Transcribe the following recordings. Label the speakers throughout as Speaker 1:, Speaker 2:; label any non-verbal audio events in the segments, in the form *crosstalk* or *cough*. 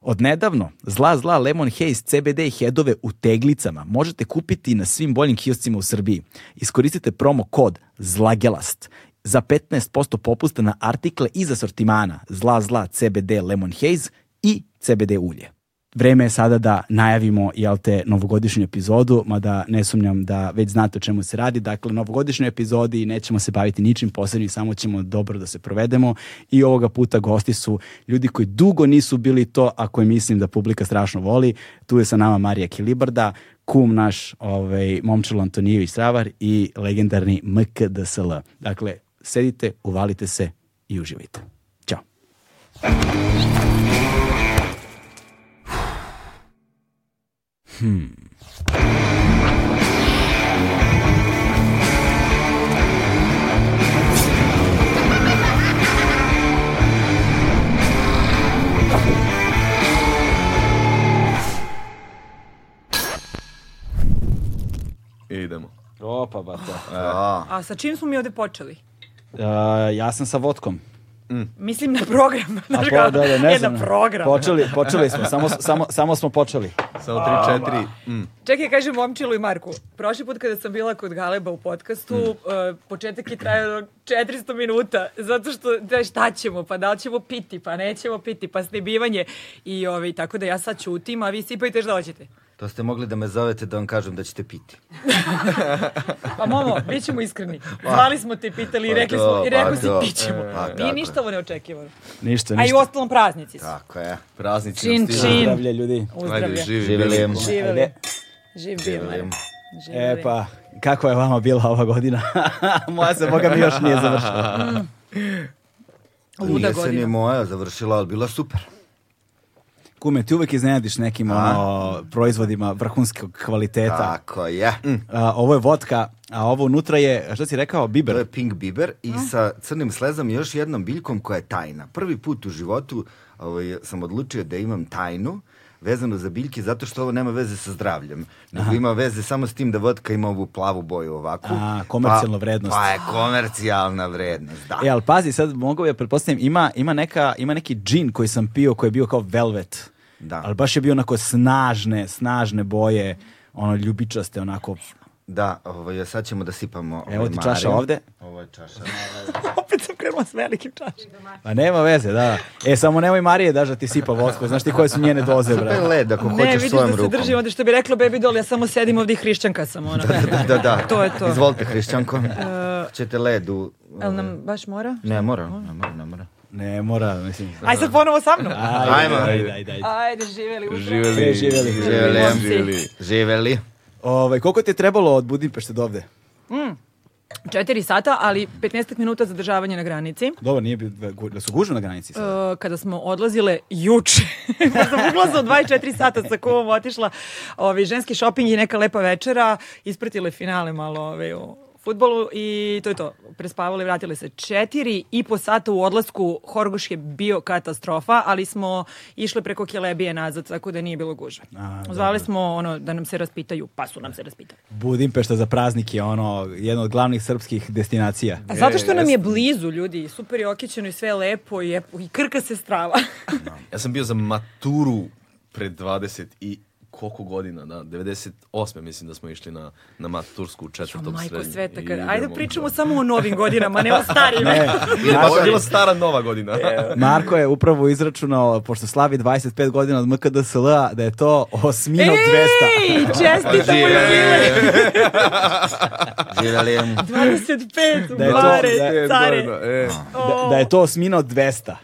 Speaker 1: Od nedavno, Zla Zla Lemon Haze CBD headove u teglicama možete kupiti na svim boljim kioscima u Srbiji. Iskoristite promo kod ZLAGELAST za 15% popusta na artikle iz asortimana Zla Zla CBD Lemon Haze i CBD ulje. Vreme je sada da najavimo jel te, novogodišnju epizodu, mada ne sumnjam da već znate o čemu se radi. Dakle, novogodišnjoj epizodi nećemo se baviti ničim posebnim, samo ćemo dobro da se provedemo i ovoga puta gosti su ljudi koji dugo nisu bili to, a koje mislim da publika strašno voli. Tu je sa nama Marija Kilibarda, kum naš ovaj, momčilo Antonijević Savar i legendarni MKDSL. Dakle, sedite, uvalite se i uživajte. Ćao.
Speaker 2: I E, idemo.
Speaker 1: Opa, bata.
Speaker 2: A,
Speaker 3: A sa čim smo mi ovde počeli?
Speaker 1: ja sam sa votkom.
Speaker 3: Mislim na program. *laughs*
Speaker 1: A
Speaker 3: znaš
Speaker 1: po-
Speaker 3: kao,
Speaker 1: da, da, ne
Speaker 3: e,
Speaker 1: znam.
Speaker 3: na program.
Speaker 1: Počeli, počeli smo, samo, samo, samo smo počeli.
Speaker 2: samo 3, 4. Mm.
Speaker 3: Čekaj, kažem Momčilu i Marku. Prošli put kada sam bila kod Galeba u podcastu,
Speaker 1: Hmm.
Speaker 3: e, početak je trajao 400 minuta, zato što da, šta ćemo, pa da li ćemo piti, pa nećemo piti, pa snibivanje. I ovaj, tako da ja sad ćutim, a vi sipajte šta hoćete.
Speaker 4: To ste mogli da me zovete da vam kažem da ćete piti.
Speaker 3: Pa
Speaker 1: *laughs*
Speaker 3: momo, bit ćemo iskreni.
Speaker 1: Pa-
Speaker 3: Zvali smo te, pitali i
Speaker 4: Pa
Speaker 3: rekli
Speaker 4: to,
Speaker 3: smo, i rekli
Speaker 4: pa
Speaker 3: si
Speaker 4: to.
Speaker 3: pićemo.
Speaker 4: E, pa
Speaker 3: Nije
Speaker 4: tako
Speaker 3: ništa ovo neočekivano.
Speaker 1: Ništa,
Speaker 3: A i
Speaker 1: ništa.
Speaker 3: uostalom praznici su.
Speaker 4: Tako je.
Speaker 2: Praznici
Speaker 3: Čin,
Speaker 2: nam stižu.
Speaker 3: čin.
Speaker 1: Zdravlje ljudi.
Speaker 2: Ajde,
Speaker 3: Uzdravlja.
Speaker 2: živi.
Speaker 4: Živjeli.
Speaker 2: bili.
Speaker 3: Živeli.
Speaker 1: Ajde.
Speaker 3: Živ bio, Mare.
Speaker 1: E
Speaker 3: Živeli.
Speaker 1: pa, kako je vama bila ova godina? *laughs* Moja se, boga mi, još nije završila.
Speaker 3: Luda
Speaker 4: Nije se ni
Speaker 3: godina.
Speaker 4: moja završila, ali bila super.
Speaker 1: Kume, ti uvek iznenadiš nekim ono, proizvodima vrhunskog kvaliteta.
Speaker 4: Tako je.
Speaker 1: A, ovo je vodka, a ovo unutra je, šta si rekao,
Speaker 4: To
Speaker 1: biber?
Speaker 4: je pink biber i
Speaker 3: Mm.
Speaker 4: sa crnim slezom i još jednom biljkom koja je tajna. Prvi put u životu ovaj, sam odlučio da imam tajnu vezano za biljke, zato što ovo nema veze sa zdravljem. Nego ima veze samo s tim da vodka ima ovu plavu boju ovakvu.
Speaker 1: A, komercijalna
Speaker 4: Pa-
Speaker 1: vrednost.
Speaker 4: Pa je komercijalna vrednost, da.
Speaker 1: E, ali pazi, sad mogu ja pretpostavljam, ima, ima, neka, ima neki džin koji sam pio koji je bio kao velvet.
Speaker 4: Da.
Speaker 1: Ali baš je bio onako snažne, snažne boje, ono ljubičaste, onako.
Speaker 4: Da, ovaj, sad ćemo da sipamo ovaj,
Speaker 1: Evo ti čaša
Speaker 4: Marin.
Speaker 1: ovde.
Speaker 4: Ovo je čaša.
Speaker 3: *laughs* Opet sam krenula s velikim čašom.
Speaker 1: Pa nema veze, da. E, samo nemoj Marije daš da ti sipa vodku, znaš ti koje su njene doze,
Speaker 4: To je
Speaker 1: brate.
Speaker 4: led ako
Speaker 3: Ne,
Speaker 4: hoćeš
Speaker 3: vidiš da
Speaker 4: svojom
Speaker 3: se
Speaker 4: rukom.
Speaker 3: držim ovde što bi rekla Baby Doll, ja samo sedim ovde i hrišćanka sam ono, ona.
Speaker 4: *laughs* da, da.
Speaker 3: To je to. E,
Speaker 4: Izvolite, Hrišćanko. Hoćete led u...
Speaker 3: *laughs* Jel nam baš mora?
Speaker 4: Ne mora, ne mora, ne mora.
Speaker 1: Ne, mora, mislim.
Speaker 3: Aj sad ponovo sa mnom.
Speaker 1: Ajde,
Speaker 4: Ajmo.
Speaker 1: ajde, ajde, ajde.
Speaker 3: Ajde, živeli upravo.
Speaker 1: E,
Speaker 2: Živeli.
Speaker 1: živeli.
Speaker 4: Živeli.
Speaker 2: Živeli.
Speaker 4: Živeli.
Speaker 1: Ovaj, koliko ti je trebalo od Budimpešte do ovde?
Speaker 3: Četiri sata, ali 15 minuta zadržavanja na granici.
Speaker 1: Dobro, nije bi, da su gužve na granici sad.
Speaker 3: E, kada smo odlazile juče, *laughs* kada sam ulazila od 24 sata sa kumom otišla, ovaj, ženski šoping i neka lepa večera, ispratile finale malo ovaj, u futbolu i to je to. Prespavale, vratile se četiri i po sata u odlasku. Horgoš je bio katastrofa, ali smo išle preko Kelebije nazad, tako da nije bilo gužve. Zvali smo ono da nam se raspitaju, pa su nam se raspitali.
Speaker 1: Budimpešta za praznik je ono, jedna od glavnih srpskih destinacija.
Speaker 3: A zato što nam je blizu, ljudi, super je okićeno i sve je lepo i, je- i krka se strava. *laughs*
Speaker 2: Ja sam bio za maturu pred 20 i koliko godina, da, 98. mislim da smo išli na, na mat Tursku u
Speaker 3: Jo,
Speaker 2: četvrtom
Speaker 3: majko
Speaker 2: srednjem.
Speaker 3: sveta,
Speaker 2: I
Speaker 3: kad...
Speaker 2: idemo-
Speaker 3: ajde pričamo samo o novim
Speaker 1: *laughs*
Speaker 3: godinama, ne o starim.
Speaker 2: Ili baš je
Speaker 4: Naša-
Speaker 2: bila stara nova
Speaker 1: E,
Speaker 2: *laughs* godina.
Speaker 1: Marko je upravo izračunao, pošto slavi 25 godina od MKDSL-a, da je to osmina od 200.
Speaker 3: Ej, čestitamo
Speaker 1: e.
Speaker 3: jubilej! *laughs*
Speaker 4: Živjeli.
Speaker 3: 25 u
Speaker 1: Da je to-
Speaker 3: bare,
Speaker 1: da
Speaker 2: E,
Speaker 3: care.
Speaker 2: da, da, e.
Speaker 1: Da, da je to osmina od 200.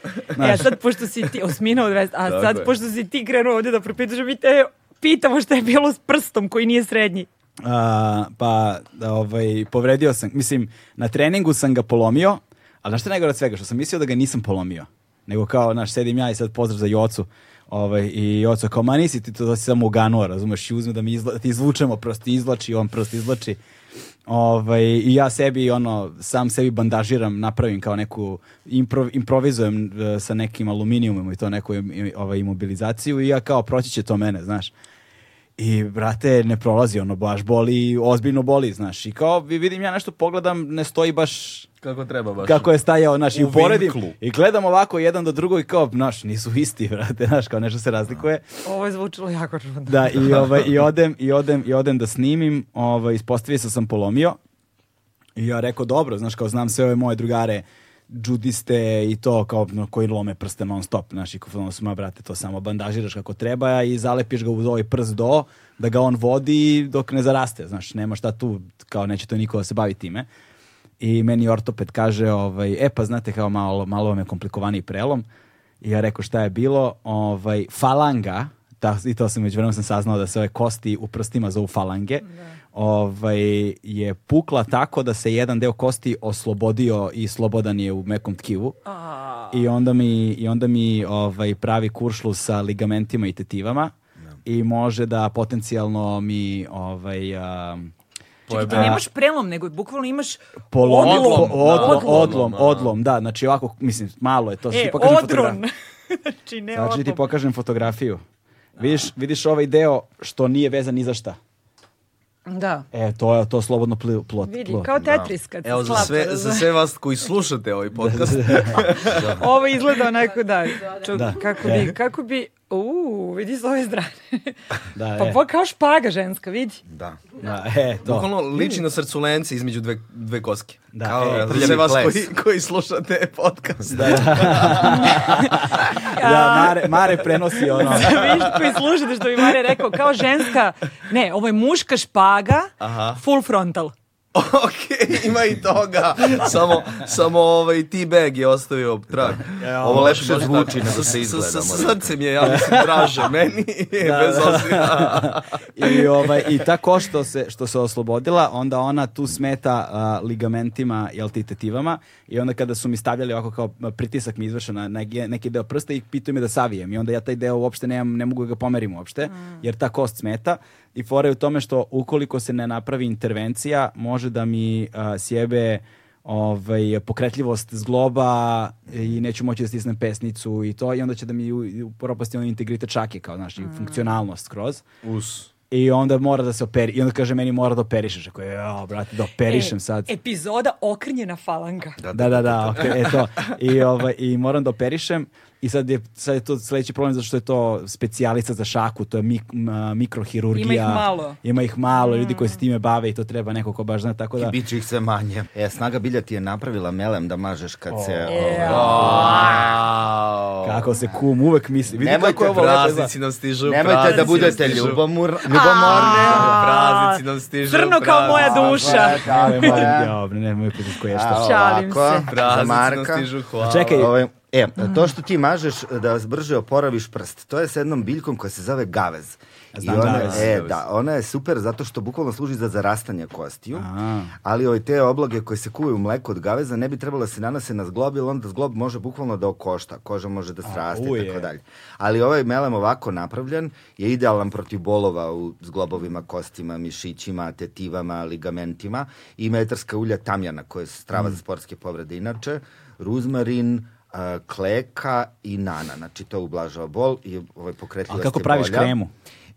Speaker 3: Ja sad, pošto si ti, osmina od 20, a
Speaker 2: Tako
Speaker 3: sad,
Speaker 2: je.
Speaker 3: pošto si ti krenuo ovdje da propitaš, mi te pitamo šta je bilo s prstom koji nije srednji.
Speaker 1: A, pa, da, ovaj, povredio sam, mislim, na treningu sam ga polomio, ali znaš što je najgore od svega, što sam mislio da ga nisam polomio, nego kao, znaš, sedim ja i sad pozdrav za Jocu, ovaj, i Joca kao, ma nisi ti to, to si samo uganuo, razumeš, i uzme da mi izla, da ti izvučemo, prosti izvlači, on prosti izvlači, ovaj, i ja sebi, ono, sam sebi bandažiram, napravim kao neku, impro, improvizujem e, sa nekim aluminijumom i to neku im- im- ovaj, imobilizaciju i ja kao, proći će to mene, znaš. I, brate, ne prolazi, ono, baš boli, ozbiljno boli, znaš. I kao, vi- vidim, ja nešto pogledam, ne stoji baš
Speaker 2: Kako treba baš.
Speaker 1: kako je stajao, znaš, i
Speaker 2: U
Speaker 1: uporedim.
Speaker 2: vinklu.
Speaker 1: I gledam ovako jedan do drugog i kao, znaš, nisu isti, *laughs* brate, znaš, kao nešto se razlikuje.
Speaker 3: Ovo je zvučilo jako čudno.
Speaker 1: Da, i, ovaj, i, odem, i, odem, i odem da snimim, ovaj, ispostavio se sam polomio. I ja rekao, dobro, znaš, kao znam sve ove moje drugare, džudiste i to, kao no, koji lome prste non stop, znaš, i kao, ono, ma, brate, to samo bandažiraš kako treba i zalepiš ga uz ovaj prst do, da ga on vodi dok ne zaraste, znaš, nema šta tu, kao neće to niko da se bavi time. I meni ortoped kaže, ovaj, e pa znate kao malo, malo vam je komplikovaniji prelom. I ja rekao šta je bilo, ovaj, falanga, ta, i to sam među vremenom sam saznao da se ove kosti u prstima zovu falange, ovaj, je pukla tako da se jedan deo kosti oslobodio i slobodan je u mekom tkivu. I onda mi, i onda mi ovaj, pravi kuršlu sa ligamentima i tetivama i može da potencijalno mi ovaj, a,
Speaker 3: Čekaj, ti nemaš prelom, nego bukvalno imaš
Speaker 1: Polom,
Speaker 3: odlom.
Speaker 1: odlom, odlom, odlom,
Speaker 2: Odlom,
Speaker 1: odlom,
Speaker 2: a.
Speaker 1: da, znači ovako, mislim, malo je to, sad
Speaker 3: E,
Speaker 1: ti pokažem
Speaker 3: odron. *laughs*
Speaker 1: fotografiju.
Speaker 3: znači, ne
Speaker 1: Znači ti
Speaker 3: odlom.
Speaker 1: pokažem fotografiju. Vidiš, vidiš ovaj deo što nije vezan ni za šta.
Speaker 3: Da.
Speaker 1: E, to je to slobodno pl, plot.
Speaker 3: Vidi,
Speaker 1: plot.
Speaker 3: kao Tetris kad se
Speaker 2: Evo, za
Speaker 3: sklapa.
Speaker 2: sve, za sve vas koji slušate ovaj podcast,
Speaker 3: Ovo izgleda onako da, ču-
Speaker 1: Da.
Speaker 3: kako
Speaker 1: Da.
Speaker 3: bi, kako bi, uuu, vidi s ove strane.
Speaker 1: Da,
Speaker 3: pa
Speaker 1: e.
Speaker 3: bo kao špaga ženska, vidi.
Speaker 4: Da.
Speaker 1: Da, e,
Speaker 3: *laughs*
Speaker 1: to. *laughs*
Speaker 2: bukvalno liči na srculence između dve, dve koske.
Speaker 1: Da,
Speaker 2: Kao,
Speaker 1: e,
Speaker 2: za sve
Speaker 4: prljavi
Speaker 2: vas
Speaker 4: ples.
Speaker 2: koji, koji slušate podcast.
Speaker 1: Da, Mare, Mare prenosi ono.
Speaker 3: *laughs* Viš koji slušate što bi Mare rekao, kao ženska, ne, ovo je muška špaga, full frontal.
Speaker 2: *laughs* ok, ima i toga. Samo, samo ovaj T-bag je ostavio trag.
Speaker 4: Ovo lepše
Speaker 2: baš
Speaker 4: zvuči
Speaker 2: tako.
Speaker 4: nego
Speaker 2: S-
Speaker 4: se izgleda,
Speaker 2: s- s-
Speaker 4: moram.
Speaker 2: Srcem je, ja mislim, draže *laughs* meni, bez obzira.
Speaker 1: I, ovaj, I tako što se, što se oslobodila, onda ona tu smeta a, ligamentima, jel ti, tetivama. I onda kada su mi stavljali ovako kao a, pritisak mi izvršen na neg- neki deo prsta i pitaju me da savijem. I onda ja taj deo uopšte nemam, ne mogu ga pomerim uopšte, jer ta kost smeta. I fora je u tome što ukoliko se ne napravi intervencija, može da mi a, sjebe ovaj, pokretljivost zgloba i neću moći da stisnem pesnicu i to i onda će da mi u- upropasti ono integritet čake kao, znaš, i funkcionalnost skroz.
Speaker 2: Us.
Speaker 1: I onda mora da se operi, i onda kaže meni mora da operišeš. Ako je, jao, brate, da operišem
Speaker 3: E,
Speaker 1: sad.
Speaker 3: Epizoda okrnjena falanga.
Speaker 1: Da, da, da, ok, e to. I, ovaj, I moram da operišem. I sad je, sad je to sledeći problem zato što je to specijalica za šaku, to je mik, m- mikrohirurgija.
Speaker 3: Ima ih malo.
Speaker 1: Ima ih malo, ljudi koji se time bave i to treba neko ko baš zna, tako da...
Speaker 4: I bit će ih sve manje. E, snaga bilja ti je napravila melem da mažeš kad se... ovaj,
Speaker 2: Wow.
Speaker 1: Kako se kum uvek misli. Vidi
Speaker 4: Nemojte
Speaker 1: kako
Speaker 4: *laughs*
Speaker 1: je ovo lepo izgleda.
Speaker 2: Praznici nam stižu.
Speaker 4: Nemojte da
Speaker 2: praznici
Speaker 4: budete
Speaker 2: nam stižu.
Speaker 4: ljubomor, ljubomorni.
Speaker 2: Praznici nam stižu.
Speaker 3: Crno kao moja
Speaker 2: praznici.
Speaker 3: duša.
Speaker 1: Nemoj, molim, ja, ne, nemoj pričati koje šta.
Speaker 3: Šalim
Speaker 4: ovako,
Speaker 3: se.
Speaker 4: Za
Speaker 2: Praznici nam
Speaker 4: Marka.
Speaker 2: stižu, hvala.
Speaker 1: Čekaj,
Speaker 4: Ovaj, e, to što ti mažeš da brže oporaviš prst, to je sa jednom biljkom koja se zove gavez.
Speaker 1: Znam
Speaker 4: ona,
Speaker 1: gavez.
Speaker 4: E, da, ona je super zato što bukvalno služi za zarastanje kostiju,
Speaker 1: A.
Speaker 4: ali ovaj, te obloge koje se kuvaju u mleku od gaveza ne bi trebalo da se nanose na zglob, jer onda zglob može bukvalno da okošta, koža može da sraste i
Speaker 1: uje.
Speaker 4: tako dalje. Ali ovaj melem ovako napravljen je idealan protiv bolova u zglobovima, kostima, mišićima, tetivama, ligamentima i metarska ulja tamjana koja je strava za
Speaker 1: Mm.
Speaker 4: sportske povrede inače, ruzmarin, a, kleka i nana. Znači to ublažava bol i ovaj pokretljivost
Speaker 1: A kako
Speaker 4: je
Speaker 1: praviš
Speaker 4: bolja.
Speaker 1: kremu?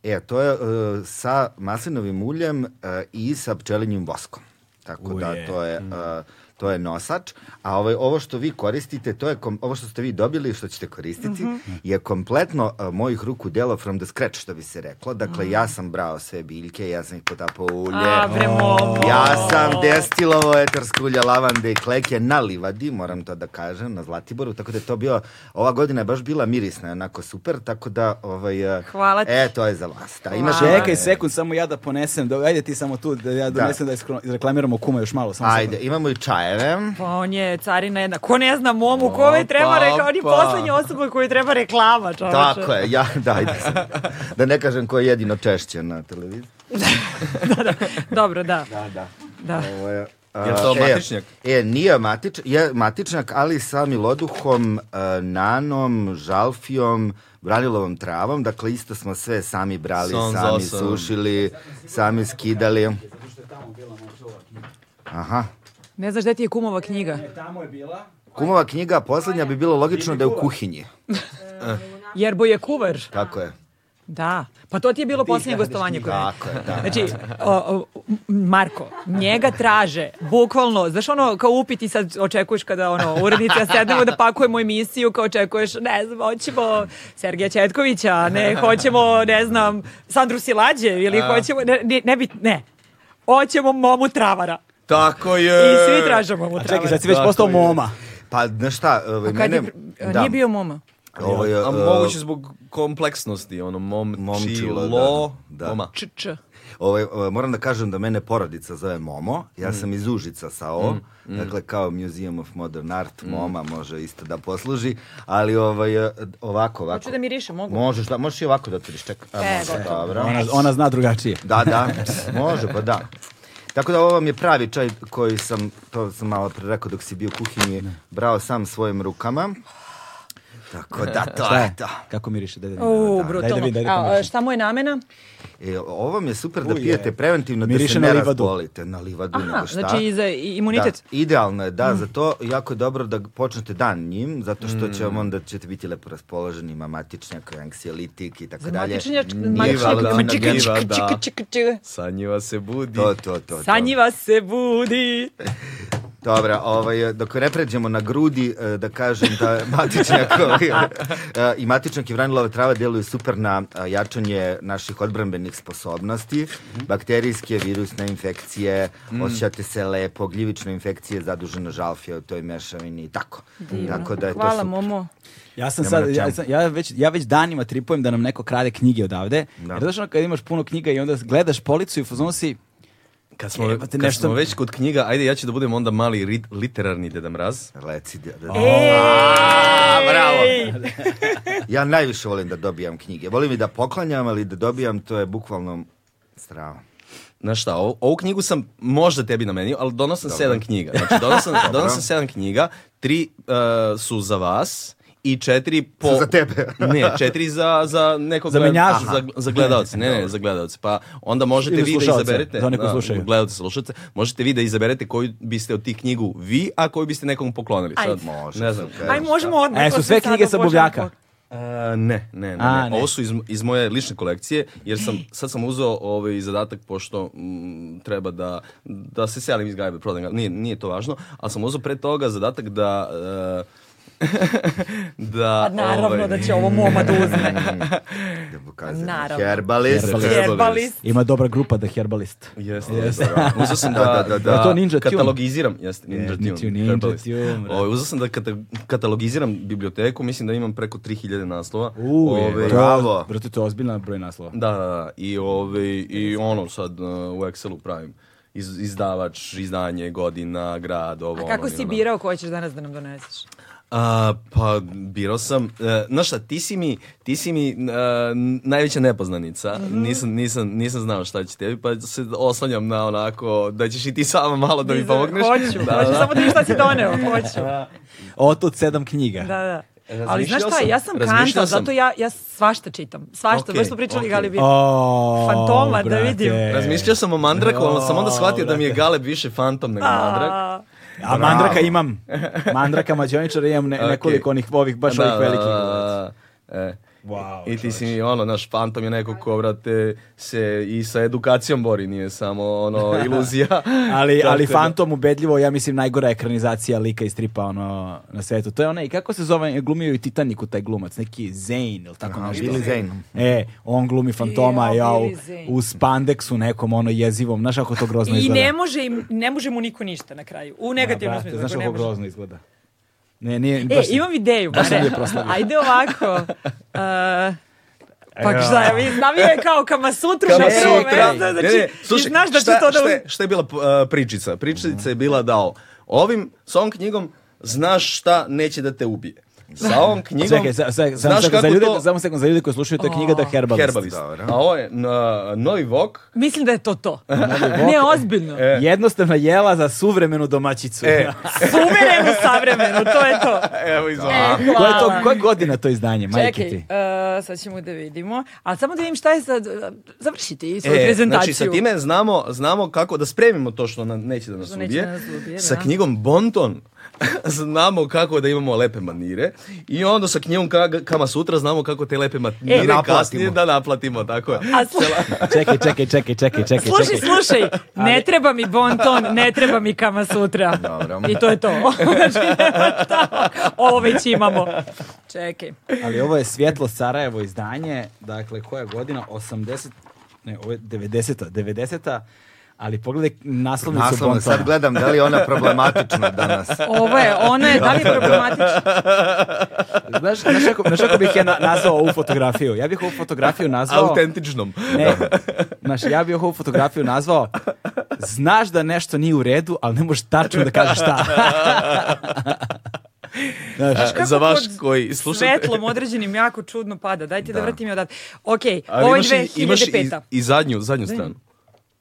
Speaker 4: E, to je e, sa maslinovim uljem e, i sa pčelinjim voskom. Tako da to je a, to je nosač, a ovaj ovo što vi koristite, to je kom, ovo što ste vi dobili i što ćete koristiti je kompletno a, mojih ruku delo from the scratch što bi se reklo. Dakle ja sam brao sve biljke, ja sam ih potapao u ulje.
Speaker 3: A, bre, momo.
Speaker 4: Ja sam destilovo etersko ulje lavande i kleke na livadi, moram to da kažem, na Zlatiboru, tako da je to bio, ova godina je baš bila mirisna, i onako super, tako da, ovaj, eh,
Speaker 3: Hvala ti.
Speaker 4: E, to je za vas. Da, imaš
Speaker 3: Hvala.
Speaker 4: ovaj-
Speaker 1: Čekaj sekund, samo ja da ponesem. Da, ajde ti samo tu, da ja donesem da, iskro- reklamiramo kuma još malo. Samo
Speaker 4: Ajde, imamo i čajeve.
Speaker 3: Pa on je carina jedna. Ko ne zna momu, ko ovaj treba
Speaker 2: Opa,
Speaker 3: rekao, on je
Speaker 2: opa.
Speaker 3: poslednja osoba koju treba reklama, čoveče.
Speaker 4: Tako je, ja, *laughs* da, ajde sam. Da ne kažem ko je jedino češće na televiziji.
Speaker 3: Dobro, da.
Speaker 4: Da, da.
Speaker 3: da.
Speaker 4: Ovo je, a,
Speaker 2: Je to
Speaker 4: e,
Speaker 2: matičnjak?
Speaker 4: E, nije matič, je matičnjak, ali sa miloduhom, e, nanom, žalfijom, branilovom travom. Dakle, isto smo sve sami brali,
Speaker 2: Son za
Speaker 4: sami
Speaker 2: osam.
Speaker 4: sušili, sami skidali. Aha.
Speaker 3: Ne znaš gde ti je kumova knjiga?
Speaker 1: Tamo je bila.
Speaker 4: Kumova knjiga poslednja bi bilo logično da je u kuhinji.
Speaker 3: Jerbo je kuvar.
Speaker 4: Tako je.
Speaker 3: Da. Pa to ti je bilo poslednje gostovanje koje
Speaker 4: Tako je, da.
Speaker 3: Znači, o, o, m- Marko, njega traže, bukvalno, znaš ono, kao upiti sad očekuješ kada ono, urednica sednemo da pakujemo emisiju, kao očekuješ, ne znam, hoćemo Sergeja Četkovića, ne, hoćemo, ne znam, Sandru Silađe, ili hoćemo, ne, ne, ne, bit- ne, hoćemo momu travara.
Speaker 2: Tako je.
Speaker 3: I svi traže momu
Speaker 1: A
Speaker 3: travara.
Speaker 1: čekaj, sad si već
Speaker 2: Tako
Speaker 1: postao
Speaker 2: je.
Speaker 1: moma.
Speaker 4: Pa, znaš šta, ovaj,
Speaker 3: A kad je
Speaker 4: mene...
Speaker 3: pr- a nije bio moma?
Speaker 4: Ovo je,
Speaker 2: A
Speaker 4: e,
Speaker 2: moguće zbog kompleksnosti, ono, momčilo,
Speaker 4: Momčilo,
Speaker 2: lo,
Speaker 4: da, da.
Speaker 2: moma.
Speaker 3: Č, č.
Speaker 4: Ovaj, ovaj, moram da kažem da mene porodica zove Momo,
Speaker 1: Mm.
Speaker 4: ja sam iz Užica sa O, dakle kao Museum of Modern
Speaker 1: Mm.
Speaker 4: Art, Moma može isto da posluži, ali ovaj, eh, ovako, ovako.
Speaker 3: Hoću da mirišem, mogu?
Speaker 4: Možeš, da, možeš i ovako da otvoriš, čekaj. A,
Speaker 3: E,
Speaker 4: može,
Speaker 3: gotovo.
Speaker 4: dobro.
Speaker 1: Ona, ona zna drugačije.
Speaker 4: Da, da, može, pa da. Tako da ovo vam je pravi čaj koji sam, to sam malo pre rekao dok si bio u kuhinji, brao sam svojim rukama. Tako da, to
Speaker 1: Šta je?
Speaker 4: je to.
Speaker 1: Kako miriše? Daj, da vidim.
Speaker 3: U,
Speaker 1: Daj da
Speaker 3: brutalno.
Speaker 1: vidim, daj da
Speaker 3: A,
Speaker 1: pomirišem.
Speaker 3: šta mu je namena?
Speaker 4: E, ovo vam je super da
Speaker 1: Uje.
Speaker 4: pijete preventivno, da
Speaker 1: Miriše
Speaker 4: se
Speaker 1: na
Speaker 4: ne
Speaker 1: livadu.
Speaker 4: razbolite na livadu.
Speaker 3: Aha,
Speaker 4: nego šta.
Speaker 3: znači i za i- imunitet. Mm.
Speaker 4: Da, idealno je, da, zato jako je dobro da počnete dan njim, zato što
Speaker 1: Mm.
Speaker 4: će vam onda ćete biti lepo raspoloženi, ima matičnjak, anksiolitik i tako
Speaker 3: Za
Speaker 4: dalje.
Speaker 3: matičnjak,
Speaker 2: Njiva, da,
Speaker 3: matičnjak, čika, čika,
Speaker 2: njiva, da.
Speaker 3: čika, čika, čika.
Speaker 2: Sa njiva se budi.
Speaker 4: To, to, to. to.
Speaker 3: Sanjiva se budi.
Speaker 4: Dobro, ovaj, dok ne pređemo na grudi, eh, da kažem da
Speaker 3: *laughs*
Speaker 4: je matičnjak ovaj, eh, i matičnjak i vranilova trava deluju super na eh, jačanje naših odbrambenih sposobnosti,
Speaker 3: Mhm.
Speaker 4: bakterijske, virusne infekcije, osjećate se lepo, gljivične infekcije, zadužena žalfija u toj mešavini i tako. Tako da je to
Speaker 3: Hvala,
Speaker 4: super.
Speaker 3: Momo.
Speaker 1: Ja sam
Speaker 4: Nema
Speaker 1: sad,
Speaker 4: na čemu.
Speaker 1: ja, sam, ja, već, ja već danima tripujem da nam neko krade knjige odavde.
Speaker 4: Da.
Speaker 1: Jer znaš ono kad imaš puno knjiga i onda gledaš policu i u fazonu si,
Speaker 2: Kad smo,
Speaker 1: Jebate,
Speaker 2: kad
Speaker 1: E, nešto-
Speaker 2: smo već kod knjiga, ajde ja ću da budem onda mali rit- literarni Deda Mraz.
Speaker 4: Reci, da,
Speaker 3: E!
Speaker 4: da-
Speaker 3: Ej!
Speaker 4: bravo. *laughs* Ja najviše volim da dobijam knjige. Volim i da poklanjam, ali da dobijam, to je bukvalno strava.
Speaker 2: Znaš šta, ovu, ovu knjigu sam možda tebi namenio, ali donao sam sedam knjiga. Znači, donao sam, donao sam sedam knjiga, tri e, su za vas i četiri po...
Speaker 4: Su za tebe.
Speaker 2: *laughs* ne, četiri za, za nekog...
Speaker 1: Za
Speaker 2: gled-
Speaker 1: menjažu.
Speaker 2: Za, za gledalce, ne, ne, za gledalce. Pa onda možete
Speaker 1: Ili
Speaker 2: vi da
Speaker 1: slušaoce,
Speaker 2: izaberete...
Speaker 1: za one koji
Speaker 2: da,
Speaker 1: slušaju.
Speaker 2: Gledalce, slušalce. Možete vi da izaberete koju biste od tih knjigu vi, a koju biste nekom poklonili. Sad,
Speaker 3: Ajde.
Speaker 4: Može,
Speaker 2: ne znam.
Speaker 4: super.
Speaker 3: Aj, možemo odmah.
Speaker 1: E, su
Speaker 3: to
Speaker 1: sve
Speaker 3: sam sad
Speaker 1: knjige sa
Speaker 3: obožavam.
Speaker 1: buvljaka?
Speaker 2: E, ne, ne, ne,
Speaker 1: A,
Speaker 2: ne.
Speaker 1: ne.
Speaker 2: Ovo su iz, iz moje lične kolekcije, jer sam, sad sam uzeo ovaj zadatak, pošto mm, treba da, da se selim iz gajbe, prodam ga, nije, nije to važno, ali sam uzeo pre toga zadatak da... e, *laughs* da,
Speaker 3: Pa naravno
Speaker 2: ovaj,
Speaker 3: da će ovo Moma da uzme.
Speaker 4: Da pokazujem.
Speaker 3: Naravno.
Speaker 4: Herbalist.
Speaker 2: Herbalist.
Speaker 3: Herbalist.
Speaker 1: ima dobra grupa da herbalist.
Speaker 2: Jeste, jeste. Uzeo sam da, da, da,
Speaker 1: Je to Ninja Tune?
Speaker 2: katalogiziram. Jeste, Ninja
Speaker 1: Ninja
Speaker 2: Tune.
Speaker 1: Tune, Ninja
Speaker 2: herbalist.
Speaker 1: Tune, brate.
Speaker 2: Ovaj, uzeo sam da kata- katalogiziram biblioteku, mislim da imam preko 3000 naslova.
Speaker 1: U,
Speaker 2: Ovaj,
Speaker 4: bravo.
Speaker 1: Brate, to je ozbiljan broj naslova.
Speaker 2: Da, da, da. I, ovaj, i ono sad uh, u Excelu pravim. Iz, izdavač, izdanje, godina, grad, ovo,
Speaker 3: A
Speaker 2: ono,
Speaker 3: kako
Speaker 2: i
Speaker 3: si
Speaker 2: ono.
Speaker 3: birao ko ćeš danas da nam doneseš?
Speaker 2: A, pa, birao sam... Uh, znaš šta, ti si mi, ti si mi uh, najveća nepoznanica.
Speaker 3: Mhm.
Speaker 2: Nisam, nisam, nisam znao šta će tebi, pa se oslanjam na onako da ćeš i ti sama malo da mi pomogneš.
Speaker 3: Hoću,
Speaker 2: Da,
Speaker 3: hoću,
Speaker 2: da.
Speaker 3: samo da mi šta si
Speaker 2: *laughs*
Speaker 3: doneo, hoću.
Speaker 1: Otud sedam knjiga.
Speaker 3: Da, da. Ali
Speaker 2: Razmišljao
Speaker 3: znaš šta,
Speaker 2: sam,
Speaker 3: ja sam
Speaker 2: razmišljao
Speaker 3: kanta,
Speaker 2: sam.
Speaker 3: zato ja, ja svašta čitam. Svašta,
Speaker 2: Okej,
Speaker 3: baš smo pričali
Speaker 2: okej.
Speaker 3: Gali bi.
Speaker 1: O,
Speaker 3: Fantoma, da
Speaker 1: brate.
Speaker 3: vidim.
Speaker 2: Razmišljao sam o Mandraku, ali sam onda
Speaker 1: Jo,
Speaker 2: shvatio da mi je
Speaker 1: brate.
Speaker 2: Galeb više fantom nego Mandrak.
Speaker 3: E, A,
Speaker 1: A Mandraka imam. Mandraka mađoničara imam ne,
Speaker 2: *laughs* Okej.
Speaker 1: nekoliko onih ovih, baš ovih velikih.
Speaker 2: da, da. E,
Speaker 1: Wow,
Speaker 2: I ti si mi ono, naš fantom je neko ko, brate, se i sa edukacijom bori, nije samo
Speaker 1: *laughs*
Speaker 2: ono, iluzija.
Speaker 1: Ali, ali
Speaker 2: Tako da-
Speaker 1: Fantom ubedljivo, ja mislim, najgora ekranizacija lika i stripa ono, na svetu. To je onaj, kako se zove, glumio i u Titaniku taj glumac, neki Zane ili tako
Speaker 4: Aha,
Speaker 1: nešto.
Speaker 4: Billy Zane.
Speaker 1: E, on glumi Fantoma,
Speaker 3: Ja,
Speaker 1: ja, u,
Speaker 3: E, Billy Zane.
Speaker 1: u spandeksu nekom ono jezivom, znaš kako to grozno
Speaker 3: I
Speaker 1: izgleda.
Speaker 3: ne može, im, ne može mu niko ništa na kraju. U
Speaker 1: A,
Speaker 3: negativnom
Speaker 1: brate,
Speaker 3: smislu.
Speaker 1: Znaš
Speaker 3: ako ne
Speaker 1: kako
Speaker 3: može.
Speaker 1: grozno izgleda. Ne, nije,
Speaker 3: E,
Speaker 1: baš-
Speaker 3: imam ideju,
Speaker 1: baš sam
Speaker 3: Mare.
Speaker 1: nije proslavio.
Speaker 3: Ajde ovako. Uh, pa
Speaker 1: Evo.
Speaker 3: šta, ja vidim, znam je kao Kama Sutru na
Speaker 2: Kama
Speaker 3: prvo
Speaker 2: sutra.
Speaker 3: mesto, znači,
Speaker 2: Ne, ne,
Speaker 3: i znaš da
Speaker 2: šta,
Speaker 3: će to da...
Speaker 2: šta je- šta je bila uh, pričica? Pričica je bila dao. Ovim, s ovom knjigom znaš šta neće da te ubije.
Speaker 1: *laughs*
Speaker 2: Sa ovom knjigom
Speaker 1: Čekaj, sa, sa, samo
Speaker 2: znaš
Speaker 1: sekund,
Speaker 2: kako
Speaker 1: za ljude,
Speaker 2: to...
Speaker 1: samo sekund, za ljude koji slušaju, to je knjiga da Herbalist.
Speaker 2: Herbalist.
Speaker 4: Dobro.
Speaker 2: A ovo je uh, Novi Vok,
Speaker 3: Mislim da je to to. ne, ozbiljno.
Speaker 2: E.
Speaker 1: Jednostavna jela za suvremenu domaćicu. *laughs*
Speaker 2: E.
Speaker 3: Suvereno, savremeno, to je to.
Speaker 2: Evo iz ovog.
Speaker 3: E,
Speaker 1: Koja, je to,
Speaker 3: hvala.
Speaker 1: koja godina to izdanje, majke
Speaker 3: Čekaj,
Speaker 1: ti?
Speaker 3: uh, sad ćemo da vidimo. A samo da vidim šta je sad... Završiti svoju
Speaker 2: E,
Speaker 3: prezentaciju.
Speaker 2: znači sa time znamo, znamo kako da spremimo to što nam neće da nas
Speaker 3: Što neće da
Speaker 2: ubije.
Speaker 3: nas ubije,
Speaker 2: Sa
Speaker 3: da.
Speaker 2: knjigom Bonton *laughs* znamo kako da imamo lepe manire i onda sa knjigom Ka- Kama Sutra znamo kako te lepe
Speaker 3: E,
Speaker 2: manire
Speaker 4: naplatimo.
Speaker 2: kasnije da naplatimo, tako je.
Speaker 3: A slu-
Speaker 1: Čekaj, čekaj, čekaj, čekaj, čekaj.
Speaker 3: Slušaj,
Speaker 1: čekaj.
Speaker 3: slušaj, ne treba mi bonton, ne treba mi kama sutra.
Speaker 4: Dobro.
Speaker 3: I to je
Speaker 2: *laughs*
Speaker 3: to. Znači, nema šta. Ovo već imamo. Čekaj.
Speaker 1: Ali ovo je Svjetlo Sarajevo izdanje, dakle koja godina? 80, ne, ovo je 90-a, 90-a, ali pogledaj naslovnicu
Speaker 4: Naslovno,
Speaker 1: Bontona.
Speaker 4: sad gledam da li je
Speaker 1: *laughs*
Speaker 4: ona problematična danas.
Speaker 3: Ovo je, ona je, da li je problematična?
Speaker 1: Znaš, znaš, kako, znaš kako bih ja na- nazvao ovu fotografiju? Ja bih ovu fotografiju nazvao...
Speaker 2: Autentičnom.
Speaker 1: Ne, znaš, ja bih ovu fotografiju nazvao Znaš da nešto nije u redu, ali ne možeš tačno da kažeš šta. znaš,
Speaker 3: Kako
Speaker 2: E, Za vaš
Speaker 3: pod
Speaker 2: koji slušate.
Speaker 3: Svetlom određenim jako čudno pada. Dajte da,
Speaker 4: Da.
Speaker 3: vratim je odat. Ok,
Speaker 2: *laughs* Ali
Speaker 3: ovo je
Speaker 2: imaš i- imaš i-
Speaker 3: 2005.
Speaker 2: I, zadnju, zadnju stranu.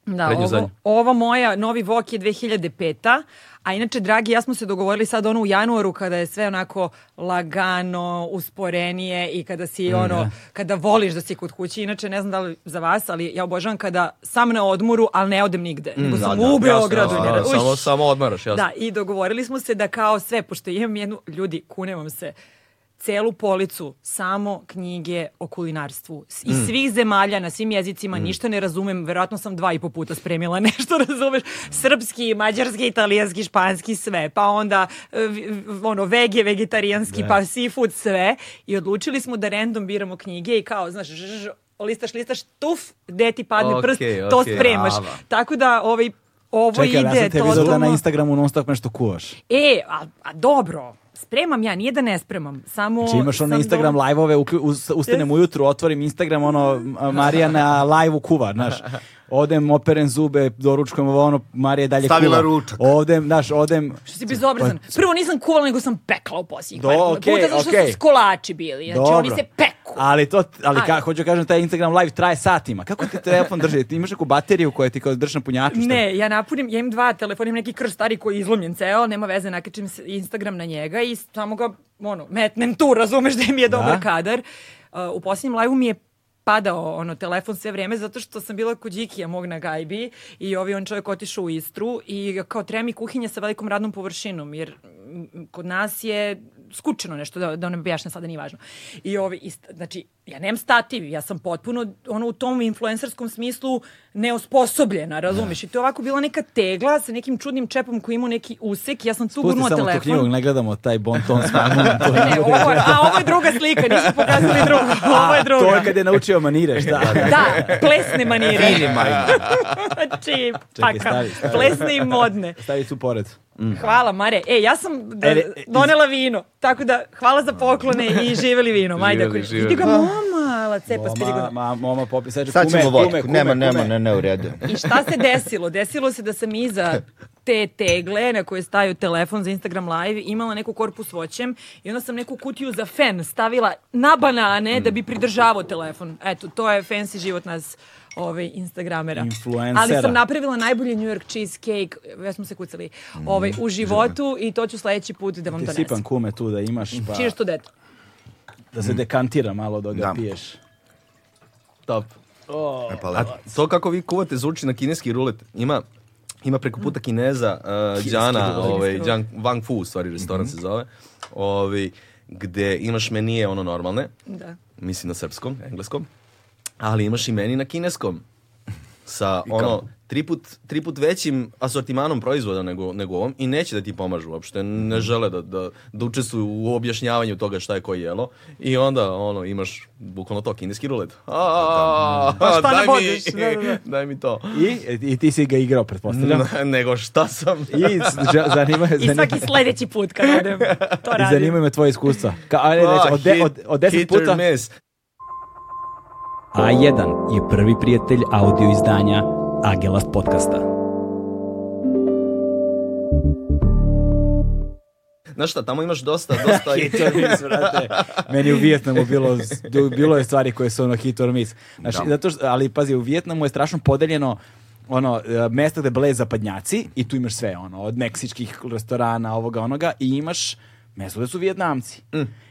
Speaker 3: Da,
Speaker 2: prednju,
Speaker 3: ovo,
Speaker 2: zadnju.
Speaker 3: ovo moja, novi Vok je 2005. A inače, dragi, ja smo se dogovorili sad ono u januaru kada je sve onako lagano, usporenije i kada
Speaker 2: Mm,
Speaker 3: si ono, kada voliš da si kod kući. Inače, ne znam da li za vas, ali ja obožavam kada sam na odmoru, ali ne odem nigde. nego sam
Speaker 2: Mm, Da, da,
Speaker 3: u Beogradu.
Speaker 2: jasno,
Speaker 3: ne
Speaker 2: jasno,
Speaker 3: da-
Speaker 2: Samo,
Speaker 3: Uš!
Speaker 2: samo odmaraš, jasno.
Speaker 3: Da, i dogovorili smo se da kao sve, pošto imam jednu, ljudi, kunem vam se, celu policu samo knjige o kulinarstvu. S-
Speaker 2: Mm.
Speaker 3: Iz svih zemalja, na svim jezicima, ništa ne razumem, verovatno sam dva i po puta spremila *laughs* nešto, razumeš? Srpski, mađarski, italijanski, španski, sve. Pa onda, e, vi- v- ono, vege, vegetarijanski, pa seafood, sve. I odlučili smo da random biramo knjige i kao, znaš, ž- ž- listaš, listaš, tuf, gde ti padne
Speaker 2: Okej,
Speaker 3: prst, to
Speaker 2: okej,
Speaker 3: spremaš.
Speaker 2: ava.
Speaker 3: Tako da, ovaj, ovo
Speaker 1: čekaj, ali ja sam
Speaker 3: ide
Speaker 1: te vidio da na
Speaker 3: totalno-
Speaker 1: Instagramu non stop nešto kuvaš.
Speaker 3: E, a, a dobro, spremam ja, nije da ne spremam, samo...
Speaker 1: Znači imaš ono
Speaker 3: sam
Speaker 1: Instagram
Speaker 3: dom-
Speaker 1: live-ove, uklju- uz- ustanem ujutru, otvorim Instagram, ono, a, Marija na live-u kuva, znaš. Odem, operem zube, doručkujem ovo, ono, Marija dalje
Speaker 4: Stavila
Speaker 1: kuva.
Speaker 4: ručak.
Speaker 1: Odem, znaš, odem...
Speaker 3: Što si bezobrazan. Prvo nisam kuvala, nego sam pekla u posljednjih
Speaker 1: Pa- Do,
Speaker 3: par
Speaker 1: okej,
Speaker 3: puta, zato što
Speaker 1: okej.
Speaker 3: su skolači bili, znači
Speaker 1: Dobro.
Speaker 3: oni se peku.
Speaker 1: Ali to, ali ka,
Speaker 3: Ajde.
Speaker 1: hoću kažem, taj Instagram live traje satima. Kako ti telefon drži? Ti imaš neku bateriju koja ti kao drži na punjaču? šta?
Speaker 3: Ne, ja napunim, ja imam dva telefona, imam neki krst stari koji je izlomljen ceo, nema veze, nakačim se Instagram na njega i samo ga, ono, metnem tu, razumeš da mi je dobar
Speaker 1: Da.
Speaker 3: kadar. Uh, u posljednjem live mi je padao ono telefon sve vrijeme zato što sam bila kod Đikija mog na gajbi i ovi on čovjek otišao u Istru i kao treba mi kuhinja sa velikom radnom površinom jer mm, kod nas je skučeno nešto da, da ne objašnjam sada nije važno i ovi i st- znači ja nemam stativ ja sam potpuno ono u tom influencerskom smislu neosposobljena razumeš i to je ovako bila neka tegla sa nekim čudnim čepom koji ima neki usek ja sam
Speaker 1: Pusti
Speaker 3: tu gurnula
Speaker 1: samo tu knjigu,
Speaker 3: telefon
Speaker 1: ne gledamo taj bontonski moment.
Speaker 3: Ne, ne,
Speaker 1: *laughs*
Speaker 3: ovo je- a ovo je druga slika, nisu pokazali drugu. Ovo je druga.
Speaker 1: To je kad je naučio manire, šta?
Speaker 3: Da, plesne manire.
Speaker 4: Ili
Speaker 3: *laughs*
Speaker 4: majna.
Speaker 3: znači,
Speaker 1: Čekaj,
Speaker 3: paka.
Speaker 1: stavi, stavi.
Speaker 3: Plesne i modne.
Speaker 1: Stavi tu pored.
Speaker 3: Hvala, Mare. E, ja sam da-
Speaker 1: E, e,
Speaker 3: donela vino. Tako da, hvala za poklone i živeli vino. Majda,
Speaker 2: Živeli,
Speaker 3: koji- I
Speaker 2: živeli.
Speaker 3: ti ga mama, la
Speaker 5: E, pa
Speaker 3: cepa, s pet
Speaker 1: Moma,
Speaker 3: godina.
Speaker 1: ma, moma popi, sad ću
Speaker 4: Sad
Speaker 1: kume,
Speaker 4: ćemo
Speaker 1: kume,
Speaker 4: vodku.
Speaker 1: kume,
Speaker 4: Nema,
Speaker 1: kume.
Speaker 4: nema, ne, ne, u redu.
Speaker 3: I šta se desilo? Desilo se da sam iza te tegle na koje staju telefon za Instagram live imala neku korpu s voćem i onda sam neku kutiju za fen stavila na banane da bi pridržavao telefon. Eto, to je fancy život nas ovaj, Instagramera.
Speaker 1: Influencera.
Speaker 3: Ali sam napravila najbolji New York cheesecake, već smo se kucali, ovaj, u životu i to ću sledeći put da vam
Speaker 1: Mm, Ti
Speaker 3: donesem.
Speaker 1: sipam kume tu da imaš, pa
Speaker 3: Cheers to that.
Speaker 1: da se dekantira malo da ga
Speaker 4: Mm. Da.
Speaker 1: piješ.
Speaker 2: Top.
Speaker 4: E, pa
Speaker 2: A
Speaker 4: lepo.
Speaker 2: to kako vi kuvate zvuči na kineski rulet. Ima ima preko puta Kineza, uh, Đana,
Speaker 1: Mm. rulet. Mhm.
Speaker 2: ovaj,
Speaker 3: Kineski
Speaker 2: Đan- Wang Fu, u stvari, restoran se zove, ovaj, gde imaš menije ono normalne,
Speaker 3: Da.
Speaker 2: mislim na srpskom,
Speaker 1: E.
Speaker 2: engleskom, ali imaš i meni na kineskom. Sa ono, tri put, tri put većim asortimanom proizvoda nego, nego ovom i neće da ti pomažu uopšte,
Speaker 1: Mhm.
Speaker 2: ne žele da, da, da učestvuju u objašnjavanju toga šta je koje jelo i onda ono, imaš bukvalno to, kineski rulet. A,
Speaker 5: Pa šta
Speaker 2: daj,
Speaker 5: navodiš?
Speaker 2: mi,
Speaker 5: Da, da, da.
Speaker 2: *laughs* daj mi to.
Speaker 1: I, I ti si ga igrao,
Speaker 4: Mm.
Speaker 1: pretpostavljam.
Speaker 2: Ne, nego šta sam...
Speaker 1: I s-
Speaker 5: *laughs*
Speaker 1: ža- zanima,
Speaker 5: I
Speaker 1: zanima,
Speaker 5: svaki sledeći put kad odem, to
Speaker 1: *laughs* i
Speaker 5: radim.
Speaker 1: zanima me tvoje iskustva. Ka, ajde,
Speaker 2: Ah,
Speaker 1: reći, od, de,
Speaker 2: hit-
Speaker 1: od, od deset
Speaker 2: hit or
Speaker 1: puta...
Speaker 2: miss.
Speaker 6: A1 je prvi prijatelj audio izdanja Agelast podcasta.
Speaker 2: Znaš šta, tamo imaš dosta,
Speaker 1: *laughs*
Speaker 2: dosta... i-
Speaker 1: hit or miss, brate. Meni u Vijetnamu bilo, bilo je stvari koje su ono hit or miss. Znači,
Speaker 4: Da.
Speaker 1: zato što, ali pazi, u Vijetnamu je strašno podeljeno ono, e, mesta gde bleje zapadnjaci i tu imaš sve, ono, od meksičkih restorana, ovoga, onoga, i imaš mesto gde su vijetnamci.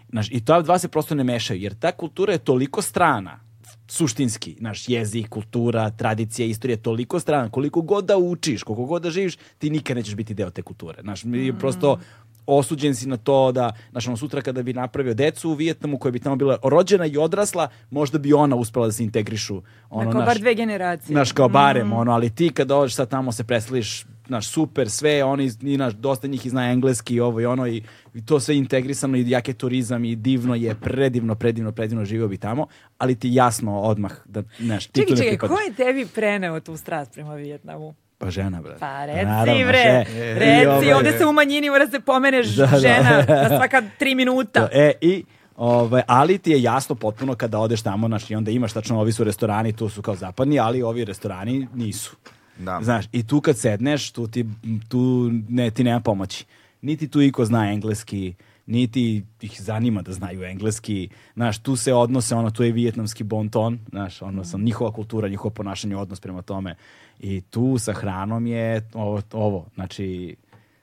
Speaker 1: Znaš, I ta dva se prosto ne mešaju, jer ta kultura je toliko strana, suštinski, naš jezik, kultura, tradicija, istorija je toliko strana, koliko god da učiš, koliko god da živiš, ti nikad nećeš biti deo te kulture. Znaš, mi
Speaker 5: Mm-hmm.
Speaker 1: prosto osuđen si na to da, znaš, ono sutra kada bi napravio decu u Vijetnamu koja bi tamo bila rođena i odrasla, možda bi ona uspela da se integrišu. Ono,
Speaker 5: Dakle,
Speaker 1: naš,
Speaker 5: bar dve generacije.
Speaker 1: Znaš, kao barem,
Speaker 5: Mm.
Speaker 1: ono, ali ti kad dođeš sad tamo se presliš, znaš, super, sve, oni, i, znaš, dosta njih i zna engleski i ovo i ono i, i to sve integrisano i jak je turizam i divno je, predivno, predivno, predivno živio bi tamo, ali ti jasno odmah da, znaš, ti tu
Speaker 5: Čekaj,
Speaker 1: ne
Speaker 5: čekaj,
Speaker 1: pripadaš.
Speaker 5: ko je tebi preneo tu strast prema Vijetnamu?
Speaker 1: Pa žena, brate.
Speaker 5: Pa reci
Speaker 1: Naravno,
Speaker 5: bre,
Speaker 1: žena. I
Speaker 5: reci,
Speaker 1: ovaj-
Speaker 5: ovde se u manjini mora se pomene ž-
Speaker 1: Da, da.
Speaker 5: žena na svaka tri minuta.
Speaker 1: To, E, i, ovaj, ali ti je jasno potpuno kada odeš tamo, znaš, i onda imaš tačno, ovi su restorani, tu su kao zapadni, ali ovi restorani nisu.
Speaker 4: Da.
Speaker 1: Znaš, i tu kad sedneš, tu ti, tu ne, ti nema pomoći. Niti tu iko zna engleski, niti ih zanima da znaju engleski. Znaš, tu se odnose, ono, tu je vijetnamski bonton, znaš, ono, sam, njihova kultura, njihovo ponašanje, odnos prema tome. I tu sa hranom je ovo, ovo znači,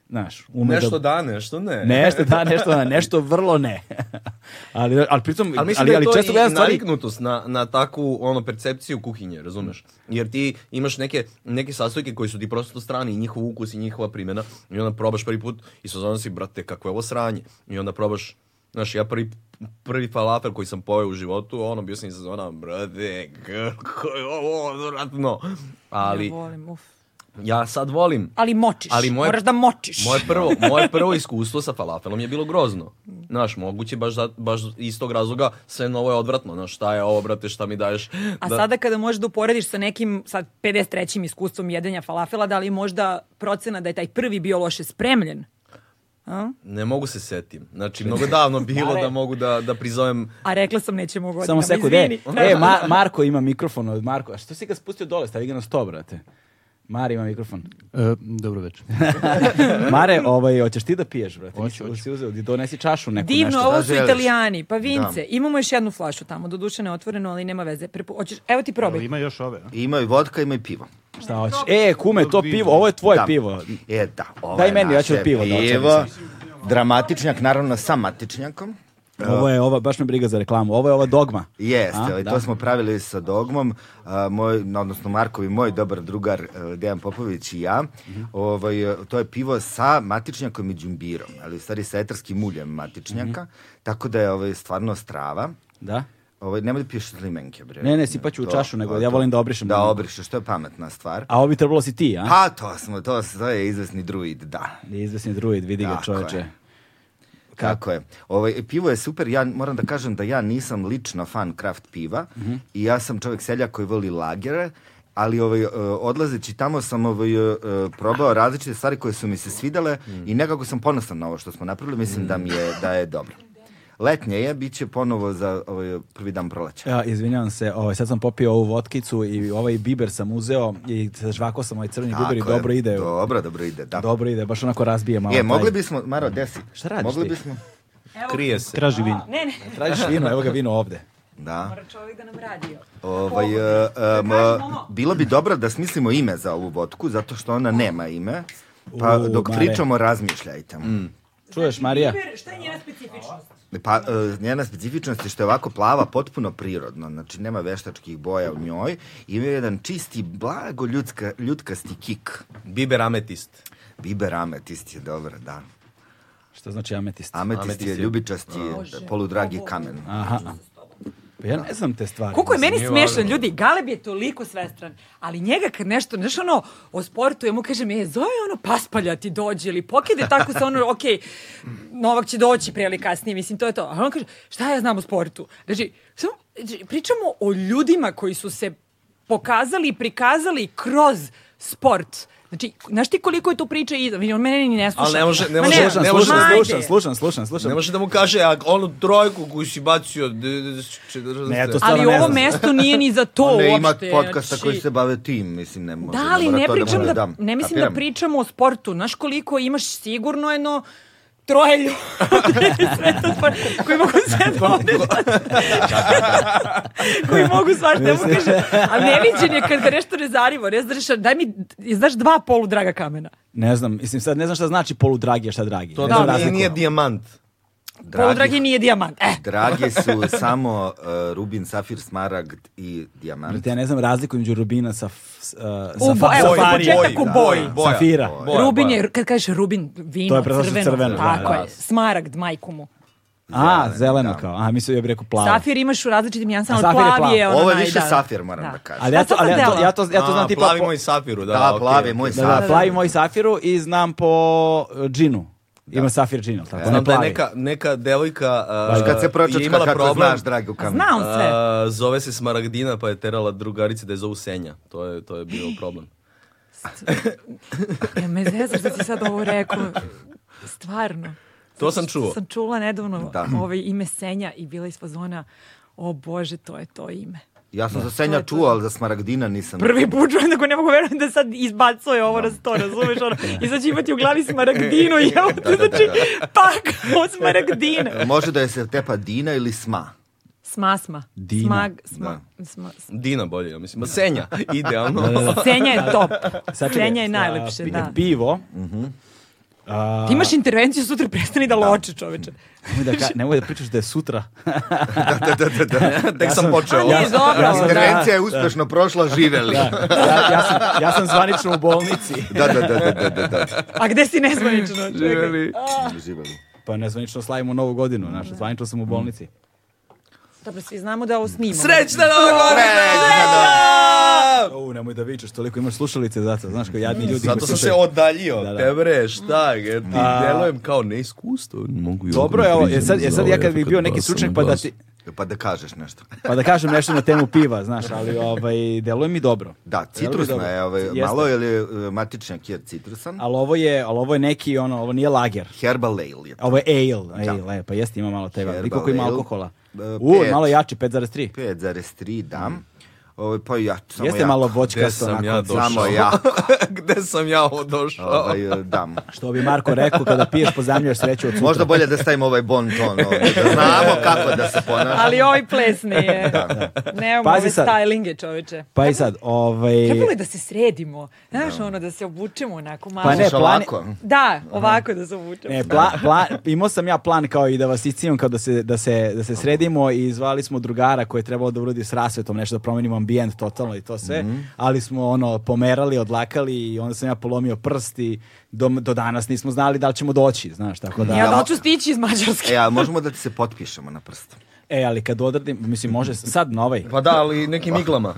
Speaker 1: znaš, ume da-
Speaker 2: Nešto da, nešto ne.
Speaker 1: Nešto da, nešto da, nešto vrlo ne. *laughs* ali, ali pritom,
Speaker 2: Ali
Speaker 1: ali,
Speaker 2: mislim
Speaker 1: ali,
Speaker 2: da je to
Speaker 1: često
Speaker 2: i
Speaker 1: gledam stvari...
Speaker 2: naviknutost na, na takvu ono, percepciju kuhinje, razumeš? Jer ti imaš neke, neke sastojke koji su ti prosto strani i njihov ukus i njihova primjena i onda probaš prvi put i sazvan si, brate, kako je ovo sranje. I onda probaš, znaš, ja prvi, prvi falafel koji sam pojeo u životu, ono, bio sam i sezona, brate, kako je ovo odvratno. Ali
Speaker 5: Ja volim, uf.
Speaker 2: ja sad volim.
Speaker 5: Ali močiš,
Speaker 2: Ali moje-
Speaker 5: moraš da močiš.
Speaker 2: Moje prvo, moje prvo iskustvo sa falafelom je bilo grozno. Znaš, moguće baš, za, baš iz tog razloga sve novo je odvratno. Znaš, šta je ovo, brate, šta mi daješ?
Speaker 5: A
Speaker 2: da-
Speaker 5: sada kada možeš da uporediš sa nekim sad 53. iskustvom jedenja falafela, da li možda procena da je taj prvi bio loše spremljen? A,
Speaker 2: Ne mogu se setim. Znači, mnogo davno bilo da mogu da, da prizovem...
Speaker 5: A rekla sam nećemo godinama,
Speaker 1: Samo sekund, e,
Speaker 5: izvini.
Speaker 1: e Ma- Marko ima mikrofon od Marko. A što si ga spustio dole? Stavi ga na sto, brate. Mare ima mikrofon.
Speaker 7: E, dobro večer.
Speaker 1: Mare, ovaj, hoćeš ti da piješ, brate?
Speaker 7: Hoću,
Speaker 1: Nisi-
Speaker 7: hoću.
Speaker 1: si uzeo, di donesi čašu neku
Speaker 5: Divno,
Speaker 1: nešto.
Speaker 4: da
Speaker 5: ovo su
Speaker 4: želiš.
Speaker 5: italijani, pa vince. Imamo još jednu flašu tamo, doduše ne otvoreno, ali nema veze. Prepu... Hoćeš, evo ti probaj.
Speaker 7: Ali ima još ove. a?
Speaker 4: I ima i vodka, ima i pivo.
Speaker 1: Šta hoćeš? E, kume, to
Speaker 7: Dobro,
Speaker 1: pivo, ovo je tvoje
Speaker 4: da.
Speaker 1: pivo.
Speaker 4: E, da. Ovo
Speaker 1: Daj
Speaker 4: je
Speaker 1: meni, ja ću
Speaker 4: naše
Speaker 1: od piva da otvorim
Speaker 4: pivo. Dramatičnjak, naravno sa matičnjakom.
Speaker 1: Ovo je ova, baš me briga za reklamu, ovo je ova dogma.
Speaker 4: Jeste,
Speaker 1: A,
Speaker 4: ali
Speaker 1: da.
Speaker 4: to smo pravili sa Dogmom, a, moj, no, odnosno Markov i moj dobar drugar e, Dejan Popović i ja.
Speaker 1: Mhm.
Speaker 4: ovaj, e, to je pivo sa matičnjakom i džumbirom, ali u stvari sa etarskim uljem matičnjaka,
Speaker 1: Mhm.
Speaker 4: tako da je ovaj, stvarno strava.
Speaker 1: Da?
Speaker 4: Ovaj, nemoj da piješ iz limenke, bre.
Speaker 1: Ne, ne, sipat ću u
Speaker 4: To,
Speaker 1: čašu, nego
Speaker 4: to,
Speaker 1: ja
Speaker 4: to.
Speaker 1: volim da obrišem
Speaker 4: Da
Speaker 1: limenku.
Speaker 4: obrišeš, to je pametna stvar.
Speaker 1: A ovo bi trebalo si ti, a?
Speaker 4: Pa to smo, to, to je izvesni druid, da.
Speaker 1: Izvesni druid, vidi ga
Speaker 4: Tako
Speaker 1: čoveče.
Speaker 4: je. Kako je. Ovaj, pivo je super, ja moram da kažem da ja nisam lično fan kraft piva
Speaker 1: Mhm.
Speaker 4: i ja sam čovjek selja koji voli lagere, ali ovaj, e, odlazeći tamo sam ovaj, e, probao različite stvari koje su mi se svidale
Speaker 1: Mhm.
Speaker 4: i nekako sam ponosan na ovo što smo napravili, mislim da mi je, da je dobro. Letnje je, bit će ponovo za ovaj, prvi dan proleća.
Speaker 1: Ja, izvinjavam se, ovaj, sad sam popio ovu vodkicu i ovaj biber sam uzeo i žvako sam ovaj crveni biber i
Speaker 4: Tako je.
Speaker 1: dobro ide.
Speaker 4: Dobro, dobro ide, da.
Speaker 1: Dobro ide, baš onako razbije malo.
Speaker 4: E,
Speaker 1: taj-
Speaker 4: mogli bismo, Maro, desi.
Speaker 1: Šta radiš
Speaker 4: Mogli
Speaker 1: ti?
Speaker 4: bismo,
Speaker 2: Krije se.
Speaker 7: Traži vin.
Speaker 5: Ne, ne,
Speaker 1: Tražiš vino, evo ga vino ovde.
Speaker 4: da.
Speaker 5: mora čovjek da nam radi.
Speaker 4: Ovaj, e, em, bilo bi dobro da smislimo ime za ovu vodku, zato što ona nema ime. Pa
Speaker 1: U,
Speaker 4: dok
Speaker 1: Mare. Mm.
Speaker 4: pričamo, razmišljajte.
Speaker 1: Čuješ, Marija?
Speaker 5: šta je njena specifičnost?
Speaker 4: Pa, e, njena specifičnost je što je ovako plava potpuno prirodno, znači nema veštačkih boja u njoj. Ima jedan čisti, blago ljudska, ljutkasti kik.
Speaker 2: Biber ametist.
Speaker 4: Biber ametist je dobro, da.
Speaker 1: Što znači ametist?
Speaker 4: Ametist,
Speaker 2: Ametist
Speaker 4: je
Speaker 2: je-
Speaker 4: ljubičasti, poludragi kamen.
Speaker 1: Aha. Pa ja ne znam te stvari.
Speaker 3: Koliko je meni
Speaker 2: Nije
Speaker 3: smešan,
Speaker 2: važno.
Speaker 3: ljudi, Galeb je toliko svestran, ali njega kad nešto, znaš ono, o sportu, ja mu kažem, je, zove ono paspalja ti dođe ili pokide tako se ono, ok, Novak će doći pre ili kasnije, mislim, to je to. A on kaže, šta ja znam o sportu? Znači, samo, znači, pričamo o ljudima koji su se pokazali i prikazali kroz sport. Znači, znaš ti koliko je tu priča iza? Vidi, On mene ni ne sluša.
Speaker 2: Ali ne može- ne
Speaker 3: Ma
Speaker 2: može-
Speaker 1: Slušam,
Speaker 2: ne
Speaker 1: slušam,
Speaker 2: može-
Speaker 3: Ajde.
Speaker 1: slušam, slušam, slušam, slušam.
Speaker 2: Ne može da mu kaže, a onu trojku koju si bacio... d- d- četrdeset-
Speaker 1: Ne, to
Speaker 3: Ali
Speaker 1: Stvarno ne
Speaker 3: ovo
Speaker 1: znam.
Speaker 3: mesto nije ni za to
Speaker 4: On
Speaker 3: uopšte.
Speaker 4: ne ima podcasta
Speaker 3: znači-
Speaker 4: koji se bave tim, mislim, ne može.
Speaker 3: Da, ali
Speaker 4: mora
Speaker 3: ne
Speaker 4: to
Speaker 3: pričam
Speaker 4: mu
Speaker 3: da,
Speaker 4: dam.
Speaker 3: ne mislim
Speaker 4: Kapiram?
Speaker 3: da pričamo o sportu. Znaš koliko imaš sigurno jedno troje ljudi sve to spor- koji mogu sve da vode. *laughs* koji mogu svašta, ne mogu kaže. A neviđen je kad ga nešto ne zarivo. Ne znaš, daj mi, znaš dva polu draga kamena.
Speaker 1: Ne znam, mislim sad ne znam šta znači poludragi, a šta dragi.
Speaker 2: To
Speaker 1: ne znam
Speaker 2: da, nije,
Speaker 1: razliku.
Speaker 2: nije dijamant.
Speaker 3: Polu dragi nije dijamant. E,
Speaker 4: Dragi su samo uh, rubin, safir, smaragd i dijamant.
Speaker 1: Brate, ja ne znam razliku između rubina sa, f- s- uh, sa
Speaker 3: u bo,
Speaker 1: fa-
Speaker 3: evo,
Speaker 2: boji,
Speaker 1: safarija.
Speaker 3: početak u
Speaker 2: da.
Speaker 3: boji.
Speaker 2: Boja,
Speaker 1: Safira.
Speaker 2: boja,
Speaker 3: Rubin
Speaker 2: boja.
Speaker 3: je, kad kažeš Rubin, vino,
Speaker 1: To je prelazi
Speaker 3: crveno,
Speaker 1: crveno, da,
Speaker 3: tako
Speaker 1: da.
Speaker 3: je, smaragd, majku mu.
Speaker 1: A, zeleno
Speaker 4: da.
Speaker 1: kao. A, mislio ja bih rekao plavo.
Speaker 3: Safir imaš u različitim
Speaker 1: A
Speaker 3: jansama, od
Speaker 1: safir je plav.
Speaker 3: plavije. ono
Speaker 4: Ovo je
Speaker 3: naj- da.
Speaker 4: više safir, moram da, kažem.
Speaker 1: Ali ja to, ali ja to, ja to, ja to
Speaker 2: A,
Speaker 1: znam tipa...
Speaker 2: Plavi
Speaker 1: po-
Speaker 2: moj safiru, da.
Speaker 4: Da,
Speaker 2: okej,
Speaker 4: plavi,
Speaker 2: okej.
Speaker 4: moj
Speaker 1: Da, da,
Speaker 4: safir.
Speaker 1: E plavi moj safiru i znam po uh, džinu. Ima safir džin, ali tako?
Speaker 2: E, Znam
Speaker 1: Ne
Speaker 2: da je
Speaker 1: plavi.
Speaker 2: neka, neka devojka
Speaker 4: Znaš,
Speaker 2: uh,
Speaker 4: kad se
Speaker 2: je
Speaker 4: pročačka,
Speaker 2: imala
Speaker 4: kako
Speaker 2: problem.
Speaker 4: znaš, dragi, u kamen.
Speaker 3: Zna on sve.
Speaker 2: uh, zove se Smaragdina, pa je terala drugarice da je zovu Senja. To je, to je bio problem.
Speaker 3: Ja E, me zezaš da si sad ovo rekao. Stvarno.
Speaker 2: To sam čuo.
Speaker 3: Sam čula nedavno
Speaker 4: Da.
Speaker 3: ovo ime Senja i bila iz fazona o bože, to je to ime.
Speaker 4: Ja sam za
Speaker 3: To
Speaker 4: Senja
Speaker 3: je to.
Speaker 4: čuo, ali za Smaragdina nisam.
Speaker 3: Prvi put čujem da ne mogu verovati da sad izbacuje ovo na sto, razumeš? Ono, I sad će imati u glavi smaragdinu i evo te, znači, pak od smaragdine.
Speaker 4: Može da je se tepa Dina ili
Speaker 1: *laughs*
Speaker 4: Sma.
Speaker 3: Smasma.
Speaker 1: Dina.
Speaker 3: Smag, sma, sma, s-
Speaker 2: Dina bolje, ja mislim. Ma Senja, idealno.
Speaker 3: Senja je top.
Speaker 1: Sad čekaj,
Speaker 3: Senja je
Speaker 1: a,
Speaker 3: najlepše,
Speaker 1: pi-
Speaker 3: da.
Speaker 1: Pivo.
Speaker 2: Mm.
Speaker 3: Ti imaš intervenciju, sutra prestani da loče, čoveče.
Speaker 1: *laughs* Nemoj da, ka- nemoj da pričaš da je sutra.
Speaker 2: Tek *laughs* sam počeo.
Speaker 3: Ali je dobro.
Speaker 1: ja sam-
Speaker 4: Intervencija je uspešno prošla, živeli. Da,
Speaker 1: Ja, ja, sam, ja sam zvanično u bolnici. *laughs*
Speaker 4: da, da, da, da, da, da.
Speaker 3: A gde si nezvanično? Čekaj.
Speaker 4: Živeli.
Speaker 1: Pa nezvanično slavimo novu godinu, znaš, zvanično sam u bolnici.
Speaker 3: Dobro, svi znamo da ovo snimamo.
Speaker 2: Srećna nova
Speaker 1: E,
Speaker 4: E,
Speaker 2: godina!
Speaker 1: U, nemoj da vičeš, toliko imaš slušalice zato, znaš, kao jadni ljudi.
Speaker 2: Mm. Zato
Speaker 1: koji
Speaker 2: sam se
Speaker 1: slušaju.
Speaker 2: odaljio.
Speaker 1: Da, da.
Speaker 2: Te bre, šta? je, Ti delujem kao neiskustvo. Mogu i
Speaker 1: Dobro
Speaker 2: ovdje
Speaker 1: je ovo,
Speaker 2: priđem
Speaker 1: jer sad, jer
Speaker 2: za
Speaker 1: sad
Speaker 2: ovaj
Speaker 1: ja kad bi
Speaker 2: efekat
Speaker 1: bio neki
Speaker 2: glasa
Speaker 1: stručnjak
Speaker 2: na
Speaker 1: pa da
Speaker 2: glasu.
Speaker 1: ti,
Speaker 4: Pa da kažeš nešto.
Speaker 1: pa da kažem nešto na temu piva, znaš, ali ovaj, deluje mi dobro.
Speaker 4: Da,
Speaker 1: Deluje mi
Speaker 4: citrusna
Speaker 1: dobro.
Speaker 4: je, ovaj,
Speaker 1: Jeste.
Speaker 4: malo je li uh, matičnjak je citrusan?
Speaker 1: Ali ovo je, ali ovo je neki, ono, ovo nije lager.
Speaker 4: Herbal ale je to.
Speaker 1: Ovo je ale, ale, e, pa jeste, ima malo teva.
Speaker 4: Herbal
Speaker 1: I koliko ima
Speaker 4: ale.
Speaker 1: alkohola?
Speaker 4: E,
Speaker 1: U,
Speaker 4: pet.
Speaker 1: malo jači, 5,3.
Speaker 4: 5,3 dam. Ovo, pa ja, samo
Speaker 1: Mm. Jeste
Speaker 4: jako.
Speaker 1: malo
Speaker 2: Gde
Speaker 1: voćkasto,
Speaker 2: sam
Speaker 1: onako.
Speaker 2: ja došao?
Speaker 4: Samo ja.
Speaker 2: *laughs* Gde sam ja ovo došao?
Speaker 4: Ovaj, uh,
Speaker 1: *laughs*
Speaker 4: dam.
Speaker 1: Što bi Marko rekao, kada piješ pozamljaš sreću od sutra.
Speaker 4: Možda bolje da stavimo ovaj bon ton ovdje, da znamo kako da se ponašamo.
Speaker 3: Ali ovaj ples nije. Nemamo
Speaker 1: Pazi
Speaker 3: ove
Speaker 1: sad.
Speaker 3: stylinge, čoveče.
Speaker 1: Pa i sad, ovaj...
Speaker 3: Trebalo je da se sredimo. Znaš, ono, da se obučemo onako malo.
Speaker 1: Pa E, ne,
Speaker 4: Slušaj,
Speaker 1: plan-
Speaker 4: ovako.
Speaker 3: Da, ovako da se obučemo.
Speaker 1: Ne, pla, pla, imao sam ja plan kao i da vas iscijam kao da se, da, se, da se sredimo i zvali smo drugara koji je trebalo da uradi s rasvetom, nešto da promenimo ambijent totalno i to sve,
Speaker 4: Mhm.
Speaker 1: ali smo ono pomerali, odlakali i onda sam ja polomio prst i do, do danas nismo znali da li ćemo doći, znaš, tako pa da...
Speaker 3: Ja hoću stići iz Mađarske.
Speaker 4: E, a možemo da ti se potpišemo na prst.
Speaker 1: E, ali kad odradim, mislim, može sad na ovaj.
Speaker 2: Pa da, ali nekim iglama.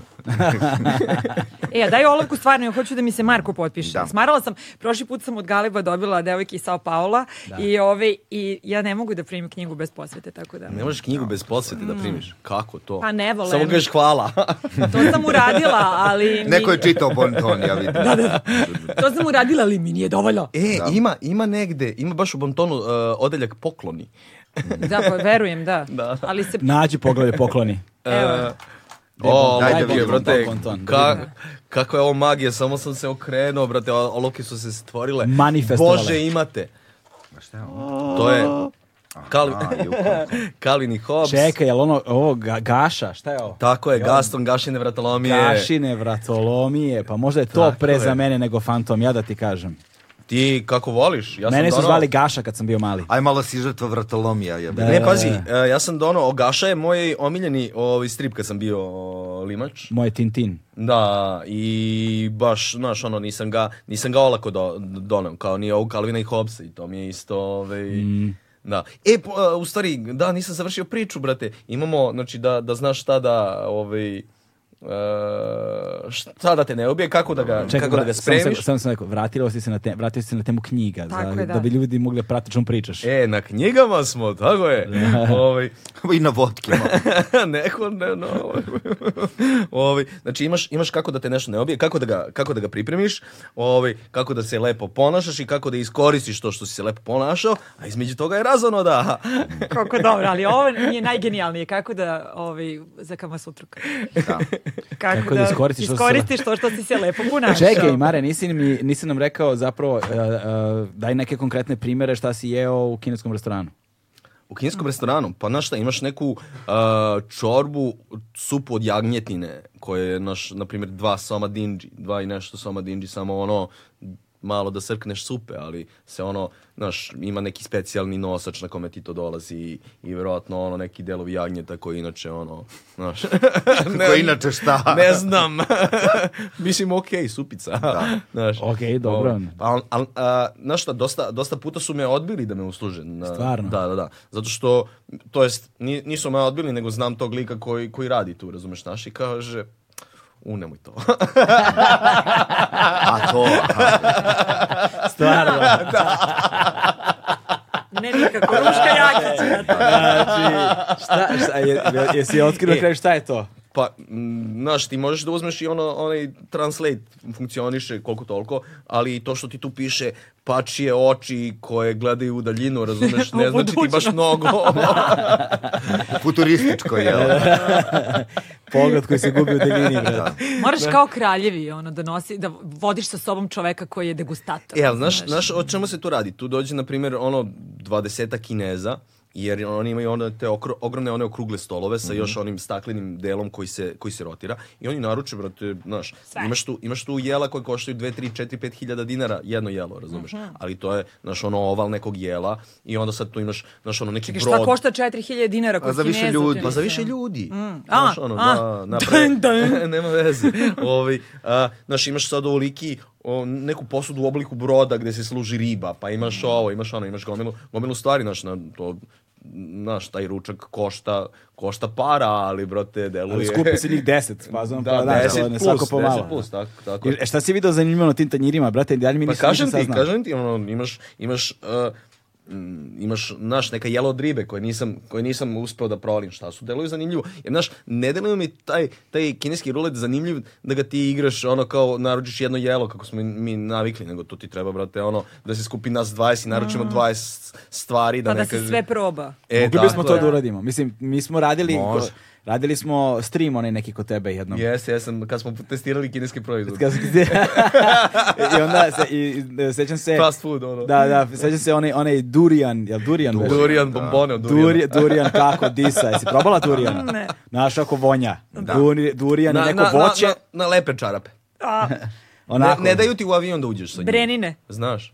Speaker 3: E, a daj olovku stvarno, ja hoću da mi se Marko potpiše.
Speaker 4: Da.
Speaker 3: Smarala sam, prošli put sam od Galeba dobila devojke iz Sao Paula i, ove, i ja ne mogu da primim knjigu bez posvete, tako da...
Speaker 2: Ne možeš knjigu bez posvete da primiš. Kako to?
Speaker 3: Mm. Pa ne volem.
Speaker 2: Samo kažeš hvala.
Speaker 3: *laughs* To sam uradila, ali... mi-
Speaker 4: Neko je čitao bon ton, ja vidim. Da, da.
Speaker 3: To sam uradila, ali mi nije dovoljno.
Speaker 2: E, ima, ima negde, ima baš u bontonu uh, odeljak pokloni.
Speaker 3: Da, pa verujem, da.
Speaker 2: Da.
Speaker 3: Ali se...
Speaker 1: Nađi poglavlje pokloni.
Speaker 3: Evo.
Speaker 2: O,
Speaker 4: Daj da
Speaker 2: majke,
Speaker 4: vidimo
Speaker 2: brate,
Speaker 1: bonton.
Speaker 2: ka, kako je ovo magija, samo sam se okrenuo, brate, o- olovke su se stvorile.
Speaker 1: Manifestovale.
Speaker 2: Bože, imate.
Speaker 4: Pa Šta je ovo?
Speaker 2: To je Kal...
Speaker 4: A, juko.
Speaker 2: *laughs* Kalvin i Hobbes.
Speaker 1: Čekaj, jel ono, ovo, ga- gaša, šta je ovo?
Speaker 2: Tako je, Gaston, Gašine vratolomije.
Speaker 1: Gašine, vratolomije, pa možda je to
Speaker 2: Tako
Speaker 1: pre
Speaker 2: je.
Speaker 1: za mene nego fantom, ja da ti kažem.
Speaker 2: Ti kako voliš? Ja sam
Speaker 1: Mene su
Speaker 2: donao-
Speaker 1: zvali Gaša kad sam bio mali.
Speaker 4: Aj, malo si žrtva vratolomija, jebe.
Speaker 2: Ne, pazi, e, ja sam donao, Gaša je moj omiljeni ovaj, strip kad sam bio limač.
Speaker 1: Moje Tintin.
Speaker 2: Da, i baš, znaš, ono, nisam ga, nisam ga olako do, donam, kao ni ovog Calvina i Hobbesa i to mi je isto, ovaj, Da. E, po- a, u stvari, da, nisam završio priču, brate. Imamo, znači, da, da znaš šta da, ovaj, e, šta da te ne ubije, kako da ga, kako da
Speaker 1: vra-
Speaker 2: ga
Speaker 1: samo
Speaker 2: spremiš.
Speaker 1: sam, samo sam rekao, vratila si se na, te, vratio si se na temu knjiga,
Speaker 5: Tako
Speaker 1: da,
Speaker 5: je,
Speaker 1: da.
Speaker 5: da.
Speaker 1: bi ljudi mogli da prate čemu pričaš.
Speaker 2: E, na knjigama smo, tako je. Ovaj,
Speaker 4: *laughs* I na vodke.
Speaker 2: Neko *laughs* ne, no. *laughs* ovaj, znači imaš, imaš kako da te nešto ne obije, kako da ga, kako da ga pripremiš, ovaj, kako da se lepo ponašaš i kako da iskoristiš to što si se lepo ponašao, a između toga je razonoda.
Speaker 5: Kako dobro, ali ovo je najgenijalnije. Kako da, ovaj, za kama sutruka.
Speaker 4: Da.
Speaker 5: Kako,
Speaker 1: Kako da
Speaker 5: da,
Speaker 1: iskoristiš što si se-
Speaker 5: iskoristiš to što si se lepo ponašao.
Speaker 1: Čekaj, Mare, nisi, mi, nisi nam rekao zapravo, e, e, daj neke konkretne primere šta si jeo u kineskom
Speaker 2: *laughs*
Speaker 1: restoranu.
Speaker 2: U kineskom restoranu, pa znaš šta, imaš neku a, čorbu, supu od jagnjetine, koja je, naš, na primjer, dva soma dinđi, dva i nešto soma dinđi, samo ono, malo da srkneš supe, ali se ono, znaš, ima neki specijalni nosač na kome ti to dolazi i, i verovatno ono neki delovi jagnjeta koji inače ono, znaš, ne,
Speaker 4: *laughs* Koji inače šta?
Speaker 2: ne znam, *laughs* mislim okej, supica, *laughs* znaš.
Speaker 1: Okej, dobro.
Speaker 2: Ovaj, Al, al, a, znaš šta, dosta, dosta puta su me odbili da me usluže. Na,
Speaker 1: Stvarno?
Speaker 2: Da, da, da. Zato što, to jest, ni- nisu me odbili, nego znam tog lika koji, koji radi tu, razumeš, naš, i kaže, u, nemoj to. *laughs*
Speaker 4: A to, aha,
Speaker 1: Stvarno.
Speaker 5: Ne nikako, Ruška Jakić.
Speaker 1: Znači, šta, šta, je, je- jesi otkrio
Speaker 2: E.
Speaker 1: na kraju šta je to?
Speaker 2: Pa, mm, znaš, ti možeš da uzmeš i ono, onaj translate funkcioniše koliko toliko, ali i to što ti tu piše pačije oči koje gledaju u daljinu,
Speaker 5: *laughs*
Speaker 2: razumeš, ne
Speaker 5: U
Speaker 2: znači ti baš
Speaker 5: budućnost.
Speaker 2: mnogo.
Speaker 5: *laughs*
Speaker 2: *laughs*
Speaker 4: futurističko je.
Speaker 1: Pogled koji se gubi u
Speaker 2: *laughs*
Speaker 1: daljini, brate.
Speaker 5: Moraš kao kraljevi ono, da, nosi, da vodiš sa sobom čoveka koji je degustator.
Speaker 2: E, ali znaš, znaš o čemu se tu radi? Tu dođe, na primjer, ono, dvadeseta kineza, jer oni imaju one te okro- ogromne one okrugle stolove sa
Speaker 5: Mhm.
Speaker 2: još onim staklenim delom koji se, koji se rotira i oni naruče, brate, znaš,
Speaker 5: Sve.
Speaker 2: imaš tu, imaš tu jela koje koštaju 2, 3, 4, 5 hiljada dinara, jedno jelo, razumeš? Ali to je, znaš, ono oval nekog jela i onda sad tu imaš, znaš, ono neki
Speaker 5: Čekaj,
Speaker 2: brod.
Speaker 5: šta košta 4000 dinara kod
Speaker 4: za više
Speaker 5: Kineza,
Speaker 4: ljudi.
Speaker 5: čini
Speaker 2: Pa za
Speaker 5: se.
Speaker 2: više ljudi. Mm.
Speaker 5: A,
Speaker 2: ono,
Speaker 5: a.
Speaker 2: da,
Speaker 1: *laughs*
Speaker 2: naprave-
Speaker 5: Dun, dun.
Speaker 2: *laughs* Nema veze. Ovi, a, znaš, imaš sad ovoliki o, neku posudu u obliku broda gde se služi riba, pa imaš
Speaker 1: Mm.
Speaker 2: ovo, imaš ono, imaš gomilu, gomilu stvari, znaš, na, to, znaš, taj ručak košta, košta para, ali, brate, deluje...
Speaker 1: Ali skupi
Speaker 2: *laughs*
Speaker 1: se njih 10, pa znam,
Speaker 2: Da,
Speaker 1: pa da,
Speaker 2: 10
Speaker 1: to ne,
Speaker 2: plus,
Speaker 1: svako po
Speaker 2: 10
Speaker 1: malo.
Speaker 2: plus, tako, tako.
Speaker 1: I, e, šta si video zanimljivo na tim tanjirima, brate, dalje mi
Speaker 2: Pa
Speaker 1: nisam
Speaker 2: kažem
Speaker 1: ništa
Speaker 2: ti,
Speaker 1: saznao.
Speaker 2: kažem ti, ono, imaš, imaš, uh, mm, imaš, znaš, neka jela od ribe koje nisam, koje nisam uspeo da provalim šta su, deluju zanimljivo. Jer, znaš, ne deluje mi taj, taj kineski rulet zanimljiv da ga ti igraš, ono, kao naručiš jedno jelo, kako smo mi navikli, nego to ti treba, brate, ono, da se skupi nas 20 i naručimo
Speaker 1: Mm.
Speaker 2: 20 stvari, da
Speaker 5: Pa
Speaker 2: ne
Speaker 5: da se
Speaker 2: kaže-
Speaker 5: sve proba.
Speaker 2: E,
Speaker 1: Mogli
Speaker 2: tako
Speaker 1: bismo to
Speaker 2: je.
Speaker 1: da uradimo. Mislim, mi smo radili,
Speaker 2: Može.
Speaker 1: radili smo stream onaj neki kod tebe *laughs* jednom.
Speaker 2: Jeste, jesam, kad smo testirali kineski proizvod.
Speaker 1: Kad sam- I onda se, i, i- sećam se...
Speaker 2: Fast food, ono.
Speaker 1: Da, da, sećam se onaj, onaj durian, jel durian? beše?
Speaker 2: Durian, bombone od duriana.
Speaker 1: Duri, durian kako disa, jesi
Speaker 2: *laughs*
Speaker 1: probala durian?
Speaker 5: Ne.
Speaker 1: Znaš kako vonja. Duri, durian je
Speaker 2: Na,
Speaker 1: neko
Speaker 2: na, na,
Speaker 1: voće.
Speaker 2: na, na lepe čarape. *laughs*
Speaker 5: A,
Speaker 2: Ne,
Speaker 1: Onako.
Speaker 2: ne
Speaker 4: ono.
Speaker 2: daju ti u avion da uđeš sa njim.
Speaker 5: Brenine. Mm?
Speaker 2: Znaš?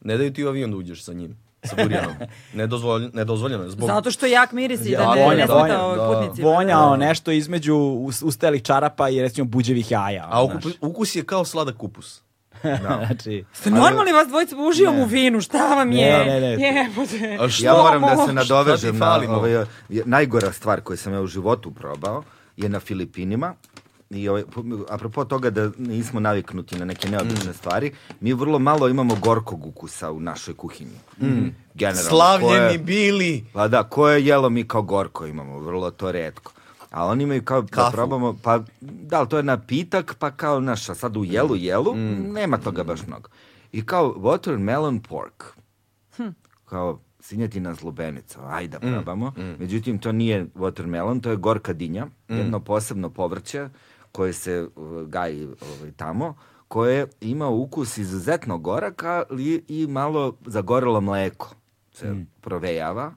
Speaker 2: Ne daju ti u avion da uđeš sa njim. Sa Burijanom.
Speaker 5: *laughs*
Speaker 2: Nedozvolj, nedozvoljeno je zbog...
Speaker 5: zato što jak miris i da
Speaker 2: Vonja,
Speaker 5: ne, ne
Speaker 2: vonja,
Speaker 5: smeta ovoj
Speaker 2: da.
Speaker 5: putnicima.
Speaker 1: Vonjao nešto između us- ustalih čarapa i recimo buđevih jaja.
Speaker 2: A
Speaker 1: znaš.
Speaker 2: ukup, ukus je kao sladak kupus.
Speaker 1: *laughs* znači,
Speaker 5: Ste normalni Pa vas dvojica uživam u vinu, šta vam
Speaker 1: Ne,
Speaker 5: je?
Speaker 1: ne, ne.
Speaker 5: Jebote.
Speaker 2: A što?
Speaker 4: Ja moram da
Speaker 2: Šta
Speaker 4: se
Speaker 2: ti
Speaker 4: nadovežem na
Speaker 2: fali, mo?
Speaker 4: ovaj, je- najgora stvar koju sam ja u životu probao je na Filipinima. I ovaj, pu- apropo toga da nismo naviknuti na neke
Speaker 2: Mm.
Speaker 4: neobične stvari, mi vrlo malo imamo gorkog ukusa u našoj kuhinji. Mm. Generalno, koje-
Speaker 2: Mm. Slavljeni bili.
Speaker 4: Pa da, koje jelo mi kao gorko imamo, vrlo to redko. A oni imaju kao da
Speaker 2: Kafu.
Speaker 4: probamo, pa da li to je napitak, pa kao naša sad u jelu jelu,
Speaker 2: Mm.
Speaker 4: nema toga baš mnogo. I kao watermelon pork, kao sinjetina s lubenicom,
Speaker 2: Mm,
Speaker 4: ajde da probamo. Međutim, to nije watermelon, to je gorka dinja,
Speaker 2: Mm.
Speaker 4: jedno posebno povrće koje se uh, gaji ovaj, tamo, koje ima ukus izuzetno gorak, ali i malo zagorelo mleko se
Speaker 2: Mm.
Speaker 4: provejava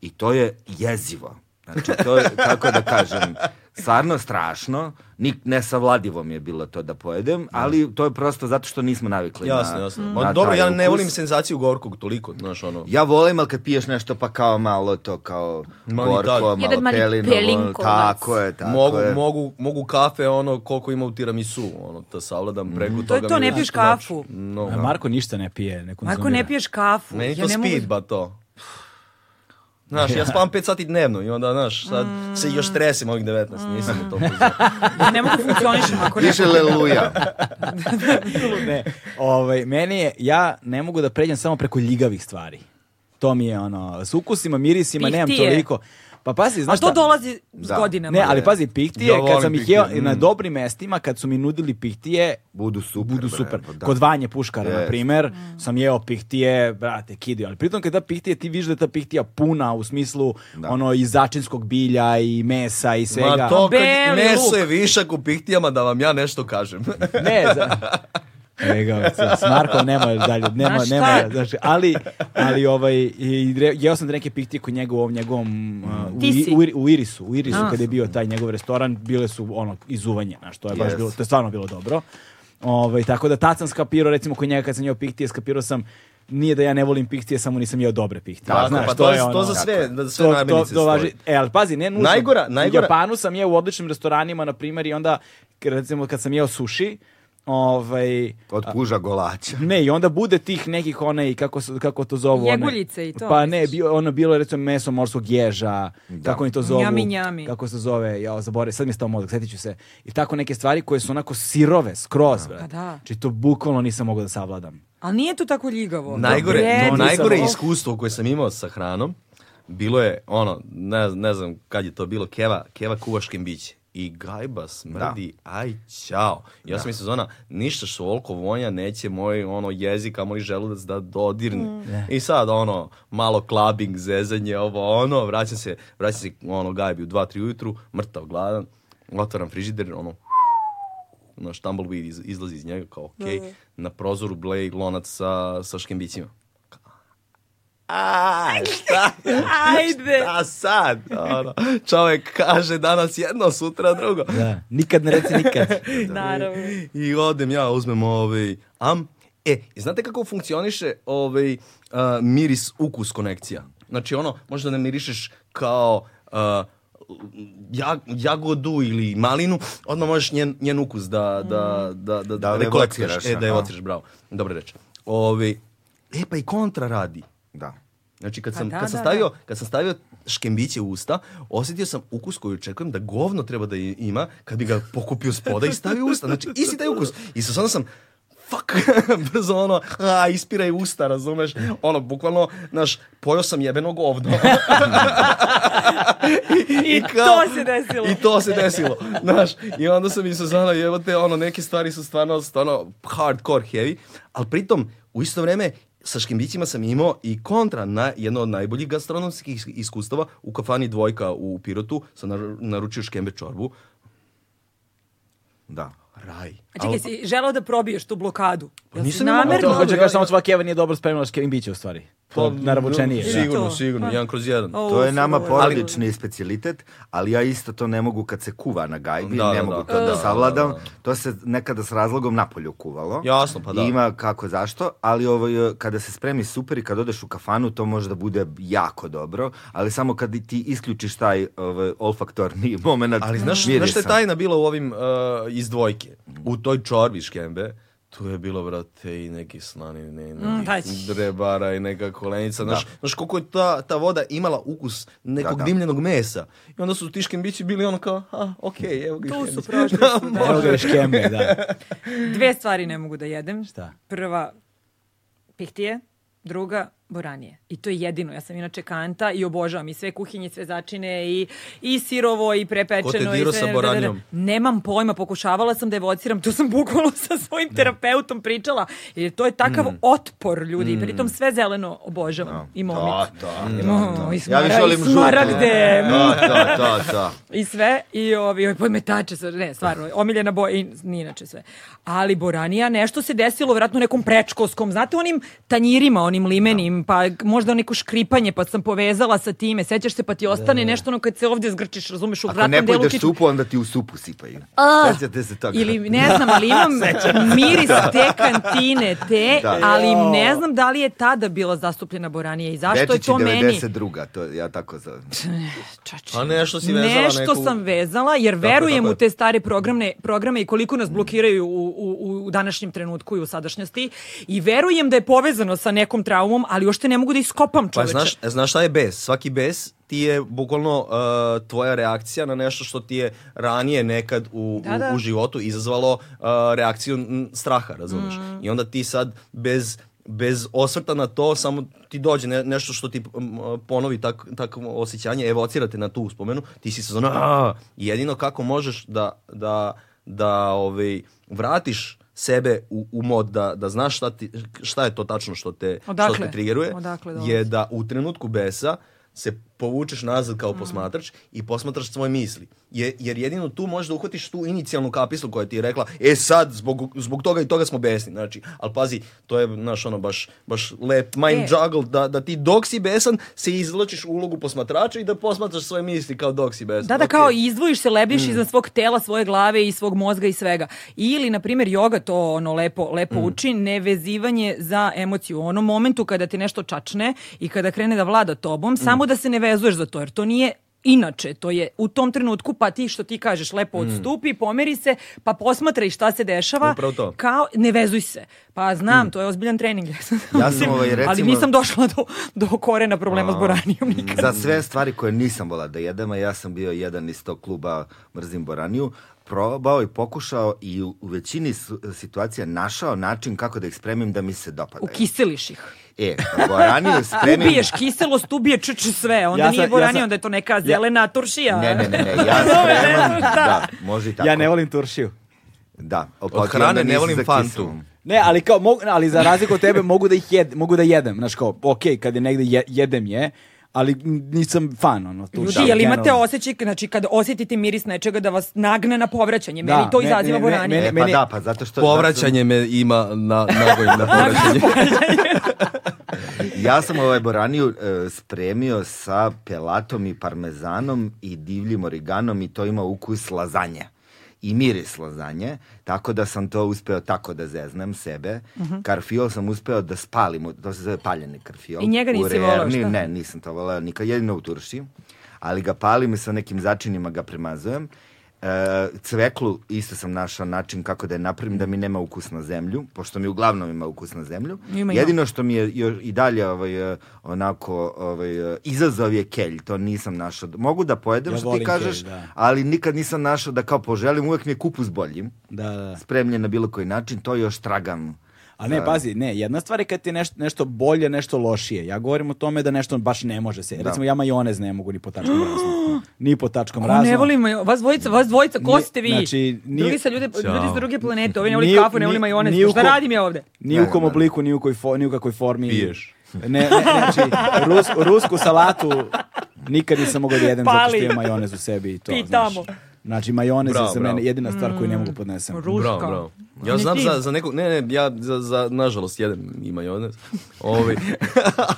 Speaker 4: i to je jezivo. Znači, to je, kako da kažem, stvarno strašno, Nik, nesavladivo mi je bilo to da pojedem, ali to je prosto zato što nismo navikli
Speaker 2: Jasno,
Speaker 4: na,
Speaker 5: Mm.
Speaker 2: jasno.
Speaker 4: na
Speaker 2: Ma, dobro,
Speaker 4: taj
Speaker 2: ja ne
Speaker 4: ukus.
Speaker 2: volim senzaciju gorkog toliko, znaš, ono...
Speaker 4: Ja volim, ali kad piješ nešto pa kao malo to, kao
Speaker 2: Mali
Speaker 4: gorko,
Speaker 2: dalj.
Speaker 4: malo
Speaker 3: Jedan mali
Speaker 4: pelinovo,
Speaker 3: pelinkovac.
Speaker 4: tako je, tako
Speaker 2: mogu,
Speaker 4: je.
Speaker 2: mogu, mogu kafe, ono, koliko ima u tiramisu, ono, da
Speaker 4: Mhm.
Speaker 2: savladam preko toga.
Speaker 5: To je to,
Speaker 2: mi
Speaker 5: ne
Speaker 2: već
Speaker 5: piješ
Speaker 2: znači,
Speaker 5: kafu.
Speaker 2: No,
Speaker 1: Marko ništa ne pije, ne konzumira.
Speaker 5: Marko, ne piješ kafu.
Speaker 2: Meni
Speaker 5: ja
Speaker 2: to
Speaker 5: ne mogu-
Speaker 2: speed, ba to. Znaš,
Speaker 4: *laughs*
Speaker 2: ja spavam 5 sati dnevno i onda, znaš, sad
Speaker 5: Mm.
Speaker 2: se još tresim ovih 19, nisam u
Speaker 5: *laughs*
Speaker 2: tom fazonu.
Speaker 3: *laughs* Ja ne mogu funkcionišem ako ne...
Speaker 4: Više leluja.
Speaker 1: ne, *laughs* ovaj, meni je, ja ne mogu da pređem samo preko ljigavih stvari. To mi je ono, s ukusima, mirisima,
Speaker 3: Pihtije.
Speaker 1: nemam toliko. Pa pazi,
Speaker 3: A
Speaker 1: znaš
Speaker 3: to
Speaker 1: šta?
Speaker 3: dolazi s
Speaker 4: Da.
Speaker 3: godinama.
Speaker 1: Ne, ali pazi, pihtije,
Speaker 2: Ja volim
Speaker 1: kad sam ih
Speaker 2: pihtije, Mm.
Speaker 1: jeo na dobrim mestima, kad su mi nudili pihtije,
Speaker 4: *laughs* Budu super.
Speaker 1: budu
Speaker 4: bre,
Speaker 1: super.
Speaker 4: pa da.
Speaker 1: Kod Vanje Puškara,
Speaker 4: Jest.
Speaker 1: na primer, sam jeo pihtije, brate, kidio. Ali pritom kada pihtije, ti vidiš da je ta pihtija puna u smislu ono iz začinskog bilja i mesa i svega.
Speaker 2: Ma to kad
Speaker 3: Beli
Speaker 2: meso
Speaker 3: luk.
Speaker 2: je višak u pihtijama da vam ja nešto kažem.
Speaker 1: Ne, za... Ega, s Marko nemoj dalje, nemoj,
Speaker 3: Ma šta?
Speaker 1: nemoj, znači, ali, ali ovaj, i re- jeo sam neke pihtije kod njega u ovom
Speaker 2: Mm.
Speaker 1: njegovom, uh, u,
Speaker 3: Ti
Speaker 1: i-
Speaker 3: si.
Speaker 1: u, Ir- u Irisu, u Irisu
Speaker 3: A.
Speaker 1: kada je bio taj njegov restoran, bile su ono izuvanje, znaš, to je baš
Speaker 4: Yes.
Speaker 1: bilo, to je stvarno bilo dobro. Ovaj, tako da tad sam skapirao, recimo kod njega kad sam jeo pihtije, skapirao sam, nije da ja ne volim pihtije, samo nisam jeo dobre pihtije.
Speaker 2: Tako,
Speaker 1: znaš,
Speaker 2: pa to,
Speaker 1: je
Speaker 2: za- to
Speaker 1: ono-
Speaker 2: za sve, da za sve
Speaker 1: to, to,
Speaker 2: namirnice
Speaker 1: to važi.
Speaker 2: stoji.
Speaker 1: E, ali pazi, ne nužno.
Speaker 2: Najgora- najgora-
Speaker 1: U Japanu sam jeo u odličnim restoranima, na primjer, i onda, k- recimo, kad sam jeo sushi, ovaj...
Speaker 4: Od puža golača.
Speaker 1: Ne, i onda bude tih nekih one i kako, se- kako to zovu. one-
Speaker 3: Jeguljice i to,
Speaker 1: Pa ne,
Speaker 3: misliš?
Speaker 1: bio, ono bilo je, recimo meso morskog ježa, kako oni to zovu.
Speaker 3: Njami, njami.
Speaker 1: Kako se zove, ja zaboravim, sad mi je stao mozak, setit ću se. I tako neke stvari koje su onako sirove, skroz. brate.
Speaker 3: Pa da.
Speaker 1: Znači to bukvalno nisam mogao da savladam.
Speaker 3: Ali nije to tako ljigavo.
Speaker 2: Najgore,
Speaker 3: Vredi
Speaker 2: najgore
Speaker 3: se ovo.
Speaker 2: iskustvo koje sam imao sa hranom bilo je ono, ne, ne znam kad je to bilo, keva, keva kuvaš kembiće. I gajba smrdi, aj čao. Ja sam mislio zona, ništa što oliko vonja neće moj ono, jezik, a moj želudac da dodirne.
Speaker 3: Mm.
Speaker 2: I sad ono, malo klabing, zezanje, ovo ono, vraćam se, vraćam se ono, gajbi u 2-3 ujutru, mrtav, gladan, otvaram frižider, ono, naš tumbleweed iz, izlazi iz njega kao okej, na prozoru blej lonac sa, sa škembićima. Aj, šta?
Speaker 3: Ajde.
Speaker 2: A sad, ono, čovek kaže danas jedno, sutra drugo.
Speaker 1: Da. Nikad ne reci
Speaker 2: *laughs*
Speaker 1: nikad.
Speaker 3: Naravno.
Speaker 2: I odem ja, uzmem ovaj am. E, i znate kako funkcioniše ovaj a, miris ukus konekcija? Znači ono, možda ne mirišeš kao a, ja- jagodu ili malinu, odmah možeš njen, njen ukus da, da, da, da,
Speaker 4: Da
Speaker 2: rekolaktiraš.
Speaker 4: evociraš,
Speaker 2: E, da
Speaker 4: aha.
Speaker 2: evociraš, bravo. Dobra reč. Ovaj, e, pa i kontra radi.
Speaker 4: Da.
Speaker 2: Znači kad
Speaker 3: Pa
Speaker 2: sam,
Speaker 3: da,
Speaker 2: kad sam
Speaker 3: da,
Speaker 2: stavio, kad sam stavio škembiće u usta, osjetio sam ukus koji očekujem da govno treba da i- ima kad bi ga pokupio spoda i stavio u usta. Znači isti taj ukus. I sa onda sam fuck, *laughs* brzo ono, a, ispiraj usta, razumeš? Ono, bukvalno, znaš, pojao sam jebeno govno.
Speaker 3: *laughs*
Speaker 2: *laughs*
Speaker 3: I, to se desilo.
Speaker 2: I to se desilo, znaš. I onda sam i Suzana, evo te, ono, neke stvari su stvarno, stvarno hardcore heavy, ali pritom, u isto vreme, sa škembićima sam imao i kontra na jedno od najboljih gastronomskih is- iskustava u kafani Dvojka u Pirotu sam naru- naručio škembe čorbu.
Speaker 4: Da.
Speaker 2: Raj.
Speaker 3: A čekaj, si želeo da probiješ tu blokadu?
Speaker 2: Pa
Speaker 3: Jel si
Speaker 2: nisam imao
Speaker 3: namerno-
Speaker 1: to
Speaker 2: blokadu.
Speaker 1: hoće kažem samo svaki Eva nije dobro spremila škembiće u stvari. To naravučenije.
Speaker 3: Ili
Speaker 2: Pa, Sigurno,
Speaker 3: to?
Speaker 2: sigurno,
Speaker 3: Pa.
Speaker 2: jedan kroz jedan.
Speaker 3: O,
Speaker 4: To je nama
Speaker 3: surovo.
Speaker 4: porodični specialitet, ali ja isto to ne mogu kad se kuva na gajbi,
Speaker 2: Da,
Speaker 4: ne
Speaker 2: da,
Speaker 4: mogu
Speaker 2: da.
Speaker 4: to da,
Speaker 2: Da,
Speaker 4: savladam.
Speaker 2: da, da.
Speaker 4: To se nekada s razlogom napolju kuvalo.
Speaker 2: Jasno, pa da.
Speaker 4: I Ima kako zašto, ali ovo, je, kada se spremi super i kad odeš u kafanu, to može da bude jako dobro, ali samo kad i ti isključiš taj ovaj, olfaktorni *laughs* moment
Speaker 3: Mm.
Speaker 2: Ali znaš,
Speaker 4: mirisa.
Speaker 2: znaš šta je tajna bila u ovim uh, iz dvojke? U toj čorbi škembe, tu je bilo, brate, i neki slanine, i
Speaker 3: Mm, taj.
Speaker 2: neki drebara i neka kolenica. Znaš, znaš koliko je ta, ta voda imala ukus nekog
Speaker 4: da.
Speaker 2: dimljenog mesa. I onda su ti škembići bili ono kao, a, okej, evo ga i
Speaker 3: Tu su
Speaker 2: škembić."
Speaker 3: prošli.
Speaker 2: *laughs*
Speaker 3: su, da.
Speaker 1: Evo ga škembe, *laughs* da.
Speaker 3: Dve stvari ne mogu da jedem.
Speaker 1: Šta?
Speaker 3: Prva, pihtije. Druga, boranije. I to je jedino. Ja sam inače kanta i obožavam i sve kuhinje, sve začine i, i sirovo i prepečeno.
Speaker 2: Ko te
Speaker 3: i
Speaker 2: dirao
Speaker 3: sve-
Speaker 2: sa boranijom?
Speaker 3: Nemam pojma, pokušavala sam da evociram, to sam bukvalno sa svojim terapeutom pričala, jer to je takav otpor ljudi, pritom sve zeleno obožavam. I
Speaker 4: Mm. Da,
Speaker 3: momit.
Speaker 4: da.
Speaker 3: No, i
Speaker 4: Ja više
Speaker 3: smara- i
Speaker 4: volim žuto.
Speaker 3: smaragde.
Speaker 4: Da, da, da, da.
Speaker 3: I sve, i ovi, ovi podmetače, sve, ne, stvarno, omiljena boja, i ni inače sve. Ali Boranija, nešto se desilo, vjerojatno nekom prečkolskom, znate, onim tanjirima, onim limenim, pa možda neko škripanje, pa sam povezala sa time, sećaš se, pa ti ostane nešto ono kad se ovdje zgrčiš, razumeš, u
Speaker 4: Ako
Speaker 3: vratnom
Speaker 4: ne
Speaker 3: delu
Speaker 4: pojedeš
Speaker 3: kič-
Speaker 4: supu, onda ti u supu sipaju.
Speaker 3: A!
Speaker 4: Sjećate se toga?
Speaker 3: Ili ne znam, ali
Speaker 4: *laughs*
Speaker 3: imam miris te kantine, te,
Speaker 4: Da.
Speaker 3: ali ne znam da li je tada bila zastupljena Boranija i zašto je
Speaker 4: Dečići
Speaker 3: to meni.
Speaker 4: 92. To ja tako
Speaker 3: *laughs*
Speaker 4: zovem.
Speaker 3: Čače.
Speaker 2: A nešto si vezala
Speaker 3: Nešto
Speaker 2: neku-
Speaker 3: sam vezala, jer
Speaker 2: Tako je,
Speaker 3: verujem
Speaker 2: tako je.
Speaker 3: u te stare programne, programe i koliko nas blokiraju u, u, u današnjem trenutku i u sadašnjosti. I verujem da je povezano sa nekom traumom, ali još uopšte ne mogu da iskopam
Speaker 2: Pa
Speaker 3: čoveče.
Speaker 2: znaš, znaš šta je bes? Svaki bes ti je bukvalno uh, tvoja reakcija na nešto što ti je ranije nekad u,
Speaker 3: Da,
Speaker 2: u-
Speaker 3: da.
Speaker 2: u, životu izazvalo uh, reakciju mm, straha, razumiješ?
Speaker 3: Mm.
Speaker 2: I onda ti sad bez bez osvrta na to, samo ti dođe ne- nešto što ti m, ponovi tak, takvo osjećanje, evocirate na tu uspomenu, ti si se zna, jedino kako možeš da, da, da ovaj, vratiš sebe u, u mod, da, da znaš šta, ti, šta je to tačno što te, što
Speaker 3: Odakle?
Speaker 2: te triggeruje,
Speaker 3: Odakle dolazi?
Speaker 2: je da u trenutku besa se povučeš nazad
Speaker 3: Mm.
Speaker 2: kao posmatrač i posmatraš svoje misli. Je, jer jedino tu možeš da uhvatiš tu inicijalnu kapislu koja ti je rekla, e sad, zbog, zbog toga i toga smo besni. Znači, ali pazi, to je, znaš, ono, baš, baš lep mind
Speaker 3: E.
Speaker 2: juggle, da, da ti dok si besan se izlačiš u ulogu posmatrača i da posmatraš svoje misli kao dok si besan.
Speaker 3: Da, da,
Speaker 2: Ok.
Speaker 3: kao izdvojiš se,
Speaker 4: Mm.
Speaker 3: lebdiš iznad svog tela, svoje glave i svog mozga i svega. Ili, na primjer, joga to ono lepo, lepo
Speaker 4: Mm.
Speaker 3: uči, nevezivanje za emociju. U onom momentu kada ti nešto čačne i kada krene da vlada
Speaker 4: Mm.
Speaker 3: tobom, samo da se ne vezuješ za to, jer to nije Inače, to je u tom trenutku, pa ti što ti kažeš, lepo
Speaker 4: Mm.
Speaker 3: odstupi, pomeri se, pa posmatraj šta se dešava.
Speaker 2: Upravo to.
Speaker 3: Kao, ne vezuj se. Pa znam, to je ozbiljan trening.
Speaker 4: Mm.
Speaker 3: *laughs*
Speaker 4: Ja sam, ovaj,
Speaker 3: Ali
Speaker 4: recimo-
Speaker 3: nisam došla do, do korena problema s boranijom nikad.
Speaker 4: Za sve stvari koje nisam volao da jedem, a ja sam bio jedan iz tog kluba Mrzim Boraniju, probao i pokušao i u, u većini su- situacija našao način kako da ih spremim da mi se dopadaju.
Speaker 3: Ukiseliš ih.
Speaker 4: E,
Speaker 3: *laughs*
Speaker 4: Boraniju spremim...
Speaker 3: Ubiješ kiselost, ubije č, č sve, onda
Speaker 1: Ja
Speaker 3: nije
Speaker 1: sam-
Speaker 3: boranija,
Speaker 1: ja sam-
Speaker 3: onda je to neka zelena turšija.
Speaker 4: Ne, ne, ne, ne, ja
Speaker 3: *laughs* Zove, ne
Speaker 4: spremam...
Speaker 3: znam šta.
Speaker 4: da, može i tako.
Speaker 1: Ja ne volim turšiju.
Speaker 4: Da,
Speaker 2: Od hrane
Speaker 4: onda
Speaker 2: ne
Speaker 4: nisam
Speaker 2: volim
Speaker 4: za
Speaker 2: fantu.
Speaker 4: kiselom.
Speaker 1: Ne, ali kao mogu, ali za razliku od tebe mogu da ih jed, mogu da jedem, znaš kao, okej, kad je negde je- jedem je, ali nisam fan ono tu.
Speaker 3: Ljudi, jel imate osjećaj, znači kad osjetite miris nečega da vas nagne na povraćanje,
Speaker 1: Da,
Speaker 3: meni to
Speaker 1: ne,
Speaker 3: izaziva
Speaker 1: ne, ne,
Speaker 4: E,
Speaker 1: meni-
Speaker 3: boranija.
Speaker 4: pa
Speaker 1: meni-
Speaker 4: da, pa zato što...
Speaker 2: Povraćanje me ima na, nagoj
Speaker 3: *laughs*
Speaker 2: na povraćanje.
Speaker 4: Ja sam ovaj boraniju e, spremio sa pelatom i parmezanom i divljim origanom i to ima ukus lazanje. I miris lazanje, tako da sam to uspeo tako da zeznem sebe.
Speaker 3: Mhm.
Speaker 4: Karfiol sam uspeo da spalim, to se zove paljeni karfiol.
Speaker 3: I njega nisi
Speaker 4: U
Speaker 3: voleo,
Speaker 4: reerni-
Speaker 3: šta?
Speaker 4: Ne, E, nisam to volao nikad, jedino u Turšiji. Ali ga palim i sa nekim začinima ga premazujem. E, cveklu isto sam našao način kako da je napravim da mi nema ukus na zemlju, pošto mi uglavnom ima ukus na zemlju.
Speaker 3: Ima, ima.
Speaker 4: Jedino Jedino što mi je još i dalje ovaj, eh, onako ovaj, eh, izazov je kelj, to nisam našao. Mogu da pojedem
Speaker 1: Ja
Speaker 4: što ti
Speaker 1: volim
Speaker 4: kažeš,
Speaker 1: kelj, da.
Speaker 4: ali nikad nisam našao da kao poželim, uvek mi je kupus bolji.
Speaker 1: Da, da, da.
Speaker 4: Spremljen na bilo koji način, to još tragam.
Speaker 1: A ne, pazi, ne, jedna stvar je kad ti je nešto, nešto bolje, nešto lošije. Ja govorim o tome da nešto baš ne može se. Recimo, ja majonez ne mogu ni po tačkom
Speaker 3: *gasps*
Speaker 1: razno. Ni po tačkom
Speaker 3: O,
Speaker 1: razno.
Speaker 3: ne volim, majo- vas dvojica, vas dvojica, ko
Speaker 1: Nije-
Speaker 3: ste vi?
Speaker 1: znači, nije-
Speaker 3: Drugi sa ljudi, ljudi sa druge planete, ovi ne voli
Speaker 1: Nije-
Speaker 3: kafu, ne
Speaker 1: nije-
Speaker 3: voli majonez, Pa
Speaker 1: nije u
Speaker 3: šta
Speaker 1: ko-
Speaker 3: radim ja ovde?
Speaker 1: Ni u kom obliku, ni u, koj fo- ni u kakvoj formi.
Speaker 2: Piješ.
Speaker 1: Ne, ne, znači, rus, rusku salatu nikad nisam mogao da jedem zato
Speaker 3: Pali.
Speaker 1: što ima majonez u sebi i to,
Speaker 3: Pitamo.
Speaker 1: znaš. Znači, majonez je
Speaker 2: Bravo,
Speaker 1: za
Speaker 2: bravo.
Speaker 1: mene jedina stvar koju ne
Speaker 3: Mm.
Speaker 1: mogu podnesem.
Speaker 3: Ruška.
Speaker 2: Bravo, bravo. Ja
Speaker 3: Ni
Speaker 2: znam
Speaker 3: Pa ti.
Speaker 2: za, za nekog, ne, ne, ja za, za nažalost, jedan i majonez,
Speaker 3: *laughs*
Speaker 2: ovaj,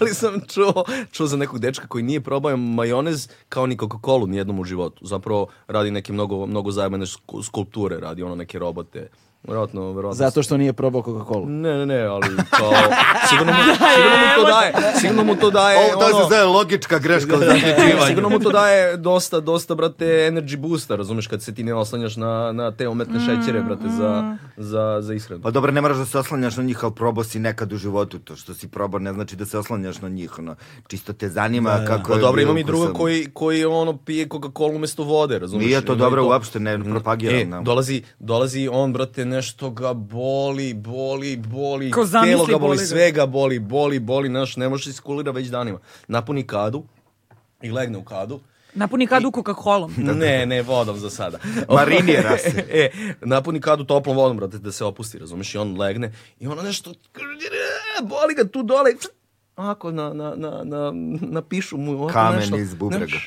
Speaker 2: ali sam čuo, čuo za nekog dečka koji nije probao majonez kao ni Coca-Cola nijednom u životu. Zapravo radi neke mnogo, mnogo zajebane sku- skulpture, radi ono neke robote. Vjerojatno, vjerojatno.
Speaker 1: Zato što nije probao Coca-Cola.
Speaker 2: Ne, ne, ne, ali
Speaker 3: *laughs*
Speaker 2: kao, sigurno mu, sigurno mu to daje, sigurno mu to
Speaker 1: E,
Speaker 2: daje, ono- e,
Speaker 4: zove logička
Speaker 1: *laughs*
Speaker 4: greška.
Speaker 2: Sigurno mu to daje dosta, dosta, brate, energy boosta, razumeš, kad se ti ne oslanjaš na, na te umetne šećere, brate,
Speaker 3: Mm.
Speaker 2: za, za, za ishranu.
Speaker 4: Pa dobro, ne moraš da se oslanjaš na njih, ali probao si nekad u životu. To što si probao ne znači da se oslanjaš na njih. Ono, čisto te zanima kako
Speaker 2: Pa
Speaker 4: je
Speaker 2: dobro,
Speaker 4: bio
Speaker 2: imam i druga
Speaker 4: ukusan.
Speaker 2: koji, koji ono pije Coca-Cola umesto vode, razumiješ?
Speaker 4: Nije to dobro, uopšte ne propagiram.
Speaker 2: E,
Speaker 4: da.
Speaker 2: dolazi, dolazi on, brate, nešto ga boli, boli, boli,
Speaker 3: Ko zamisli,
Speaker 2: telo ga
Speaker 3: boli
Speaker 2: boli,
Speaker 3: ga.
Speaker 2: sve ga boli, boli, boli, naš, ne može se iskulira već danima. Napuni kadu i legne u kadu.
Speaker 3: Napuni kadu Coca-Colom.
Speaker 2: Ne, ne, vodom za sada.
Speaker 4: *laughs* Marinira se.
Speaker 2: *laughs* e, napuni kadu toplom vodom, brate, da se opusti, razumeš, i on legne. I ono nešto, boli ga tu dole, ako na, na, na, na, napišu mu ovako nešto.
Speaker 4: Kamen iz bubrega.
Speaker 2: Ne,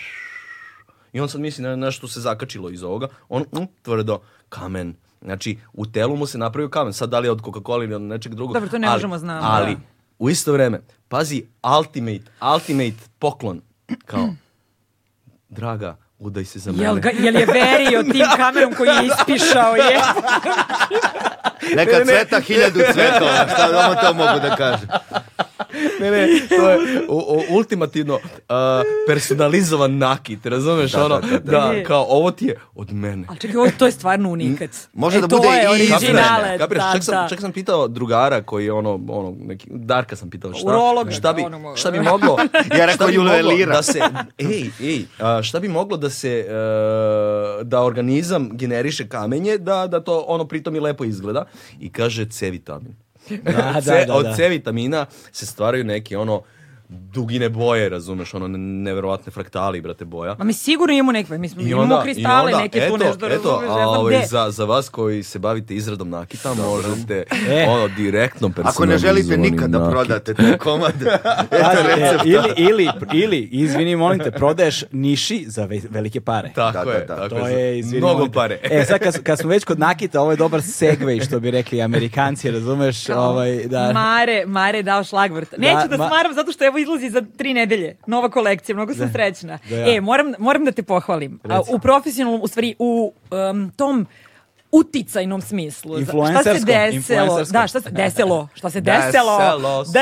Speaker 2: I on sad misli, ne, nešto se zakačilo iz ovoga, on mm, tvrdo, kamen. Znači, u telu mu se napravio kamen. Sad, da li je od Coca-Cola ili od nečeg drugog.
Speaker 3: Dobro, to ne
Speaker 2: ali-
Speaker 3: možemo znamo,
Speaker 2: Ali,
Speaker 3: da.
Speaker 2: u isto vreme, pazi, ultimate, ultimate poklon. Kao, draga, udaj se *laughs* za mene.
Speaker 3: Jel, ga, jel je verio
Speaker 1: *laughs*
Speaker 3: tim kamerom koji je ispišao? Je.
Speaker 4: Neka cveta hiljadu cvetova, šta vam to mogu da kažem.
Speaker 2: Ne, ne, to je u- u- ultimativno a, personalizovan nakit, razumeš?
Speaker 4: Da,
Speaker 2: ono,
Speaker 4: da,
Speaker 2: da,
Speaker 4: da,
Speaker 3: da.
Speaker 2: kao ovo ti je od mene.
Speaker 3: Ali čekaj, ovo, to je stvarno unikat.
Speaker 4: Može
Speaker 3: E,
Speaker 4: da
Speaker 3: to
Speaker 4: bude
Speaker 3: je
Speaker 4: i
Speaker 2: Kapiraš?
Speaker 3: originale,
Speaker 2: Kapiraš?
Speaker 3: da,
Speaker 2: čak, sam,
Speaker 3: da.
Speaker 2: čak sam pitao drugara koji je ono, ono neki, Darka sam pitao šta,
Speaker 3: Urologa,
Speaker 2: šta, bi,
Speaker 3: ono,
Speaker 2: šta bi moglo,
Speaker 4: Ja rekao,
Speaker 2: šta bi
Speaker 4: Julija
Speaker 2: moglo
Speaker 4: Lira.
Speaker 2: da se, ej, ej, a, šta bi moglo da se, e, da organizam generiše kamenje, da, da to ono pritom i lepo izgleda i kaže C vitamin.
Speaker 1: Da,
Speaker 2: C-
Speaker 1: da, da, da.
Speaker 2: Od C vitamina se stvaraju neki ono dugine boje, razumeš, ono ne- neverovatne fraktali, brate, boja.
Speaker 3: Ma mi sigurno imamo neke, mi smo,
Speaker 2: I
Speaker 3: imamo
Speaker 2: onda,
Speaker 3: kristale,
Speaker 2: i onda,
Speaker 3: neke
Speaker 2: eto,
Speaker 3: tu nešto,
Speaker 2: eto,
Speaker 3: razumeš, ne
Speaker 2: a,
Speaker 3: znam
Speaker 2: ovaj,
Speaker 3: gde.
Speaker 2: za, za vas koji se bavite izradom nakita, možete
Speaker 1: E.
Speaker 2: ono, direktno
Speaker 4: Ako ne želite
Speaker 2: personalizovani
Speaker 4: nikada
Speaker 2: nakit.
Speaker 4: prodate te
Speaker 2: *laughs*
Speaker 4: komade, eto
Speaker 1: Pazi, e,
Speaker 4: recept.
Speaker 1: ili, ili, ili, izvini, molim te, prodaješ niši za ve- velike pare.
Speaker 2: Tako
Speaker 4: Da,
Speaker 2: je,
Speaker 4: da, da.
Speaker 2: tako
Speaker 1: To je, izvini,
Speaker 2: Mnogo
Speaker 1: molim te.
Speaker 2: pare.
Speaker 1: E,
Speaker 2: *laughs*
Speaker 1: sad kad, kad smo već kod nakita, ovo je dobar segway, što bi rekli amerikanci, razumeš? Ovaj, da,
Speaker 3: Mare, Mare je dao šlagvrt. Neću da
Speaker 1: ma-
Speaker 3: smaram zato što evo izlazi za tri nedelje. Nova kolekcija, mnogo sam srećna.
Speaker 1: da, ja.
Speaker 3: E, moram, moram da te pohvalim. A, u profesionalnom, u stvari, u em, tom uticajnom smislu. Za- Šta se
Speaker 1: Influencerskom,
Speaker 3: deselo?
Speaker 1: influencerskom.
Speaker 3: Da, šta se deselo? Šta se deselo?
Speaker 2: Deselo se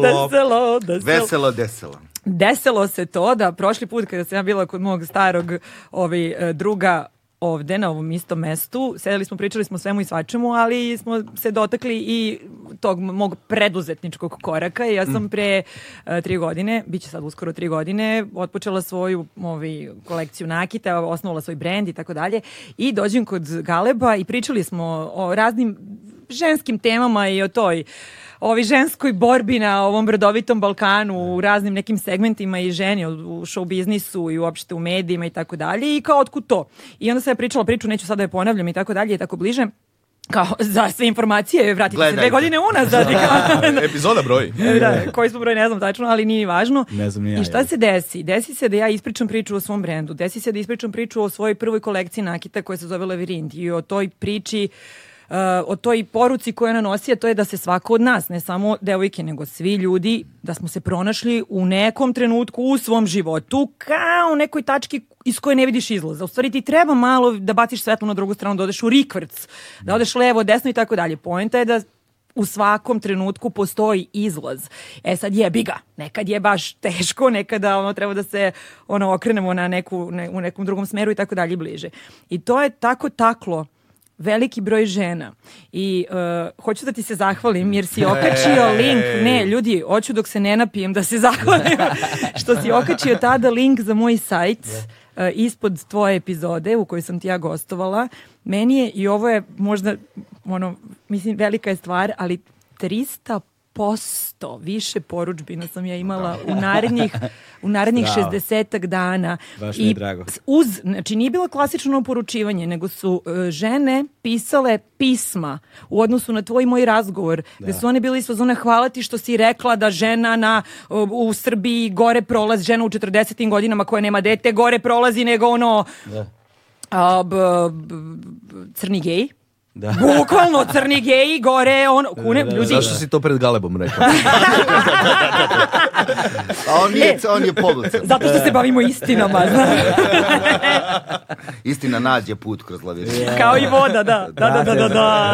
Speaker 2: veselo.
Speaker 3: deselo, deselo.
Speaker 4: Veselo deselo.
Speaker 3: Deselo se to da prošli put kada sam ja bila kod mog starog ovaj, e, druga ovde na ovom istom mestu, sedeli smo, pričali smo o svemu i svačemu, ali smo se dotakli i tog mog preduzetničkog koraka. Ja sam pre e, tri godine, bit će sad uskoro tri godine, otpočela svoju ovaj, kolekciju nakita, osnovala svoj brend i tako dalje i dođem kod Galeba i pričali smo o raznim ženskim temama i o toj ovi ženskoj borbi na ovom brdovitom Balkanu u raznim nekim segmentima i ženi u u show biznisu i uopšte u medijima i tako dalje i kao otkud to. I onda sam ja pričala priču, neću sada je ponavljam i tako dalje i tako bliže. Kao za sve informacije vratite se dve
Speaker 4: Gledajte.
Speaker 3: godine unazad. I kao-
Speaker 2: Epizoda broji.
Speaker 3: da, *laughs* koji smo broj ne znam tačno, ali nije ni važno.
Speaker 1: E, Ne znam ni ja,
Speaker 3: I šta
Speaker 1: jel?
Speaker 3: se desi? Desi se da ja ispričam priču o svom brendu, desi se da ispričam priču o svojoj prvoj kolekciji nakita koja se zove Lavirint i o toj priči uh, o toj poruci koju ona nosi, a to je da se svako od nas, ne samo devojke, nego svi ljudi, da smo se pronašli u nekom trenutku u svom životu kao u nekoj tački iz koje ne vidiš izlaza. U stvari ti treba malo da baciš svetlo na drugu stranu, da odeš u rikvrc, da odeš levo, desno i tako dalje. Poenta je da u svakom trenutku postoji izlaz. E sad jebi ga. Nekad je baš teško, nekada ono treba da se ono okrenemo na neku ne, u nekom drugom smeru i tako dalje i bliže. I to je tako taklo veliki broj žena i e, hoću da ti se zahvalim jer si okačio link, ne ljudi, hoću dok se ne napijem da se zahvalim što si okačio tada link za moj sajt e, ispod tvoje epizode u kojoj sam ti ja gostovala. Meni je, i ovo je možda, ono, mislim, velika je stvar, ali 300 posto više poručbina sam ja imala u narednih, u narednih
Speaker 1: Bravo.
Speaker 3: 60 dana.
Speaker 1: Baš mi je drago.
Speaker 3: s- Uz, znači nije bilo klasično poručivanje, nego su e, žene pisale pisma u odnosu na tvoj i moj razgovor, da. gde su one bili isto zone hvala ti što si rekla da žena na, u- u Srbiji gore prolazi, žena u 40. godinama koja nema dete, gore prolazi nego ono a, b, b, b- crni gej. Da. Bukvalno crni geji gore, ono, kune, ljudi.
Speaker 2: Zašto si to pred Galebom rekao?
Speaker 4: A Pa on je,
Speaker 3: E.
Speaker 4: on je polucan.
Speaker 3: Zato što se bavimo
Speaker 1: *laughs*
Speaker 3: istinama, znaš.
Speaker 4: Istina nađe put kroz laviru.
Speaker 3: Kao i voda, da. Da, da, da, da,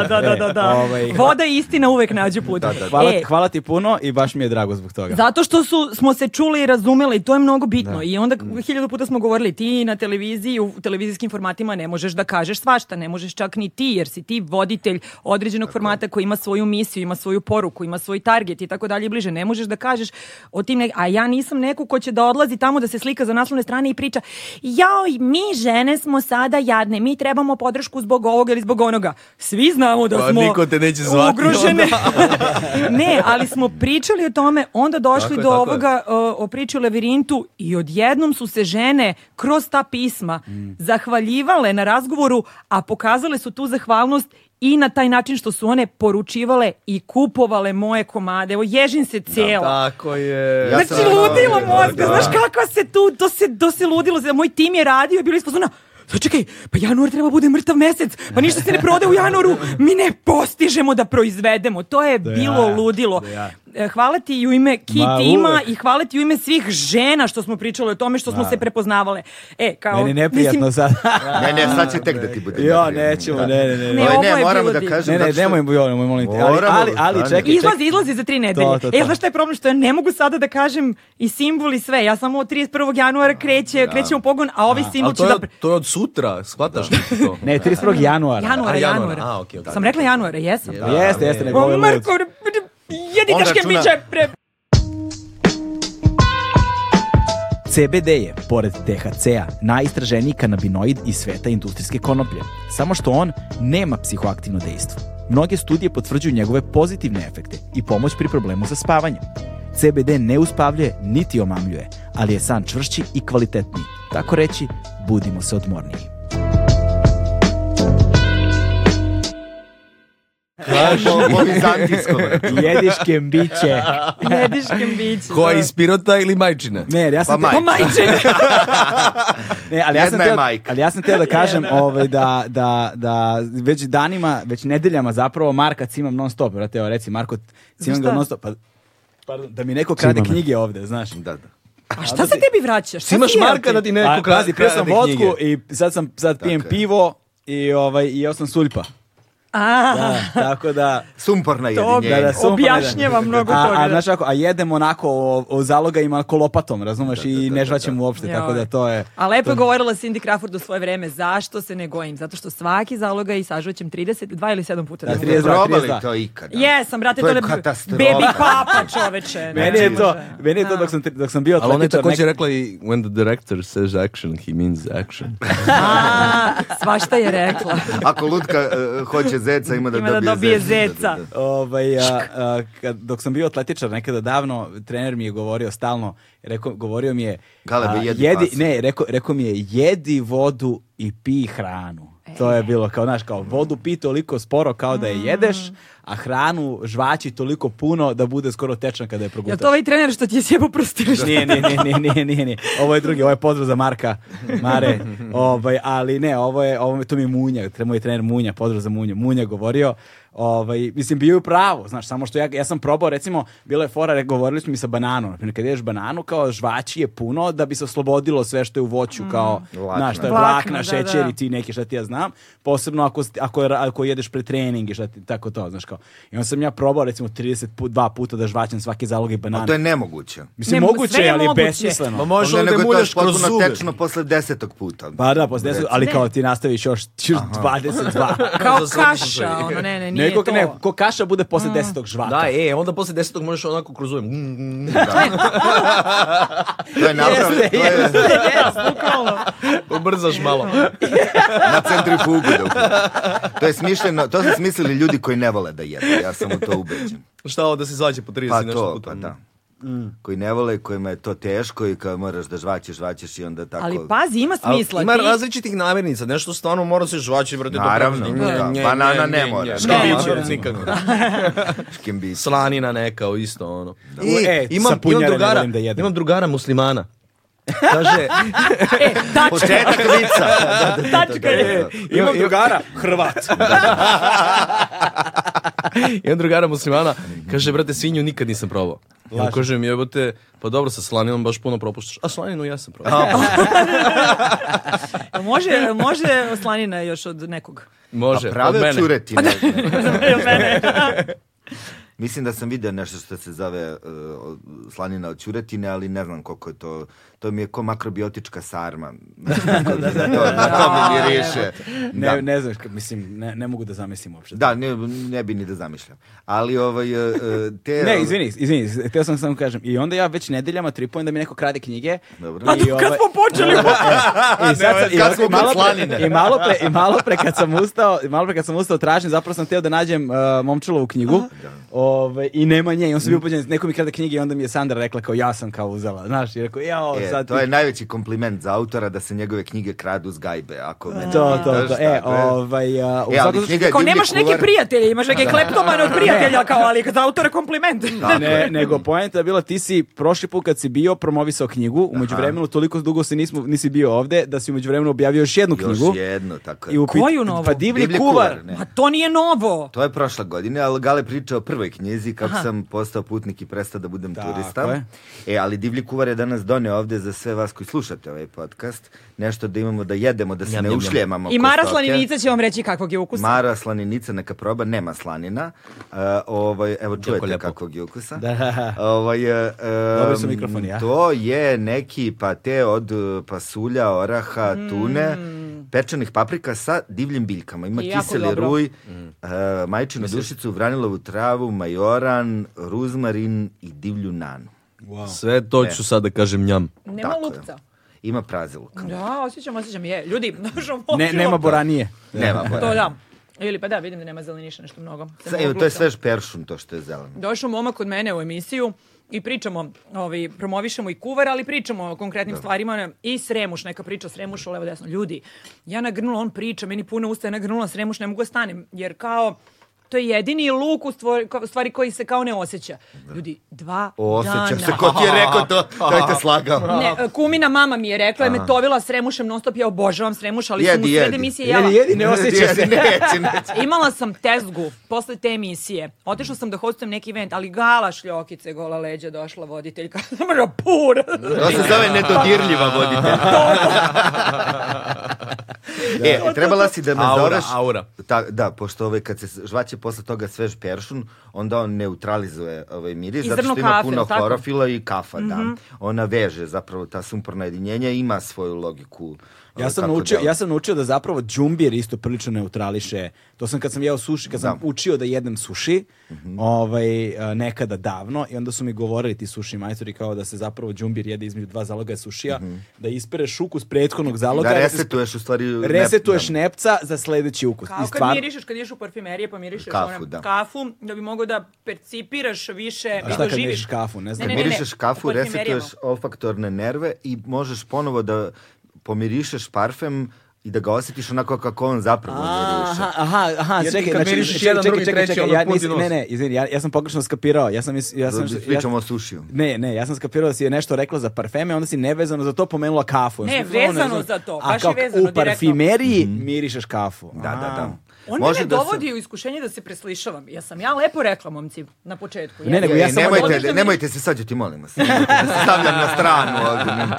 Speaker 3: da, da, da, da,
Speaker 1: E,
Speaker 3: da.
Speaker 1: ovaj,
Speaker 3: Voda i istina uvek nađu put.
Speaker 1: Hvala,
Speaker 3: E,
Speaker 1: hvala ti puno i baš mi je drago zbog toga.
Speaker 3: Zato što su, smo se čuli i razumeli, to je mnogo bitno. I onda k- hiljadu puta smo govorili, ti na televiziji, u televizijskim formatima ne možeš da kažeš svašta, ne možeš čak ni ti, jer si ti voditelj određenog formata koji ima svoju misiju, ima svoju poruku, ima svoj target i tako dalje i bliže. Ne možeš da kažeš o tim, ne- a ja nisam neko ko će da odlazi tamo da se slika za naslovne strane i priča, jao, mi žene smo sada jadne, mi trebamo podršku zbog ovoga ili zbog onoga. Svi znamo da
Speaker 2: Pa,
Speaker 3: smo
Speaker 2: niko te neće zvati *laughs*
Speaker 3: ugrožene. *laughs* ne, ali smo pričali o tome, onda došli
Speaker 2: Tako je,
Speaker 3: do
Speaker 2: tako je.
Speaker 3: ovoga o, o priči o lavirintu i odjednom su se žene kroz ta pisma
Speaker 2: Mm.
Speaker 3: zahvaljivale na razgovoru, a pokazale su tu zahvalnost i na taj način što su one poručivale i kupovale moje komade. Evo, ježim se cijela.
Speaker 2: Tako je.
Speaker 4: Ja sam-
Speaker 3: Znači, ludilo
Speaker 4: Da,
Speaker 3: mozga,
Speaker 4: da.
Speaker 3: znaš kako se tu, to se, to se ludilo, znači, moj tim je radio i bili smo zona, "Pa čekaj, pa januar treba bude mrtav mesec, pa ništa se ne prode u januaru, mi ne postižemo da proizvedemo, to je bilo
Speaker 1: ja,
Speaker 3: ludilo.
Speaker 1: da ja.
Speaker 3: e, hvala ti i u ime Ki
Speaker 1: Ma,
Speaker 3: tima
Speaker 1: uvek.
Speaker 3: i hvala ti u ime svih žena što smo pričale o tome što smo se prepoznavale. E, kao,
Speaker 1: Meni je neprijatno
Speaker 3: mislim,
Speaker 1: sad.
Speaker 4: Ne, ne, sad će tek da ti bude.
Speaker 1: jo,
Speaker 4: neprijatno.
Speaker 1: nećemo, ne, ne, ne.
Speaker 3: Ne,
Speaker 1: Ne,
Speaker 4: Ali
Speaker 3: ovo
Speaker 4: ne,
Speaker 3: je
Speaker 4: moramo
Speaker 3: bilo
Speaker 4: da
Speaker 3: divno.
Speaker 1: *laughs*
Speaker 4: kažem.
Speaker 1: ne, ne
Speaker 4: zato što-
Speaker 1: nemoj, joj, nemoj, molim te. Ali,
Speaker 4: Moramo,
Speaker 1: ali, ali,
Speaker 4: stani.
Speaker 1: čekaj, čekaj.
Speaker 3: Izlazi, izlazi za tri nedelje.
Speaker 1: To, to, to.
Speaker 3: E, znaš šta je problem? Što ja ne mogu sada da kažem i simbol i sve. Ja samo od 31. januara kreće, kreće u pogon, a ovaj simbol
Speaker 2: Ali
Speaker 3: će
Speaker 2: to je,
Speaker 3: da...
Speaker 2: od, to je od sutra, shvataš li ti to?
Speaker 1: Ne, 31. januara.
Speaker 3: Januara,
Speaker 2: A, januara.
Speaker 3: januara.
Speaker 2: A, okej, okej.
Speaker 3: Sam rekla januara, jesam.
Speaker 2: Je,
Speaker 1: Da, jeste, jeste, nego
Speaker 3: Ma,
Speaker 1: ovo je lud.
Speaker 3: Marko, bre, bre, jedi
Speaker 4: On
Speaker 3: daške
Speaker 4: računa-
Speaker 3: biće, bre.
Speaker 1: CBD je, pored THC-a, najistraženiji kanabinoid iz sveta industrijske konoplje, samo što on nema psihoaktivno dejstvo. Mnoge studije potvrđuju njegove pozitivne efekte i pomoć pri problemu sa spavanjem. CBD ne uspavljuje niti omamljuje, ali je san čvršći i kvalitetniji. Tako reći, budimo se
Speaker 4: *laughs*
Speaker 1: odmorniji.
Speaker 4: Ovi zantijskom.
Speaker 1: Jediš kembiće.
Speaker 3: Jediš kembiće.
Speaker 2: Ko je iz Pirota ili Majčine?
Speaker 1: Ne, ja
Speaker 4: Pa
Speaker 1: sam
Speaker 4: majka.
Speaker 3: O majčine.
Speaker 1: *laughs* Ne, ali ja sam
Speaker 4: Jedna je
Speaker 1: teo,
Speaker 4: majka.
Speaker 1: ali ja sam
Speaker 3: *laughs*
Speaker 1: teo da kažem ovaj, da, da, da već danima, već nedeljama zapravo Marka cimam non stop, brate, evo reci Marko cimam ga
Speaker 3: šta?
Speaker 1: non stop, pa, pardon, da mi neko krade
Speaker 8: Cima me.
Speaker 1: knjige ovde, znaš.
Speaker 4: Da, da.
Speaker 3: A šta se tebi vraćaš? Šta
Speaker 2: Simaš
Speaker 3: si jeo
Speaker 2: Marka
Speaker 3: ti?
Speaker 2: da ti
Speaker 1: A,
Speaker 2: neko kra,
Speaker 1: pazi, pio sam
Speaker 2: krade
Speaker 1: vodku
Speaker 2: knjige.
Speaker 1: i sad, sam, sad pijem
Speaker 4: je.
Speaker 1: pivo i, ovaj, i jeo sam suljpa.
Speaker 3: A,
Speaker 1: Da, tako da...
Speaker 4: Sumporna
Speaker 3: To
Speaker 4: jedinjenja.
Speaker 1: Da,
Speaker 2: E.
Speaker 1: da, super,
Speaker 3: objašnjava
Speaker 1: da.
Speaker 3: mnogo
Speaker 1: a,
Speaker 3: toga.
Speaker 1: a, znaš kako, a jedem onako o, o zalogajima ko lopatom, razumeš, i ne žvaćem uopšte,
Speaker 3: Joj.
Speaker 1: tako da to je...
Speaker 3: A lepo je govorila Cindy Crawford u svoje vreme. Zašto se ne gojim? Zato što svaki zaloga i sažućem 32 ili 7 puta.
Speaker 1: Da,
Speaker 3: ne mogu.
Speaker 1: 32.
Speaker 4: Probali to ikada.
Speaker 3: Jesam, brate,
Speaker 4: To
Speaker 3: to
Speaker 4: je
Speaker 3: je
Speaker 4: katastrofa.
Speaker 3: baby papa, čoveče. Znači,
Speaker 1: Meni je to, meni je to dok sam, dok sam bio
Speaker 2: Ali ona je
Speaker 1: atletičar,
Speaker 2: također
Speaker 1: nek-
Speaker 2: rekla i when the director says action, he means action.
Speaker 3: A, svašta je rekla.
Speaker 4: Ako lutka e, hoće zeca, ima da
Speaker 3: Ima da dobije
Speaker 4: dobije
Speaker 3: zeca.
Speaker 4: Da, da, da.
Speaker 1: Ovaj, a, a, kad, dok sam bio atletičar nekada davno, trener mi je govorio stalno, rekao, govorio mi je...
Speaker 4: Galebe,
Speaker 1: a,
Speaker 4: jedi pasulj.
Speaker 1: Ne, rekao, rekao mi je, jedi vodu i pi hranu. To je bilo kao, znaš, kao vodu pi toliko sporo kao da je jedeš, a hranu žvači toliko puno da bude skoro tečna kada je
Speaker 3: Je
Speaker 1: progutaš.
Speaker 3: to ovaj trener što ti je sjebao prstiš?
Speaker 1: Nije, nije, nije, nije, nije, nije, nije. Ovo je drugi, ovo je pozdrav za Marka, Mare. Ovaj, ali ne, ovo je, ovo, to mi je Munja, tre- moj trener Munja, pozdrav za Munju. Munja govorio, ovaj, mislim, bio je u pravu, znaš, samo što ja, ja sam probao, recimo, bilo je fora, re- govorili smo mi sa bananom, naprimjer, kad jedeš bananu, kao žvači je puno da bi se oslobodilo sve što je u voću, kao,
Speaker 4: Vlakna.
Speaker 1: znaš, što je
Speaker 3: Vlakna,
Speaker 1: vlakna,
Speaker 3: Mm, da,
Speaker 1: šećer
Speaker 3: da.
Speaker 1: i ti neki, šta ti ja znam, posebno ako, st- ako, je ra- ako jedeš pre trening i šta ti, tako to, znaš, kao. I onda sam ja probao, recimo, 32 puta da žvaćam svake zaloge banane.
Speaker 4: To je nemoguće.
Speaker 1: Mislim,
Speaker 3: Ne,
Speaker 1: moguće,
Speaker 3: sve je
Speaker 1: je, ali je
Speaker 3: moguće.
Speaker 1: besmisleno.
Speaker 2: Ma možeš
Speaker 4: Onda
Speaker 2: onda
Speaker 4: nego je to
Speaker 2: muljaš
Speaker 4: još
Speaker 2: kroz
Speaker 4: potpuno
Speaker 2: zube.
Speaker 4: tečno posle desetog puta.
Speaker 1: Pa da, posle deset, ali
Speaker 3: Ne.
Speaker 1: kao ti nastaviš još, *laughs* još 22.
Speaker 3: Kao
Speaker 2: Za sve postoji.
Speaker 3: kaša, ono, ne, ne, nije
Speaker 1: Nego,
Speaker 3: to.
Speaker 1: ne, ko kaša bude
Speaker 3: Mm.
Speaker 1: posle desetog žvaka.
Speaker 2: Da, e, onda poslije desetog možeš onako kroz zube. Mm, mm, *laughs*
Speaker 4: To je napravljeno.
Speaker 1: Jeste,
Speaker 4: to je
Speaker 3: Yes, bukvalno.
Speaker 2: Ubrzaš malo.
Speaker 4: na centrifugu. da upravo. To je smišljeno, to su smislili ljudi koji ne vole da jedu. Ja sam u to ubeđen.
Speaker 2: *laughs* Šta ovo da se svađa po 30
Speaker 4: Pa
Speaker 2: i nešto
Speaker 4: to,
Speaker 2: puta?
Speaker 4: pa da. Koji ne vole, kojima je to teško i kao moraš da žvaćeš, žvaćeš i onda tako...
Speaker 3: Ali pazi, ima
Speaker 2: Ali
Speaker 3: smisla.
Speaker 2: ima
Speaker 3: Ti-
Speaker 2: različitih namirnica, nešto stvarno mora se žvaći, brate. to
Speaker 4: Naravno,
Speaker 2: prati.
Speaker 4: da.
Speaker 2: Nje, nje, nje,
Speaker 4: Banana ne
Speaker 2: nje,
Speaker 4: mora.
Speaker 2: nje.
Speaker 4: Škambiće,
Speaker 2: Škambiće,
Speaker 4: recimo.
Speaker 2: ono, nikako.
Speaker 4: Škimbić.
Speaker 2: Slanina neka, isto ono.
Speaker 1: U, e, sa punjare ne volim da jedem.
Speaker 2: imam drugara muslimana. *laughs* Kaže,
Speaker 3: E, tačka,
Speaker 4: Početak vica. Da, da, da,
Speaker 3: tačka
Speaker 4: da,
Speaker 3: je.
Speaker 4: da.
Speaker 1: Imam drugara, *laughs* Hrvat.
Speaker 2: imam drugara muslimana, kaže, brate, svinju nikad nisam probao. Ja mu kažem, jebote, pa dobro, sa slaninom baš puno propuštaš. A slaninu ja sam probao.
Speaker 3: Može, može oslanina još od nekog.
Speaker 2: Može,
Speaker 4: A
Speaker 2: od
Speaker 4: Pa prave
Speaker 2: mene.
Speaker 4: curetine.
Speaker 3: Od mene.
Speaker 4: Mislim da sam video nešto što se zove uh, slanina od ćuretine, ali ne znam koliko je to. To mi je ko makrobiotička sarma. Ne
Speaker 1: *laughs*
Speaker 4: znam kako da, to, na to mi miriše. Da.
Speaker 1: Ne, ne znam, k- mislim, ne, ne mogu da zamislim uopšte.
Speaker 4: Da, ne, ne bi ni da zamišljam. Ali ovaj, e, e, te...
Speaker 1: Ne, izvini, izvini, htio sam samo kažem. I onda ja već nedeljama tripujem da mi neko krade knjige.
Speaker 4: Dobro.
Speaker 3: A
Speaker 1: I
Speaker 3: to Pa kad
Speaker 1: ovaj-
Speaker 3: smo počeli
Speaker 4: *laughs*
Speaker 1: I sad sam, i,
Speaker 4: kad smo
Speaker 1: i malo
Speaker 4: kod
Speaker 1: pre,
Speaker 4: slanine.
Speaker 1: i malo pre, i malo pre kad sam ustao, i malo pre kad sam ustao tražim, zapravo sam teo da nađem uh, momčilovu knjigu. Ovaj i nema nje. I on
Speaker 4: Mm.
Speaker 1: se bio upođen, neko mi krade knjige i onda mi je Sandra rekla kao ja sam kao uzela, znaš, i rekao jao,
Speaker 4: E,
Speaker 1: sad
Speaker 4: to
Speaker 1: ti-
Speaker 4: je najveći kompliment za autora da se njegove knjige kradu s gajbe. Ako mene
Speaker 1: To, to, to.
Speaker 4: pitaš, tako
Speaker 1: E,
Speaker 4: je.
Speaker 1: ovaj, a, u
Speaker 4: E, ali
Speaker 1: svakom slučaju-
Speaker 4: knjiga je
Speaker 3: Kao
Speaker 4: divlji
Speaker 3: nemaš neke
Speaker 4: kuvar.
Speaker 3: prijatelje, imaš neke kleptomane od prijatelja, kao, ali za autora kompliment.
Speaker 4: Tako
Speaker 1: Ne,
Speaker 4: je.
Speaker 1: nego poenta je bila ti si prošli put kad si bio promovisao knjigu, u međuvremenu toliko dugo se nismo nisi bio ovde da si u međuvremenu objavio još jednu
Speaker 4: Još
Speaker 1: knjigu.
Speaker 4: jedno, tako je.
Speaker 1: I u pit-
Speaker 3: Koju novu?
Speaker 1: Pa divlji,
Speaker 4: Divlji
Speaker 1: kuvar.
Speaker 4: kuvar, ne.
Speaker 3: Ma to nije novo.
Speaker 4: To je prošla godine, ali Gale priča o prvoj knjizi kako sam postao putnik i prestao da budem
Speaker 1: Tako
Speaker 4: turista.
Speaker 1: je.
Speaker 4: E, ali divlji kuvar je danas doneo ovde za sve vas koji slušate ovaj podcast. Nešto da imamo da jedemo, da se ne ušljemamo.
Speaker 3: I
Speaker 4: ko
Speaker 3: Mara
Speaker 4: stoke.
Speaker 3: Slaninica će vam reći kakvog je ukusa.
Speaker 4: Mara slaninica neka proba, nema slanina. E, ovaj, evo čujete
Speaker 2: lepo.
Speaker 4: kakvog je ukusa.
Speaker 1: Da.
Speaker 4: Ovaj, e, e,
Speaker 1: Dobio sam mikrofon, ja.
Speaker 4: To je neki pate od e, pasulja, oraha, tune, pečenih paprika sa divljim biljkama. Ima
Speaker 3: I jako
Speaker 4: kiseli
Speaker 3: dobro.
Speaker 4: ruj, e, majčinu dušicu, vranilovu travu, majoran, ruzmarin i divlju nanu.
Speaker 2: Sve to ću sad da kažem njam.
Speaker 3: Nema
Speaker 4: Tako je.
Speaker 3: lupca.
Speaker 4: Ima praziluk.
Speaker 3: Da, osjećam, osjećam. Je, ljudi, *laughs* našo
Speaker 4: Oh,
Speaker 1: Ne, nema boranije.
Speaker 4: Nema
Speaker 3: To
Speaker 4: boranije.
Speaker 3: da. Ili pa da, vidim da nema zeleniša nešto mnogo.
Speaker 4: Sa- evo, to je svež peršun, to što je zeleno.
Speaker 3: Došao momak kod mene u emisiju i pričamo, ovi, promovišemo i kuvar, ali pričamo o konkretnim stvarima ne, i Sremuš, neka priča Sremuš u levo desno. Ljudi, ja nagrnula, on priča, meni puno usta je nagrnula Sremuš, ne mogu da stanem, jer kao to je jedini luk u stvari, stvari koji se kao ne osjeća. Ljudi, dva
Speaker 4: O, osjećam
Speaker 3: dana.
Speaker 4: se, ko ti je rekao to, to je te slagao.
Speaker 3: Ne, kumina mama mi je rekla, je me tovila Sremušem non stop, ja obožavam Sremuš, ali sam
Speaker 4: Jedi,
Speaker 3: u sred
Speaker 4: jedi.
Speaker 3: emisije jela.
Speaker 1: Jedi, jedi, ne osjeća se.
Speaker 4: Neće, neće.
Speaker 3: *laughs* Imala sam tezgu posle te emisije. Otišla sam da hostujem neki event, ali gala šljokice, gola leđa došla voditeljka. *laughs* Mra, pur!
Speaker 4: To se zove nedodirljiva voditelj. e, trebala si da me
Speaker 2: Aura,
Speaker 4: zoveš...
Speaker 2: aura.
Speaker 4: Ta, da, pošto ovaj, kad se žvaće posle toga svež peršun, onda on neutralizuje ovaj miris,
Speaker 3: I
Speaker 4: zato što
Speaker 3: zrno
Speaker 4: ima
Speaker 3: kafe,
Speaker 4: puno
Speaker 3: jel tako?
Speaker 4: hlorofila i kafa,
Speaker 1: Mhm.
Speaker 4: da. Ona veže, zapravo, ta sumporna jedinjenja ima svoju logiku.
Speaker 1: Ja
Speaker 4: ovaj,
Speaker 1: sam,
Speaker 4: kako
Speaker 1: naučio,
Speaker 4: deluje.
Speaker 1: ja sam naučio da zapravo džumbir isto prilično neutrališe. To sam kad sam jeo suši, kad sam
Speaker 4: Da.
Speaker 1: učio da jedem suši,
Speaker 9: Mhm.
Speaker 1: ovaj, a, nekada davno, i onda su mi govorili ti suši majstori kao da se zapravo džumbir jede između dva zaloga sušija,
Speaker 9: Mhm.
Speaker 1: da ispereš ukus prethodnog zaloga,
Speaker 4: Da
Speaker 1: i se
Speaker 4: resetuješ u stvari... nep-
Speaker 1: resetuješ
Speaker 4: da.
Speaker 1: nepca za sledeći ukus.
Speaker 3: Kao
Speaker 1: I
Speaker 3: kad
Speaker 1: stvar-
Speaker 3: mirišeš, kad ideš u parfimerije pa mirišeš
Speaker 4: Kafu,
Speaker 3: ono,
Speaker 4: da.
Speaker 3: kafu, da bi mogao da percipiraš više i
Speaker 1: šta kad
Speaker 3: doživiš.
Speaker 1: mirišeš kafu, ne znam.
Speaker 3: Ne, ne, ne,
Speaker 4: Mirišeš kafu,
Speaker 3: u parfimerijama.
Speaker 4: resetuješ olfaktorne nerve i možeš ponovo da pomirišeš parfem i da ga osjetiš onako kako on zapravo miriše.
Speaker 1: Aha, aha, aha,
Speaker 9: Jer
Speaker 1: čekaj,
Speaker 9: kad
Speaker 1: znači,
Speaker 9: mirišiš
Speaker 1: čekaj,
Speaker 9: jedan,
Speaker 1: čekaj,
Speaker 9: drugi,
Speaker 1: čekaj,
Speaker 9: treći,
Speaker 1: čekaj,
Speaker 9: ono
Speaker 1: ja
Speaker 9: puti
Speaker 1: nisam-
Speaker 9: nos.
Speaker 1: ne, ne, izvini, ja, ja sam pogrešno skapirao, ja sam, mis- ja sam,
Speaker 4: Da,
Speaker 1: ja-
Speaker 4: pričamo o sušiju.
Speaker 1: Ne, ne, ja sam skapirao da si je nešto rekla za parfeme, onda si nevezano za to pomenula kafu.
Speaker 3: Ne,
Speaker 1: Ja sam rekao,
Speaker 3: vezano
Speaker 1: znam.
Speaker 3: za to,
Speaker 1: A
Speaker 3: baš
Speaker 1: kao
Speaker 3: je vezano,
Speaker 1: u parfimeriji mirišeš kafu.
Speaker 4: Mhm. Da, da, da.
Speaker 3: On mene dovodi u iskušenje da se preslišavam. Ja sam ja lepo rekla, momci, na početku.
Speaker 1: Ne, nego
Speaker 4: Ej,
Speaker 1: ja samo
Speaker 4: E, nemojte,
Speaker 3: Odeš da mi-
Speaker 4: nemojte se sađati, molim vas. Nemojte da se stavljam na stranu ovdje.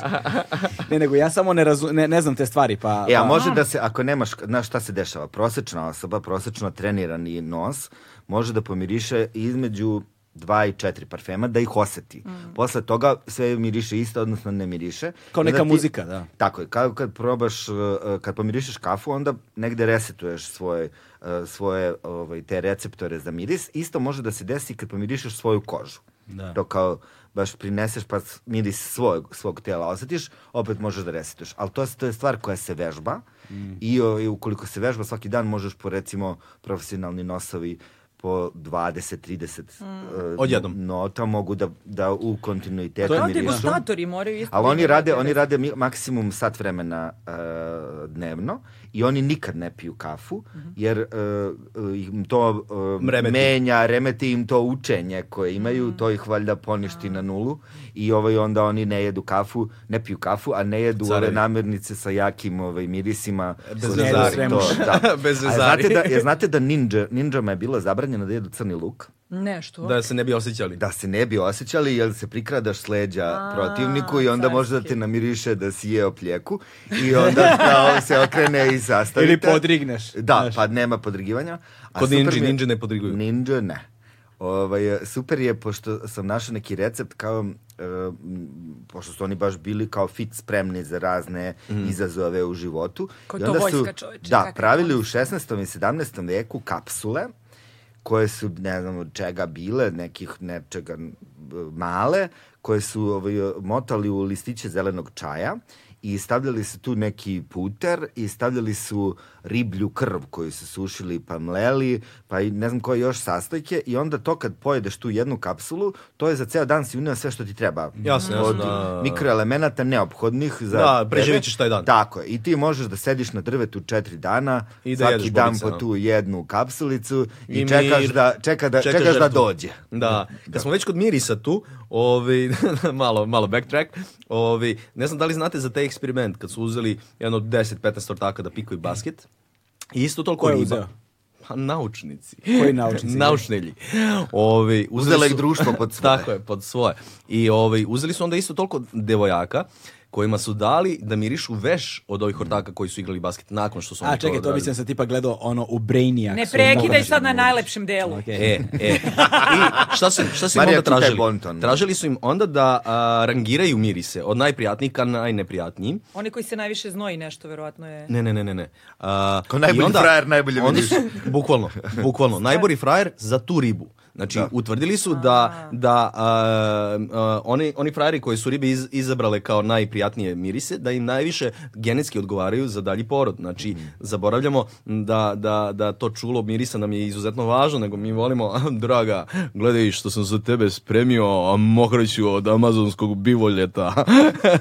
Speaker 1: Se, ne, nego ja samo ne, razu, ne, ne znam te stvari, pa...
Speaker 4: E, a
Speaker 1: pa-
Speaker 4: može da se, ako nemaš, znaš šta se dešava, prosečna osoba, prosečno trenirani nos, može da pomiriše između dva i četiri parfema, da ih oseti. Posle toga sve miriše isto, odnosno ne miriše.
Speaker 1: Mm. Kao
Speaker 4: I onda
Speaker 1: neka muzika, da.
Speaker 4: Tako je, kao kad probaš, uh, uh, kad pomirišeš kafu, onda negde resetuješ svoje, uh, svoje ovaj, te receptore za miris. Isto može da se desi i kad pomirišeš svoju kožu. Da. To kao baš prineseš pa s- miris svog, svog tela osjetiš, opet možeš da resetuješ. Ali to, s- to je stvar koja se vežba i ovaj, ukoliko se vežba svaki dan možeš po recimo profesionalni nosovi po 20-30 uh,
Speaker 2: Odjednom.
Speaker 4: nota mogu da, da u kontinuitetu
Speaker 3: Kao
Speaker 4: mirišu.
Speaker 3: degustatori moraju isto.
Speaker 4: Ali oni
Speaker 3: vidjeti
Speaker 4: rade,
Speaker 3: da-
Speaker 4: oni rade mi- maksimum sat vremena e, dnevno i oni nikad ne piju kafu jer e, e, im to e,
Speaker 2: Remeti.
Speaker 4: menja, remeti im to učenje koje imaju, to ih valjda poništi na nulu i ovaj onda oni ne jedu kafu, ne piju kafu, a ne jedu ove
Speaker 2: Carevi.
Speaker 4: namirnice sa jakim ovaj, mirisima.
Speaker 2: Bez
Speaker 4: koje
Speaker 2: vezari.
Speaker 4: su- to, da.
Speaker 2: *laughs* Bez
Speaker 4: A
Speaker 2: vezari.
Speaker 4: znate da, jer znate da ninja, ninjama je bilo zabranjeno da jedu crni luk?
Speaker 3: Nešto.
Speaker 2: Da se ne bi osjećali.
Speaker 4: Da se ne bi osjećali, jer se prikradaš s leđa protivniku i onda može da te namiriše da si jeo pljeku i onda kao se okrene i sastavite.
Speaker 1: Ili podrigneš,
Speaker 4: Da,
Speaker 1: znaš.
Speaker 4: pa nema podrigivanja. A
Speaker 2: Kod
Speaker 4: super
Speaker 2: ninji,
Speaker 4: mi je-
Speaker 2: ninje ne podriguju.
Speaker 4: Ninja ne. Ovaj, super je, pošto sam našao neki recept kao, e, m, pošto su oni baš bili kao fit spremni za razne izazove u životu.
Speaker 3: Kao
Speaker 4: I
Speaker 3: to
Speaker 4: onda su,
Speaker 3: vojska, čoveče,
Speaker 4: Da,
Speaker 3: kakva
Speaker 4: pravili u 16. i 17. veku kapsule koje su ne znam od čega bile, nekih nečega m, male, koje su ovaj, motali u listiće zelenog čaja i stavljali su tu neki puter i stavljali su riblju krv koju su sušili pa mleli, pa i ne znam koje još sastojke i onda to kad pojedeš tu jednu kapsulu, to je za ceo dan si uneo sve što ti treba.
Speaker 2: Jasno, jasno,
Speaker 4: Od
Speaker 2: da.
Speaker 4: mikroelemenata neophodnih za
Speaker 2: Da,
Speaker 4: tebe.
Speaker 2: preživit ćeš taj dan.
Speaker 4: Tako je. I ti možeš da sediš na drvetu četiri dana,
Speaker 2: I da
Speaker 4: svaki
Speaker 2: jedeš
Speaker 4: dan
Speaker 2: bobice,
Speaker 4: po
Speaker 2: no.
Speaker 4: tu jednu kapsulicu i,
Speaker 2: I
Speaker 4: čekaš,
Speaker 2: mir.
Speaker 4: da, čeka da, čekaš, da
Speaker 2: žrtvu.
Speaker 4: dođe.
Speaker 2: Da. Kad smo već kod mirisa tu, ovaj, *laughs* malo, malo backtrack, ovaj, ne znam da li znate za taj eksperiment kad su uzeli jedno 10-15 ortaka da pikaju basket, i isto toliko
Speaker 1: Ko je
Speaker 2: riba.
Speaker 1: uzeo?
Speaker 2: Pa naučnici.
Speaker 1: Koji naučnici?
Speaker 2: Naučnelji. Ovaj, uzeli su-
Speaker 4: Uzela ih društvo
Speaker 2: *laughs*
Speaker 4: pod svoje.
Speaker 2: Tako je, pod svoje. I ovaj, uzeli su onda isto toliko devojaka kojima su dali da mirišu veš od ovih ortaka koji su igrali basket nakon što su oni
Speaker 1: A čekaj, to
Speaker 2: odradili.
Speaker 1: mislim da sam tipa gledao ono u Brainiac.
Speaker 3: Ne prekidaj sad na najlepšem delu.
Speaker 2: E, e. I šta su, im- šta su im
Speaker 4: Marija,
Speaker 2: onda
Speaker 4: čitaj
Speaker 2: tražili?
Speaker 4: bonton.
Speaker 2: Tražili su im onda da a, rangiraju mirise od najprijatnijih ka najneprijatnijim.
Speaker 3: Oni koji se najviše znoji nešto, verovatno je.
Speaker 2: Ne, ne, ne, ne, ne. A,
Speaker 4: Kao najbolji
Speaker 2: i
Speaker 4: frajer, najbolje
Speaker 2: onda
Speaker 4: miriše.
Speaker 2: su, bukvalno, bukvalno. najbolji frajer za tu ribu. Znači, utvrdili su da, da a, a, oni, oni frajeri koji su ribe iz- izabrale kao najprijatnije mirise, da im najviše genetski odgovaraju za dalji porod. Znači,
Speaker 4: Mm.
Speaker 2: zaboravljamo da, da, da to čulo mirisa nam je izuzetno važno, nego mi volimo, *laughs* "A, draga, gledaj što sam za tebe spremio, a mokreću od amazonskog bivoljeta.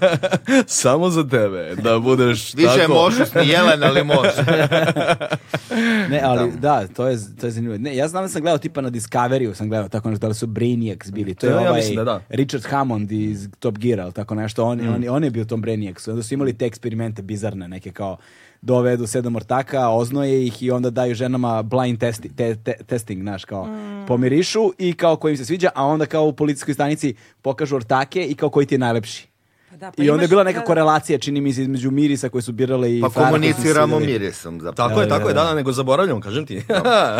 Speaker 2: *laughs* Samo za tebe, da budeš
Speaker 4: Više je
Speaker 2: tako.
Speaker 4: mošus, ni jelen, ali
Speaker 2: *laughs*
Speaker 4: Pa moš.
Speaker 1: Ne, ali da, to je, to je zanimljivo. Ne, ja znam da sam gledao tipa na Discovery-u, sam gledao tako nešto, da li su Brainiacs bili. To je
Speaker 2: Ja, ja
Speaker 1: ovaj
Speaker 2: mislim da Mm. da.
Speaker 1: Richard Hammond iz Top Gear, ali tako nešto. On, on, on je bio u tom Brainiacsu. Onda su imali te eksperimente bizarne, neke kao dovedu sedam ortaka, oznoje ih i onda daju ženama blind testi, te, te- testing, znaš, kao
Speaker 3: Mm.
Speaker 1: pomirišu i kao kojim se sviđa, a onda kao u policijskoj stanici pokažu ortake i kao koji ti je najlepši.
Speaker 3: Pa da,
Speaker 1: I onda je
Speaker 3: imaš-
Speaker 1: bila neka
Speaker 3: da, da.
Speaker 1: korelacija, čini mi se, između mirisa koje su birale i
Speaker 4: Pa
Speaker 1: frajera koji su
Speaker 4: komuniciramo
Speaker 1: svirali.
Speaker 4: mirisom zapravo.
Speaker 2: Tako je, tako je, da, da, nego zaboravljam, kažem ti. *laughs*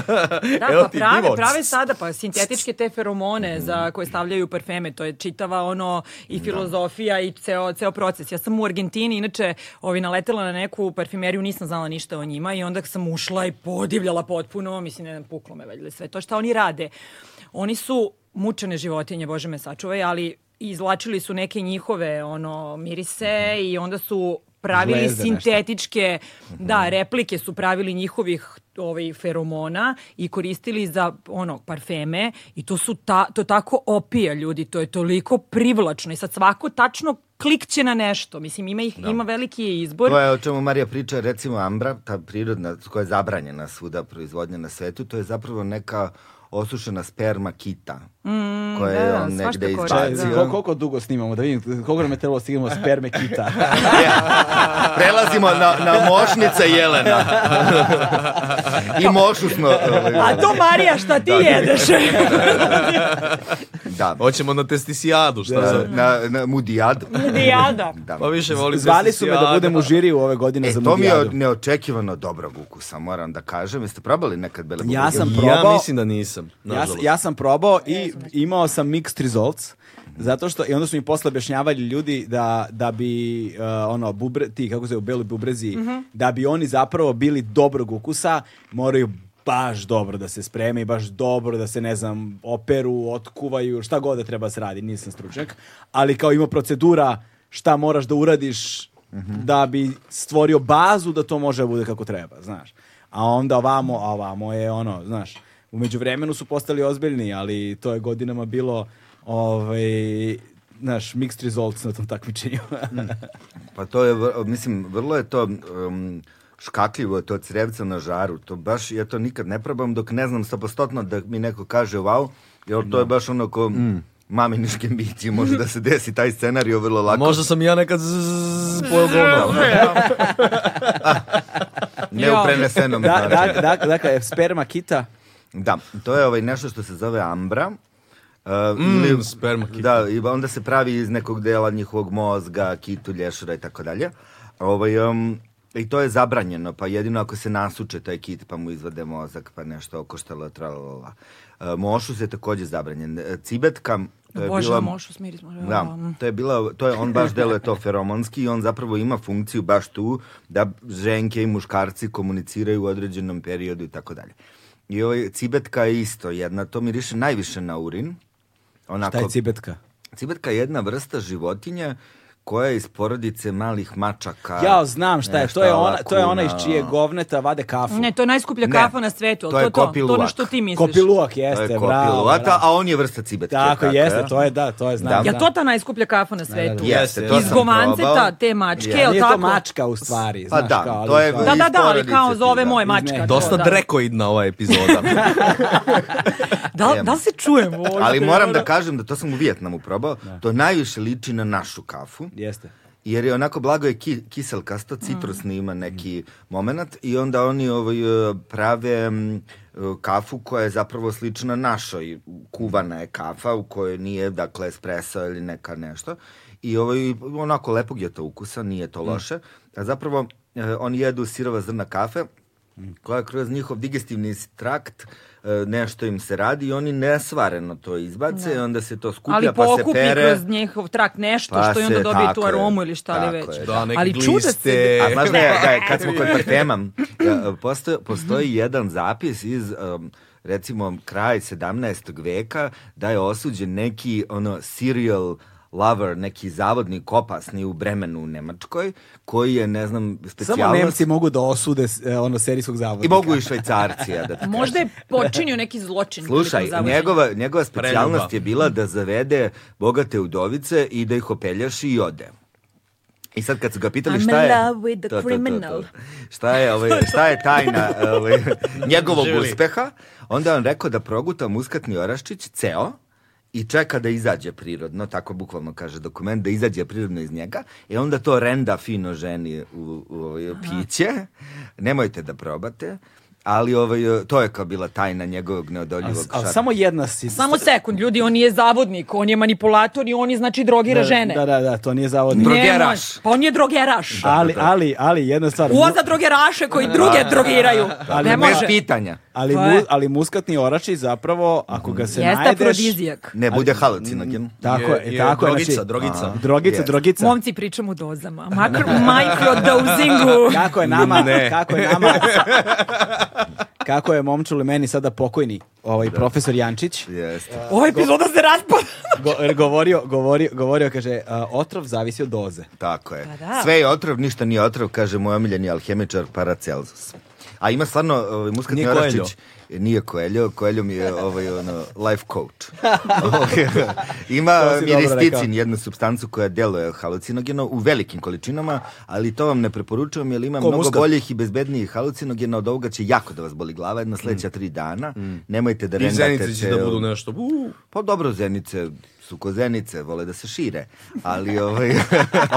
Speaker 3: Da,
Speaker 2: Evo
Speaker 3: pa
Speaker 2: ti Mm.
Speaker 3: prave,
Speaker 2: pivo.
Speaker 3: prave sada pa sintetičke te feromone za koje stavljaju parfeme, to je čitava ono i filozofija i ceo, ceo proces. Ja sam u Argentini, inače, ovi naletela na neku parfimeriju, nisam znala ništa o njima i onda sam ušla i podivljala potpuno, mislim, ne znam, puklo me valjda sve to šta oni rade. Oni su mučene životinje, bože me sačuvaj, ali izvlačili su neke njihove ono mirise i onda su pravili
Speaker 1: Žlezde nešto.
Speaker 3: sinte estetičke,
Speaker 4: Mhm.
Speaker 3: da, replike su pravili njihovih ovaj, feromona i koristili za ono parfeme i to su ta, to tako opija ljudi, to je toliko privlačno i sad svako tačno klikće na nešto. Mislim, ima, ih, ima veliki izbor.
Speaker 4: To je o čemu Marija priča, recimo Ambra, ta prirodna koja je zabranjena svuda proizvodnja na svetu, to je zapravo neka osušena sperma kita koja je
Speaker 3: Mm, da,
Speaker 4: on
Speaker 3: svašta
Speaker 4: negde
Speaker 3: koristi,
Speaker 1: Čekaj,
Speaker 4: izbacio.
Speaker 1: kol- Pa koliko dugo snimamo da vidim, koliko nam je trebalo da stignemo sperme
Speaker 4: *laughs*
Speaker 1: kita.
Speaker 4: Prelazimo na, na mošnice Jelena. I mošu smo... ovaj,
Speaker 3: A to Marija, šta ti jedeš?
Speaker 4: *laughs* Da,
Speaker 2: Hoćemo na testisijadu, šta
Speaker 4: na,
Speaker 2: za...
Speaker 4: na, na mudijadu.
Speaker 3: Dijada.
Speaker 4: Da.
Speaker 2: Pa više volim
Speaker 1: Zvali su me da
Speaker 2: testisijadu.
Speaker 1: budem u žiriju ove godine
Speaker 4: E,
Speaker 1: za
Speaker 4: to mi je
Speaker 1: Mudijadu.
Speaker 4: od neočekivano dobrog ukusa, moram da kažem. Jeste probali nekad bele
Speaker 1: Ja sam
Speaker 2: Ja
Speaker 1: probao.
Speaker 2: mislim da nisam,
Speaker 1: Ja,
Speaker 2: nažalost.
Speaker 1: ja sam probao i imao sam mixed results. Zato što, i onda su mi posle objašnjavali ljudi da, da bi, uh, ono, bubre, ti, kako se zove, u beloj bubrezi, da bi oni zapravo bili dobrog ukusa, moraju baš dobro da se spreme i baš dobro da se, ne znam, operu, otkuvaju, šta god da treba da se radi, nisam stručnjak, ali kao ima procedura šta moraš da uradiš da bi stvorio bazu da to može da bude kako treba, znaš. A onda ovamo, a ovamo je ono, znaš, u međuvremenu su postali ozbiljni, ali to je godinama bilo ovaj, znaš, mixed results na tom takmičenju. *laughs*
Speaker 4: Pa to je, vr- mislim, vrlo je to um, škakljivo, je to crevce na žaru. To baš, ja to nikad ne probam dok ne znam stopostotno da mi neko kaže wow, jer to je baš ono ko
Speaker 1: Mm.
Speaker 4: maminiške bići, može da se desi taj scenarijo vrlo lako.
Speaker 2: Pa Možda sam i ja nekad z- z- pojel
Speaker 1: *laughs*
Speaker 2: govno.
Speaker 4: Ne u
Speaker 1: *laughs*
Speaker 4: prenesenom
Speaker 1: da,
Speaker 4: značaju.
Speaker 1: da, da, dakle, sperma kita,
Speaker 4: Da, to je ovaj nešto što se zove ambra. Uh, ili-
Speaker 2: sperma kita.
Speaker 4: Da, i onda se pravi iz nekog dela njihovog mozga, kitu, lješura i tako dalje. Ovaj, um, I to je zabranjeno, pa jedino ako se nasuče taj kit, pa mu izvade mozak, pa nešto okoštalo, tralalala. Uh, mošus je takođe zabranjen. E, Cibetka, to je
Speaker 3: Bože,
Speaker 4: bila...
Speaker 3: mošu smiris.
Speaker 4: Da,
Speaker 3: um,
Speaker 4: to je bila, to je, on
Speaker 1: *laughs*
Speaker 4: baš deluje to feromonski i on zapravo ima funkciju baš tu da ženke i muškarci komuniciraju u određenom periodu i tako dalje. I ovaj cibetka je isto jedna, to miriše najviše na urin. Onako,
Speaker 1: taj cibetka.
Speaker 4: Cibetka je jedna vrsta životinje koja je iz porodice malih mačaka.
Speaker 1: Ja znam šta je,
Speaker 4: Nešto
Speaker 1: to je ona, to je ona iz
Speaker 4: kuna.
Speaker 1: čije govneta vade kafu.
Speaker 3: Ne, to je najskuplja
Speaker 4: Ne,
Speaker 3: kafa na svetu. ali
Speaker 4: to je
Speaker 3: to, to, to
Speaker 4: kopiluak.
Speaker 3: ono što ti misliš.
Speaker 1: Kopiluak
Speaker 4: To
Speaker 1: jeste,
Speaker 4: je
Speaker 1: bravo.
Speaker 4: kopilovata,
Speaker 1: bravo.
Speaker 4: a on je vrsta cibetke.
Speaker 1: Tako, jeste,
Speaker 4: je.
Speaker 1: to je, da, to je, znam.
Speaker 4: Da.
Speaker 3: Ja
Speaker 1: znam.
Speaker 3: to ta najskuplja kafa na svetu.
Speaker 4: Jeste, to
Speaker 3: Iz
Speaker 4: sam
Speaker 3: gomanceta,
Speaker 4: probao.
Speaker 3: te mačke,
Speaker 4: Je.
Speaker 3: jel
Speaker 1: Nije
Speaker 3: tako?
Speaker 1: to mačka u stvari,
Speaker 4: Pa
Speaker 1: znaš,
Speaker 4: da,
Speaker 1: kao, ali
Speaker 4: to je
Speaker 1: kao-
Speaker 3: Da, da, da, ali
Speaker 4: Iz
Speaker 3: kao
Speaker 4: porodice
Speaker 3: zove
Speaker 4: ti,
Speaker 3: moje
Speaker 4: da.
Speaker 3: mačka. to,
Speaker 2: Dosta
Speaker 3: da.
Speaker 2: drekoidna ova
Speaker 1: *laughs*
Speaker 2: epizoda.
Speaker 3: Da, da li se
Speaker 4: *laughs*
Speaker 3: ono? čujemo?
Speaker 4: Ali moram da kažem da to sam u Vijetnamu probao, to najviše liči na našu kafu.
Speaker 1: Jeste.
Speaker 4: jer je onako blago je ki, kiselkasto,
Speaker 3: Mm.
Speaker 4: citrusni ima neki moment i onda oni ovaj, e, prave mm, e, kafu koja je zapravo slična našoj. Kuvana je kafa u kojoj nije, dakle, espresso ili neka nešto. I ovaj, onako lepog je to ukusa, nije
Speaker 3: Mm.
Speaker 4: to loše. A zapravo e, oni jedu sirova zrna kafe koja kroz njihov digestivni trakt e, nešto im se radi i oni nesvareno to izbace, onda se to skuplja
Speaker 3: ali
Speaker 4: pa se
Speaker 3: pokupi
Speaker 4: pere.
Speaker 3: kroz njihov trakt nešto
Speaker 4: Pa
Speaker 3: što i onda
Speaker 4: se-
Speaker 3: dobije tu
Speaker 4: tako je,
Speaker 3: aromu ili šta li
Speaker 4: tako
Speaker 3: već.
Speaker 4: je,
Speaker 2: Da, neke
Speaker 3: ali čude se...
Speaker 1: E,
Speaker 2: gliste.
Speaker 4: A znaš da je, da je, kad smo kod parfema,
Speaker 1: *laughs*
Speaker 4: ja, postoji, postoji jedan zapis iz, um, recimo, kraj 17. veka, da je osuđen neki ono, serial lover, neki zavodnik opasni u bremenu u Nemačkoj, koji je, ne znam,
Speaker 1: Samo
Speaker 4: specijalnost...
Speaker 1: Nemci mogu da osude e, ono serijskog zavoda.
Speaker 4: I mogu i švajcarci, ja
Speaker 1: *laughs*
Speaker 4: da ti
Speaker 10: Možda je počinio neki zločin.
Speaker 4: Slušaj,
Speaker 10: prilikom zavođenja.
Speaker 4: njegova, njegova specijalnost
Speaker 2: Preljuba.
Speaker 4: je bila da zavede bogate udovice i da ih opeljaši i ode. I sad kad su ga pitali
Speaker 10: I'm
Speaker 4: šta je...
Speaker 10: in love with the criminal.
Speaker 4: Šta je, ovaj, šta je tajna ovaj, njegovog
Speaker 2: Želi.
Speaker 4: uspeha, onda je on rekao da proguta muskatni oraščić ceo i čeka da izađe prirodno, tako bukvalno kaže dokument, da izađe prirodno iz njega, i onda to renda fino ženi u, u ovaj, piće. Nemojte da probate, ali ovaj, to je kao bila tajna njegovog neodoljivog
Speaker 1: Ali
Speaker 4: šarma.
Speaker 1: samo jedna si...
Speaker 3: Samo sekund, ljudi, on je zavodnik, on je manipulator i on je, znači, drogira žene.
Speaker 1: Da, da, da, to nije zavodnik.
Speaker 3: Ne
Speaker 4: Drogeraš.
Speaker 3: može. Pa on je drogeraš.
Speaker 1: Ali, ali, ali, jedna stvar. mu-
Speaker 3: Uo za drogeraše koji druge drogiraju.
Speaker 1: Ali
Speaker 3: Ne
Speaker 1: ne
Speaker 4: Bez
Speaker 3: može.
Speaker 4: pitanja.
Speaker 1: Ali,
Speaker 3: To
Speaker 1: mu,
Speaker 3: Pa je-
Speaker 1: ali muskatni orači zapravo, ako ga se
Speaker 3: Jeste
Speaker 1: najdeš...
Speaker 3: afrodizijak.
Speaker 4: Ne, bude halucinogen.
Speaker 1: Mm, Tako je, tako je,
Speaker 2: drogica,
Speaker 1: znači-
Speaker 2: drogica.
Speaker 1: Drogica,
Speaker 4: Yes.
Speaker 1: drogica.
Speaker 3: Momci pričamo o dozama. Makar u
Speaker 4: *laughs*
Speaker 3: microdosingu.
Speaker 1: Kako je nama,
Speaker 2: Ne.
Speaker 1: *laughs* kako je nama, kako je momčuli meni sada pokojni ovaj profesor Jančić
Speaker 4: Jeste.
Speaker 3: Ova epizoda se raspada.
Speaker 1: go- govorio, govorio, govorio, kaže, a, otrov zavisi od doze.
Speaker 4: Tako je.
Speaker 3: Pa da.
Speaker 4: Sve je otrov, ništa nije otrov, kaže moj omiljeni alhemičar Paracelsus. A ima stvarno ovaj, muskatni
Speaker 2: Nije
Speaker 4: oraščić.
Speaker 2: Coelho.
Speaker 4: Nije Koeljo, Koeljo mi je ovaj, ono, life
Speaker 1: *laughs*
Speaker 4: coach. Ovaj, ima
Speaker 1: To si dobro rekao.
Speaker 4: miristicin, jednu substancu koja deluje halucinogeno u velikim količinama, ali to vam ne preporučujem jer ima
Speaker 1: Ko
Speaker 4: mnogo
Speaker 1: muskat?
Speaker 4: boljih i bezbednijih halucinogena od ovoga će jako da vas boli glava
Speaker 1: Mm.
Speaker 4: jedno sledeća tri dana. Nemojte da
Speaker 2: I
Speaker 4: rendate
Speaker 2: zenice će
Speaker 4: ceo-
Speaker 2: da budu nešto. Uuu.
Speaker 4: Pa dobro, zenice su ko zenice, vole da se šire, ali ovaj... *laughs*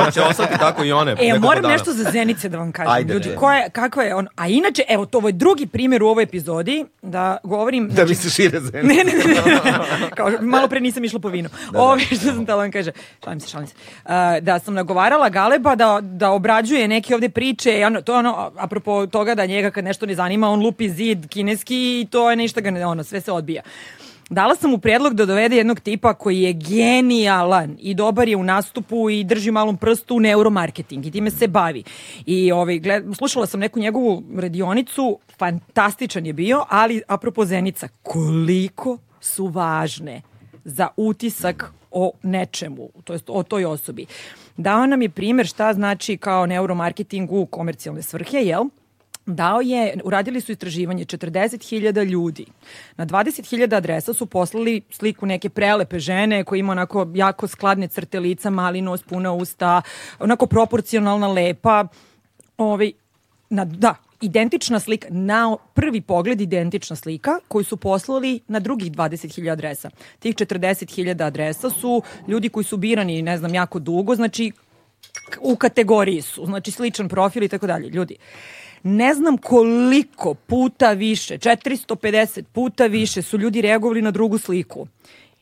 Speaker 2: On će ostati tako i one.
Speaker 3: E,
Speaker 2: nekako
Speaker 3: moram
Speaker 2: dana.
Speaker 3: nešto za Zenice
Speaker 4: *laughs*
Speaker 3: da vam kažem,
Speaker 4: Ajde,
Speaker 3: ljudi.
Speaker 4: Zenice.
Speaker 3: Ko je, kako je on? A inače, evo, to ovo je drugi primjer u ovoj epizodi, da govorim...
Speaker 4: da mi se šire zenice.
Speaker 3: *laughs* Ne, ne, ne, ne. Kao, malo pre nisam išla po vinu. Ovo što sam tala vam kaže. Šalim se, šalim se. Uh, da sam nagovarala Galeba da, da obrađuje neke ovde priče. i Ono, to je ono, a- apropo toga da njega kad nešto ne zanima, on lupi zid kineski i to je ništa ga ne, ono, sve se odbija. Dala sam mu predlog da dovede jednog tipa koji je genijalan i dobar je u nastupu i drži malom prstu u neuromarketing i time se bavi. I ovaj, gled, slušala sam neku njegovu radionicu, fantastičan je bio, ali apropo Zenica, koliko su važne za utisak o nečemu, to jest o toj osobi. Dao nam je primjer šta znači kao neuromarketing u komercijalne svrhe, jel? Dao je, uradili su istraživanje 40.000 ljudi. Na 20.000 adresa su poslali sliku neke prelepe žene koja ima onako jako skladne crte lica, mali nos, puna usta, onako proporcionalna, lepa. Ovaj, na, da, identična slika, na prvi pogled identična slika koju su poslali na drugih 20.000 adresa. Tih 40.000 adresa su ljudi koji su birani, ne znam, jako dugo, znači u kategoriji su, znači sličan profil i tako dalje. Ljudi, ne znam koliko puta više, 450 puta više su ljudi reagovali na drugu sliku.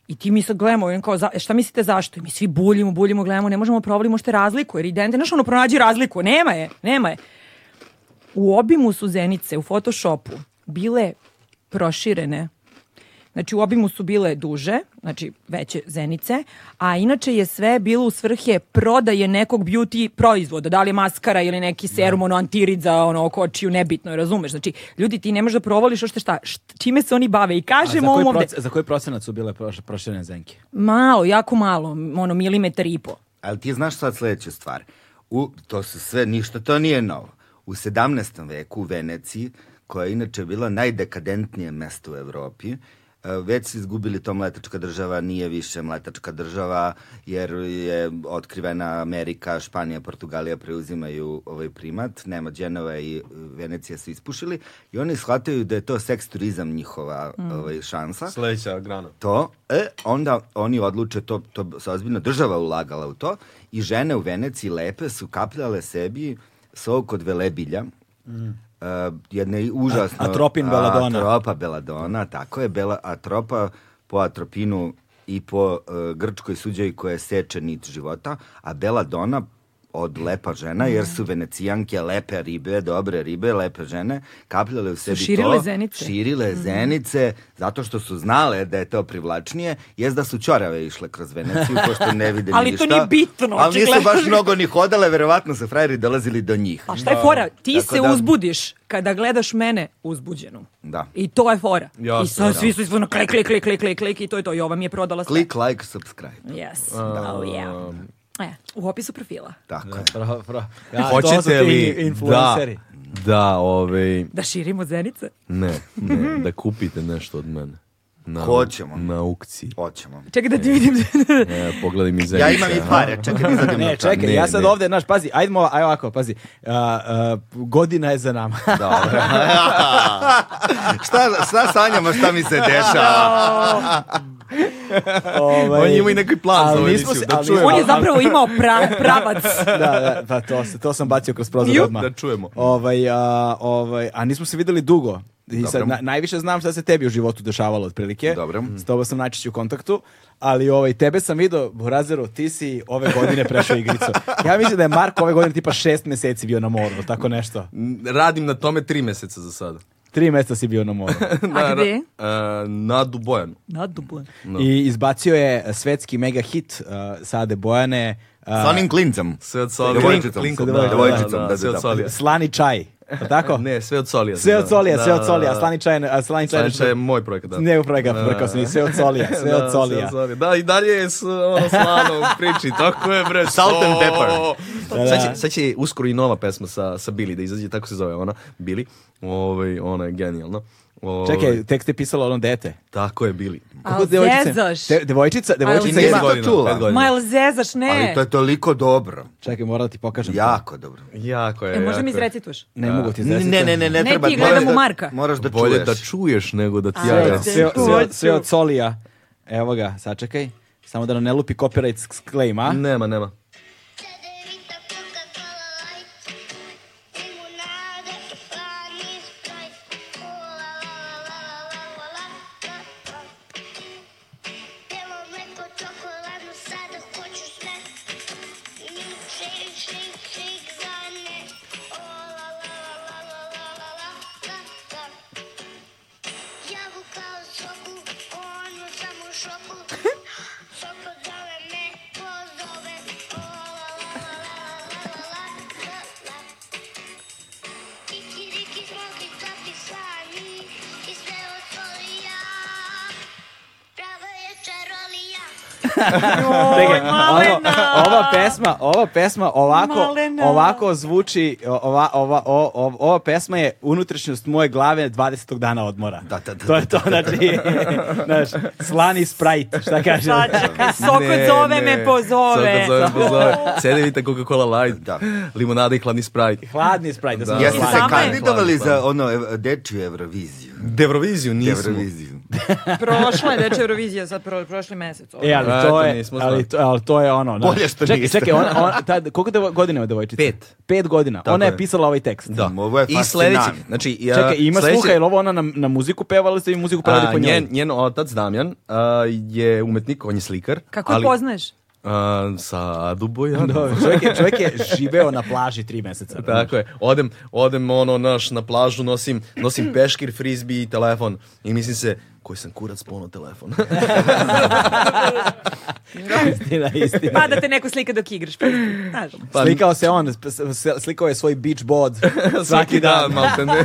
Speaker 3: I ti mi sad gledamo, on kao, za, e, šta mislite zašto? I mi svi buljimo, buljimo, gledamo, ne možemo provaliti možete razliku, jer idente, znaš ono, pronađi razliku, nema je, nema je. U obimu su zenice u Photoshopu bile proširene. Znači u obimu su bile duže, znači veće zenice, a inače je sve bilo u svrhe prodaje nekog beauty proizvoda, da li je maskara ili neki serum, ono antirid za ono oko očiju, nebitno, je, razumeš? Znači, ljudi, ti ne možeš da provoliš ošte šta, št- čime se oni bave i
Speaker 1: A za
Speaker 3: kažem
Speaker 1: koji,
Speaker 3: ovom ovde,
Speaker 1: proc- za koji procenat su bile proš- proširene zenke?
Speaker 3: malo, jako malo, ono milimetar i po.
Speaker 4: Ali ti znaš sad sledeću stvar. U, to su sve ništa, to nije novo. U 17. veku u Veneciji, koja je inače bila najdekadentnije mesto u Evropi, e, E, Već su izgubili to mletačka država, nije više mletačka država, jer je otkrivena Amerika, Španija, Portugalija preuzimaju ovaj primat, nema Genova i e, Venecija su ispušili i oni shvataju da je to seks turizam njihova ovaj, šansa
Speaker 2: Sledeća grana.
Speaker 4: to, e, onda oni odluče, to, to se ozbiljno država ulagala u to, i žene u Veneciji lepe su kapljale sebi sok od velebilja, e, jedne užasno...
Speaker 1: atropin beladona.
Speaker 4: Atropa beladona, tako je, bela, atropa po atropinu i po e, grčkoj suđaji koja seče nit života, a beladona od lepa žena, jer su venecijanke lepe ribe, dobre ribe, lepe žene, kapljale u sebi
Speaker 5: širile
Speaker 4: to,
Speaker 5: zenice. Mhm.
Speaker 4: širile zenice, zato što su znale da je to privlačnije, jest da su ćorave išle kroz Veneciju,
Speaker 5: *laughs*
Speaker 4: pošto ne vide
Speaker 5: Ali
Speaker 4: ništa.
Speaker 5: to nije bitno,
Speaker 4: Ali nisu
Speaker 5: očigledno.
Speaker 4: baš mnogo ni hodale, verovatno su frajeri dolazili do njih.
Speaker 5: A šta je fora? Ti
Speaker 4: Tako
Speaker 5: se
Speaker 4: da-
Speaker 5: uzbudiš kada gledaš mene uzbuđenu.
Speaker 4: Da.
Speaker 5: I to je fora.
Speaker 2: Jasno,
Speaker 5: I sad
Speaker 2: da.
Speaker 5: svi su izvorno klik, klik, klik, klik, klik, klik i to je to. I ova mi je prodala sve.
Speaker 4: Click, like, subscribe.
Speaker 3: Yes. Oh, yeah. E, u opisu profila.
Speaker 4: Tako je.
Speaker 1: Bravo, bravo. Ja, to su
Speaker 2: Hoćete
Speaker 1: ti
Speaker 2: li da,
Speaker 1: influenceri.
Speaker 2: da, ovaj,
Speaker 5: Da širimo zenice.
Speaker 2: ne,
Speaker 1: Mhm.
Speaker 2: ne, da kupite nešto od mene. Na,
Speaker 4: Hoćemo.
Speaker 2: Na aukciji.
Speaker 4: Hoćemo.
Speaker 5: Čekaj da ti vidim.
Speaker 2: E, pogledaj mi zemljice.
Speaker 4: Ja imam
Speaker 2: *laughs*
Speaker 4: i pare, čekaj, mi zadim
Speaker 1: Ne, čekaj,
Speaker 2: Ne,
Speaker 1: ja sad
Speaker 2: ne.
Speaker 1: ovdje, znaš, pazi, ajdemo, aj ovako, pazi, a, a, godina je za nama.
Speaker 4: Dobro. šta, šta sanjamo, šta mi
Speaker 2: *laughs*
Speaker 4: se dešava?
Speaker 1: *laughs* Ovaj,
Speaker 2: *laughs* On je imao i neki plan za
Speaker 1: ali
Speaker 2: ovu
Speaker 1: nismo
Speaker 2: emisiju,
Speaker 1: se-
Speaker 2: da
Speaker 1: ali-
Speaker 2: čujemo.
Speaker 5: On je zapravo imao pra- pravac.
Speaker 1: da, da, pa to, se- to sam bacio kroz prozor odmah.
Speaker 2: Da čujemo.
Speaker 1: Ovaj, a, ovaj, a nismo se videli dugo. I sad,
Speaker 4: Dobro.
Speaker 1: na- najviše znam šta se tebi u životu dešavalo otprilike.
Speaker 4: Dobro.
Speaker 1: S tobom sam najčešće u kontaktu, ali ovaj, tebe sam vidio, Burazeru, ti si ove godine prešao igricu. Ja mislim da je Marko ove godine tipa šest meseci bio na moru, tako nešto.
Speaker 2: Radim na tome tri mjeseca za sada.
Speaker 1: Tri mjeseca si bio na moru.
Speaker 2: *laughs*
Speaker 3: A gde?
Speaker 2: ra- e, na Dubojanu.
Speaker 5: Nadubujem.
Speaker 1: I izbacio je svetski mega hit uh, Sade Bojane, uh,
Speaker 4: Sa onim klincem.
Speaker 2: Sve od Solija.
Speaker 4: Devojčicom.
Speaker 2: Klinkom,
Speaker 1: Sa
Speaker 2: da, da,
Speaker 4: devojčicom,
Speaker 2: da,
Speaker 4: da, da,
Speaker 2: sve od
Speaker 4: da.
Speaker 2: Solija.
Speaker 1: Slani čaj. jel Tako?
Speaker 2: Ne, sve od Solija.
Speaker 1: Oh. Sve od solija,
Speaker 2: Da,
Speaker 1: sve od solija.
Speaker 2: da, da.
Speaker 1: Slani čaj, a slani čaj.
Speaker 2: Slani čaj je moj projekat, da.
Speaker 1: Ne u projekat, brkao sam i sve od solija, sve
Speaker 2: *laughs* Da,
Speaker 1: od solija.
Speaker 2: Da, i dalje je s,
Speaker 1: *laughs*
Speaker 2: ono, slano u priči, tako je, bre.
Speaker 4: Salt and
Speaker 2: o.
Speaker 4: pepper.
Speaker 2: Sad, će, sad će uskoro i nova pesma sa, sa Billy da izađe, tako se zove ona, Billy. Ovaj, ona je genijalna. Ovaj,
Speaker 1: Čekaj, tekst je pisalo ono dete.
Speaker 2: Tako je Billy.
Speaker 1: Kako
Speaker 5: Al
Speaker 1: devojčice-
Speaker 5: zezaš.
Speaker 1: de- devojčica, devojčica
Speaker 4: zezaš.
Speaker 1: ima...
Speaker 4: Pet godina, čula.
Speaker 2: pet godina.
Speaker 5: Ma jel zezaš, ne.
Speaker 4: Ali to je toliko dobro.
Speaker 1: Čekaj, moram da ti pokažem. to.
Speaker 4: Jako dobro.
Speaker 2: Jako je,
Speaker 5: E, možda
Speaker 2: jako
Speaker 5: mi
Speaker 2: je.
Speaker 5: izrecituješ?
Speaker 1: Ne mogu ti
Speaker 4: Ne,
Speaker 1: izraziti.
Speaker 4: ne, ne, ne, ne
Speaker 5: Ne,
Speaker 4: treba.
Speaker 5: ti gledam
Speaker 4: moraš
Speaker 5: u
Speaker 4: da-
Speaker 5: Marka.
Speaker 4: Moraš da
Speaker 2: Bolje da
Speaker 4: čuješ.
Speaker 2: čuješ nego da ti
Speaker 5: Ajde.
Speaker 2: ja
Speaker 1: Sve,
Speaker 2: recim.
Speaker 1: sve, sve, sve, sve od solija. Evo ga, sačekaj. Samo da nam ne lupi copyright s- claim, a?
Speaker 2: Nema, nema.
Speaker 11: Cadeirita, Coca-Cola Light, limonada, Lime Sprite, oh la la la la la la la la. Pelo mleko, čokoladnu, sada hoću sve. Milkshake, shake, shake, za ne. Oh la la la la la la la la la. Jabuka u soku, ono sam u šoku. Soko zove me, pozove. Oh la la la la la la la la. Kikiriki, smoki, topi, sani. I sve od solija. Prava je čarolija.
Speaker 1: Čekaj, ono- ovo,
Speaker 5: Malena!
Speaker 1: ova pesma, ova pesma ovako,
Speaker 5: Malena!
Speaker 1: ovako zvuči, ova, ova, o- o- ova pesma je unutrašnjost moje glave 20. dana odmora.
Speaker 4: Da, da, da,
Speaker 1: to je to, znači, znaš, slani sprite, šta kaže?
Speaker 5: Sad, čekaj, soko zove me, pozove.
Speaker 2: Soko zove me, pozove. Cedevita Coca-Cola Light,
Speaker 4: Da.
Speaker 2: limonada i hladni sprajt.
Speaker 1: Hladni sprite. Da. sam
Speaker 2: Da.
Speaker 4: Jeste se
Speaker 5: Sama je-
Speaker 4: kandidovali za ono ev- dečju Euroviziju?
Speaker 2: Devroviziju nismo.
Speaker 4: Euroviziju.
Speaker 5: Prošla je Deče Eurovizija sad pro, prošli mesec. ovo.
Speaker 1: E, ali
Speaker 2: Eto,
Speaker 1: to je,
Speaker 2: nismo
Speaker 1: ali
Speaker 2: znali.
Speaker 1: to, ali to je ono. znaš.
Speaker 4: Bolje što
Speaker 1: čekaj,
Speaker 4: niste.
Speaker 1: Čekaj, ona, ona, tad, koliko devo, godina ima devojčica?
Speaker 2: Pet.
Speaker 1: Pet godina.
Speaker 2: Tako
Speaker 1: ona je
Speaker 2: je.
Speaker 1: pisala ovaj tekst.
Speaker 2: Da.
Speaker 4: Ovo je
Speaker 2: I sledeći,
Speaker 4: fascinantno.
Speaker 2: znači, ja,
Speaker 1: Čekaj, ima
Speaker 2: sledeći-
Speaker 1: sluha, je li ovo ona na, na muziku pevala ste i muziku pravili
Speaker 2: A,
Speaker 1: po njoj?
Speaker 2: njen, njen otac Damjan a, je umetnik, on je slikar.
Speaker 5: Kako je poznaješ?
Speaker 2: A, sa Duboja.
Speaker 1: Dobro, *laughs* čovjek, je, čovjek je živeo na plaži tri meseca.
Speaker 2: Tako je. Odem, odem ono, naš, na plažu, nosim,
Speaker 5: *clears throat*
Speaker 2: nosim peškir, frizbi i telefon. I mislim se, koji sam kurac pono telefon.
Speaker 1: *laughs*
Speaker 2: *laughs*
Speaker 1: Istina, istina.
Speaker 5: Pa da te neko slika dok igraš. pa, Znaš.
Speaker 2: Pa-
Speaker 1: Slikao se
Speaker 4: *laughs*
Speaker 1: on, s- s- slikao je svoj beach bod svaki dan.
Speaker 2: malte ne.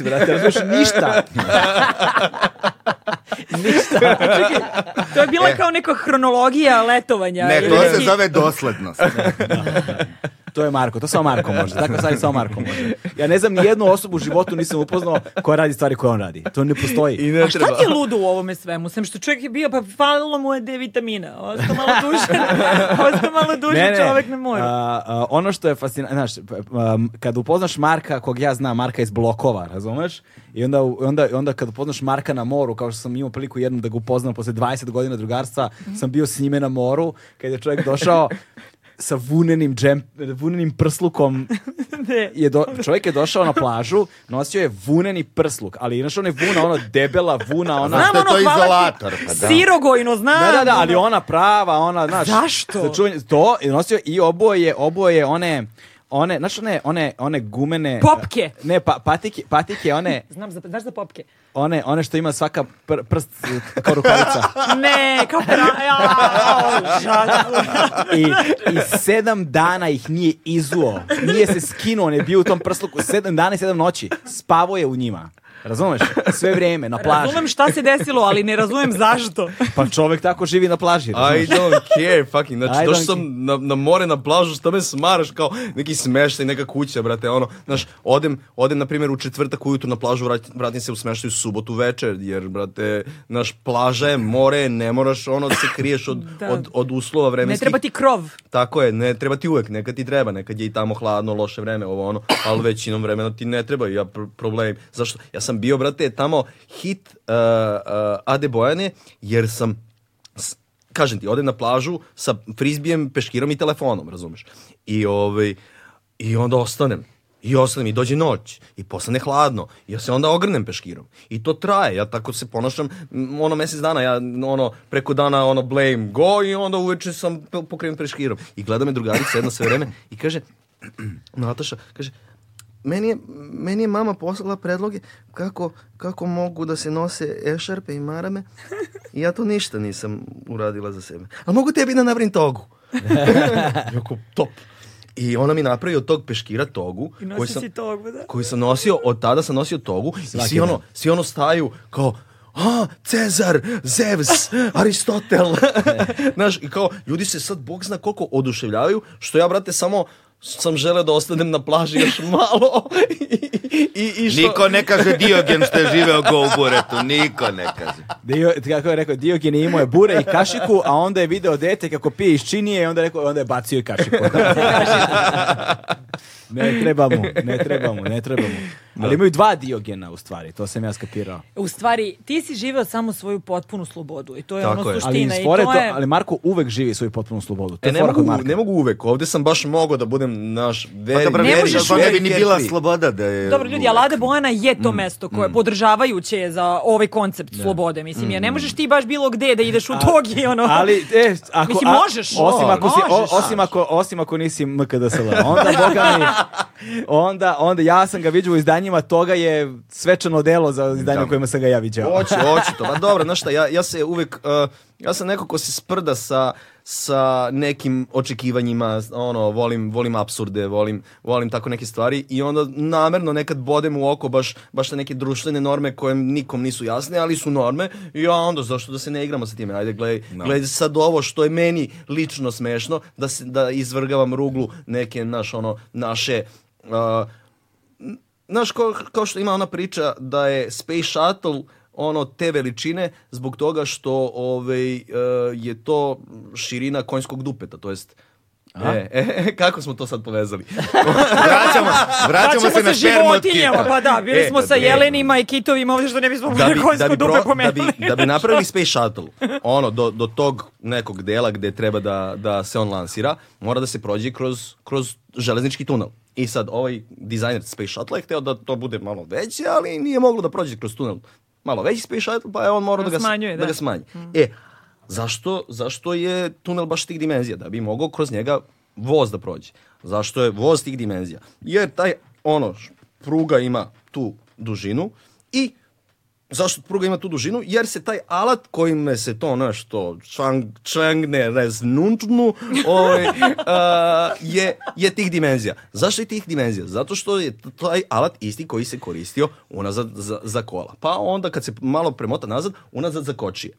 Speaker 1: 68, brate, razumiješ, ništa. ništa.
Speaker 5: To je bila
Speaker 4: E.
Speaker 5: kao neka hronologija letovanja. Znači,
Speaker 4: Ne,
Speaker 5: ili
Speaker 4: to se
Speaker 5: neki-
Speaker 4: zove
Speaker 5: *laughs*
Speaker 4: doslednost.
Speaker 1: To je Marko, to samo Marko može. Tako sad samo Marko može. Ja ne znam ni jednu osobu u životu nisam upoznao koja radi stvari koje on radi. To ne postoji.
Speaker 2: I
Speaker 5: *laughs*
Speaker 2: ne
Speaker 5: A šta ti je ludo u ovome svemu? Sem što čovjek je bio, pa falilo mu je D vitamina. Ostao malo
Speaker 4: *laughs*
Speaker 5: duže, ostao malo duže čovjek ne može.
Speaker 1: a, a, ono što je fascinantno, znaš, p- um, kad upoznaš Marka, kog ja znam, Marka iz blokova, razumeš? I onda, u- onda, onda kad upoznaš Marka na moru, kao što sam imao priliku jednom da ga upoznam posle 20 godina drugarstva,
Speaker 5: Mhm.
Speaker 1: sam bio s njime na moru, kad je čovjek došao sa vunenim, džem, vunenim prslukom
Speaker 5: *laughs* Ne.
Speaker 1: je do, čovjek je došao na plažu, nosio je vuneni prsluk, ali inače on je vuna, ono debela vuna, ona...
Speaker 4: Znam,
Speaker 5: Znam
Speaker 4: što je
Speaker 5: ono,
Speaker 4: to
Speaker 5: hvala ti,
Speaker 4: izolator, pa da.
Speaker 5: Sirogojno, znam.
Speaker 1: Da, da, da,
Speaker 5: ono.
Speaker 1: ali ona prava, ona, znaš...
Speaker 5: Zašto?
Speaker 1: za čuvanje- to, i nosio i oboje, oboje one, one, znaš one, one, one gumene...
Speaker 5: Popke.
Speaker 1: Ne, pa, patike, patike, one,
Speaker 5: Znam, za, znaš za popke?
Speaker 1: one, one što ima svaka pr- prst kao rukavica.
Speaker 5: Ne, kao pera...
Speaker 4: *laughs*
Speaker 5: Ja, užasno.
Speaker 1: I, I sedam dana ih nije izuo. Nije se skinuo, on je bio u tom prsluku sedam dana i sedam noći. Spavo je u njima. Razumeš? Sve vrijeme, na plaži.
Speaker 5: Razumem šta se desilo, ali ne razumem zašto.
Speaker 1: Pa čovjek tako živi na plaži.
Speaker 2: I
Speaker 1: razumeš?
Speaker 2: don't care, fucking. Znači,
Speaker 1: I
Speaker 2: došao
Speaker 1: don't
Speaker 2: sam na, na more, na plažu, šta me smaraš kao neki smeštaj, neka kuća, brate, ono. Znaš, odem, odem, na primjer, u četvrtak ujutru na plažu, vratim, vratim se u smeštaj u subotu večer, jer, brate, naš plaža je more, ne moraš, ono, da se kriješ od,
Speaker 5: *laughs* Da.
Speaker 2: od, od uslova
Speaker 5: Ne
Speaker 2: vremenskih.
Speaker 5: treba ti krov.
Speaker 2: Tako je, ne treba ti uvek, nekad ti treba, nekad je i tamo hladno, loše vreme, ovo ono, ali većinom vremena ti ne treba, ja pr- problem. Zašto? Ja sam bio, brate, tamo hit uh, uh, Ade Bojane, jer sam, s- kažem ti, odem na plažu sa frizbijem, peškirom i telefonom, razumeš? I, ovaj, i onda ostanem. I ostanem i dođe noć i postane hladno. I ja se onda ogrnem peškirom. I to traje. Ja tako se ponašam m, ono mjesec dana ja ono preko dana ono blame go i onda uveče sam p- pokriven peškirom. I gleda me drugarica jedno sve vreme i kaže *clears throat* Nataša, kaže meni je, meni je mama poslala predloge kako, kako mogu da se nose ešarpe i marame i ja to ništa nisam uradila za sebe. Ali mogu tebi da nabrim togu. *laughs* Jako top. I ona mi napravi od tog peškira togu.
Speaker 5: I
Speaker 2: koju
Speaker 5: nosi
Speaker 2: sam-
Speaker 5: si tog, da.
Speaker 2: koji sam nosio, od tada sam nosio togu i svi ono, svi ono staju kao a, Cezar, Zevs,
Speaker 4: *laughs*
Speaker 2: Aristotel. *laughs* Znaš, i kao, ljudi se sad, bog zna koliko oduševljavaju, što ja, brate, samo sam želeo da ostanem na plaži
Speaker 4: *laughs*
Speaker 2: još malo. *laughs* I, i, i što...
Speaker 4: Niko ne kaže Diogen što je živeo go u buretu. Niko ne kaže.
Speaker 1: Dio, kako je rekao, Diogen je imao je bure i kašiku, a onda je video dete kako pije iz činije i onda, je rekao, onda je bacio i kašiku.
Speaker 2: *laughs*
Speaker 1: ne trebamo, ne trebamo, ne trebamo. Ali imaju dva Diogena u stvari, to sam ja skapirao.
Speaker 5: U stvari, ti si živeo samo svoju potpunu slobodu i to je
Speaker 2: Tako
Speaker 5: ono
Speaker 2: je. Ali
Speaker 1: Ali,
Speaker 5: suština.
Speaker 1: iz
Speaker 5: i
Speaker 1: fore
Speaker 5: to
Speaker 1: to-
Speaker 5: je...
Speaker 1: ali Marko uvek živi svoju potpunu slobodu. To
Speaker 2: E,
Speaker 1: je
Speaker 2: ne
Speaker 1: fora kod
Speaker 2: mogu,
Speaker 1: Marka.
Speaker 2: ne mogu uvek, ovdje sam baš mogao da budem naš
Speaker 4: Pa
Speaker 2: very,
Speaker 4: dobro,
Speaker 2: very,
Speaker 4: ne
Speaker 5: možeš
Speaker 4: možeš, ne bi
Speaker 2: very
Speaker 4: ni bila
Speaker 2: carefree.
Speaker 4: sloboda da je...
Speaker 5: Dobro ljudi, Alade Bojana je
Speaker 2: Mm,
Speaker 5: to mesto koje podržavajuće je za ovaj koncept slobode, mislim,
Speaker 2: Mm.
Speaker 5: jer ne možeš ti baš bilo gde da ideš u togi, ono.
Speaker 1: Ali, e, ako,
Speaker 5: Mislim,
Speaker 1: a-
Speaker 5: možeš, ono,
Speaker 1: osim, ako si, o-
Speaker 5: možeš.
Speaker 1: osim, ako, osim ako nisi MKDSL, onda, boga mi, onda, onda ja sam ga vidio u izdanjima, toga je svečano delo za izdanje u kojima sam ga ja viđao.
Speaker 2: Hoću, hoću to. Pa dobro, znaš šta, ja, ja se uvek, uh, ja sam neko ko se sprda sa, sa nekim očekivanjima, ono, volim, volim absurde, volim, volim tako neke stvari i onda namerno nekad bodem u oko baš, baš te neke društvene norme koje nikom nisu jasne, ali su norme i ja onda zašto da se ne igramo sa time, ajde gledaj, gledaj sad ovo što je meni lično smešno, da, se, da izvrgavam ruglu neke, naš, ono, naše... uh, Znaš, kao, kao što ima ona priča da je Space Shuttle ono te veličine zbog toga što ovaj, e, je to širina konjskog dupeta, to jest E, *laughs* e, kako smo to sad povezali?
Speaker 4: Vraćamo,
Speaker 5: *laughs* Vraćamo
Speaker 4: vraćamo se na
Speaker 5: sa
Speaker 4: šermu od
Speaker 5: životinjama,
Speaker 4: kita.
Speaker 5: pa da, bili
Speaker 2: E,
Speaker 5: smo
Speaker 2: da,
Speaker 5: sa
Speaker 2: da.
Speaker 5: jelenima i kitovima ovdje što ne bismo *laughs*
Speaker 2: da
Speaker 5: mogli
Speaker 2: bi, da,
Speaker 5: konjsku
Speaker 2: bi
Speaker 5: dupe
Speaker 2: pro- da,
Speaker 5: pomenuli.
Speaker 2: bi, da bi napravili Space Shuttle, ono, do, do tog nekog dela gde treba da, da se on lansira, mora da se prođe kroz, krož železnički tunel. I sad ovaj dizajner Space Shuttle je hteo da to bude malo veće, ali nije moglo da prođe kroz tunel. Malo veći Space Shuttle, pa je on morao
Speaker 5: Da
Speaker 2: da, ga, s-
Speaker 5: smanjuje,
Speaker 2: da
Speaker 5: da. Mm.
Speaker 2: ga smanji. E, zašto, zašto je tunel baš tih dimenzija? Da bi mogao kroz njega voz da prođe. Zašto je voz tih dimenzija? Jer taj, ono, š- pruga ima tu dužinu i zašto pruga ima tu dužinu? Jer se taj alat kojim se to nešto čang, čangne reznuntnu ovaj, *laughs* a, je, je tih dimenzija. Zašto je tih dimenzija? Zato što je t- taj alat isti koji se koristio unazad za, za kola. Pa onda kad se malo premota nazad, unazad za kočije.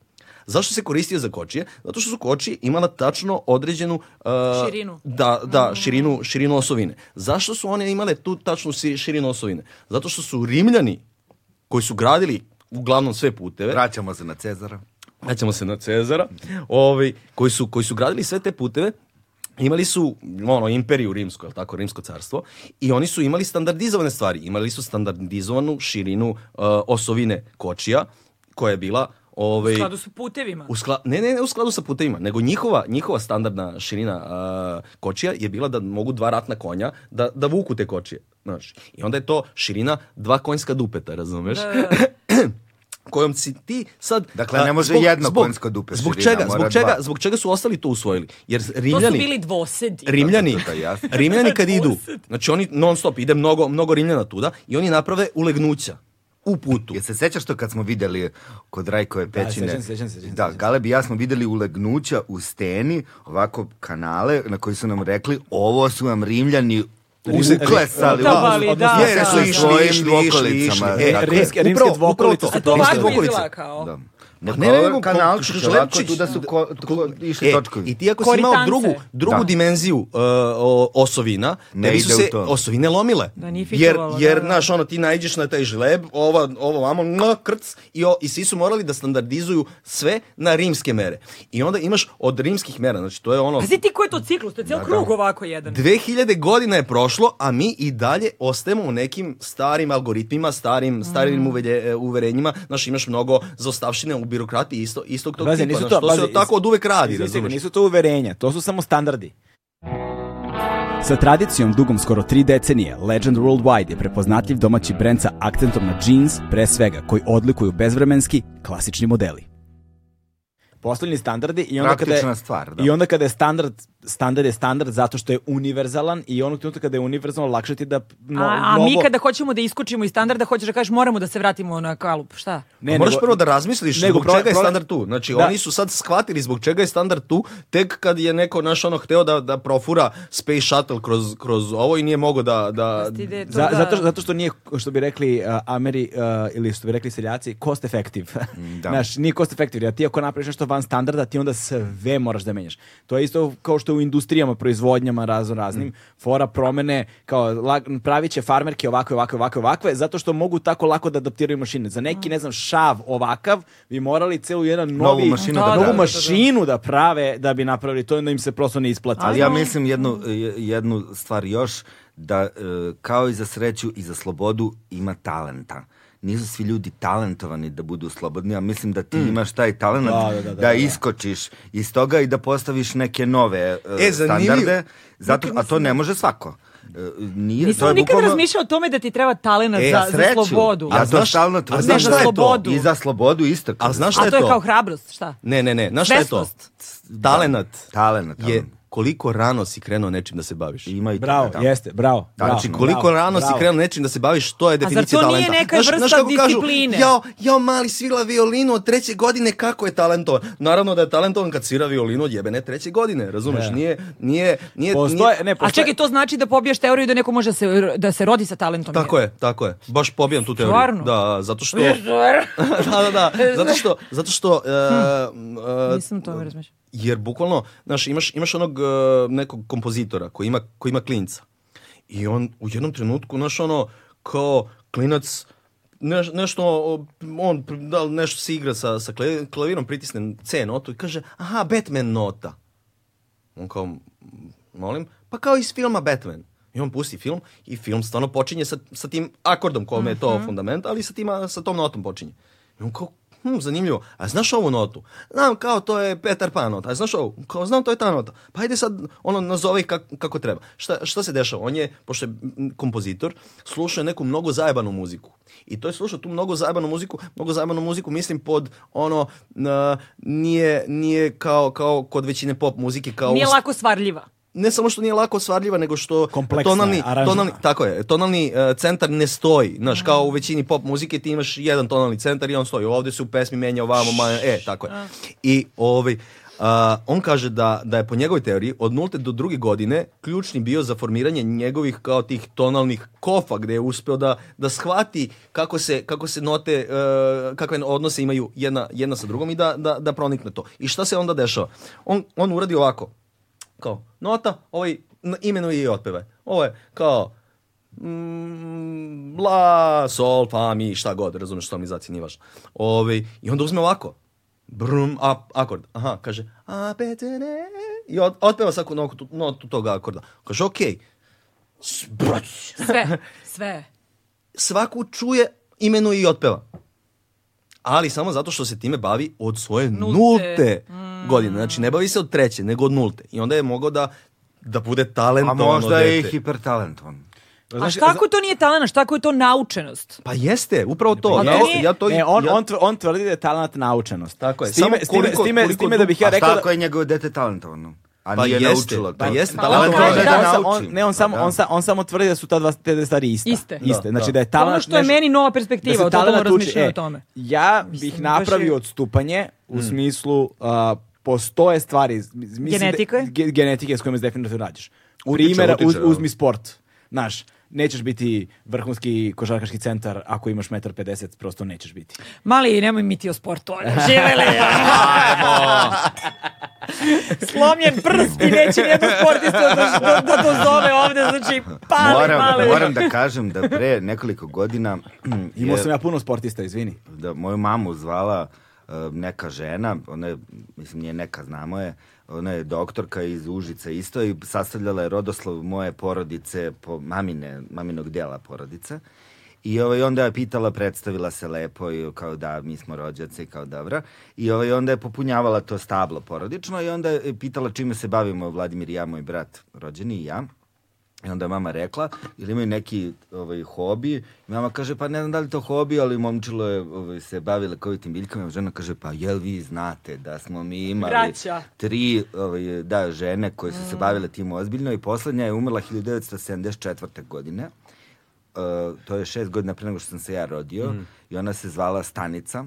Speaker 2: Zašto se koristio za kočije? Zato što su kočije imala tačno određenu a,
Speaker 3: Širinu.
Speaker 2: da, da, širinu, širinu osovine. Zašto su one imale tu tačnu si- širinu osovine? Zato što su Rimljani, koji su gradili uglavnom sve puteve,
Speaker 4: Vraćamo se na Cezara.
Speaker 2: vraćamo se na Cezara, ovaj, koji, su, koji su gradili sve te puteve, imali su ono, imperiju rimsku, jel tako, rimsko carstvo, i oni su imali standardizovane stvari. Imali su standardizovanu širinu eh, osovine kočija, koja je bila... Ovaj,
Speaker 5: U skladu su putevima.
Speaker 2: u skla- ne, ne, ne u skladu sa putevima, nego njihova, njihova standardna širina a, kočija je bila da mogu dva ratna konja da, da vuku te kočije. Znaš. I onda je to širina dva konjska dupeta, razumeš? *clears throat* kojom si ti sad...
Speaker 4: Dakle,
Speaker 2: a,
Speaker 4: ne može jedno konjsko dupe
Speaker 2: Zbog
Speaker 4: širina,
Speaker 2: čega,
Speaker 4: mora
Speaker 2: zbog čega,
Speaker 4: dva.
Speaker 2: zbog čega su ostali to usvojili? Jer
Speaker 3: To
Speaker 2: Rimljani...
Speaker 3: su bili dvosedi.
Speaker 2: Rimljani,
Speaker 4: Da, da, da,
Speaker 3: *laughs*
Speaker 4: jasno.
Speaker 2: Rimljani kad idu, znači oni non stop, ide mnogo, mnogo Rimljana tuda i oni naprave ulegnuća u putu.
Speaker 4: Jel se sećaš to kad smo videli kod Rajkove pećine?
Speaker 1: sećam se, sećam se, sećam se.
Speaker 4: Da, Galeb i ja smo videli ulegnuća u steni, ovako kanale na koji su nam rekli ovo su vam Rimljani uklesali.
Speaker 5: Da,
Speaker 4: ovo su-
Speaker 5: ali da,
Speaker 4: jer
Speaker 5: da.
Speaker 4: su išli,
Speaker 2: Svojim
Speaker 4: išli,
Speaker 2: dvokolicama,
Speaker 4: išli,
Speaker 2: e,
Speaker 4: tako je.
Speaker 1: rimske, rimske
Speaker 2: Upravo- upravo
Speaker 1: dvokolice
Speaker 2: to.
Speaker 1: su
Speaker 5: To
Speaker 2: Rimske
Speaker 5: ovako
Speaker 2: dvokolice.
Speaker 5: izgleda kao.
Speaker 4: Da.
Speaker 2: Ne,
Speaker 4: Ne, ne,
Speaker 2: ne,
Speaker 4: nego
Speaker 2: nego
Speaker 4: kanalčić,
Speaker 2: ko-
Speaker 4: ovako
Speaker 2: šlepčić.
Speaker 4: tu da su ko, ko, išli
Speaker 2: E,
Speaker 4: točkovi.
Speaker 2: I ti ako si imao
Speaker 5: Koritance.
Speaker 2: drugu, drugu
Speaker 4: Da.
Speaker 2: dimenziju uh, o- osovina,
Speaker 4: Ne
Speaker 2: ne su
Speaker 4: ide u
Speaker 2: se
Speaker 4: to.
Speaker 2: osovine lomile.
Speaker 5: Da, nije
Speaker 2: jer,
Speaker 5: fitovalo,
Speaker 2: jer
Speaker 5: da, da.
Speaker 2: znaš, ono, ti naiđeš na taj žleb, ova, ovo vamo, na, krc, i, o, i svi su morali da standardizuju sve na rimske mere. I onda imaš od rimskih mera, znači to je ono...
Speaker 5: Pazi ti ko je to ciklus, to je cijel krug ovako jedan.
Speaker 2: 2000 godina je prošlo, a mi i dalje ostajemo u nekim starim algoritmima, starim,
Speaker 1: Mm.
Speaker 2: starim uvelje- e, uverenjima. Znaš, imaš mnogo zaostavštine u birokratiji isto, istog tog
Speaker 1: Pazi,
Speaker 2: tipa.
Speaker 1: nisu
Speaker 2: znaš,
Speaker 1: to-
Speaker 2: to
Speaker 1: pazi,
Speaker 2: se tako od uvek radi,
Speaker 1: Izvinite,
Speaker 2: razumeš?
Speaker 1: Nisu to uverenja, to su samo standardi.
Speaker 6: Sa tradicijom dugom skoro tri decenije, Legend Worldwide je prepoznatljiv domaći brend sa akcentom na jeans, pre svega, koji odlikuju bezvremenski, klasični modeli.
Speaker 1: Postavljeni standardi i onda kada
Speaker 4: Praktična
Speaker 1: je,
Speaker 4: stvar, da.
Speaker 1: i onda kada je standard standard je standard zato što je univerzalan i onog trenutka kada je univerzalan lakše ti da no,
Speaker 5: a, a
Speaker 1: novo-
Speaker 5: mi kada hoćemo da iskočimo iz standarda, hoćeš da kažeš moramo da se vratimo na kalup, šta?
Speaker 1: ne,
Speaker 2: Pa Moraš
Speaker 1: nego-
Speaker 2: prvo da razmisliš
Speaker 1: nego
Speaker 2: zbog
Speaker 1: pro-
Speaker 2: čega je
Speaker 1: pro-
Speaker 2: standard tu. Znači,
Speaker 1: Da.
Speaker 2: oni su sad shvatili zbog čega je standard tu, tek kad je neko naš ono hteo da, da profura Space Shuttle kroz, kroz ovo i nije mogao da... da
Speaker 5: Ti ide E to
Speaker 1: Za-
Speaker 5: da-
Speaker 1: zato, što- zato što nije, što bi rekli uh, Ameri, uh, ili što bi rekli seljaci, cost effective. *laughs*
Speaker 4: da.
Speaker 1: Znaš, nije cost effective, jer ti ako napraviš nešto van standarda, ti onda sve moraš da menjaš. To je isto kao što u industrijama, proizvodnjama, razno raznim, fora promene, kao lag- pravit će farmerke ovakve, ovakve, ovakve, ovakve, zato što mogu tako lako da adaptiraju mašine. Za neki, ne znam, šav ovakav, bi morali celu jedan novi,
Speaker 4: mašinu
Speaker 5: da
Speaker 1: novu
Speaker 5: prave.
Speaker 1: mašinu da prave da bi napravili, to da im se prosto ne isplati.
Speaker 4: Ali ja mislim jednu, je- jednu stvar još, da e, kao i za sreću i za slobodu ima talenta. Nisu svi ljudi talentovani da budu slobodni, a mislim da ti imaš taj talent da,
Speaker 1: Da, da, da, da,
Speaker 4: iskočiš iz toga i da postaviš neke nove e,
Speaker 2: E, zanimljiv-
Speaker 4: standarde, zato, a to ne može svako. E, nije, to je
Speaker 5: Nisam nikad
Speaker 4: bukvalno-
Speaker 5: razmišljao o tome da ti treba talenat
Speaker 4: E,
Speaker 5: za, za
Speaker 4: za sreću.
Speaker 5: slobodu.
Speaker 4: Ja
Speaker 2: A
Speaker 4: to
Speaker 2: znaš-
Speaker 4: stalno
Speaker 2: a
Speaker 4: tvrdim.
Speaker 5: znaš šta je to?
Speaker 4: I za slobodu isto.
Speaker 2: A znaš šta
Speaker 5: A
Speaker 2: je
Speaker 5: to
Speaker 2: to?
Speaker 5: je kao hrabrost, šta?
Speaker 2: Ne, ne, ne. Znaš šta je to?
Speaker 5: Svesnost.
Speaker 2: Talenat.
Speaker 4: Talenat,
Speaker 2: Je
Speaker 4: talenat.
Speaker 2: koliko rano si krenuo nečim da se baviš.
Speaker 4: Ima i
Speaker 1: Bravo,
Speaker 4: toga, da.
Speaker 1: jeste, bravo. bravo,
Speaker 2: Znači, koliko
Speaker 1: bravo,
Speaker 2: rano si
Speaker 1: bravo.
Speaker 2: krenuo nečim da se baviš, to je
Speaker 5: zar
Speaker 2: definicija
Speaker 5: to
Speaker 2: talenta.
Speaker 5: nije neka vrsta
Speaker 2: kako kažu,
Speaker 5: discipline?
Speaker 2: jao, jao, mali svira violinu od treće godine, kako je talentovan? Naravno da je talentovan kad svira violinu od jebene treće godine, razumeš? Nije, nije, nije...
Speaker 1: Postoje,
Speaker 2: nije-
Speaker 1: ne,
Speaker 5: A
Speaker 1: postoje,
Speaker 5: čekaj, to znači da pobijaš teoriju da neko može da se, da se rodi sa talentom.
Speaker 2: Tako je, tako je. Baš pobijam tu teoriju.
Speaker 5: Stvarno?
Speaker 2: Da, zato što... *laughs* da, da, da. Zato što... Zato što e,
Speaker 5: *laughs*
Speaker 2: e,
Speaker 5: Hm. Nisam o tome razmišljao.
Speaker 2: Jer bukvalno, znaš, imaš, imaš onog e, nekog kompozitora koji ima, koji ima klinca. I on u jednom trenutku, znaš, ono, kao klinac, neš- nešto, o, on, da li nešto se igra sa, sa kle- klavirom, pritisne C notu i kaže, aha, Batman nota. On kao, "M, molim, pa kao iz filma Batman. I on pusti film i film stvarno počinje sa, sa tim akordom kome je to fundament, ali sa, tim, sa tom notom počinje. I on kao, hm, zanimljivo, a znaš ovu notu? Znam, kao to je Petar Pan nota, a znaš ovu? Kao, znam, to je ta nota. Pa ajde sad, ono, nazove ih kako, kako treba. Šta, šta se dešava? On je, pošto je mm, kompozitor, slušao je neku mnogo zajebanu muziku. I to je slušao tu mnogo zajebanu muziku, mnogo zajebanu muziku, mislim, pod ono, na, nije, nije kao, kao kod većine pop muzike, kao
Speaker 3: Nije
Speaker 2: u-
Speaker 3: lako stvarljiva.
Speaker 2: ne samo što nije lako ostvarljiva, nego što
Speaker 1: Kompleksna je, aranžirana.
Speaker 2: tonalni, tako je, tonalni e, centar ne stoji. Znaš, kao u većini pop muzike ti imaš jedan tonalni centar i on stoji. Ovdje se u pesmi menja ovamo, ma, e, tako je. I ovaj, a, on kaže da, da je po njegovoj teoriji od nulte do druge godine ključni bio za formiranje njegovih kao tih tonalnih kofa gdje je uspio da, da shvati kako se, kako se note, e, kakve odnose imaju jedna, jedna sa drugom i da, da, da pronikne to. I šta se onda dešava? On, on uradi ovako kao nota, ovaj n- imenuje i otpeva. Ovo je kao mm, la, sol, fa, mi, šta god, razumeš što mi zaci, nije važno. Ovaj, I onda uzme ovako, brum, a, akord, aha, kaže, a, be, te, ne, i od, otpeva svaku notu, notu tog akorda. Kaže, okej, S- brat,
Speaker 3: Sve, sve.
Speaker 2: svaku čuje, imenuje i otpeva. Ali samo zato što se time bavi od svoje nulte, godine. Znači, ne bavi se od treće, nego od nulte. I onda je mogao da, da bude
Speaker 4: A
Speaker 2: talentovan
Speaker 4: možda je i
Speaker 2: dete.
Speaker 4: hipertalentovan.
Speaker 3: A šta ako to nije talent, šta ako je to naučenost?
Speaker 2: Pa jeste, upravo to.
Speaker 3: Pa
Speaker 2: Ja,
Speaker 3: meni-
Speaker 2: ja to
Speaker 1: Ne, on,
Speaker 2: ja-
Speaker 1: on, tv- on tvrdi da je talent naučenost.
Speaker 2: Tako je,
Speaker 1: S time,
Speaker 2: samo
Speaker 1: s time-
Speaker 2: koliko-
Speaker 1: s time- s
Speaker 2: koliko
Speaker 1: time da bih ja
Speaker 4: A
Speaker 1: rekao
Speaker 4: šta
Speaker 1: da...
Speaker 4: ako je njegovo dete talentovano? A
Speaker 2: Pa
Speaker 4: nije
Speaker 2: jeste,
Speaker 4: naučilo to.
Speaker 2: pa jeste,
Speaker 4: Pa
Speaker 2: talentovan
Speaker 4: on kaže
Speaker 3: je.
Speaker 4: da
Speaker 1: on sa-
Speaker 4: nauči.
Speaker 1: on- ne, on samo,
Speaker 4: Pa da.
Speaker 1: on, sa- on samo tvrdi da su ta dva te dve stvari iste.
Speaker 3: Iste.
Speaker 1: Iste.
Speaker 2: Da,
Speaker 1: znači
Speaker 2: da.
Speaker 1: da je talent...
Speaker 3: ono što je
Speaker 1: nešto-
Speaker 3: meni nova perspektiva, o
Speaker 1: se
Speaker 3: totalno
Speaker 1: talenat uči.
Speaker 3: razmišljam
Speaker 1: E,
Speaker 3: o tome.
Speaker 1: Ja bih
Speaker 5: Mislim, baš
Speaker 1: napravio
Speaker 5: je-
Speaker 1: odstupanje u smislu a, postoje stvari. z- Mislim, da-
Speaker 3: Genetike?
Speaker 1: ge- genetike s kojima se definitivno rađaš. U
Speaker 2: Utiče,
Speaker 1: primjera, uz-
Speaker 2: utiče, da.
Speaker 1: uzmi sport. Znaš, nećeš biti vrhunski košarkaški centar ako imaš 1,50 m, prosto nećeš biti.
Speaker 3: Mali, nemoj mi ti o sportu,
Speaker 4: *laughs*
Speaker 3: ono, živele. Slomljen prst i neće nijedno sportistu da, da, da to zove ovde, znači
Speaker 1: pa
Speaker 3: pali,
Speaker 4: Moram,
Speaker 3: mali.
Speaker 4: moram da kažem da pre nekoliko godina
Speaker 1: *clears throat* Imao
Speaker 4: je-
Speaker 1: sam ja puno sportista, izvini.
Speaker 4: da moju mamu zvala e, neka žena, ona je, mislim nije neka, znamo je, ona je doktorka iz Užica isto i sastavljala je rodoslov moje porodice, po mamine, maminog dela porodice. I ovaj, onda je pitala, predstavila se lepo i kao da mi smo rođaci kao dobra. I ovaj, onda je popunjavala to stablo porodično i onda je pitala čime se bavimo Vladimir i ja, moj brat rođeni i ja. I onda je mama rekla, ili imaju neki ovaj, hobi. I mama kaže, pa ne znam da li to hobi, ali momčilo je ovaj, se bavi lekovitim biljkama. I Žena kaže, pa jel vi znate da smo mi imali
Speaker 3: Braća. Mm.
Speaker 4: tri ovaj, da, žene koje su se bavile tim ozbiljno i poslednja je umrla 1974. godine. E, to je šest godina pre nego što sam se ja rodio
Speaker 3: Mm.
Speaker 4: i ona se zvala Stanica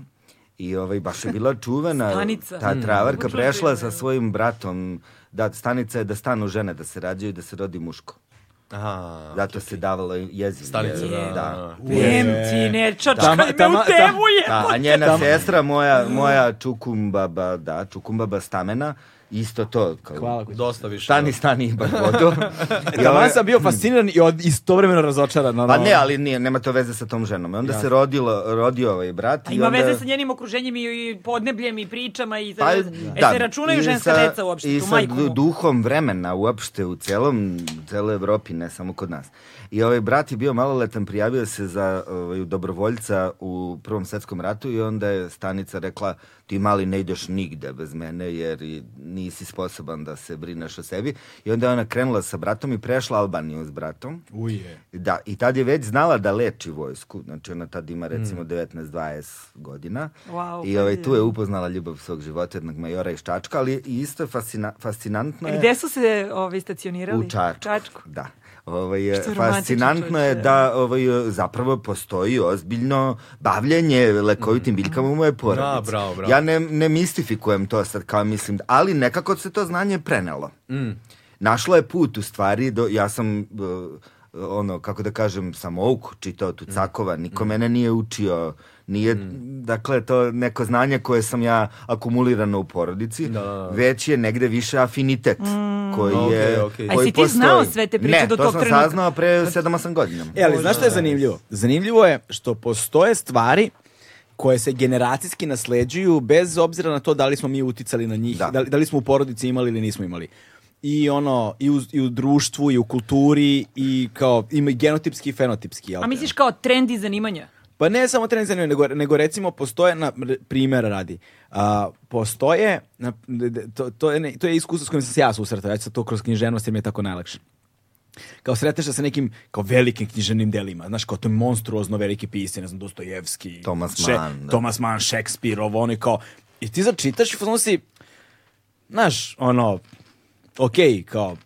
Speaker 4: i ovaj, baš je bila čuvena
Speaker 3: *laughs* Stanica.
Speaker 4: ta
Speaker 3: Mm.
Speaker 4: travarka
Speaker 3: Zvučilo
Speaker 4: prešla
Speaker 3: divno,
Speaker 4: sa svojim bratom da Stanica je da stanu žene, da se rađaju i da se rodi muško
Speaker 2: Aha.
Speaker 4: zato se davalo jezivo.
Speaker 2: Stanica, da, da,
Speaker 4: da.
Speaker 2: da.
Speaker 3: Vem ti, ne, čačkaj
Speaker 1: Tama-
Speaker 3: me
Speaker 1: tama-
Speaker 3: u temu,
Speaker 1: tam-
Speaker 3: je.
Speaker 4: Da, a njena sestra, moja, moja čukumbaba, da, čukumbaba stamena, isto to. Kao,
Speaker 1: Hvala. kući.
Speaker 2: Dosta više.
Speaker 4: Stani, stani, iba
Speaker 2: *laughs*
Speaker 4: vodu. I
Speaker 1: Taman
Speaker 4: ovaj-
Speaker 1: sam bio fasciniran i od, istovremeno razočaran. ono.
Speaker 4: Pa ne, ali nije, nema to veze sa tom ženom. I onda se rodilo, rodio ovaj brat.
Speaker 3: A
Speaker 4: i
Speaker 3: ima
Speaker 4: onda...
Speaker 3: veze sa njenim okruženjem i podnebljem i pričama i
Speaker 4: Pa,
Speaker 3: e, se računaju
Speaker 4: i
Speaker 3: ženska
Speaker 4: sa-
Speaker 3: deca uopšte,
Speaker 4: I
Speaker 3: tu
Speaker 4: sa
Speaker 3: majku
Speaker 4: du-
Speaker 3: mu.
Speaker 4: duhom vremena uopšte u celom, celoj Evropi, ne samo kod nas. I ovaj brat je bio maloletan, prijavio se za ovaj, dobrovoljca u Prvom svetskom ratu i onda je stanica rekla ti mali ne ideš nigde bez mene jer i nisi sposoban da se brineš o sebi. I onda je ona krenula sa bratom i prešla Albaniju s bratom.
Speaker 1: Uje.
Speaker 4: Da, i tad je već znala da leči vojsku. Znači ona tad ima recimo 19-20 godina.
Speaker 3: Wow, pa
Speaker 4: I ovaj, tu je upoznala ljubav svog života, jednog majora iz Čačka, ali i isto je fascina- fascinantno je...
Speaker 3: E, Gde su se ovi stacionirali?
Speaker 4: U Čačku.
Speaker 3: Čačku.
Speaker 4: Da. Ovaj, je,
Speaker 3: Što je romantično
Speaker 4: fascinantno je
Speaker 3: čovječe.
Speaker 4: da ovaj, zapravo postoji ozbiljno bavljenje lekovitim biljkama u moje porodici.
Speaker 2: Da, bravo, bravo.
Speaker 4: Ja ne, ne mistifikujem to sad kao mislim, ali nekako se to znanje prenelo.
Speaker 2: Mm.
Speaker 4: Našlo je put u stvari, do, ja sam eh, ono, kako da kažem, samouk čitao
Speaker 2: Mm.
Speaker 4: Tucakova, niko mene nije učio, nije, dakle, to neko znanje koje sam ja akumulirano u porodici, već je negde više afinitet
Speaker 3: Mm.
Speaker 4: koji
Speaker 2: Okej,
Speaker 4: je...
Speaker 2: okej.
Speaker 4: koji
Speaker 3: A jesi ti znao
Speaker 4: postoji.
Speaker 3: sve te priče
Speaker 4: ne,
Speaker 3: do
Speaker 4: to
Speaker 3: tog
Speaker 4: sam
Speaker 3: trenutka?
Speaker 4: saznao pre 7-8 godina.
Speaker 1: E, ali znaš što je zanimljivo? Zanimljivo je što postoje stvari koje se generacijski nasleđuju bez obzira na to da li smo mi uticali na njih, da,
Speaker 4: Da.
Speaker 1: li, da li smo u porodici imali ili nismo imali. I ono, i u, i u društvu, i u kulturi, i kao, ima i genotipski i fenotipski. jel
Speaker 3: A
Speaker 1: te?
Speaker 3: misliš kao trendi zanimanja?
Speaker 1: Pa ne samo trening zanimanja, nego, nego recimo postoje, na r- primjera radi, a, postoje, na, d- d- to, to, je, ne- to je iskustvo s kojim sam se ja susretao, ja ću sad to kroz književnost jer mi je tako najlakše. Kao sreteš se sa nekim kao velikim književnim delima, znaš, kao to je monstruozno veliki pisci, ne znam, Dostojevski,
Speaker 4: Thomas Mann, da.
Speaker 1: Thomas Mann, Shakespeare, ovo ono i kao, i ti začitaš i fazon si, znaš, ono, okej, kao,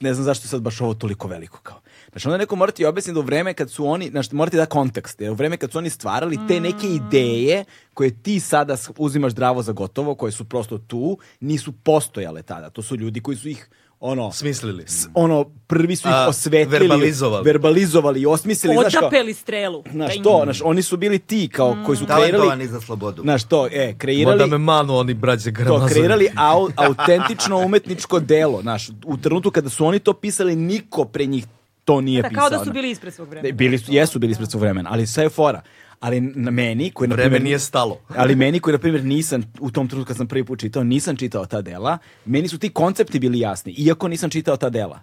Speaker 1: ne znam zašto je sad baš ovo toliko veliko, kao. Znači, onda neko mora ti objasniti da u vreme kad su oni, znači, mora ti da kontekst, jer u vreme kad su oni stvarali te
Speaker 2: Mm.
Speaker 1: neke ideje koje ti sada s- uzimaš zdravo za gotovo, koje su prosto tu, nisu postojale tada. To su ljudi koji su ih, ono...
Speaker 2: Smislili.
Speaker 1: s- ono, prvi su ih
Speaker 2: A,
Speaker 1: osvetlili.
Speaker 2: verbalizovali.
Speaker 1: verbalizovali i osmislili. znaš, kao-
Speaker 3: Odapeli strelu.
Speaker 1: Znaš,
Speaker 3: Da im-
Speaker 4: ono
Speaker 1: to, znaš, oni su bili ti kao, koji su kreirali...
Speaker 4: Talentovani za slobodu.
Speaker 1: Znaš, to, e, kreirali
Speaker 2: Onda Mm. me manu oni
Speaker 1: to
Speaker 2: braće Gramazovi.
Speaker 1: kreirali au, autentično umetničko delo, znaš, u trenutku kada su oni to pisali, niko pre njih to nije
Speaker 3: Da,
Speaker 1: pisao.
Speaker 3: kao da su
Speaker 1: znaš.
Speaker 3: bili ispred svog
Speaker 1: Da,
Speaker 3: vremena.
Speaker 1: bili su, jesu bili ispred svog vremena, ali sve je fora. Ali na meni, koji na
Speaker 2: Vreme
Speaker 1: primjer,
Speaker 2: nije stalo.
Speaker 1: *laughs* ali meni koji, na primjer, nisam, u tom trenutku kad sam prvi put čitao, nisam čitao ta dela, meni su ti koncepti bili jasni, iako nisam čitao ta dela.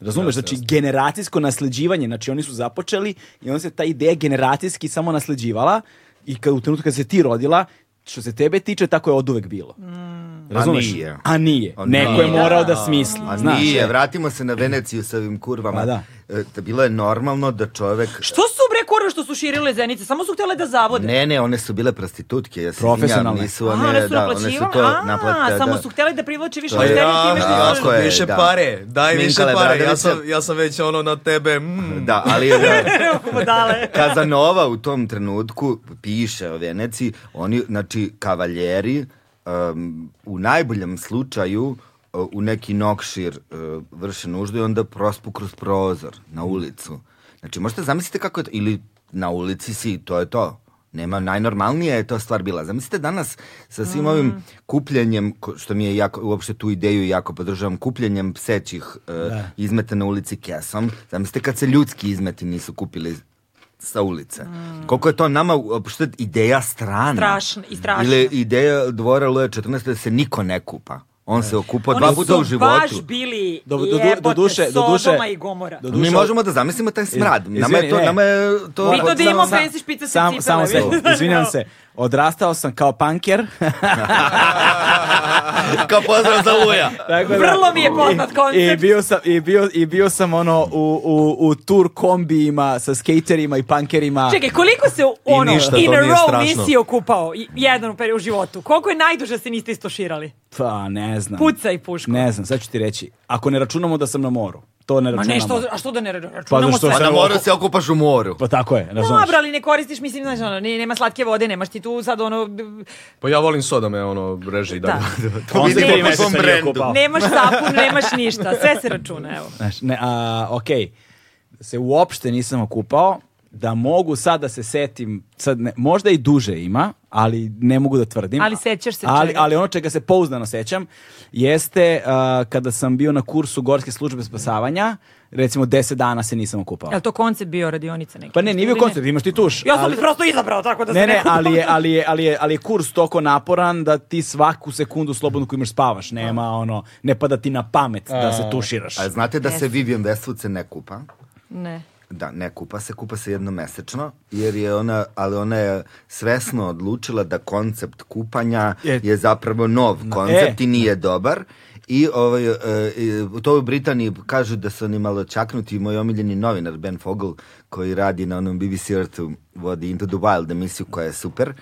Speaker 1: Razumeš, znači generacijsko nasleđivanje, znači oni su započeli i onda se ta ideja generacijski samo nasleđivala i kad, u trenutku kad se ti rodila, što se tebe tiče, tako je od uvek bilo. Razumeš?
Speaker 4: Pa nije.
Speaker 1: A nije.
Speaker 4: A
Speaker 1: Neko
Speaker 4: nije.
Speaker 1: je morao da smisli.
Speaker 4: A
Speaker 1: znaš,
Speaker 4: nije,
Speaker 1: e.
Speaker 4: vratimo se na Veneciju sa ovim kurvama.
Speaker 1: Pa da.
Speaker 4: E, da bilo je normalno da čovek...
Speaker 3: Što su bre kurve što su širile zenice? Samo su htjele da zavode.
Speaker 4: Ne, ne, one su bile prostitutke, ja se
Speaker 1: Profesionalne.
Speaker 4: izvinjam, nisu
Speaker 3: A,
Speaker 4: one,
Speaker 3: one su
Speaker 4: da, one su
Speaker 3: naplaćivale?
Speaker 4: to
Speaker 3: A,
Speaker 4: naplate,
Speaker 3: samo
Speaker 4: da.
Speaker 3: su htjele da privlače više
Speaker 4: To je-
Speaker 3: žene
Speaker 2: Ja,
Speaker 3: time što
Speaker 4: da,
Speaker 3: su- *laughs*
Speaker 4: tako je,
Speaker 2: više
Speaker 4: da.
Speaker 2: pare, daj više
Speaker 4: Minkale
Speaker 2: pare, ja
Speaker 4: Bradovića.
Speaker 2: sam, ja sam već ono na tebe, mm.
Speaker 4: Da,
Speaker 3: *laughs*
Speaker 4: ali da,
Speaker 3: Budale.
Speaker 4: Kazanova u tom trenutku piše o Veneciji, oni, znači, kavaljeri, um, u najboljem slučaju uh, u neki nokšir uh, vrše nuždu i onda prospu kroz prozor na ulicu. Znači, možete zamislite kako je to, ili na ulici si, to je to. Nema, najnormalnija je to stvar bila. Zamislite danas sa svim ovim kupljenjem, ko- što mi je jako, uopšte tu ideju jako podržavam, kupljenjem psećih e, izmeta na ulici kesom. Zamislite kad se ljudski izmeti nisu kupili sa ulice. Koliko je to nama uopšte ideja strana.
Speaker 3: Strašna i strašna.
Speaker 4: Ili ideja dvora Luje 14 da se niko ne kupa. On
Speaker 1: E.
Speaker 4: se okupa dva
Speaker 3: Oni
Speaker 4: puta
Speaker 3: su
Speaker 4: u životu.
Speaker 3: baš bili
Speaker 1: Do- do- do-
Speaker 3: jebote
Speaker 1: doduše- doduše-
Speaker 3: Sodoma i Gomora.
Speaker 1: do-
Speaker 4: Mi
Speaker 1: Dušo-
Speaker 4: možemo da zamislimo taj smrad.
Speaker 1: Iz-
Speaker 4: nama
Speaker 1: izvini,
Speaker 4: je
Speaker 1: e.
Speaker 4: to...
Speaker 1: ne.
Speaker 4: Nama je to
Speaker 3: Vito
Speaker 1: Pa Samo-
Speaker 3: da imamo
Speaker 1: samo-
Speaker 3: fancy špice sa
Speaker 1: sam-
Speaker 3: cipele,
Speaker 1: Samo
Speaker 3: vidiš?
Speaker 1: sekund, izvinjam
Speaker 3: *laughs*
Speaker 1: se. Odrastao sam kao panker.
Speaker 2: *laughs* Kao pozdrav za Luja.
Speaker 1: Tako da-
Speaker 3: Vrlo mi je poznat
Speaker 1: I-
Speaker 3: koncept.
Speaker 1: I bio sam, i bio, i bio sam ono u, u, u tur kombijima sa skaterima i punkerima.
Speaker 3: Čekaj, koliko se ono
Speaker 2: ništa, to
Speaker 3: in a
Speaker 2: nije
Speaker 3: row
Speaker 2: strašno.
Speaker 3: nisi okupao i- jedan u periodu u životu? Koliko je najduže se niste istoširali?
Speaker 1: Pa, ne znam.
Speaker 3: Pucaj puško.
Speaker 1: Ne znam, sad ću ti reći. Ako ne računamo da sam na moru, to ne
Speaker 3: Ma
Speaker 1: računamo.
Speaker 3: ne, što, Znači, a što da ne ra-
Speaker 1: Pa
Speaker 3: računamo
Speaker 1: zato što
Speaker 3: sve?
Speaker 4: Pa na
Speaker 1: sam...
Speaker 4: moru se okupaš u moru.
Speaker 1: Pa tako je, razumiješ.
Speaker 3: Dobro, ali ne koristiš, mislim, znaš, ono, ne- nema slatke vode, nemaš ti tu sad ono... b- b-
Speaker 2: Pa ja volim soda me ono reži i
Speaker 3: Da.
Speaker 2: dalje.
Speaker 3: *laughs*
Speaker 4: To
Speaker 1: On se
Speaker 4: vidimo
Speaker 1: tri
Speaker 4: po
Speaker 1: meseca
Speaker 4: svom
Speaker 1: nije
Speaker 4: brendu.
Speaker 1: okupao.
Speaker 3: Nemaš sapun, nemaš ništa, sve se računa, evo.
Speaker 1: Znaš, ne, a, okej, se uopšte nisam okupao, da mogu sad da se setim, sad ne, možda i duže ima, ali ne mogu da tvrdim.
Speaker 3: Ali sećaš se
Speaker 1: ali,
Speaker 3: čega?
Speaker 1: Ali ono čega se pouzdano sećam jeste a, kada sam bio na kursu Gorske službe spasavanja, recimo 10 dana se nisam okupao.
Speaker 3: Je li to koncept bio radionica neki?
Speaker 1: Pa ne, nije bio koncept, imaš ti tuš.
Speaker 3: Ja sam
Speaker 1: ali-
Speaker 3: ih prosto izabrao tako da se
Speaker 1: ne, ne,
Speaker 3: nekako-
Speaker 1: ali je, ali, je, ali, je, ali je kurs toliko naporan da ti svaku sekundu slobodno koju imaš spavaš. Nema ono, ne pada ti na pamet da se tuširaš.
Speaker 4: A znate da se Vivian Westwood se ne kupa?
Speaker 3: Ne.
Speaker 4: Da, ne kupa se, kupa se jednomesečno, jer je ona, ali ona je svesno odlučila da koncept kupanja
Speaker 1: Je-
Speaker 4: je, zapravo nov koncept
Speaker 1: e.
Speaker 4: i nije dobar. I ovaj, e, e, to u Britaniji kažu da su oni malo čaknuti. Moj omiljeni novinar Ben Fogel, koji radi na onom BBC Earthu, vodi Into the Wild emisiju koja je super, e,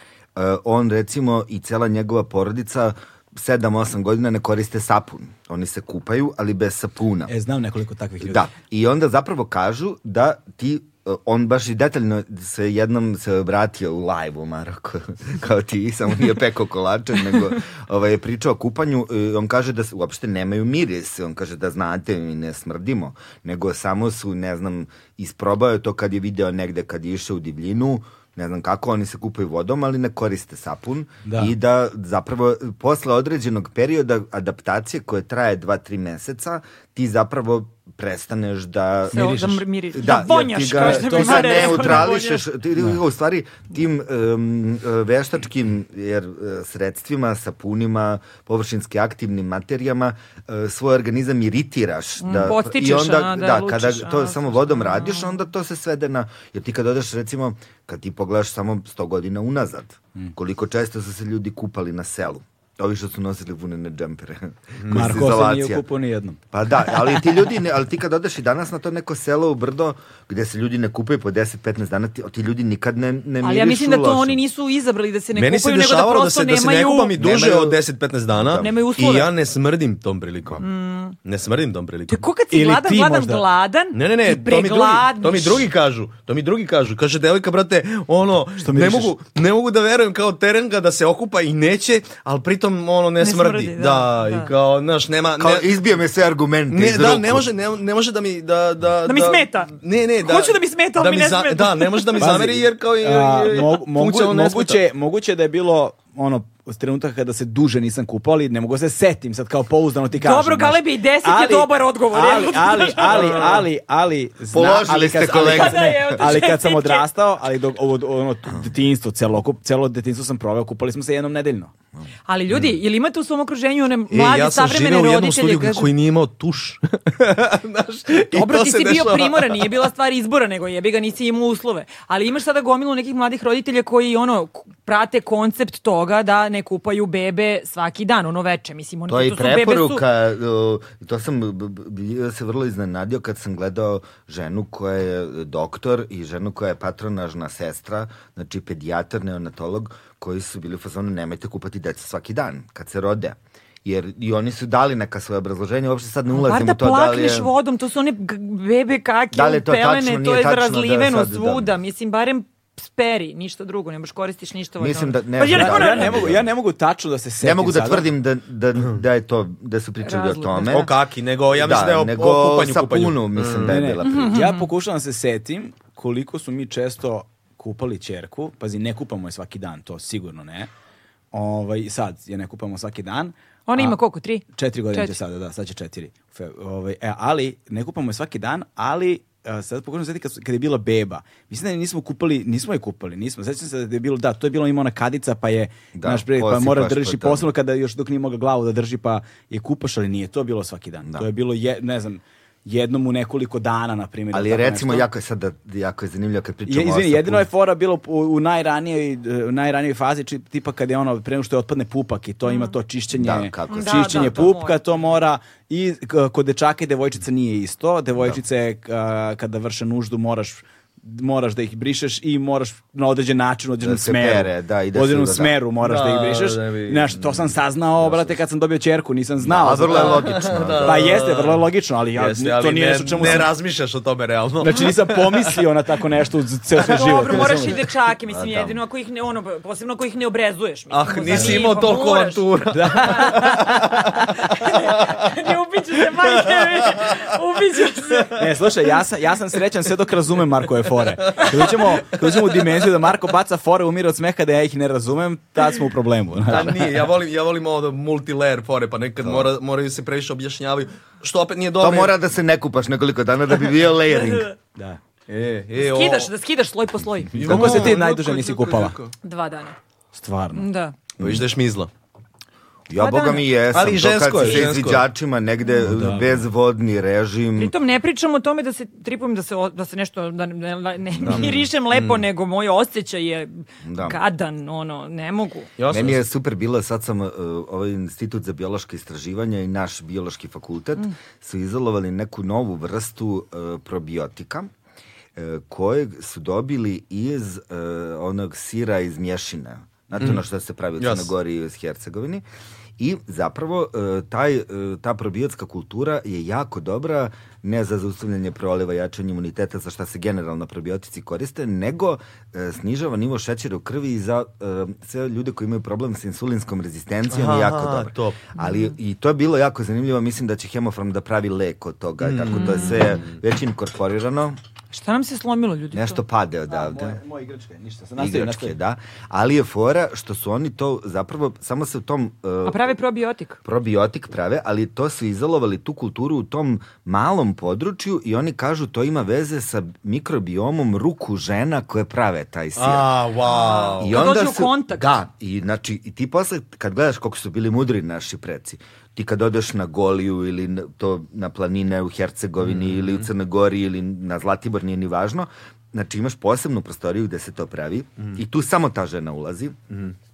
Speaker 4: on recimo i cela njegova porodica 7-8 godina ne koriste sapun. Oni se kupaju, ali bez sapuna.
Speaker 1: E, znam nekoliko takvih ljudi.
Speaker 4: Da, i onda zapravo kažu da ti e, on baš i detaljno se jednom se obratio u live u Maroku, *laughs* kao ti, samo nije peko kolače, nego ovaj, je pričao o kupanju, e, on kaže da s- uopšte nemaju miris, on kaže da znate, mi ne smrdimo, nego samo su, ne znam, isprobao je to kad je video negde kad je išao u divljinu, ne znam kako, oni se kupaju vodom, ali ne koriste sapun
Speaker 1: Da.
Speaker 4: i da zapravo e, posle određenog perioda adaptacije koje traje 2-3 meseca, ti zapravo prestaneš da...
Speaker 3: Se o- da mirišeš. miriš. Da
Speaker 4: jer ti
Speaker 3: vonjaš,
Speaker 4: ga-
Speaker 3: kao što *laughs*
Speaker 4: to
Speaker 3: bi
Speaker 4: se
Speaker 3: Mare
Speaker 4: ne
Speaker 3: rekao, da
Speaker 4: neutrališeš. Ti, ti ga u stvari tim um, veštačkim jer, e, sredstvima, sapunima, površinski aktivnim materijama e, svoj organizam iritiraš. Da,
Speaker 3: podstičeš,
Speaker 4: I onda,
Speaker 3: Mm, a, da
Speaker 4: da,
Speaker 3: lučiš,
Speaker 4: kada
Speaker 3: a,
Speaker 4: to
Speaker 3: da,
Speaker 4: samo
Speaker 3: znaš,
Speaker 4: vodom
Speaker 3: a.
Speaker 4: radiš, onda to se svede na... Jer ti kad odeš recimo, kad ti pogledaš samo 100 godina unazad,
Speaker 1: Mm.
Speaker 4: koliko često su se ljudi kupali na selu. Ovi što su nosili vunene džempere. *laughs* koji su
Speaker 1: Marko se nije
Speaker 4: izolacija.
Speaker 1: kupao ni jednom.
Speaker 4: Pa da, ali ti ljudi, ne, ali ti kad odeš i danas na to neko selo u brdo gde se ljudi ne kupaju po 10-15 dana, ti, ti ljudi nikad ne, ne mirišu
Speaker 3: Ali ja mislim da to
Speaker 4: loše.
Speaker 3: oni nisu izabrali da se ne
Speaker 2: Meni se
Speaker 3: kupaju, nego da
Speaker 2: dešavalo da,
Speaker 3: prosto
Speaker 2: se, da se ne
Speaker 3: nemaju...
Speaker 2: kupam i duže
Speaker 4: nemaju-
Speaker 2: od 10-15 dana
Speaker 3: Nemaju
Speaker 2: i
Speaker 3: uslove.
Speaker 2: ja ne smrdim tom prilikom. Ne smrdim tom prilikom.
Speaker 3: Te ko kad si
Speaker 1: Ili
Speaker 3: gladan,
Speaker 1: ti
Speaker 3: gladan,
Speaker 1: možda.
Speaker 3: gladan,
Speaker 2: Ne, ne, ne,
Speaker 3: ti
Speaker 2: to mi, drugi,
Speaker 3: pregladniš.
Speaker 2: to mi drugi kažu. To mi drugi kažu. Kaže, devojka, brate, ono, ne
Speaker 1: mirišeš?
Speaker 2: mogu, ne mogu da verujem kao terenga da se okupa i neće, ali pritom, ono, ne,
Speaker 3: Ne
Speaker 2: smrdi.
Speaker 3: smrdi,
Speaker 2: da,
Speaker 3: da,
Speaker 2: i
Speaker 3: da.
Speaker 2: kao, znaš, nema...
Speaker 4: Kao,
Speaker 2: ne,
Speaker 4: izbije me sve argumente
Speaker 2: Ne,
Speaker 4: iz
Speaker 2: da,
Speaker 4: ruku.
Speaker 2: ne može, ne, ne može da mi da da
Speaker 3: Da mi smeta.
Speaker 2: Ne, ne, da.
Speaker 3: Hoću da mi smeta, ali mi ne smeta.
Speaker 2: Da, ne može da mi
Speaker 1: Pazi,
Speaker 2: zameri jer kao je,
Speaker 1: a,
Speaker 2: je,
Speaker 1: mo- mogu,
Speaker 2: funkcionalno ne smeta.
Speaker 3: E,
Speaker 1: moguće, moguće da je bilo ono od trenutka kada se duže nisam kupao, ali ne mogu da se setim sad kao pouzdano ti kažem.
Speaker 3: Dobro,
Speaker 1: znaš.
Speaker 3: Galebi, 10 je
Speaker 1: Ali-
Speaker 3: dobar odgovor,
Speaker 1: Ali,
Speaker 3: jel?
Speaker 1: ali, ali, ali, ali, zna-
Speaker 4: Položili
Speaker 1: ali kad-
Speaker 4: ste
Speaker 1: ali kad-
Speaker 4: kolegu.
Speaker 1: ne,
Speaker 3: Da, evo te
Speaker 1: ali
Speaker 3: *laughs*
Speaker 1: kad sam
Speaker 3: čestitke.
Speaker 1: odrastao, ali dok, ovo, ono, detinjstvo, celokup, celo detinjstvo sam proveo, kupali smo se jednom nedeljno.
Speaker 3: Ali ljudi, ili imate u svom okruženju one
Speaker 2: Mm. E,
Speaker 3: mlade,
Speaker 2: ja sam
Speaker 3: savremene
Speaker 2: živeo u jednom
Speaker 3: roditelje?
Speaker 2: studiju
Speaker 3: Kaže,
Speaker 2: koji nije imao tuš. *laughs* Znaš, i
Speaker 3: Dobro,
Speaker 2: to
Speaker 3: ti
Speaker 2: se
Speaker 3: si bio
Speaker 2: dešava.
Speaker 3: primoran, nije bila stvar izbora, nego jebi ga, nisi imao uslove. Ali imaš sada gomilu nekih mladih roditelja koji ono, k- prate koncept toga da ne kupaju bebe svaki dan, ono veče. Mislim, oni,
Speaker 4: To je i
Speaker 3: su bebe su-
Speaker 4: preporuka, uh, to sam b- b- bio se vrlo iznenadio kad sam gledao ženu koja je doktor i ženu koja je patronažna sestra, znači pedijatar, neonatolog, koji su bili u fazonu nemojte kupati decu svaki dan kad se rode. Jer i oni su dali neka svoje obrazloženje, uopšte sad ne
Speaker 3: Pa Bar
Speaker 4: ulazim
Speaker 3: da
Speaker 4: u to da li je...
Speaker 3: plakneš vodom, to su one g- bebe kake,
Speaker 4: Da li je to
Speaker 3: pelene,
Speaker 4: tačno,
Speaker 3: to
Speaker 4: nije
Speaker 3: je
Speaker 4: tačno, da,
Speaker 3: razliveno
Speaker 4: sad, da.
Speaker 3: svuda. Mislim, barem speri, ništa drugo, ne možeš koristiš ništa. ovaj
Speaker 4: Mislim
Speaker 3: novac.
Speaker 4: da- ne
Speaker 3: Pa ja
Speaker 4: znam
Speaker 3: ne
Speaker 4: da-
Speaker 3: moram-
Speaker 1: ja, ne mogu, ja ne mogu tačno da se setim
Speaker 4: Ne mogu da
Speaker 1: sada.
Speaker 4: tvrdim da, da, da, je to, da su pričali
Speaker 3: Razlog,
Speaker 4: o tome.
Speaker 2: O kaki, nego ja mislim da, je o,
Speaker 4: nego
Speaker 2: o kupanju, kupanju.
Speaker 4: sapunu, mislim da je
Speaker 1: Ne, Mhm. ne.
Speaker 4: bila Mm-hmm. priča.
Speaker 1: Ja pokušavam da se setim koliko su mi često kupali čerku. Pazi, ne kupamo je svaki dan, to sigurno ne. Ovaj, sad je ne kupamo svaki dan.
Speaker 3: Ona
Speaker 1: A-
Speaker 3: ima koliko, tri?
Speaker 1: Četiri godine će
Speaker 3: Četiri.
Speaker 1: sada, da, sad će četiri. Fe, ovaj, e, ali, ne kupamo je svaki dan, ali e, sad pokušam sjetiti kad, su- kad je bila beba. Mislim da je nismo kupali, nismo je kupali, nismo. Sećam se da je bilo, da, to je bilo ima ona kadica, pa je,
Speaker 4: Da,
Speaker 1: naš pre, pa
Speaker 4: posipaš,
Speaker 1: mora
Speaker 4: pa
Speaker 1: držiš i
Speaker 4: tamo.
Speaker 1: posebno kada još dok nije mogla glavu da drži, pa je kupaš, ali nije to bilo svaki dan. To je bilo, je, ne znam, jednom u nekoliko dana, na primjer.
Speaker 4: Ali
Speaker 1: ili tako
Speaker 4: recimo,
Speaker 1: nešto.
Speaker 4: jako je sada, jako je zanimljivo kad pričamo
Speaker 1: Je,
Speaker 4: o
Speaker 1: izvini,
Speaker 4: sapunu.
Speaker 1: jedino je fora bilo u, u najranijoj, e, u najranijoj fazi, či, tipa kad je ono, pre nego što je otpadne pupak i to ima
Speaker 2: Mhm.
Speaker 1: to čišćenje,
Speaker 4: Da, kako se-
Speaker 1: da,
Speaker 3: Da, da, to
Speaker 1: pupka,
Speaker 3: mora.
Speaker 1: to mora, i k- kod dečaka i devojčica nije isto, devojčice k- kada vrše nuždu moraš moraš da ih brišeš i moraš na određen način, u određenom
Speaker 4: se
Speaker 1: smeru.
Speaker 4: pere, da, i da
Speaker 1: u
Speaker 4: se
Speaker 1: određenom
Speaker 4: uda, da.
Speaker 1: smeru moraš da,
Speaker 2: Da,
Speaker 1: ih brišeš.
Speaker 2: da bi-
Speaker 1: Znaš, to sam saznao, brate, kad sam dobio čerku, nisam znao.
Speaker 4: A vrlo je
Speaker 1: zato-
Speaker 4: logično. da.
Speaker 1: Pa jeste, vrlo je logično, ali ja,
Speaker 2: Jeste,
Speaker 1: to
Speaker 2: ali
Speaker 1: nije
Speaker 2: ne,
Speaker 1: nešto o čemu
Speaker 2: ne
Speaker 1: sam-
Speaker 2: razmišljaš o tome realno.
Speaker 1: Znači nisam pomislio na tako nešto u ceo svoj
Speaker 3: Pa
Speaker 1: život.
Speaker 3: dobro, moraš i
Speaker 1: razumeš?
Speaker 3: dečake, mislim, jedino ako ih ne, ono, posebno ako ih ne obrezuješ. Mislim,
Speaker 2: Ah,
Speaker 3: u
Speaker 2: nisi
Speaker 3: zanimu,
Speaker 2: imao
Speaker 3: pa
Speaker 2: toliko
Speaker 3: moraš.
Speaker 2: avantura.
Speaker 3: *laughs* ne ubiću se, majke mi, ubiću
Speaker 4: *laughs*
Speaker 3: se.
Speaker 1: Ne, slušaj, ja sam, ja sam srećan sve dok razumem Markove fore. Kad uđemo, kad uđemo u dimenziju da Marko baca fore, umire od smeha da ja ih ne razumem, tad smo u problemu.
Speaker 2: Da, Pa nije, ja volim, ja volim ovo da multilayer fore, pa nekad mora, moraju se previše objašnjavaju, što opet nije dobro.
Speaker 4: To mora da se ne kupaš nekoliko dana da bi bio
Speaker 2: *laughs*
Speaker 4: layering.
Speaker 1: Da.
Speaker 2: E, e, o-
Speaker 3: Skidaš, da skidaš sloj po sloju.
Speaker 1: Koliko se ti
Speaker 2: Jo,
Speaker 1: najduže
Speaker 2: kako,
Speaker 1: nisi
Speaker 2: kako,
Speaker 1: kupala?
Speaker 2: kako.
Speaker 3: Dva dana.
Speaker 1: Stvarno.
Speaker 3: Da.
Speaker 2: Pa viš da je šmizla.
Speaker 4: Ja,
Speaker 3: Pa
Speaker 4: boga
Speaker 3: da.
Speaker 4: mi jesam.
Speaker 2: Ali i
Speaker 4: to
Speaker 2: žensko
Speaker 4: kad
Speaker 2: je,
Speaker 4: si sa
Speaker 2: žensko je.
Speaker 4: izviđačima negde bezvodni režim.
Speaker 3: Pritom ne pričam o tome da se tripujem da se o- da se nešto da ne, ne, ne mirišem lepo, nego moj osjećaj je
Speaker 4: Mm. Da.
Speaker 3: gadan, ono, ne mogu.
Speaker 2: Jasno,
Speaker 4: Meni je super bilo, sad sam uh, ovaj institut za biološke istraživanja i naš biološki fakultet
Speaker 2: Mm.
Speaker 4: su izolovali neku novu vrstu uh, probiotika e, kojeg su dobili iz e, onog sira iz mješina.
Speaker 2: Mm.
Speaker 4: Znate ono što se pravi u
Speaker 2: Jas.
Speaker 4: Crnoj Gori i u Hercegovini. I zapravo e, taj, e, ta probiotska kultura je jako dobra ne za zaustavljanje proliva, jačanje imuniteta, za šta se generalno probiotici koriste, nego e, snižava nivo šećera u krvi i za e, sve ljude koji imaju problem sa insulinskom rezistencijom je jako
Speaker 2: Aha,
Speaker 4: dobro.
Speaker 2: top.
Speaker 4: Ali i to je bilo
Speaker 2: Mm.
Speaker 4: jako zanimljivo, mislim da će Hemofarm da pravi lek od toga, tako to je sve već inkorporirano.
Speaker 5: Šta nam se slomilo, ljudi?
Speaker 4: Nešto
Speaker 5: to?
Speaker 4: pade odavde.
Speaker 1: Moja igračka je, ništa. Sam
Speaker 4: Igračke, da. Ali je fora što su oni to zapravo, samo se u tom... uh,
Speaker 5: A prave probiotik.
Speaker 4: probiotik prave, ali to su izolovali tu kulturu u tom malom području i oni kažu to ima veze sa mikrobiomom ruku žena koje prave taj sir.
Speaker 12: A, wow.
Speaker 4: I
Speaker 5: Kad dođu u kontakt.
Speaker 4: Da, i, znači, i ti posle, kad gledaš koliko su bili mudri naši preci, ti kad odeš na Goliju ili na, to na planine u Hercegovini
Speaker 2: Mhm.
Speaker 4: ili u Crnoj Gori ili na Zlatibor, nije ni važno, znači imaš posebnu prostoriju gde se to pravi
Speaker 2: Mhm.
Speaker 4: i tu samo ta žena ulazi,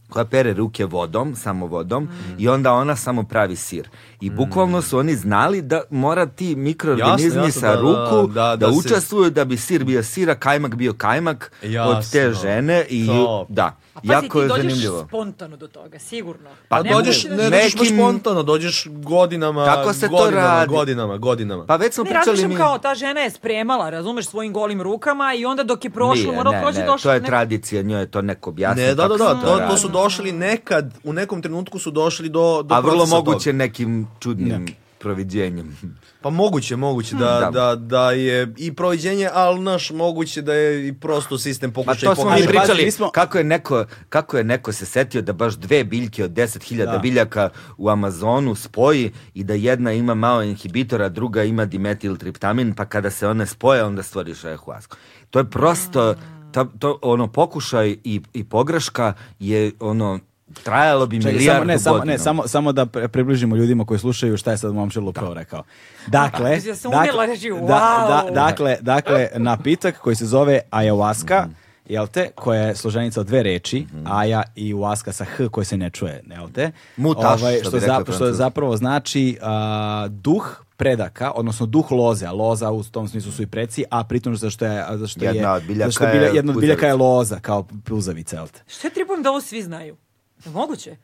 Speaker 4: koja pere ruke vodom, samo vodom,
Speaker 2: Mhm.
Speaker 4: i onda ona samo pravi sir. I bukvalno su oni znali da mora ti mikroorganizmi
Speaker 2: Jasno, jasno,
Speaker 4: sa
Speaker 2: da,
Speaker 4: ruku
Speaker 2: da, da, da se-
Speaker 4: učestvuju da bi sir bio sir, a kajmak bio kajmak od te
Speaker 2: Jasno.
Speaker 4: žene i
Speaker 2: Top.
Speaker 4: da.
Speaker 3: A pazi,
Speaker 4: jako
Speaker 3: ti
Speaker 4: je
Speaker 3: dođeš
Speaker 4: zanimljivo.
Speaker 3: spontano do toga, sigurno.
Speaker 2: Pa
Speaker 3: Ne
Speaker 2: dođeš,
Speaker 3: možeš
Speaker 2: ne,
Speaker 3: da-
Speaker 2: dođeš baš
Speaker 4: nekim-
Speaker 2: spontano, dođeš godinama,
Speaker 4: Tako se to
Speaker 2: godinama,
Speaker 4: radi.
Speaker 2: godinama, godinama.
Speaker 4: Pa već smo
Speaker 3: Ne
Speaker 4: pričali
Speaker 3: razmišljam
Speaker 4: mi...
Speaker 3: kao, ta žena je spremala, razumeš, svojim golim rukama i onda dok je prošlo,
Speaker 4: Nije,
Speaker 3: morao
Speaker 4: ne,
Speaker 3: proći
Speaker 4: ne,
Speaker 3: ono došlo.
Speaker 4: to je
Speaker 3: ne-
Speaker 4: tradicija, njoj je to neko objasnio.
Speaker 2: ne, da, da,
Speaker 4: kako
Speaker 2: da,
Speaker 4: se
Speaker 2: to, to
Speaker 4: radi.
Speaker 2: su došli nekad, u nekom trenutku su došli do, do
Speaker 4: A vrlo
Speaker 2: procesa
Speaker 4: moguće
Speaker 2: toga.
Speaker 4: nekim čudnim proviđenjem.
Speaker 2: Pa moguće, moguće da,
Speaker 4: Hmm, Da.
Speaker 2: da, da je i proviđenje, ali naš moguće da je i prosto sistem
Speaker 4: Pa
Speaker 2: pokušaj
Speaker 4: to smo mi
Speaker 2: pogreške.
Speaker 1: pazi,
Speaker 4: pričali,
Speaker 1: mi smo-
Speaker 4: kako, je neko, kako je neko se setio da baš dve biljke od 10.000 biljaka u Amazonu spoji i da jedna ima malo inhibitora, druga ima dimetiltriptamin, pa kada se one spoje, onda stvoriš ayahuasku. To je prosto, ta, to, ono, pokušaj i, i pogreška je, ono, trajalo bi
Speaker 1: Čekaj,
Speaker 4: milijardu
Speaker 1: samo, ne, samo, ne,
Speaker 4: godina.
Speaker 1: samo, samo da pre- približimo ljudima koji slušaju šta je sad momčilo da. rekao. Dakle,
Speaker 3: Ja sam
Speaker 1: dakle,
Speaker 3: umjela reći, wow.
Speaker 1: da, da, dakle, dakle, napitak koji se zove ayahuasca,
Speaker 4: Mhm.
Speaker 1: jel te, koja je složenica od dve reči, aja i uaska sa h koje se ne čuje, jel te? Ovaj,
Speaker 4: Mutaš, što bi
Speaker 1: što,
Speaker 4: rekli
Speaker 1: zap, što
Speaker 4: Francuzi.
Speaker 1: zapravo znači a, duh predaka, odnosno duh loze, a loza u tom smislu su i preci, a pritom zato što je, zato što
Speaker 4: Jedna
Speaker 1: je,
Speaker 4: od biljaka
Speaker 1: zato što je bilja-
Speaker 4: je
Speaker 1: jedna od biljaka je
Speaker 4: puzavica.
Speaker 1: loza, kao puzavica, jel te?
Speaker 3: Što je tripujem da ovo svi znaju? Je moguće?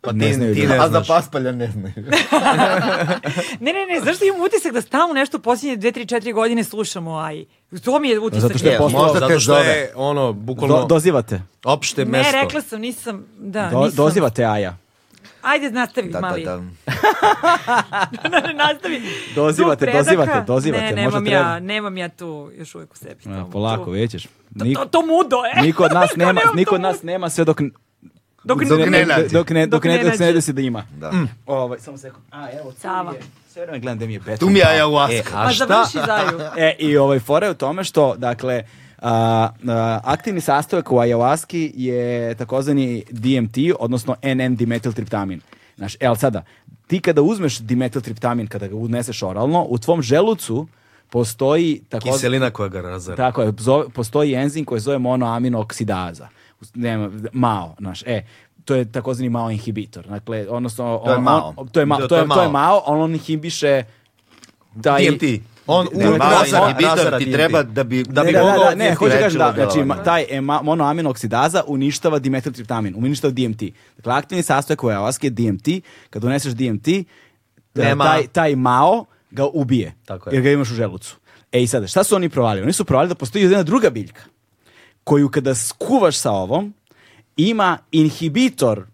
Speaker 2: Pa
Speaker 1: Ne znaju ljudi.
Speaker 2: ne
Speaker 12: A
Speaker 2: znaš.
Speaker 12: za paspalja ne znaju.
Speaker 3: Ne, ne, ne, zašto imam utisak da stalno nešto posljednje dve, tri, četiri godine slušamo o AI? To mi je utisak.
Speaker 1: Zato što je
Speaker 3: bio.
Speaker 1: post-
Speaker 2: Možda
Speaker 1: Možda
Speaker 2: pa, zato
Speaker 12: te
Speaker 2: što
Speaker 12: zove.
Speaker 2: je ono, bukvalno,
Speaker 1: Do, dozivate.
Speaker 2: opšte
Speaker 3: Ne,
Speaker 2: mesto.
Speaker 3: rekla sam, nisam, da,
Speaker 1: Do,
Speaker 3: nisam.
Speaker 1: dozivate aja. E,
Speaker 3: Ajde, nastavi,
Speaker 4: Da,
Speaker 3: mali. *laughs*
Speaker 4: da, da.
Speaker 3: Ne, ne, nastavi.
Speaker 1: Dozivate,
Speaker 3: Tu predaka-
Speaker 1: dozivate, dozivate.
Speaker 3: Ne,
Speaker 1: Možda
Speaker 3: nemam
Speaker 1: treba-
Speaker 3: ja, nemam ja tu još uvijek u sebi.
Speaker 1: A,
Speaker 3: Tu-
Speaker 1: polako,
Speaker 3: tu-
Speaker 1: vidjet ćeš. Nik-
Speaker 3: To, to mudo, e.
Speaker 1: niko od
Speaker 3: *laughs*
Speaker 1: nas nema,
Speaker 3: nemam
Speaker 1: niko
Speaker 3: to
Speaker 1: od nas nema sve dok
Speaker 3: Dok
Speaker 1: ne-
Speaker 3: dok
Speaker 1: ne-
Speaker 12: ne nađe.
Speaker 1: dok ne dok
Speaker 3: Dok
Speaker 1: ne
Speaker 3: ne
Speaker 1: dok se ne
Speaker 3: nađe.
Speaker 1: desi da ima.
Speaker 4: Da.
Speaker 1: Ovaj samo sekund. A evo tu
Speaker 3: Sava.
Speaker 1: mi je. Sve vreme gledam da mi je beton.
Speaker 12: Tu mi je
Speaker 1: pao.
Speaker 12: ayahuasca.
Speaker 1: E, a
Speaker 3: Pa
Speaker 1: šta?
Speaker 3: završi Zaju.
Speaker 1: E, i ovaj fora je u tome što, dakle, a, a, aktivni sastojak u ayahuaski je takozvani DMT, odnosno NN-dimetiltriptamin. Znaš, e, ali sada, ti kada uzmeš dimetiltriptamin, kada ga uneseš oralno, u tvom želucu postoji takozvani
Speaker 2: Kiselina koja ga razara.
Speaker 1: Tako je, zove- postoji enzim koji se zove monoaminooksidaza. Nema, MAO, znaš, e, to je takozvani MAO inhibitor. Dakle, odnosno...
Speaker 4: To je
Speaker 1: on-
Speaker 4: MAO.
Speaker 1: on- to je MAO,
Speaker 2: Da,
Speaker 1: to je, to je MAO, ali on inhibiše... Taj,
Speaker 2: DMT. On
Speaker 1: Ne,
Speaker 2: u-
Speaker 1: ma-
Speaker 4: Malo
Speaker 1: razara-
Speaker 4: inhibitor
Speaker 2: razara
Speaker 4: ti
Speaker 2: DMT.
Speaker 4: treba da bi...
Speaker 2: Da bi
Speaker 1: ne, da,
Speaker 2: ga
Speaker 1: da,
Speaker 2: mogao ovaj.
Speaker 1: da, ne,
Speaker 2: odnijeti
Speaker 1: hoću da kažem da,
Speaker 4: lečilo
Speaker 1: znači
Speaker 4: delovanje.
Speaker 1: ma- taj ema- monoaminoksidaza uništava dimetiltriptamin, uništava DMT. Dakle, aktivni sastojak u ayahuasca je DMT, kad doneseš DMT,
Speaker 2: Nema-
Speaker 1: e, taj, taj mao ga ubije,
Speaker 2: Tako je.
Speaker 1: jer ga imaš u želucu. E i sada, šta su oni provalili? Oni su provalili da postoji jedna druga biljka, koju kada skuvaš sa ovom, ima inhibitor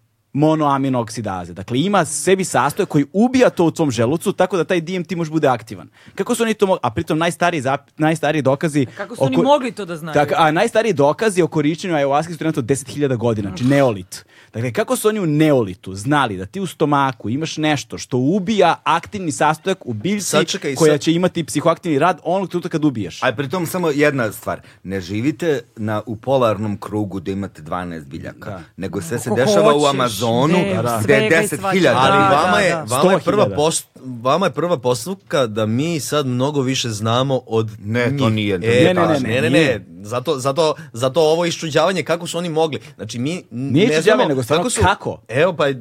Speaker 1: monoaminoksidaze. Dakle, ima sebi sastoj koji ubija to u tvom želucu, tako da taj DMT može bude aktivan. Kako su oni to mogli, a pritom najstariji, zap- najstariji dokazi...
Speaker 3: kako su oni mogli to da znaju?
Speaker 1: Tak- a najstariji dokazi o korišćenju ayahuasca su trenutno 10.000 godina, znači neolit. Dakle, kako su oni u neolitu znali da ti u stomaku imaš nešto što ubija aktivni sastojak u biljci
Speaker 2: Sad čekaj,
Speaker 1: koja
Speaker 2: sad-
Speaker 1: će imati psihoaktivni rad onog trenutka kad ubiješ?
Speaker 4: A pritom samo jedna stvar, ne živite na, u polarnom krugu da imate 12 biljaka, nego sve se
Speaker 3: Koliko
Speaker 4: dešava u
Speaker 3: hoćeš,
Speaker 4: Amazonu
Speaker 3: ne,
Speaker 4: da, gde
Speaker 3: svega
Speaker 4: je
Speaker 3: i
Speaker 4: 10
Speaker 3: svačega.
Speaker 4: hiljada.
Speaker 2: Ali
Speaker 3: Da,
Speaker 2: vama,
Speaker 3: da,
Speaker 2: je,
Speaker 3: da.
Speaker 2: vama, je prva
Speaker 1: 100.000.
Speaker 2: post, vama je prva postupka da mi sad mnogo više znamo od
Speaker 4: Ne, to
Speaker 2: njih.
Speaker 4: nije, to
Speaker 2: E,
Speaker 4: nije
Speaker 2: pa,
Speaker 1: tačno.
Speaker 2: ne, ne,
Speaker 1: nije.
Speaker 2: ne. Zato, zato, zato ovo iščuđavanje kako su oni mogli. Znači, mi n-
Speaker 1: Nije
Speaker 2: ne
Speaker 1: iščuđavanje,
Speaker 2: znamo
Speaker 1: nego stvarno kako.
Speaker 2: Evo, pa, e,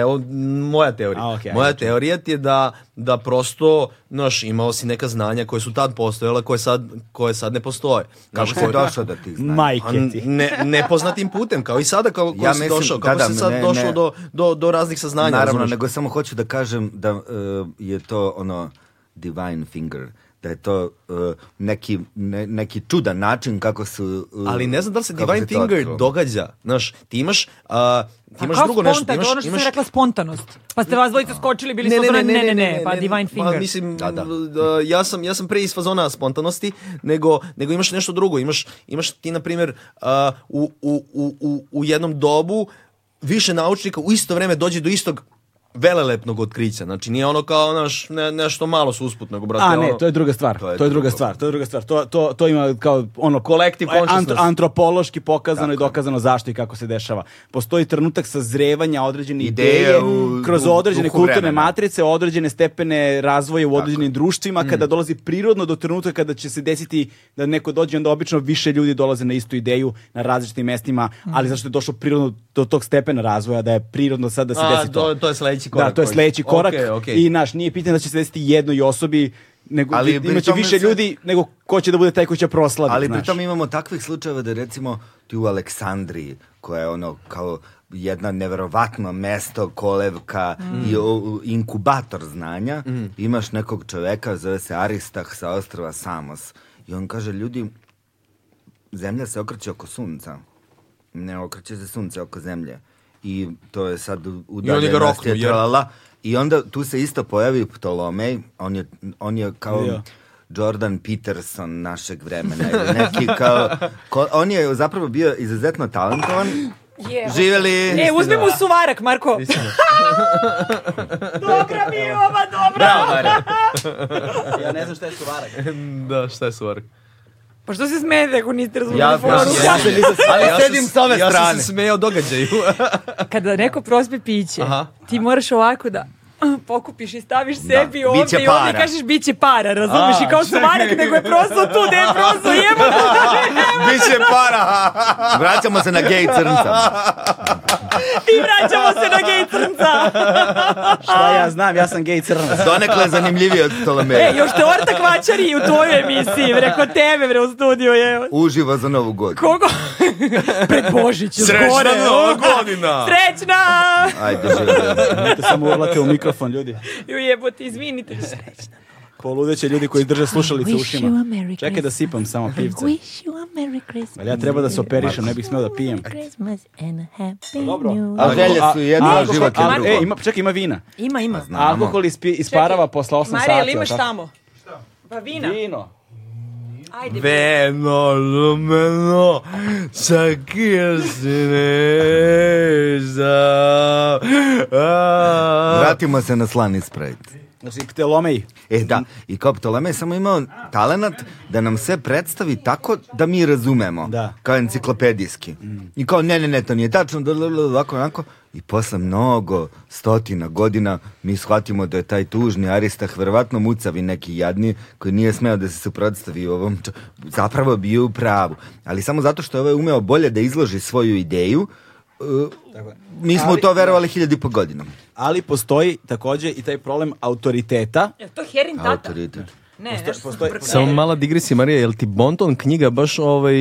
Speaker 2: evo, moja teorija.
Speaker 1: A, okej,
Speaker 2: moja
Speaker 1: ajde.
Speaker 2: teorija ti je da, da prosto, znaš, imao si neka znanja koje su tad postojala, koje sad, koje sad ne postoje.
Speaker 4: Kako
Speaker 2: Znaš,
Speaker 4: se
Speaker 2: koje-
Speaker 4: došao do tih znanja?
Speaker 2: Pa
Speaker 1: Majke ti.
Speaker 2: ne, nepoznatim putem, kao i sada kao, kako
Speaker 4: Ja
Speaker 2: si
Speaker 4: mislim-
Speaker 2: došao,
Speaker 4: da,
Speaker 2: kako
Speaker 4: da,
Speaker 2: si sad
Speaker 4: ne,
Speaker 2: došao
Speaker 4: ne.
Speaker 2: Do, do, do raznih saznanja.
Speaker 4: Naravno,
Speaker 2: razumeš?
Speaker 4: eh, nego samo hoću da kažem da e, je to ono divine finger da je to uh, neki, ne, neki čudan način kako su... uh,
Speaker 2: Ali ne znam da li se
Speaker 4: kako
Speaker 2: Divine
Speaker 4: to
Speaker 2: Finger
Speaker 4: otkrilo.
Speaker 2: događa. Znaš, ti imaš, a, ti imaš drugo nešto. Ti imaš,
Speaker 3: ono što
Speaker 2: imaš,
Speaker 3: sam rekla spontanost. Pa ste vas dvojica skočili, bili ne, ne, ne, ne, ne, ne, pa Divine Finger.
Speaker 2: Pa, mislim,
Speaker 4: Da, da.
Speaker 2: da, ja, sam, ja sam pre iz fazona spontanosti, nego, nego imaš nešto drugo. Imaš, imaš ti, na primjer, a, u, u, u, u, u jednom dobu više naučnika u isto vreme dođe do istog velelepnog otkrića. Znači, nije ono kao naš, ne, nešto malo su usput, nego, brate,
Speaker 1: A ne,
Speaker 2: ono...
Speaker 1: to je druga stvar. To je, druga
Speaker 2: drugo. *laughs*
Speaker 1: stvar. To je druga stvar. To, to, to ima kao ono
Speaker 2: Collective
Speaker 1: e,
Speaker 2: consciousness.
Speaker 1: antropološki pokazano i dokazano zašto i kako se dešava. Postoji trenutak sazrevanja određene
Speaker 4: Ideje
Speaker 1: ideje,
Speaker 4: u-
Speaker 1: kroz
Speaker 4: u
Speaker 1: određene
Speaker 4: duhu
Speaker 1: kulturne
Speaker 4: vremena.
Speaker 1: matrice, određene stepene razvoja u određenim društvima kada dolazi prirodno do trenutka kada će se desiti da neko dođe onda obično više ljudi dolaze na istu ideju na različitim mestima, ali zašto je došlo prirodno do tog stepena razvoja da je prirodno sad da se
Speaker 2: A,
Speaker 1: desi
Speaker 2: to-
Speaker 1: to.
Speaker 2: to je sledeći korak
Speaker 1: Da, to je
Speaker 2: koji-
Speaker 1: sledeći korak
Speaker 2: Okej, okej.
Speaker 1: i naš nije pitanje da će se desiti jednoj osobi nego
Speaker 4: Ali
Speaker 1: ali
Speaker 4: pri
Speaker 1: imaće
Speaker 4: tome
Speaker 1: više
Speaker 4: se-
Speaker 1: ljudi nego ko će da bude taj koji će proslaviti.
Speaker 4: Ali
Speaker 1: znaš.
Speaker 4: pritom imamo takvih slučajeva da recimo ti u Aleksandriji, koja je ono kao jedna neverovatno mesto, kolevka i o- u- inkubator znanja, imaš nekog čoveka, zove se Aristah sa ostrava Samos. I on kaže, ljudi, zemlja se okreće oko sunca. Ne okreće se sunce oko zemlje. I to je sad u-
Speaker 2: ga
Speaker 4: udaljenosti.
Speaker 2: roknu,
Speaker 4: je
Speaker 2: jer-
Speaker 4: tralala. I onda tu se isto pojavi Ptolomej, on je, on je kao
Speaker 1: Ja.
Speaker 4: Jordan Peterson našeg vremena. ili Neki kao, ko- on je zapravo bio izuzetno talentovan. Živjeli...
Speaker 3: E, uzmi mu suvarak, Marko. *laughs* Dobra mi je ova, dobra.
Speaker 2: Bravo, Mare.
Speaker 1: ja ne znam šta je suvarak.
Speaker 2: da, šta je stvar?
Speaker 3: Pa što se smijete ako niste razumeli
Speaker 2: Ja,
Speaker 3: foru?
Speaker 2: ja, se nisam ali ja
Speaker 4: sedim s
Speaker 2: ja
Speaker 4: ove
Speaker 2: sam
Speaker 4: strane.
Speaker 2: se smejao *laughs* događaju.
Speaker 3: Kada neko prospe piće,
Speaker 2: Aha.
Speaker 3: ti moraš ovako da *clears throat* uh, pokupiš i staviš sebi
Speaker 4: biće
Speaker 3: ovdje i ovdje
Speaker 4: para.
Speaker 3: kažeš bit će para, razumiš?
Speaker 2: A,
Speaker 3: I kao suvarak nego je prosto tu, gde je prosto jebano.
Speaker 2: *laughs*
Speaker 4: Biće para! Vraćamo se na gej crnca.
Speaker 3: *laughs* I vraćamo se na gej crnca.
Speaker 1: Šta ja znam, ja sam gej crnac.
Speaker 4: Donekle je zanimljiviji od
Speaker 3: E,
Speaker 4: Ptolomeja.
Speaker 3: još te Orta kvačari i u tvojoj emisiji, bre, kod tebe, bre, u studiju je.
Speaker 4: Uživo za novu godinu.
Speaker 3: Kogo? *laughs* Pred Božić,
Speaker 2: Srećna
Speaker 3: gore.
Speaker 2: nova godina!
Speaker 3: *laughs* Srećna!
Speaker 4: Ajde, živjeli.
Speaker 1: Nemojte samo urlate u mikrofon, ljudi.
Speaker 3: Ju jebote, izvinite.
Speaker 1: Poludeće ljudi koji drže slušalice u ušima.
Speaker 13: Merry
Speaker 1: Čekaj da sipam samo pivce.
Speaker 13: Wish you a Merry Christmas.
Speaker 1: Ali ja treba da se operišem, ne bih smeo da pijem.
Speaker 13: Merry Christmas and a happy
Speaker 1: Dobro.
Speaker 13: new
Speaker 4: A želje su jedno, a
Speaker 1: alkohol-
Speaker 4: život je
Speaker 1: al-
Speaker 4: drugo.
Speaker 1: E, ima, čekaj, ima vina.
Speaker 3: Ima, ima.
Speaker 1: Alkohol ispi, isparava posle 8 sati.
Speaker 3: Marija, jel
Speaker 1: jel
Speaker 3: imaš
Speaker 1: tako?
Speaker 3: tamo? Šta? Pa vina.
Speaker 1: Vino.
Speaker 3: Ajde.
Speaker 2: Veno, lumeno, sakir si neza.
Speaker 4: Vratimo se na slani sprite.
Speaker 1: Znači, ptelomej.
Speaker 4: E da, i kao Ptoleme je samo imao talenat da nam sve predstavi tako da mi razumemo,
Speaker 1: Da.
Speaker 4: kao enciklopedijski. I kao ne, ne, ne, to nije tačno, da, da, da, ovako, onako. I posle mnogo stotina godina mi shvatimo da je taj tužni Aristah verovatno mucavi neki jadni koji nije smeo da se suprotstavi ovom, čo- zapravo bio u pravu. Ali samo zato što je ovaj umeo bolje da izloži svoju ideju, e, mi smo u to verovali hiljadi po godinom.
Speaker 1: Ali postoji takođe i taj problem autoriteta
Speaker 3: Jel to Herin tata?
Speaker 4: Autoritet.
Speaker 3: Ne, nešto sam
Speaker 1: postoji-
Speaker 3: brkala.
Speaker 2: Samo mala digresija, Marija, jel ti Bonton knjiga baš ovaj,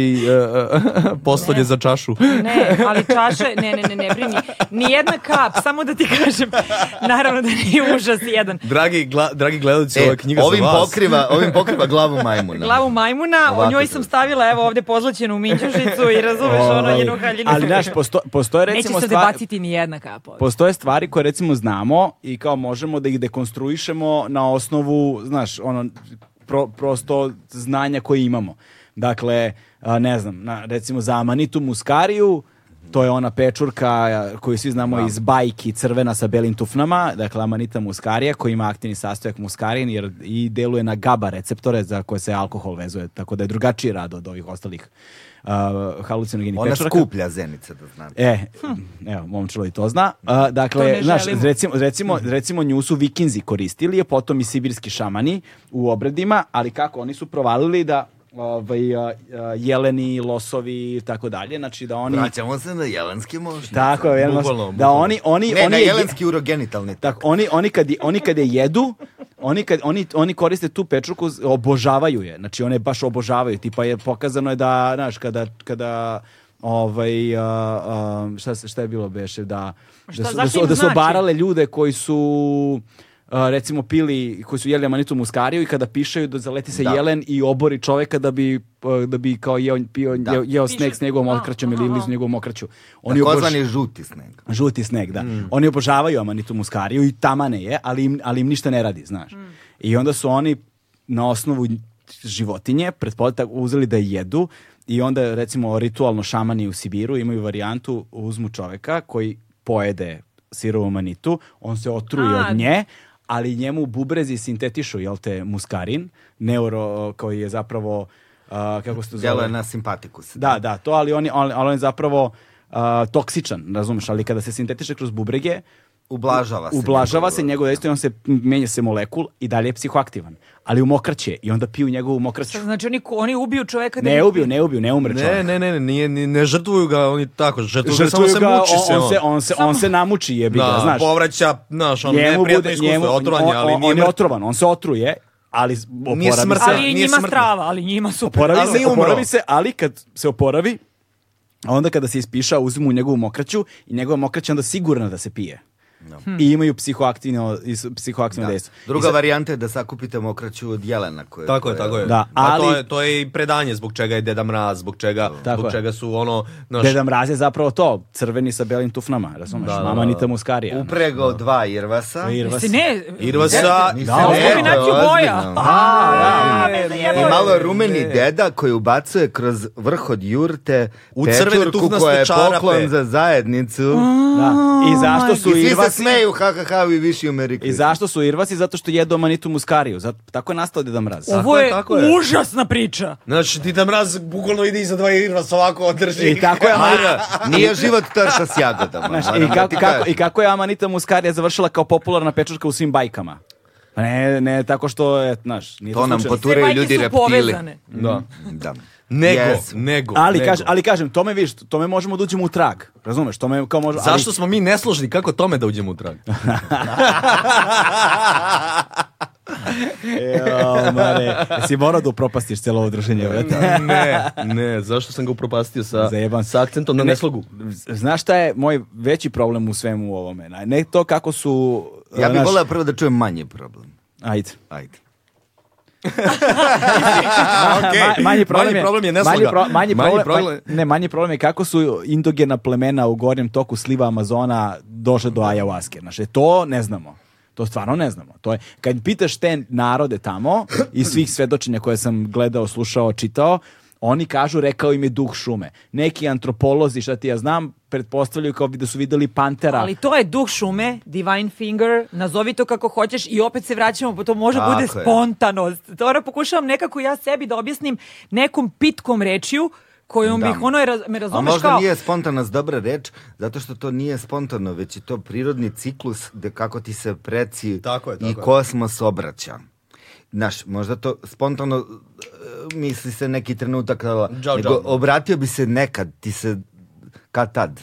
Speaker 2: *laughs* postolje za čašu?
Speaker 3: Ne, ali čaša, je- ne, ne, ne, ne brini. Nijedna kap, samo da ti kažem. Naravno da nije užas jedan.
Speaker 2: Dragi, gla, dragi gledalci, ova
Speaker 4: E,
Speaker 2: je knjiga
Speaker 4: ovim,
Speaker 2: za vas.
Speaker 4: pokriva, ovim pokriva glavu
Speaker 3: *laughs*
Speaker 4: majmuna.
Speaker 3: Glavu majmuna, o
Speaker 4: Ovako
Speaker 3: njoj
Speaker 4: to.
Speaker 3: sam stavila, evo ovde pozlaćenu minđušicu i razumeš ono jednu haljinu.
Speaker 1: Ovaj, Ali znaš, posto, postoje
Speaker 3: Neće
Speaker 1: recimo
Speaker 3: se
Speaker 1: stvar-
Speaker 3: baciti ni jedna kap ovde.
Speaker 1: Postoje stvari koje recimo znamo i kao možemo da ih dekonstruišemo na osnovu, znaš, ono, pro- prosto znanja koje imamo. Dakle, a, ne znam, na, recimo za Amanitu Muskariju, to je ona pečurka a, koju svi znamo iz bajki crvena sa belim tufnama, dakle Amanita muskarija koji ima aktivni sastojak muskarin jer i deluje na GABA receptore za koje se alkohol vezuje, tako da je drugačiji rad od ovih ostalih a, halucinogenih
Speaker 4: Ona
Speaker 1: pečuraka.
Speaker 4: skuplja zenice, da znate.
Speaker 1: E, evo, momčilo i to zna. A, dakle,
Speaker 3: To ne
Speaker 1: znaš,
Speaker 3: želimo. Mhm.
Speaker 1: recimo, recimo, recimo nju su vikinzi koristili, je potom i sibirski šamani u obredima, ali kako, oni su provalili da ovaj, a, a, jeleni, losovi i tako dalje, znači da oni...
Speaker 4: Vraćamo se na jelenski možda.
Speaker 1: Tako, je, jeleno-
Speaker 2: Bukvalno,
Speaker 1: da oni, oni,
Speaker 4: Ne,
Speaker 1: oni
Speaker 4: na
Speaker 1: je-
Speaker 4: jelenski urogenitalni.
Speaker 1: Tako, oni, oni, kad, je- oni kad je jedu, oni, kad, oni, oni koriste tu pečurku, z- obožavaju je. Znači, one baš obožavaju. Tipa, je, pokazano je da, znaš, kada, kada ovaj, a, a, šta, se- šta je bilo beše, da, da
Speaker 3: šta,
Speaker 1: su, da
Speaker 3: zašto
Speaker 1: su,
Speaker 3: im
Speaker 1: da su
Speaker 3: znači?
Speaker 1: obarale ljude koji su a, recimo pili, koji su jeli amanitu muskariju i kada pišaju da zaleti se jelen i obori čoveka da bi, a, da bi kao jeo, pio, jeo, jeo sneg s njegovom okraćom ili ivnicu s njegovom okraću. Oni obož-
Speaker 4: Takozvani žuti sneg.
Speaker 1: Žuti sneg, da. Oni obožavaju amanitu muskariju i tamane je, ali im, ali im ništa ne radi, znaš. I onda su oni na osnovu životinje pretpostavljam uzeli da je jedu i onda recimo ritualno šamani u Sibiru imaju varijantu uzmu čoveka koji pojede sirovu manitu, on se otruje od nje, ali njemu bubrezi sintetišu, jel te, muskarin, neuro koji je zapravo, a, kako se to zove?
Speaker 4: Djelo je na simpatikus.
Speaker 1: Da, da, to, ali on je, ali, ali on je zapravo a, toksičan, razumeš, ali kada se sintetiše kroz bubrege,
Speaker 4: Ublažava se.
Speaker 1: ublažava se
Speaker 4: njegovo-
Speaker 1: njegov dejstvo i on se, menja se molekul i dalje je psihoaktivan. Ali umokraće i onda piju njegovu mokraću.
Speaker 3: Znači oni, oni ubiju čoveka da
Speaker 1: Ne
Speaker 3: bi-
Speaker 1: ubiju, ne ubiju, ne umre
Speaker 2: Ne,
Speaker 1: čovjek.
Speaker 2: ne, ne, ne, nije, ni- ne žrtvuju ga, oni tako, žrtvuju, ga, samo
Speaker 1: Žrtvuju
Speaker 2: se
Speaker 1: ga,
Speaker 2: muči
Speaker 1: on-
Speaker 2: se ono.
Speaker 1: on, se, on, se, on se namuči jebi ga,
Speaker 2: Da,
Speaker 1: znaš.
Speaker 2: povraća, znaš, ono, neprijatno iskustvo, otrovan je,
Speaker 1: on-
Speaker 2: ali
Speaker 1: on-
Speaker 2: nije
Speaker 1: on je
Speaker 2: mrtav.
Speaker 1: otrovan, on se otruje, ali z-
Speaker 2: Nije
Speaker 1: oporavi
Speaker 2: smrtan.
Speaker 1: se.
Speaker 3: Ali
Speaker 2: Nije
Speaker 3: i njima
Speaker 2: smrtno.
Speaker 3: strava, ali njima super.
Speaker 1: oporavi
Speaker 2: Ali
Speaker 1: se,
Speaker 2: nije umro.
Speaker 1: oporavi se, ali kad se oporavi, a onda kada se ispiša, uzmu njegovu mokraću i njegova mokraća je onda sigurna da se pije. I imaju psihoaktivno, is- psihoaktivno dejstvo. I
Speaker 4: Druga
Speaker 1: sad-
Speaker 4: varijanta je da sakupite mokraću od jelena. Koje,
Speaker 2: Tako je,
Speaker 4: koje-
Speaker 2: tako je.
Speaker 1: Da,
Speaker 2: A to
Speaker 1: ali-
Speaker 2: je, to je i predanje zbog čega je Deda Mraz, zbog čega,
Speaker 1: Tako
Speaker 2: zbog
Speaker 1: je.
Speaker 2: čega su ono, znaš,
Speaker 1: Deda Mraz je zapravo to, crveni sa belim tufnama, razumeš?
Speaker 2: Da, da,
Speaker 1: Mama
Speaker 2: da.
Speaker 1: Anita Muskarija.
Speaker 4: Upregao dva irvasa.
Speaker 1: Irvas.
Speaker 3: Jesi ne,
Speaker 2: Irvasa,
Speaker 4: Nisam
Speaker 1: Da,
Speaker 4: rekao,
Speaker 3: kombinaciju boja.
Speaker 4: ozbiljno. I
Speaker 3: Jebote.
Speaker 4: malo rumeni deda koji ubacuje kroz vrh od jurte
Speaker 2: U crvene
Speaker 4: pečurku
Speaker 2: tufnaste
Speaker 4: koja je poklon
Speaker 2: čarape.
Speaker 4: za zajednicu.
Speaker 1: Da. I zašto
Speaker 4: I
Speaker 1: Mm. su
Speaker 4: svi se
Speaker 1: Irvasi?
Speaker 4: smeju, ha, ha, ha, vi viši u Merry
Speaker 1: I
Speaker 4: Christmas.
Speaker 1: zašto su Irvasi? Zato što jedu Manitu Muskariju. Zato, tako je nastao Deda Mraz.
Speaker 3: Ovo je,
Speaker 2: tako je.
Speaker 3: užasna priča.
Speaker 2: znaš, Deda Mraz bukvalno ide iza dva Irvasa ovako održi.
Speaker 1: I tako je Amanita,
Speaker 4: *laughs* Nije život trša s jagodama.
Speaker 1: znaš,
Speaker 4: moram
Speaker 1: i,
Speaker 4: da
Speaker 1: kako,
Speaker 4: ti
Speaker 1: kako,
Speaker 4: kažem.
Speaker 1: I kako je Amanita Muskarija završila kao popularna pečurka u svim bajkama? Pa ne, ne, tako što je, znaš, nije
Speaker 4: To nam
Speaker 1: slučajno.
Speaker 3: Sve
Speaker 4: poturaju
Speaker 3: bajke
Speaker 4: ljudi
Speaker 3: su
Speaker 4: reptili. Mm,
Speaker 3: povezane.
Speaker 2: Da.
Speaker 4: Da.
Speaker 2: Nego,
Speaker 4: Jesu.
Speaker 2: nego,
Speaker 1: Ali,
Speaker 2: nego.
Speaker 1: kaž, ali kažem, tome viš, tome možemo da uđemo u trag. Razumeš, tome kao možemo... ali- *laughs*
Speaker 2: Zašto smo mi nesložni, kako tome da uđemo u trag?
Speaker 1: Jao, mare, jesi morao da upropastiš celo ovo druženje, brate?
Speaker 2: ne, ne, zašto sam ga upropastio sa,
Speaker 1: Zajeban.
Speaker 2: sa akcentom na
Speaker 1: Ne,
Speaker 2: neslogu?
Speaker 1: z- Znaš šta je moj veći problem u svemu ovome? Na- Ne to kako su...
Speaker 4: Ja bih
Speaker 1: znaš-
Speaker 4: volio prvo da čujem manji problem.
Speaker 1: Ajde.
Speaker 4: Ajde.
Speaker 1: *laughs* *laughs* Ma- manji problem
Speaker 2: Manji
Speaker 1: je,
Speaker 2: problem je nesloga.
Speaker 1: manji, pro- manji
Speaker 2: Manji
Speaker 1: problem,
Speaker 2: problem-
Speaker 1: ma- ne, manji problem je kako su indogena plemena u gornjem toku sliva Amazona došle do ayahuasca. Znaš, e, to ne znamo. To stvarno ne znamo. To je, kad pitaš te narode tamo i svih svedočenja koje sam gledao, slušao, čitao, oni kažu rekao im je duh šume. Neki antropolozi, šta ti ja znam, pretpostavljaju kao bi da su videli pantera.
Speaker 3: Ali to je duh šume, divine finger, nazovi to kako hoćeš i opet se vraćamo, pa to može
Speaker 4: Tako
Speaker 3: bude
Speaker 4: je.
Speaker 3: spontanost. To ono pokušavam nekako ja sebi da objasnim nekom pitkom rečju kojom
Speaker 4: Da.
Speaker 3: bih ono, je raz- me
Speaker 4: A
Speaker 3: razumeš
Speaker 4: možda
Speaker 3: kao...
Speaker 4: nije spontanost dobra reč, zato što to nije spontano, već je to prirodni ciklus gde kako ti se preci
Speaker 2: Tako je, tako
Speaker 4: i
Speaker 2: je.
Speaker 4: kosmos obraća. Znaš, možda to spontano e, misli se neki trenutak, ali-
Speaker 2: Džao,
Speaker 4: nego
Speaker 2: džao.
Speaker 4: obratio bi se nekad, ti se kad tad.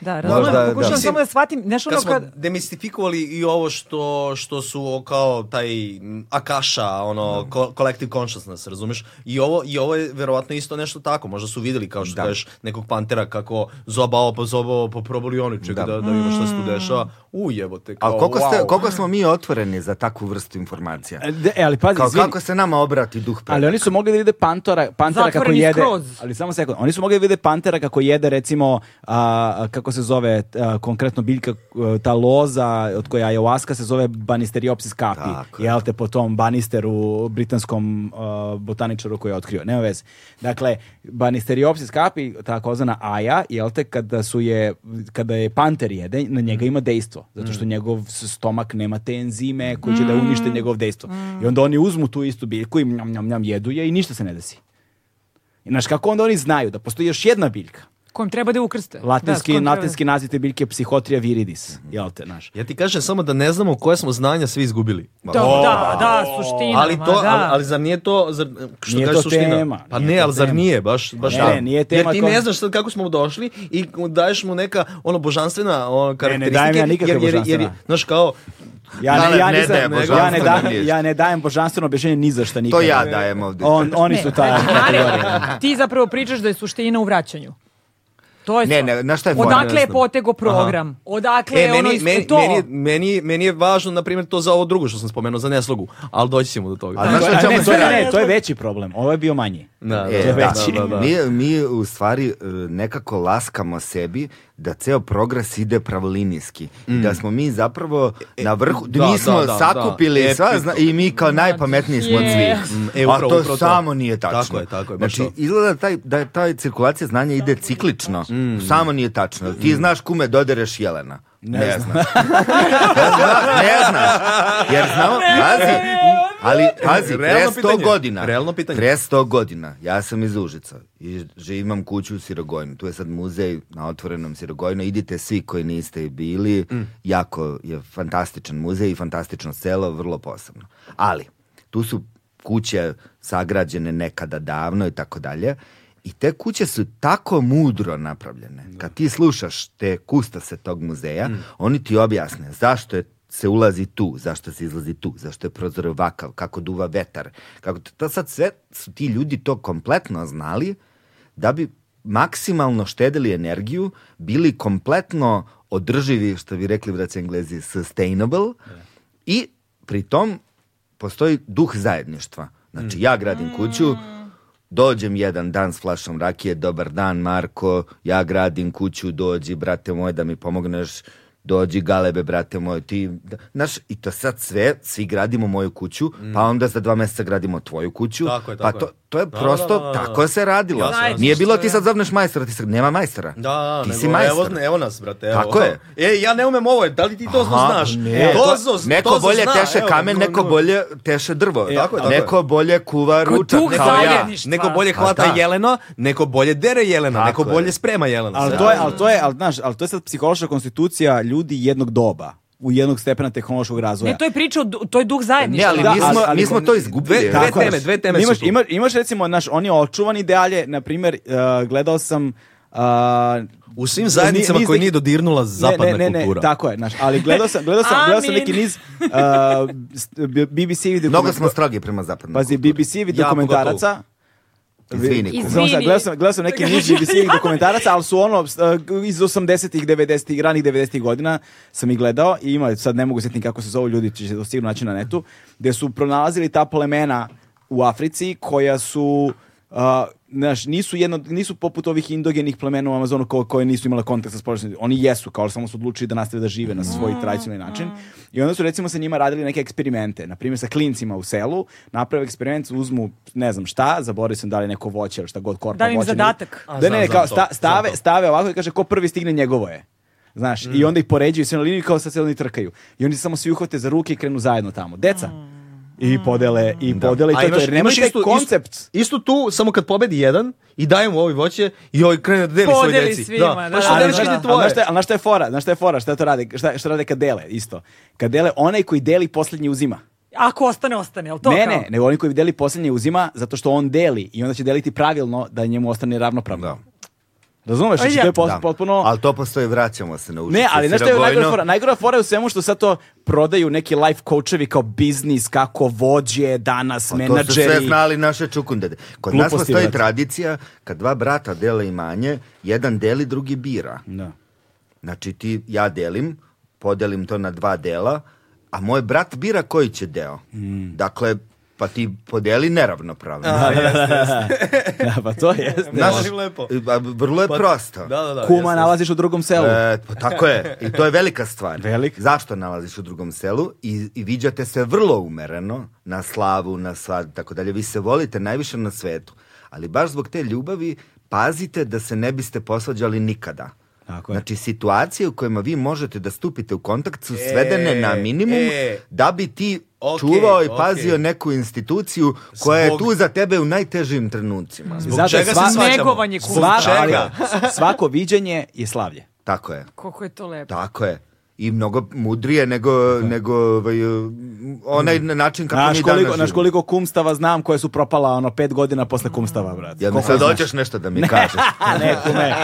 Speaker 3: Da, razumem,
Speaker 4: Možda, da.
Speaker 3: pokušavam
Speaker 4: Mislim,
Speaker 3: samo da shvatim, znaš ono
Speaker 2: Kad smo
Speaker 3: kad...
Speaker 2: demistifikovali i ovo što, što su o- kao taj m, Akaša, ono, ko, collective consciousness, razumeš? I ovo, I ovo je verovatno isto nešto tako. Možda su vidjeli, kao što kažeš, nekog pantera kako zoba ovo, pa zoba ovo, pa probali oni, čekaj da, da, vidimo šta se tu dešava. U jebote, kao,
Speaker 4: Ali koliko, ste,
Speaker 2: wow.
Speaker 4: koliko smo mi otvoreni za takvu vrstu informacija?
Speaker 1: E, de- e, ali pazi,
Speaker 4: Kao
Speaker 1: izvini.
Speaker 4: kako se nama obrati duh pre?
Speaker 1: Ali oni su mogli da vide pantera, pantera kako
Speaker 3: Zatvoreni
Speaker 1: jede.
Speaker 3: skroz.
Speaker 1: Ali samo sekund. Oni su mogli da vide pantera kako jede recimo a, kako se zove a, konkretno biljka a, ta loza od koje je ayahuasca se zove Banisteriopsis capi.
Speaker 4: Tako je.
Speaker 1: Jel te po tom banisteru britanskom a, botaničaru koji je otkrio. Nema veze. Dakle, Banisteriopsis capi, takozvana aja, jel te kada su je kada je panter jede, na njega
Speaker 4: Mm.
Speaker 1: ima dejstvo, zato što njegov s- stomak nema te enzime koji će da
Speaker 3: Mm.
Speaker 1: unište njegov dejstvo. I onda oni uzmu tu istu biljku i njam, njam, njam, jedu je i ništa se ne desi. I znaš, kako onda oni znaju da postoji još jedna biljka?
Speaker 3: Kojim treba da je ukrste.
Speaker 1: Latinski,
Speaker 3: Da, s kojim treba-
Speaker 1: latinski naziv te biljke je Psihotrija viridis.
Speaker 2: Mhm.
Speaker 1: Jel te, znaš?
Speaker 2: Ja ti kažem samo da ne znamo koje smo znanja svi izgubili.
Speaker 3: Da, da, da, suština,
Speaker 2: ali
Speaker 3: ma
Speaker 2: to,
Speaker 3: da.
Speaker 2: ali, ali zar nije to, zar, što
Speaker 1: Nije
Speaker 2: kažeš
Speaker 1: to
Speaker 2: suština?
Speaker 1: tema,
Speaker 2: Pa
Speaker 1: nije
Speaker 2: ne,
Speaker 1: to
Speaker 2: ali zar
Speaker 1: tema.
Speaker 2: nije, baš, baš
Speaker 1: Ne,
Speaker 2: tako.
Speaker 1: ne, nije tema
Speaker 2: Jer ti
Speaker 1: kom-
Speaker 2: ne znaš sad kako smo došli i daješ mu neka ono božanstvena ono,
Speaker 1: dajem ja
Speaker 2: karakteristike.
Speaker 1: nikakve
Speaker 2: jer, jer, jer,
Speaker 1: božanstvena.
Speaker 2: znaš kao,
Speaker 1: Ja ne,
Speaker 4: Galeb
Speaker 1: ja
Speaker 4: ne
Speaker 1: nisam-
Speaker 4: daje
Speaker 1: ja ne,
Speaker 4: božanstveno
Speaker 1: dajem,
Speaker 4: objašnjenje.
Speaker 1: ja ne dajem božanstveno objašnjenje ni za šta nikada.
Speaker 4: To ja dajem ovdje.
Speaker 1: On, oni su ta
Speaker 3: Mare,
Speaker 1: kategorija.
Speaker 3: ti zapravo pričaš da je suština u vraćanju. To je
Speaker 4: Ne,
Speaker 3: to.
Speaker 4: ne, znaš šta je fora?
Speaker 3: Odakle je
Speaker 2: Ne znam.
Speaker 3: potego program? Odakle je
Speaker 2: E,
Speaker 3: ono
Speaker 2: meni,
Speaker 3: isto
Speaker 2: meni,
Speaker 3: to?
Speaker 2: meni, je- meni, je- meni je važno, na primjer, to za ovo drugo što sam spomenuo, za neslogu, ali doći ćemo do toga.
Speaker 4: A znaš šta
Speaker 1: A
Speaker 4: ćemo
Speaker 1: ne, to, je,
Speaker 4: sve
Speaker 1: ne, to je veći problem. Ovo je bio manji.
Speaker 2: Da, da,
Speaker 4: E,
Speaker 2: da,
Speaker 4: da,
Speaker 2: da, da, da.
Speaker 4: Mi, mi u stvari e, nekako laskamo sebi da ceo progres ide pravolinijski. I da smo mi zapravo na vrhu, da,
Speaker 2: Mm. E, da,
Speaker 4: mi smo
Speaker 2: da, da,
Speaker 4: sakupili
Speaker 2: da.
Speaker 4: sva zna- i mi kao najpametniji smo od svih.
Speaker 2: Mm, e, upravo,
Speaker 4: A to
Speaker 2: upravo to.
Speaker 4: samo nije tačno.
Speaker 2: Tako je, tako je, baš
Speaker 4: Znači,
Speaker 2: to.
Speaker 4: izgleda da taj, da taj cirkulacija znanja ide ciklično.
Speaker 2: Mm.
Speaker 4: Samo nije tačno. Ti znaš kume dodereš jelena. Ne, znaš. *laughs* ne znaš. Ne znaš. Jer znamo, pazi, ali pazi, pre
Speaker 2: Realno
Speaker 4: 100
Speaker 2: pitanje.
Speaker 4: godina.
Speaker 2: Realno pitanje.
Speaker 4: Pre 100 godina, ja sam iz Užica i živim, imam kuću u Sirogojnu. Tu je sad muzej na otvorenom Sirogojnu. Idite svi koji niste bili.
Speaker 2: Mm.
Speaker 4: Jako je fantastičan muzej i fantastično selo, vrlo posebno. Ali, tu su kuće sagrađene nekada davno i tako dalje. I te kuće su tako mudro napravljene. Kad ti slušaš te kustase tog muzeja, oni ti objasne zašto je se ulazi tu, zašto se izlazi tu, zašto je prozor ovakav, kako duva vetar. Kako to, to sad sve su ti ljudi to kompletno znali da bi maksimalno štedili energiju, bili kompletno održivi, što bi rekli vraći englezi, sustainable i pri tom postoji duh zajedništva. Znači, ja gradim kuću, dođem jedan dan s flašom rakije, dobar dan Marko, ja gradim kuću, dođi brate moj da mi pomogneš, dođi galebe brate moj, ti... da- Znaš, i to sad sve, svi gradimo moju kuću, pa onda za dva mjeseca gradimo tvoju kuću,
Speaker 2: Mm. Tako je,
Speaker 4: pa
Speaker 2: tako
Speaker 4: to,
Speaker 2: je.
Speaker 4: to je
Speaker 2: Da,
Speaker 4: prosto,
Speaker 2: da, da, da.
Speaker 4: tako se radilo.
Speaker 2: Jasno, jasno.
Speaker 4: Nije bilo ti sad zovneš majstora, ti sad nema majstora.
Speaker 2: Da,
Speaker 4: ti
Speaker 2: nego,
Speaker 4: si majstor.
Speaker 2: Evo, evo nas, brate. Evo.
Speaker 4: Tako je.
Speaker 2: E, ja ne umem ovo, da li ti to
Speaker 4: Aha,
Speaker 2: znaš?
Speaker 4: ne.
Speaker 2: Tozo,
Speaker 4: neko
Speaker 2: tozo
Speaker 4: bolje
Speaker 2: zna,
Speaker 4: teše
Speaker 2: evo,
Speaker 4: kamen,
Speaker 2: no,
Speaker 4: neko
Speaker 2: no.
Speaker 4: bolje teše drvo.
Speaker 2: tako je, tako je.
Speaker 4: neko bolje kuva ručak,
Speaker 3: duh
Speaker 4: kao ja.
Speaker 3: zajedništva.
Speaker 2: Neko bolje
Speaker 4: Pa
Speaker 2: hvata
Speaker 4: da.
Speaker 2: jelena, neko bolje dere jelena,
Speaker 4: Tako
Speaker 2: neko
Speaker 4: je.
Speaker 2: bolje sprema jelena.
Speaker 1: Ali
Speaker 2: Sve.
Speaker 1: to je, ali to je, ali, znaš, ali to je sad psihološka konstitucija ljudi jednog doba u jednog stepena tehnološkog razvoja.
Speaker 3: Ne, to je priča, o du- to je duh
Speaker 4: Ne,
Speaker 3: zajedništva.
Speaker 4: ali
Speaker 1: Da,
Speaker 4: mi smo,
Speaker 1: ali-
Speaker 4: mi smo to izgubili.
Speaker 2: Dve-
Speaker 4: Tako
Speaker 1: Tako
Speaker 2: teme,
Speaker 1: je.
Speaker 2: dve teme
Speaker 1: imaš,
Speaker 2: su tu.
Speaker 1: Ima, imaš recimo, znaš, on je očuvan i dalje, na primjer, uh, gledao sam... Uh,
Speaker 2: U svim zajednicama
Speaker 1: ni- niz
Speaker 2: koje
Speaker 1: neki-
Speaker 2: nije dodirnula zapadna
Speaker 1: ne, ne, ne,
Speaker 2: kultura.
Speaker 1: Ne, tako je, znaš, ali gledao sam, gledao sam, gledao sam
Speaker 3: Amin.
Speaker 1: neki niz uh, st- b- BBC video...
Speaker 4: Mnogo smo strogi prema zapadnom
Speaker 1: Pazi,
Speaker 4: kulturi.
Speaker 1: BBC video
Speaker 2: Ja,
Speaker 1: dokumentaraca...
Speaker 4: Izvini,
Speaker 3: Iz-
Speaker 4: kume.
Speaker 1: Samo sad,
Speaker 3: Izvini.
Speaker 1: gledao sam, gledao sam neki niz BBC-ih dokumentaraca, ali su ono, s- eh, iz 80-ih, 90-ih, ranih 90-ih godina sam ih gledao i ima, sad ne mogu sjetiti kako se zovu ljudi, će se sigurno naći na netu, gdje su pronalazili ta plemena u Africi koja su... a, znaš, nisu, jedno, nisu poput ovih indogenih plemena u Amazonu ko, koje nisu imale kontakt sa spoljašnjim. Oni jesu, kao samo su odlučili da nastave da žive na svoj tradicionalni način. I onda su recimo sa njima radili neke eksperimente. Na primjer sa klincima u selu, naprave eksperiment, uzmu ne znam šta, zaboravio sam da li neko voće ili šta god korpa
Speaker 3: Dali im
Speaker 1: voće, ne-
Speaker 3: zadatak.
Speaker 2: A,
Speaker 1: Da
Speaker 2: znam,
Speaker 1: ne, ne,
Speaker 2: znam
Speaker 1: kao
Speaker 2: to,
Speaker 1: sta-
Speaker 2: znam
Speaker 1: stave,
Speaker 2: to. Mm.
Speaker 1: stave ovako i kaže ko prvi stigne njegovo je. Znaš, i onda ih poređuju sve na liniju kao sad se oni trkaju. I oni se samo svi uhvate za ruke i krenu zajedno tamo. Deca.
Speaker 3: Mm.
Speaker 1: I podele, i podele, i
Speaker 2: A
Speaker 1: to je to.
Speaker 2: imaš-
Speaker 1: Jer nemaju
Speaker 2: imaš
Speaker 1: taj
Speaker 2: istu-
Speaker 1: koncept.
Speaker 2: Istu, istu tu, samo kad pobedi jedan i daje mu ovi voće i ovaj krene da deli svoj
Speaker 3: Podeli
Speaker 2: deci.
Speaker 3: svima, da.
Speaker 2: Pa što
Speaker 1: Ali,
Speaker 2: deliš
Speaker 1: znaš-
Speaker 2: kad je
Speaker 1: ali znaš
Speaker 2: tvoje?
Speaker 1: šta je- ali znaš šta je fora? Znaš šta je fora? Šta to rade? Šta, šta rade kad dele? Isto. Kad dele, onaj koji deli posljednji uzima.
Speaker 3: Ako ostane, ostane. jel to
Speaker 1: ne,
Speaker 3: kao?
Speaker 1: ne, nego onaj koji deli posljednji uzima zato što on deli i onda će deliti pravilno da njemu ostane ravnopravno.
Speaker 4: Da.
Speaker 1: Razumeš? Znači,
Speaker 3: Ja.
Speaker 1: to je pos-
Speaker 4: Da.
Speaker 1: potpuno...
Speaker 4: Ali to postoji, vraćamo se na ušice.
Speaker 1: Ne, ali znaš šta je
Speaker 4: Sirogojno.
Speaker 1: najgora fora? Najgora fora je u svemu što sad to prodaju neki life coachevi kao biznis, kako vođe danas,
Speaker 4: Pa To su sve
Speaker 1: menadžeri.
Speaker 4: znali naše čukundede. Kod nas
Speaker 1: Gluposti,
Speaker 4: postoji
Speaker 1: brate.
Speaker 4: tradicija, kad dva brata dele imanje, jedan deli, drugi bira.
Speaker 1: Da.
Speaker 4: Znači ti, ja delim, podelim to na dva dela, a moj brat bira koji će deo.
Speaker 1: Mm.
Speaker 4: Dakle, pa ti podeli neravnopravno.
Speaker 1: *laughs* Da, pa to jeste.
Speaker 4: Pa Znaš,
Speaker 2: Molim lepo.
Speaker 4: ba- Vrlo
Speaker 1: Pa
Speaker 4: je prosto.
Speaker 2: Da, da, da.
Speaker 1: Kuma
Speaker 2: jeste.
Speaker 1: nalaziš u drugom selu.
Speaker 4: E, pa tako je. I to je velika stvar.
Speaker 1: Velik.
Speaker 4: Zašto nalaziš u drugom selu i, i viđate se vrlo umereno na slavu, na svad, tako dalje. Vi se volite najviše na svetu. Ali baš zbog te ljubavi pazite da se ne biste posvađali nikada.
Speaker 1: Tako je.
Speaker 4: Znači, situacije u kojima vi možete da stupite u kontakt su svedene na minimum
Speaker 2: e.
Speaker 4: da bi ti
Speaker 2: Okej,
Speaker 4: čuvao i
Speaker 2: okej.
Speaker 4: pazio neku instituciju koja
Speaker 2: Zbog-
Speaker 4: je tu za tebe u najtežim trenucima.
Speaker 2: Zbog
Speaker 1: Zato
Speaker 2: čega
Speaker 1: sva-
Speaker 2: se svađamo?
Speaker 3: Negovanje kuma.
Speaker 1: Svako-
Speaker 2: Zbog
Speaker 1: ali
Speaker 2: čega?
Speaker 1: svako viđenje je slavlje.
Speaker 4: Tako je.
Speaker 3: Koliko je to lepo.
Speaker 4: Tako je. I mnogo mudrije nego, nego ovaj, m, onaj način kako
Speaker 1: Mm. Naš
Speaker 4: mi danas
Speaker 1: koliko, naš
Speaker 4: živimo.
Speaker 1: koliko kumstava znam koje su propala ono pet godina posle kumstava, brate.
Speaker 4: Jel mi
Speaker 1: Koliko
Speaker 4: sad
Speaker 1: znaš?
Speaker 4: hoćeš nešto da mi kažeš?
Speaker 1: A ne, kume.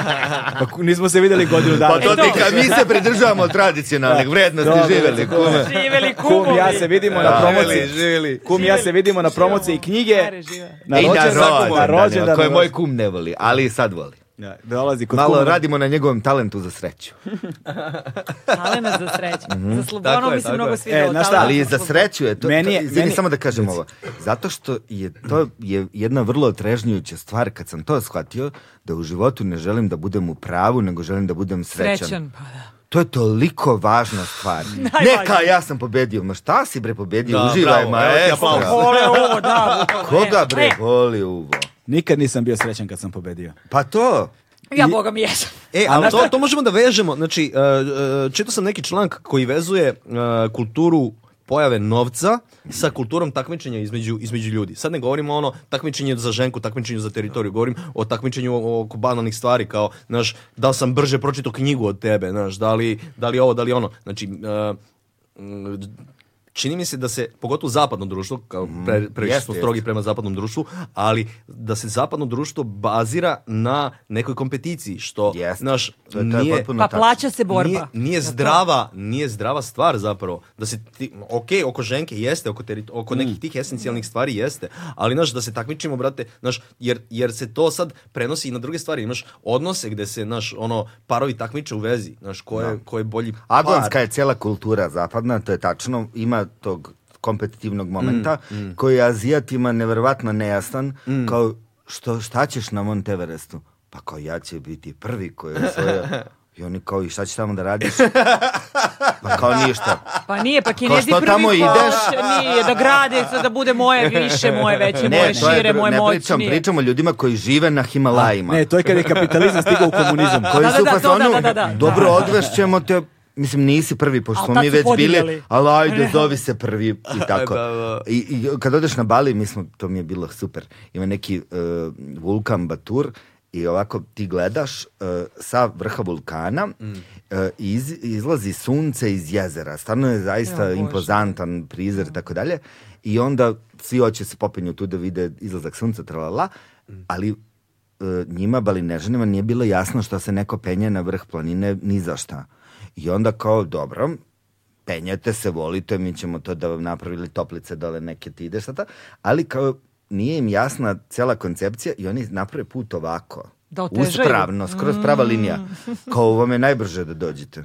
Speaker 1: Pa ku- nismo se vidjeli godinu dana.
Speaker 4: *laughs* Pa
Speaker 3: E,
Speaker 4: to ti ka- mi se pridržavamo tradicionalnih vrednosti
Speaker 1: Dobro,
Speaker 4: živeli,
Speaker 1: dobro.
Speaker 4: kume.
Speaker 1: *laughs*
Speaker 3: Živeli kumovi.
Speaker 1: Kum, ja se vidimo na promociji.
Speaker 2: Živeli, živeli.
Speaker 1: Kum, ja se vidimo na promociji knjige.
Speaker 3: Stare žive.
Speaker 1: Na
Speaker 4: I na
Speaker 1: rođendan, na
Speaker 4: rođendanima,
Speaker 1: rođendan.
Speaker 4: koje moj kum ne voli, ali i sad voli.
Speaker 1: Da, dolazi kod
Speaker 4: Malo
Speaker 1: kumara.
Speaker 4: radimo na njegovom talentu za sreću.
Speaker 3: Alena za sreću. Za
Speaker 2: Tako
Speaker 3: Slobodanu
Speaker 2: je,
Speaker 3: mi se
Speaker 2: tako
Speaker 3: mnogo
Speaker 2: je.
Speaker 3: svidelo.
Speaker 1: E, znaš šta,
Speaker 3: talent
Speaker 4: Ali je za
Speaker 3: Slobodana.
Speaker 4: sreću je to.
Speaker 1: Meni je-
Speaker 4: to izvini,
Speaker 1: meni-
Speaker 4: samo da kažem ovo. Zato što je to je jedna vrlo otrežnjujuća stvar kad sam to shvatio da u životu ne želim da budem u pravu, nego želim da budem srećan.
Speaker 3: Srećan, pa da.
Speaker 4: To je toliko važna
Speaker 3: *laughs*
Speaker 4: stvar. Neka ja sam pobedio. Ma šta si bre pobedio?
Speaker 2: Da,
Speaker 4: Uživaj
Speaker 2: bravo, evo ti aplauz.
Speaker 4: maestro.
Speaker 3: Ole, ovo, *laughs* da. bukvalno,
Speaker 4: Koga
Speaker 3: e,
Speaker 4: bre
Speaker 3: e,
Speaker 4: voli uvo?
Speaker 1: Nikad nisam bio srećan kad sam pobedio.
Speaker 4: Pa to.
Speaker 3: Ja, boga mi jesam.
Speaker 2: E, ali to, to možemo da vežemo. Znači, uh, uh, čitao sam neki članak koji vezuje uh, kulturu pojave novca sa kulturom takmičenja između, između ljudi. Sad ne govorimo ono takmičenje za ženku, takmičenje za teritoriju, govorim o takmičenju oko banalnih stvari kao, znaš, da li sam brže pročitao knjigu od tebe, znaš, da li, da li ovo, da li ono. Znači, uh, mm, čini mi se da se, pogotovo zapadno društvo, kao pre, previše
Speaker 4: Mm, jeste,
Speaker 2: smo strogi prema zapadnom društvu, ali da se zapadno društvo bazira na nekoj kompeticiji, što
Speaker 4: Jeste.
Speaker 2: Znaš,
Speaker 4: To je, to je
Speaker 2: nije,
Speaker 4: potpuno
Speaker 3: Pa
Speaker 4: tačno.
Speaker 3: plaća se borba.
Speaker 2: nije, nije zdrava, nije zdrava stvar zapravo. Da se ti, ok, oko ženke jeste, oko, teri- oko
Speaker 4: Mm.
Speaker 2: nekih tih esencijalnih stvari jeste, ali znaš, da se takmičimo, brate, znaš, jer, jer se to sad prenosi i na druge stvari. Imaš odnose gde se, znaš, ono, parovi takmiče u vezi, znaš, ko je, ko je bolji par.
Speaker 4: Agonska je cijela kultura zapadna, to je tačno, ima tog kompetitivnog
Speaker 2: Mm,
Speaker 4: momenta koji je Azijatima neverovatno nejasan,
Speaker 2: Mm.
Speaker 4: kao što, šta ćeš na Monteverestu? Pa kao ja će biti prvi koji je osvojio. I oni kao, i šta ćeš tamo da radiš? Pa kao ništa.
Speaker 3: Pa nije, pa kinezi
Speaker 4: što
Speaker 3: prvi
Speaker 4: tamo
Speaker 3: koš,
Speaker 4: ideš?
Speaker 3: Nije, da grade, sad da bude moje više, moje veće, moje
Speaker 4: to je
Speaker 3: šire,
Speaker 4: dru-
Speaker 3: moje
Speaker 4: ne
Speaker 3: moćnije.
Speaker 4: pričam, pričam o ljudima koji žive na Himalajima.
Speaker 1: Ne, to je kad je kapitalizam stigao u
Speaker 4: *laughs*
Speaker 1: komunizam.
Speaker 4: koji
Speaker 3: Da, da,
Speaker 4: su u
Speaker 3: da, to
Speaker 4: fazonu,
Speaker 3: da, da, da, da.
Speaker 4: dobro odvešćemo te, mislim nisi prvi, pošto
Speaker 3: Al
Speaker 4: smo
Speaker 3: tad
Speaker 4: mi
Speaker 3: su
Speaker 4: već bili,
Speaker 3: podigli.
Speaker 4: ali ajde, zovi se prvi i
Speaker 2: *laughs*
Speaker 4: tako.
Speaker 2: Da, da.
Speaker 4: I, i kad odeš na Bali, mi smo, to mi je bilo super, ima neki e, vulkan Batur i ovako ti gledaš e, sa vrha vulkana
Speaker 2: Mm.
Speaker 4: e, i iz, izlazi sunce iz jezera, stvarno je zaista impozantan prizor i tako dalje i onda svi hoće se popinju tu da vide izlazak sunca, tralala,
Speaker 2: Mm.
Speaker 4: ali e, njima balinežanima nije bilo jasno što se neko penje na vrh planine ni za šta. I onda kao, dobro, penjate se, volite, mi ćemo to da vam napravili toplice dole neke ti ideš sada, ali kao nije im jasna cela koncepcija i oni naprave put ovako.
Speaker 3: Da otežaju. Mm.
Speaker 4: Uspravno, skroz prava linija. Kao vam je najbrže da dođete.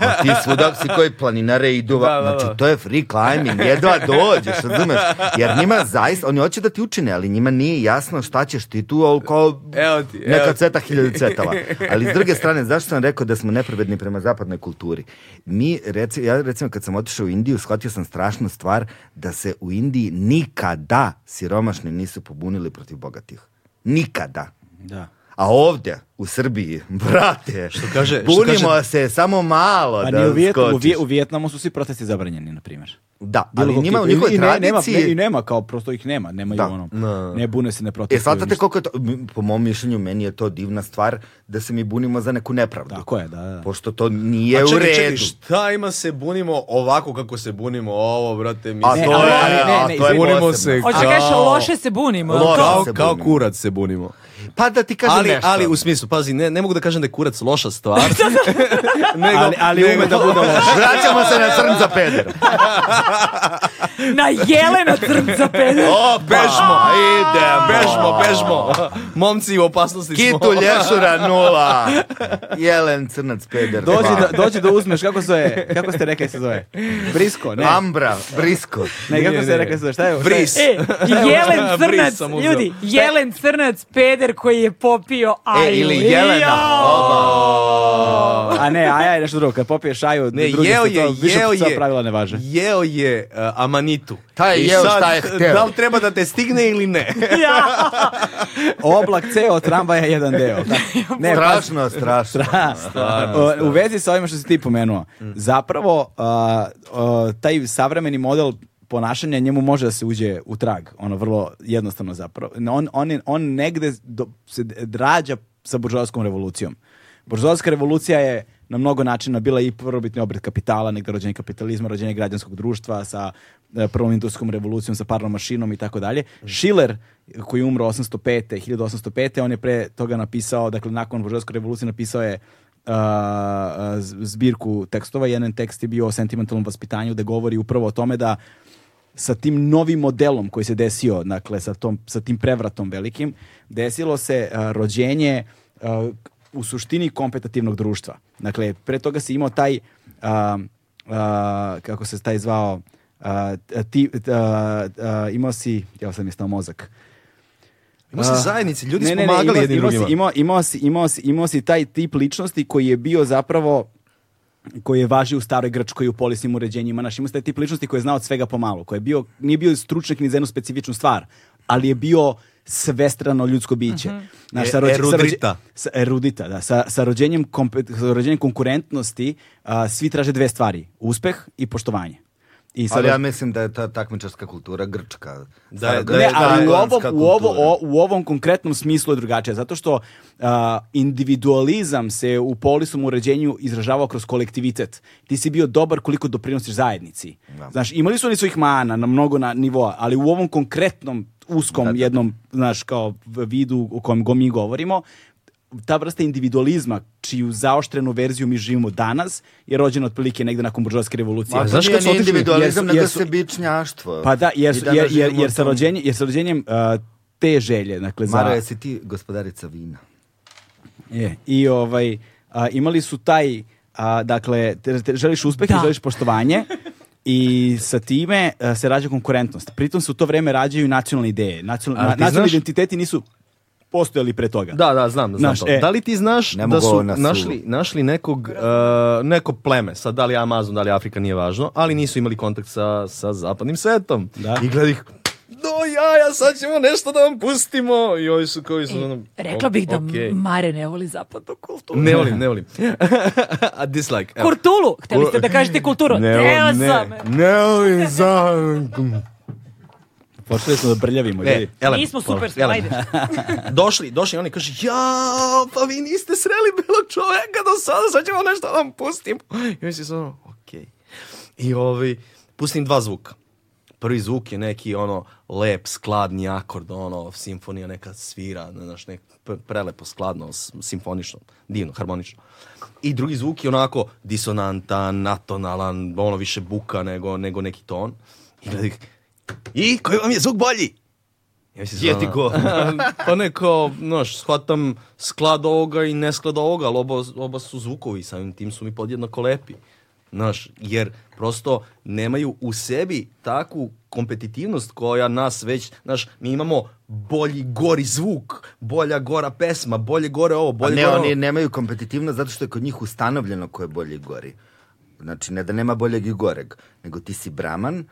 Speaker 4: A ti svuda si koji planinare idu. va- Znači, to je free climbing. Jedva dođeš, razumeš? Jer njima zaista, oni hoće da ti učine, ali njima nije jasno šta ćeš ti tu, ali kao
Speaker 2: Evo ti, evo
Speaker 4: neka
Speaker 2: ti.
Speaker 4: ceta hiljadu cetala. Ali s druge strane, zašto sam rekao da smo nepravedni prema zapadnoj kulturi? Mi, reci, ja recimo kad sam otišao u Indiju, shvatio sam strašnu stvar da se u Indiji nikada siromašni nisu pobunili protiv bogatih. Nikada.
Speaker 1: Da.
Speaker 4: A ovdje, u Srbiji, *laughs* brate, što
Speaker 2: kaže- što
Speaker 4: bunimo
Speaker 2: kaže-
Speaker 4: se samo malo
Speaker 1: Pa
Speaker 4: da
Speaker 1: ni u, Vijet, u,
Speaker 4: skočiš.
Speaker 1: Vije- u Vijetnamu su svi protesti zabranjeni, na primjer.
Speaker 4: Da,
Speaker 1: Bilo
Speaker 4: ali
Speaker 1: kog
Speaker 4: njima u
Speaker 1: tipa. I-
Speaker 4: njihovoj
Speaker 1: i ne- nema-
Speaker 4: tradiciji...
Speaker 1: ne- I nema, kao prosto ih nema, nemaju
Speaker 4: Da.
Speaker 1: ono, ne bune se, ne
Speaker 4: E,
Speaker 1: protestuju.
Speaker 4: shvatate
Speaker 1: ništa.
Speaker 4: koliko je to, m, po mom mišljenju, meni je to divna stvar da se mi bunimo za neku nepravdu.
Speaker 1: Tako je, da, da.
Speaker 4: Pošto to nije
Speaker 2: A
Speaker 4: u
Speaker 2: čekaj,
Speaker 4: redu.
Speaker 2: čekaj, šta ima se bunimo ovako kako se bunimo ovo, brate, mi
Speaker 4: A
Speaker 2: se-
Speaker 4: to
Speaker 1: ali-
Speaker 4: je,
Speaker 1: ali ne, ne,
Speaker 4: a to je
Speaker 1: izvini.
Speaker 2: bunimo
Speaker 4: posebno.
Speaker 2: se
Speaker 3: Hoće da kažeš, loše se bunimo.
Speaker 4: Loše.
Speaker 3: To-
Speaker 2: kao,
Speaker 4: se bunimo.
Speaker 2: kao kurac se bunimo.
Speaker 4: Pa da ti kažem
Speaker 2: Ali,
Speaker 4: nešto.
Speaker 2: ali u smislu, pazi, ne, ne mogu da kažem da je kurac loša
Speaker 4: *laughs*
Speaker 2: stvar. *laughs* nego,
Speaker 1: Ali- ali ume
Speaker 2: nego-
Speaker 1: da bude loša.
Speaker 4: Vraćamo se na crn za
Speaker 1: *laughs*
Speaker 4: peder.
Speaker 3: Na Jelena Crnca Pedro.
Speaker 2: O, bežmo,
Speaker 4: Pa, idemo.
Speaker 2: bežmo, bežmo. *laughs* Momci u opasnosti smo.
Speaker 4: Kitu
Speaker 2: *laughs*
Speaker 4: lješura nula. Jelen crnac peder.
Speaker 1: Dođi
Speaker 4: dva.
Speaker 1: da, dođi da uzmeš, kako se zove, kako ste rekli se zove? Brisko, ne?
Speaker 4: Ambra, brisko.
Speaker 1: ne, kako
Speaker 2: Nije,
Speaker 1: ste
Speaker 2: nije.
Speaker 1: rekli se zove, šta je? šta je-
Speaker 2: Vris.
Speaker 3: E, Jelen
Speaker 2: *laughs* Bris
Speaker 3: Crnac,
Speaker 2: sam uzeo.
Speaker 3: ljudi, Jelen Crnac Peder koji je popio aju.
Speaker 4: E, ili Jelena.
Speaker 3: *laughs*
Speaker 1: A ne, aja je nešto drugo, kad popiješ aju,
Speaker 2: Ne,
Speaker 1: drugi
Speaker 2: jeo
Speaker 1: se to,
Speaker 2: je,
Speaker 1: više
Speaker 2: jeo
Speaker 1: sva
Speaker 2: je.
Speaker 1: pravila ne važe.
Speaker 2: Jeo je uh, amanitu.
Speaker 4: Taj je
Speaker 2: I
Speaker 4: jeo
Speaker 2: sad,
Speaker 4: šta je hteo.
Speaker 2: Da li treba da te stigne ili ne? *laughs*
Speaker 1: Oblak ceo tramvaja je jedan deo. Ne, pazi,
Speaker 4: strašno, strašno.
Speaker 1: O, U vezi sa ovime što si ti pomenuo,
Speaker 2: Mm.
Speaker 1: zapravo a, a, taj savremeni model ponašanja njemu može da se uđe u trag, ono vrlo jednostavno zapravo. On, on, je- on negde do- se d- rađa sa buržoaskom revolucijom. Buržoaska revolucija je na mnogo načina bila i prvobitni obred kapitala, negde rođenje kapitalizma, rođenje građanskog društva sa e, prvom industrijskom revolucijom, sa parnom mašinom i tako dalje. Schiller, koji je umro 805. 1805. On je pre toga napisao, dakle nakon buržoaske revolucije napisao je a, z- zbirku tekstova. Jedan tekst je bio o sentimentalnom vaspitanju da govori upravo o tome da sa tim novim modelom koji se desio, dakle sa, tom, sa tim prevratom velikim, desilo se a, e, rođenje uh, u suštini kompetativnog društva. Dakle, pre toga si imao taj, a, a, kako se taj zvao, a, ti, a, a, imao si, ja sam mi je stao mozak,
Speaker 2: Imao si
Speaker 1: a,
Speaker 2: zajednice, ljudi
Speaker 1: ne,
Speaker 2: su
Speaker 1: ne, ne,
Speaker 2: pomagali
Speaker 1: imao si-
Speaker 2: jedni
Speaker 1: imao si-
Speaker 2: drugima.
Speaker 1: Imao, imao, si, imao, si, imao si taj tip ličnosti koji je bio zapravo koji je važio u staroj Grčkoj u polisnim uređenjima. Naš, imao si taj tip ličnosti koji je znao od svega pomalo, koji je bio, nije bio stručnjak ni za jednu specifičnu stvar, ali je bio svestrano ljudsko biće. Znaš, sa
Speaker 2: E-
Speaker 1: rođe- sa rođe-
Speaker 2: erudita.
Speaker 1: sa, erudita, da. Sa, sa, rođenjem, kompe- sa rođenjem konkurentnosti a, svi traže dve stvari. Uspeh i poštovanje. I sad-
Speaker 4: Ali ja mislim da je ta takmičarska kultura grčka.
Speaker 2: Da je-
Speaker 4: Stara-
Speaker 2: da
Speaker 1: ne,
Speaker 2: je-
Speaker 1: ali u ovom,
Speaker 2: Tajlandska
Speaker 1: u, ovo,
Speaker 2: kultura.
Speaker 1: o- u ovom konkretnom smislu je drugačije, zato što a, individualizam se u polisom uređenju izražavao kroz kolektivitet. Ti si bio dobar koliko doprinosiš zajednici. Znaš, imali su oni svojih mana na mnogo na nivoa, ali u ovom konkretnom uskom jednom, znaš, kao v- vidu o kojem go mi govorimo, ta vrsta individualizma, čiju zaoštrenu verziju mi živimo danas, je rođena otprilike negde nakon buržovske revolucije.
Speaker 4: Ma, to
Speaker 2: znaš
Speaker 4: nije
Speaker 2: kad E, su
Speaker 4: ni
Speaker 2: otišli-
Speaker 4: individualizam,
Speaker 1: jer su-
Speaker 4: nego
Speaker 1: jer su-
Speaker 4: sebičnjaštvo.
Speaker 1: Pa da, jer,
Speaker 4: I
Speaker 1: su-
Speaker 4: danas
Speaker 1: jer, jer,
Speaker 4: živimo
Speaker 1: jer,
Speaker 4: u
Speaker 1: sa
Speaker 4: tom-
Speaker 1: rođenjem, jer sa rođenjem a, te želje, dakle, za...
Speaker 4: Mara, jesi ti gospodarica vina?
Speaker 1: Je. I ovaj, a, imali su taj, a, dakle, te- te- želiš uspeh i želiš poštovanje i sa time a, se rađa konkurentnost. Pritom se u to vreme rađaju nacionalne ideje. Nacional,
Speaker 2: Ali
Speaker 1: na-
Speaker 2: ti
Speaker 1: nacionalni
Speaker 2: znaš-
Speaker 1: identiteti nisu postojali pre toga.
Speaker 2: Da, da, znam da znam
Speaker 1: Znaš,
Speaker 2: to.
Speaker 1: e,
Speaker 2: da li ti znaš
Speaker 4: ne
Speaker 2: da
Speaker 4: mogu ovo
Speaker 2: su
Speaker 4: na suvo.
Speaker 2: našli, našli nekog, e, neko pleme, sad da li Amazon, da li Afrika, nije važno, ali nisu imali kontakt sa, sa zapadnim svetom.
Speaker 1: Da.
Speaker 2: I gleda ih, do jaja, sad ćemo nešto da vam pustimo. I ovi su koji su... ono,
Speaker 3: E, Rekla bih da
Speaker 2: okej.
Speaker 3: Mare ne voli zapadnu kulturu.
Speaker 2: Ne volim, ne volim. *laughs* A dislike. evo.
Speaker 3: Kurtulu! Hteli ste da kažete kulturu. Ne, Treba sam. E,
Speaker 2: Ne volim za...
Speaker 1: Počeli smo da brljavimo.
Speaker 2: E,
Speaker 1: ljudi.
Speaker 2: elem,
Speaker 3: Nismo super,
Speaker 2: elem.
Speaker 3: ajde.
Speaker 2: *laughs* došli, došli, oni kaže, ja, pa vi niste sreli bilo čoveka do sada, sad ćemo nešto da vam pustimo. I mi si samo, ono, okej. I ovi, pustim dva zvuka. Prvi zvuk je neki ono lep, skladni akord, ono, simfonija neka svira, ne znaš, nek pre- prelepo, skladno, s- simfonično, divno, harmonično. I drugi zvuk je onako disonantan, atonalan, ono više buka nego, nego neki ton. I gledaj, i koji vam je zvuk bolji? Ja si ti *laughs* ko? pa ne, kao, znaš, shvatam sklad ovoga i nesklad ovoga, ali oba, oba su zvukovi, samim tim su mi podjednako lepi. Znaš, jer prosto nemaju u sebi takvu kompetitivnost koja nas već, znaš, mi imamo bolji, gori zvuk, bolja, gora pesma, bolje, gore ovo,
Speaker 4: A
Speaker 2: bolje,
Speaker 4: ne,
Speaker 2: gore
Speaker 4: oni
Speaker 2: ono.
Speaker 4: nemaju kompetitivnost zato što je kod njih ustanovljeno ko je bolji i gori. Znači, ne da nema boljeg i goreg, nego ti si braman,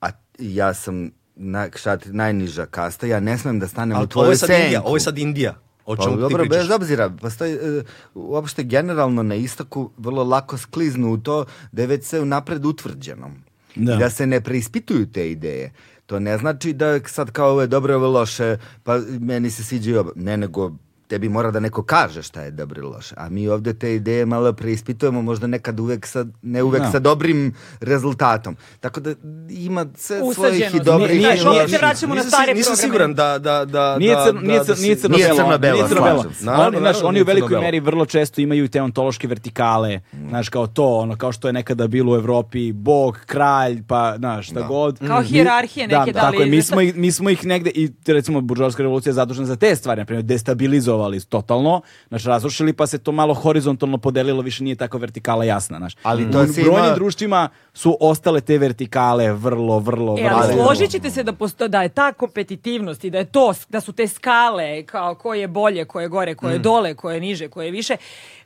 Speaker 4: a ja sam na, šta ti- najniža kasta, ja ne smem da stanem
Speaker 2: Ali
Speaker 4: u
Speaker 2: ovo
Speaker 4: tvoju
Speaker 2: je sad
Speaker 4: senku.
Speaker 2: Indija, ovo je sad Indija. O
Speaker 4: Pa,
Speaker 2: čemu ti
Speaker 4: dobro,
Speaker 2: pričaš?
Speaker 4: bez obzira, postoji, e, uopšte generalno na istoku vrlo lako skliznu u to da je već sve unapred utvrđeno.
Speaker 1: Da.
Speaker 4: I da se ne preispituju te ideje. To ne znači da je sad kao ovo je dobro, ovo je loše, pa meni se sviđa i ovo. Ne, nego tebi mora da neko kaže šta je dobro ili loše. A mi ovdje te ideje malo preispitujemo, možda nekad uvek sa, ne uvek
Speaker 1: Da.
Speaker 4: sa dobrim rezultatom. Tako da ima sve svojih i
Speaker 3: Usađenost.
Speaker 4: dobrih
Speaker 1: Nije-
Speaker 4: i
Speaker 1: nije-
Speaker 4: loših.
Speaker 3: se vraćamo na
Speaker 2: Nisam si-
Speaker 3: stare
Speaker 2: Nisam
Speaker 3: programe.
Speaker 2: siguran da... da, da
Speaker 1: Nije,
Speaker 2: da-
Speaker 1: crno,
Speaker 2: da-
Speaker 1: nije,
Speaker 2: da
Speaker 1: crno,
Speaker 2: si-
Speaker 1: nije crno
Speaker 4: Nije
Speaker 1: belo.
Speaker 4: crno-belo,
Speaker 1: nije crno-belo.
Speaker 4: slažem se.
Speaker 1: Oni,
Speaker 2: Naravno,
Speaker 1: znaš,
Speaker 2: naravno,
Speaker 1: oni
Speaker 2: nije
Speaker 1: u velikoj
Speaker 2: crno-belo.
Speaker 1: meri vrlo često imaju te ontološke vertikale, znaš, kao to, ono, kao što je nekada bilo u Evropi, bog, kralj, pa, znaš, šta god.
Speaker 3: Kao
Speaker 1: Mi-
Speaker 3: hijerarhije neke, da li-
Speaker 1: tako je, mi smo, ih, mi smo ih negde, i recimo, buržovska revolucija je zadužena za te stvari, na primjer, destabilizovali totalno, znaš, razrušili, pa se to malo horizontalno podelilo, više nije tako vertikala jasna, znaš.
Speaker 4: Ali
Speaker 1: u
Speaker 4: to se
Speaker 1: brojnim
Speaker 4: ima-
Speaker 1: društvima su ostale te vertikale vrlo, vrlo,
Speaker 3: E,
Speaker 1: vrlo.
Speaker 3: ali
Speaker 1: vrlo.
Speaker 3: složit ćete se da, posto, da je ta kompetitivnost i da, je to, da su te skale kao ko je bolje, ko je gore, ko je
Speaker 2: Mm.
Speaker 3: dole, ko je niže, ko je više,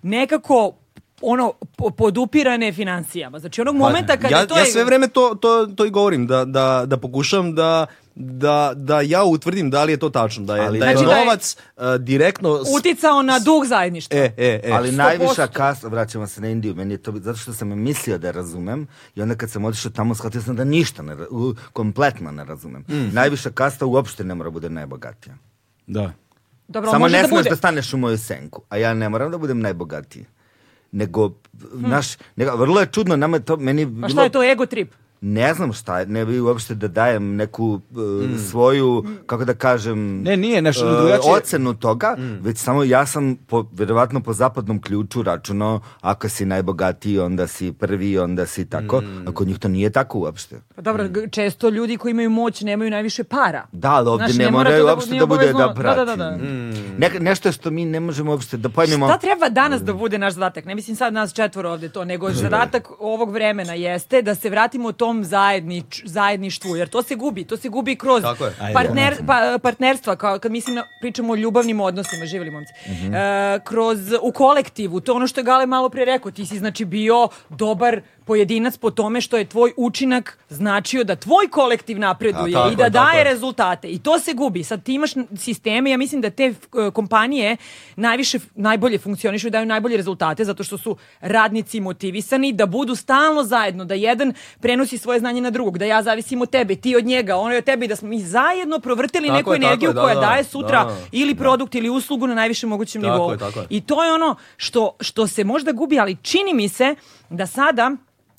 Speaker 3: nekako ono po- podupirane financijama. Znači onog momenta kada
Speaker 2: Pa, ja,
Speaker 3: to
Speaker 2: ja
Speaker 3: je...
Speaker 2: sve vreme to, to, to i govorim, da, da, da pokušam da, da, da ja utvrdim da li je to tačno, da je,
Speaker 4: Ali
Speaker 2: da je
Speaker 4: to-
Speaker 3: Znači da je-
Speaker 2: novac e, direktno... s-
Speaker 3: Uticao na dug zajedništva.
Speaker 2: E, e, e.
Speaker 4: Ali
Speaker 3: 100%.
Speaker 4: najviša kasta, vraćamo se na Indiju, meni je to, bi- zato što sam mislio da razumem i onda kad sam otišao tamo shvatio sam da ništa, ne, ra- u- kompletno ne razumem.
Speaker 3: Mhm.
Speaker 4: Najviša kasta uopšte ne mora bude najbogatija.
Speaker 1: Da.
Speaker 3: Dobro,
Speaker 4: Samo
Speaker 3: može
Speaker 4: ne
Speaker 3: da
Speaker 4: smiješ
Speaker 3: bude.
Speaker 4: da, staneš u moju senku, a ja ne moram da budem najbogatiji. Nego, naš, nego, vrlo je čudno, nama je to, meni je
Speaker 3: Hm. A
Speaker 4: bilo...
Speaker 3: šta Pa je to ego trip?
Speaker 4: ne znam šta je, ne bi uopšte da dajem neku e,
Speaker 3: Mm.
Speaker 4: svoju, kako da kažem,
Speaker 1: Ne, nije, znaš,
Speaker 4: e,
Speaker 1: drugačije-
Speaker 4: ocenu toga,
Speaker 3: Mm.
Speaker 4: već samo ja sam, po, verovatno po zapadnom ključu računao, ako si najbogatiji, onda si prvi, onda si tako,
Speaker 3: Mm.
Speaker 4: a kod njih to nije tako uopšte.
Speaker 3: Pa dobro, g- često ljudi koji imaju moć nemaju najviše para.
Speaker 4: Mm. Da, ali ovdje
Speaker 3: Znaš,
Speaker 4: ne,
Speaker 3: ne mora
Speaker 4: moraju
Speaker 3: to da bu-
Speaker 4: uopšte
Speaker 3: nije
Speaker 4: da bude da
Speaker 3: obavezno- da,
Speaker 4: prati. Mm.
Speaker 3: da, da.
Speaker 4: Neka- nešto što mi ne možemo uopšte da pojmimo.
Speaker 3: Šta treba danas da bude naš zadatak? Ne mislim sad nas četvoro ovdje to, nego zadatak ovog vremena jeste da se vratimo tom zajednič, zajedništvu, jer to se gubi. To se gubi kroz
Speaker 2: Tako je.
Speaker 3: partner, pa, partnerstva, kao kad mislim na, pričamo o ljubavnim odnosima, živjeli momci,
Speaker 2: Mhm.
Speaker 3: E, kroz, u kolektivu, to je ono što je Gale malo prije rekao, ti si znači bio dobar pojedinac po tome što je tvoj učinak značio da tvoj kolektiv napreduje
Speaker 2: tako
Speaker 3: i da
Speaker 2: je, tako
Speaker 3: daje
Speaker 2: je.
Speaker 3: rezultate i to se gubi. Sad ti imaš n- sisteme, ja mislim da te f- e, kompanije najviše, f- najbolje funkcionišu i daju najbolje rezultate zato što su radnici motivisani da budu stalno zajedno, da jedan prenosi svoje znanje na drugog, da ja zavisim od tebe, ti od njega, ono je od tebe i da smo mi zajedno provrtili
Speaker 2: Tako
Speaker 3: neku
Speaker 2: je, tako
Speaker 3: energiju
Speaker 2: je, da,
Speaker 3: koja
Speaker 2: da,
Speaker 3: daje sutra
Speaker 2: da,
Speaker 3: ili produkt ili uslugu na najvišem mogućem
Speaker 2: Tako
Speaker 3: nivou.
Speaker 2: je, tako je.
Speaker 3: I to je ono što, što se možda gubi, ali čini mi se da sada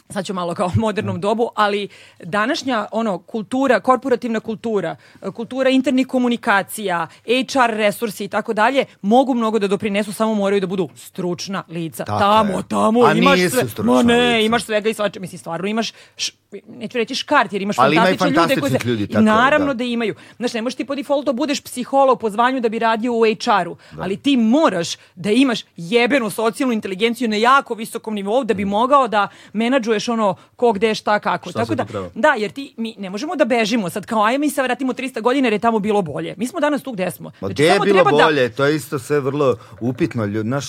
Speaker 3: sad ću malo kao u modernom dobu, ali današnja ono kultura, korporativna kultura, e, kultura internih komunikacija, HR resursi i tako dalje, mogu mnogo da doprinesu, samo moraju da budu stručna lica.
Speaker 4: Tako
Speaker 3: tamo,
Speaker 4: je.
Speaker 3: tamo,
Speaker 4: A
Speaker 3: imaš
Speaker 4: nisu
Speaker 3: sve-
Speaker 4: stručna
Speaker 3: ma ne,
Speaker 4: lica.
Speaker 3: imaš svega i svačega, mislim stvarno imaš, š- neću reći škart, jer imaš
Speaker 4: Ali ima i
Speaker 3: fantastične ljude koji se-
Speaker 4: fantastičnih ljudi,
Speaker 3: I
Speaker 4: tako je,
Speaker 3: naravno
Speaker 4: da.
Speaker 3: da imaju. Znaš, ne možeš ti po defaultu budeš psiholog po zvanju da bi radio u HR-u, ali ti moraš da imaš jebenu socijalnu inteligenciju na jako visokom nivou da bi
Speaker 4: Mm.
Speaker 3: mogao da menadžuješ ono ko gde šta kako.
Speaker 2: Šta
Speaker 3: Tako
Speaker 2: sve
Speaker 3: da,
Speaker 2: ti treba.
Speaker 3: da, jer ti mi ne možemo da bežimo sad kao ajme mi se vratimo 300 godina jer je tamo bilo bolje. Mi smo danas tu gde smo.
Speaker 4: Ma
Speaker 3: Znači,
Speaker 4: gdje je
Speaker 3: samo
Speaker 4: bilo
Speaker 3: treba da-
Speaker 4: bolje, to je isto sve vrlo upitno. Lju, naš,